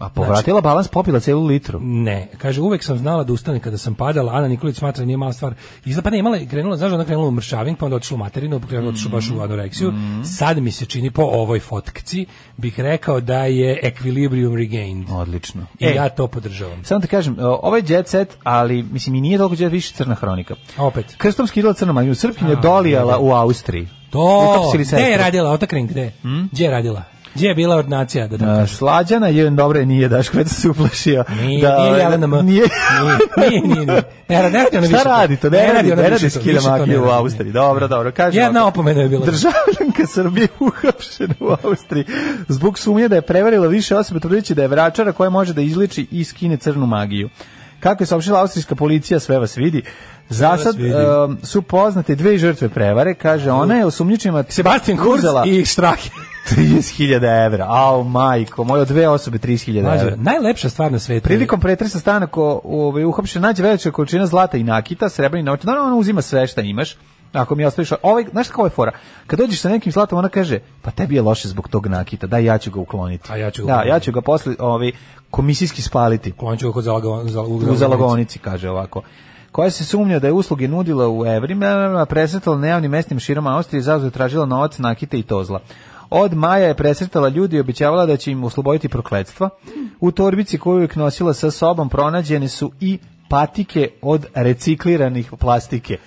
[SPEAKER 6] A povratila balans, popila celu litru.
[SPEAKER 7] Ne, kaže, uvek sam znala da ustane kada sam padala, Ana Nikolić smatra da nije mala stvar. Izgleda, pa ne, imala je, krenula, znaš, ona krenula u mršavink, pa onda otišla u materinu, pa krenula otišla baš u anoreksiju.
[SPEAKER 6] Mhm.
[SPEAKER 7] Sad mi se čini po ovoj fotkci, bih rekao da je equilibrium regained.
[SPEAKER 6] Odlično.
[SPEAKER 7] I
[SPEAKER 6] E.
[SPEAKER 7] ja to podržavam.
[SPEAKER 6] Samo ti kažem, o, ovo je jet set, ali mislim i nije toliko jet, više crna hronika.
[SPEAKER 7] Opet.
[SPEAKER 6] Krstom skidala crnu magiju, Srpkinja dolijala u Austriji.
[SPEAKER 7] To,
[SPEAKER 6] Utopsili
[SPEAKER 7] gde je
[SPEAKER 6] sestru.
[SPEAKER 7] radila, otakren, gde?
[SPEAKER 6] Hmm?
[SPEAKER 7] Gde je radila? Gde je bila ordinacija? Da tako
[SPEAKER 6] A, E, Slađana je, dobro je, nije Daško, već sam se uplašio. ovaj,
[SPEAKER 7] Nije, nije Jelena M.
[SPEAKER 6] Nije.
[SPEAKER 7] Nije, nije, nije, nije. Ne radi- ne radi ona više
[SPEAKER 6] Šta
[SPEAKER 7] to.
[SPEAKER 6] radi to? Ne,
[SPEAKER 7] Ne
[SPEAKER 6] radi,
[SPEAKER 7] radi ona
[SPEAKER 6] ne
[SPEAKER 7] više
[SPEAKER 6] radi
[SPEAKER 7] to,
[SPEAKER 6] skida
[SPEAKER 7] više to ne
[SPEAKER 6] magiju u
[SPEAKER 7] radi,
[SPEAKER 6] Austriji. Dobro, dobro, kaže.
[SPEAKER 7] Jedna
[SPEAKER 6] ovako.
[SPEAKER 7] opomena je bila.
[SPEAKER 6] Državljanka Srbije uhapšena u Austriji zbog sumnje da je prevarila više osoba trudeći da je vračara koja može da izliči i skine crnu magiju. Kako je saopštila austrijska policija, sve vas vidi. Za
[SPEAKER 7] vas
[SPEAKER 6] sad
[SPEAKER 7] vidi.
[SPEAKER 6] em, su poznate dve žrtve prevare, kaže ona je osumnjičena
[SPEAKER 7] Sebastian Kurz
[SPEAKER 6] uzela
[SPEAKER 7] i Štrahe.
[SPEAKER 6] 30.000 evra. Au, majko, moje dve osobe 30.000
[SPEAKER 7] Mlađo,
[SPEAKER 6] evra.
[SPEAKER 7] najlepša stvar na svetu. je-
[SPEAKER 6] Prilikom pretresa stana ko ovaj uhapšen nađe veća količina zlata i nakita, srebrni novčani. Naravno ona uzima sve šta imaš. Ako mi ostaviš, ovaj, znaš kako je fora? Kad dođeš sa nekim slatom, ona kaže, pa tebi je loše zbog tog nakita, da ja ću ga ukloniti.
[SPEAKER 7] A ja ću ga
[SPEAKER 6] da,
[SPEAKER 7] ukloniti.
[SPEAKER 6] ja ću ga posle ovaj, komisijski spaliti.
[SPEAKER 7] Klonit ću ga kod zalago- zal-
[SPEAKER 6] U
[SPEAKER 7] zalagovnice.
[SPEAKER 6] zalogonici, kaže ovako koja se sumnja da je usluge nudila u evrima, presretala na javnim mestima širom Austrije, zauzeo je tražila novac, nakite i tozla. Od maja je presretala ljudi i obećavala da će im osloboditi prokledstva. U torbici koju je uvijek nosila sa sobom pronađene su i patike od recikliranih plastike.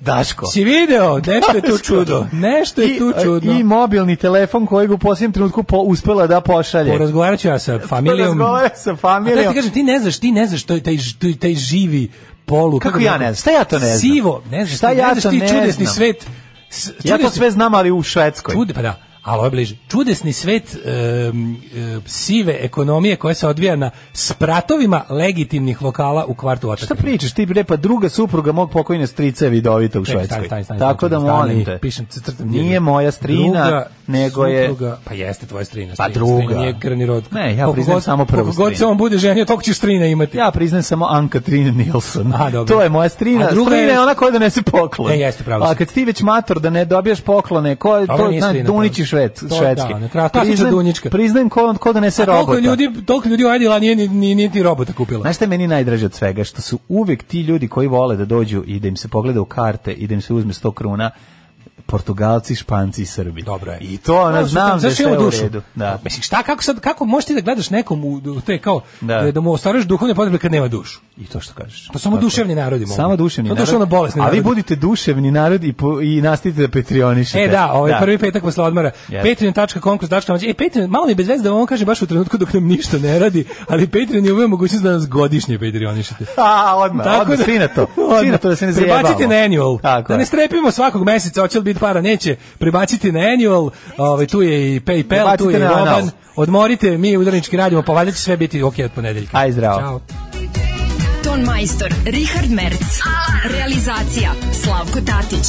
[SPEAKER 6] Daško.
[SPEAKER 7] Si video, nešto je tu čudo. Nešto je
[SPEAKER 6] I,
[SPEAKER 7] tu
[SPEAKER 6] e,
[SPEAKER 7] čudno.
[SPEAKER 6] I mobilni telefon kojeg u posljednjem trenutku po, uspela da pošalje.
[SPEAKER 7] Porazgovarat ću ja sa familijom.
[SPEAKER 6] Razgovara sa
[SPEAKER 7] A da
[SPEAKER 6] familijom.
[SPEAKER 7] ti kažem, ti ne znaš, ti ne znaš to je taj, ž- taj, taj živi polu.
[SPEAKER 6] Kako
[SPEAKER 7] bi
[SPEAKER 6] ja
[SPEAKER 7] rekao?
[SPEAKER 6] ne znam? Šta ja to ne znam?
[SPEAKER 7] Sivo, ne znaš,
[SPEAKER 6] Šta
[SPEAKER 7] ti, ne
[SPEAKER 6] ja
[SPEAKER 7] znaš
[SPEAKER 6] to
[SPEAKER 7] ti
[SPEAKER 6] ne
[SPEAKER 7] čudesni
[SPEAKER 6] znam?
[SPEAKER 7] svet. s-
[SPEAKER 6] Ja to
[SPEAKER 7] čudesni-
[SPEAKER 6] sve znam, ali u Švedskoj.
[SPEAKER 7] Čude, pa da, ali ovo je bliže. Čudesni svet em, e, sive ekonomije koja se odvija na spratovima legitimnih lokala u kvartu Otakve.
[SPEAKER 6] Šta pričaš ti bre pa druga supruga mog pokojne strica je vidovita u
[SPEAKER 7] Čekaj,
[SPEAKER 6] Švedskoj.
[SPEAKER 7] stani, stani, stani,
[SPEAKER 6] Tako
[SPEAKER 7] stani,
[SPEAKER 6] da
[SPEAKER 7] stani,
[SPEAKER 6] molim te.
[SPEAKER 7] Pišem, crtam
[SPEAKER 6] Nije
[SPEAKER 7] njega.
[SPEAKER 6] moja strina,
[SPEAKER 7] Druga
[SPEAKER 6] nego je-
[SPEAKER 7] supruga- pa jeste tvoja strina.
[SPEAKER 6] Pa
[SPEAKER 7] strina,
[SPEAKER 6] druga.
[SPEAKER 7] Strina, nije krvni rod.
[SPEAKER 6] Ne, ja
[SPEAKER 7] Koliko
[SPEAKER 6] priznajem
[SPEAKER 7] god-
[SPEAKER 6] samo prvu
[SPEAKER 7] Koliko god se
[SPEAKER 6] strinu.
[SPEAKER 7] on bude ženio, toliko ćeš strina imati.
[SPEAKER 6] Ja priznajem samo Anka Trine Nilsson.
[SPEAKER 7] A, dobro.
[SPEAKER 6] To je moja strina.
[SPEAKER 7] A druga
[SPEAKER 6] strina je...
[SPEAKER 7] je-
[SPEAKER 6] ona koja donese poklon.
[SPEAKER 7] E, jeste, pravo si.
[SPEAKER 6] A kad si ti već mator da ne dobijaš poklone, ko je
[SPEAKER 7] Dobro,
[SPEAKER 6] to
[SPEAKER 7] nije
[SPEAKER 6] zna
[SPEAKER 7] strina,
[SPEAKER 6] Dunići
[SPEAKER 7] pravo.
[SPEAKER 6] šved,
[SPEAKER 7] To, da,
[SPEAKER 6] švedski.
[SPEAKER 7] ne, klasična
[SPEAKER 6] Priznajem-
[SPEAKER 7] Dunjićka.
[SPEAKER 6] Priznajem ko, ko donese
[SPEAKER 7] A toliko
[SPEAKER 6] robota.
[SPEAKER 7] ljudi, toliko ljudi ojedila, nije ni, ni, ni ti robota kupila.
[SPEAKER 6] Znaš šta je meni najdraže od svega? Što su uvek ti ljudi koji vole da dođu i da im se pogleda u karte i da im se uzme 100 kruna Portugalci, Španci i Srbi.
[SPEAKER 7] Dobro je.
[SPEAKER 6] I to ona
[SPEAKER 7] Malo su tamo,
[SPEAKER 6] znam da je
[SPEAKER 7] znaš,
[SPEAKER 6] sve
[SPEAKER 7] imamo
[SPEAKER 6] u
[SPEAKER 7] dušu.
[SPEAKER 6] redu. Da.
[SPEAKER 7] Mislim, šta, kako sad, kako možeš ti da gledaš nekom u, u te kao,
[SPEAKER 6] Da.
[SPEAKER 7] da, da mu ostvaruješ duhovne potrebe kad nema dušu?
[SPEAKER 6] I to što kažeš.
[SPEAKER 7] To pa samo
[SPEAKER 6] Tako.
[SPEAKER 7] duševni narodi mogu. Pa
[SPEAKER 6] Samo duševni
[SPEAKER 7] To
[SPEAKER 6] narod.
[SPEAKER 7] duševno bolesni
[SPEAKER 6] A vi
[SPEAKER 7] narodi.
[SPEAKER 6] budite duševni narod i, po, i nastavite da petrionišete.
[SPEAKER 7] E da, ovaj prvi petak posle odmora.
[SPEAKER 6] Jeste.
[SPEAKER 7] Patreon.com kroz dačka mlađa. E, Patreon, malo mi je bez veze da vam ovo kažem baš u trenutku dok nam ništa ne radi, ali Patreon je uveo mogućnost da nas godišnje Patreonišete.
[SPEAKER 6] A, odmah, odmah, svi na to. Svi na to da se ne zajebamo.
[SPEAKER 7] Prebacite na annual.
[SPEAKER 6] Tako
[SPEAKER 7] da ne
[SPEAKER 6] je.
[SPEAKER 7] strepimo svakog meseca, hoće li biti para, neće. Prebacite na annual, ovaj, tu je i PayPal, tu
[SPEAKER 6] Prebacite
[SPEAKER 7] je i
[SPEAKER 6] na anal.
[SPEAKER 7] Roban. Odmorite, mi udarnički radimo, pa valjda će sve biti ok od ponedeljka. Aj,
[SPEAKER 6] zdravo.
[SPEAKER 7] Ćao.
[SPEAKER 5] Ton majstor Richard Merc. Realizacija Slavko Tatić.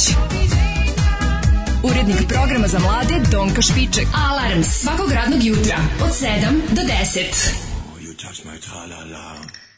[SPEAKER 5] Urednik programa za mlade Donka Špiček. Alarms svakog radnog jutra od 7 do 10.
[SPEAKER 12] You touch my tra-la-la.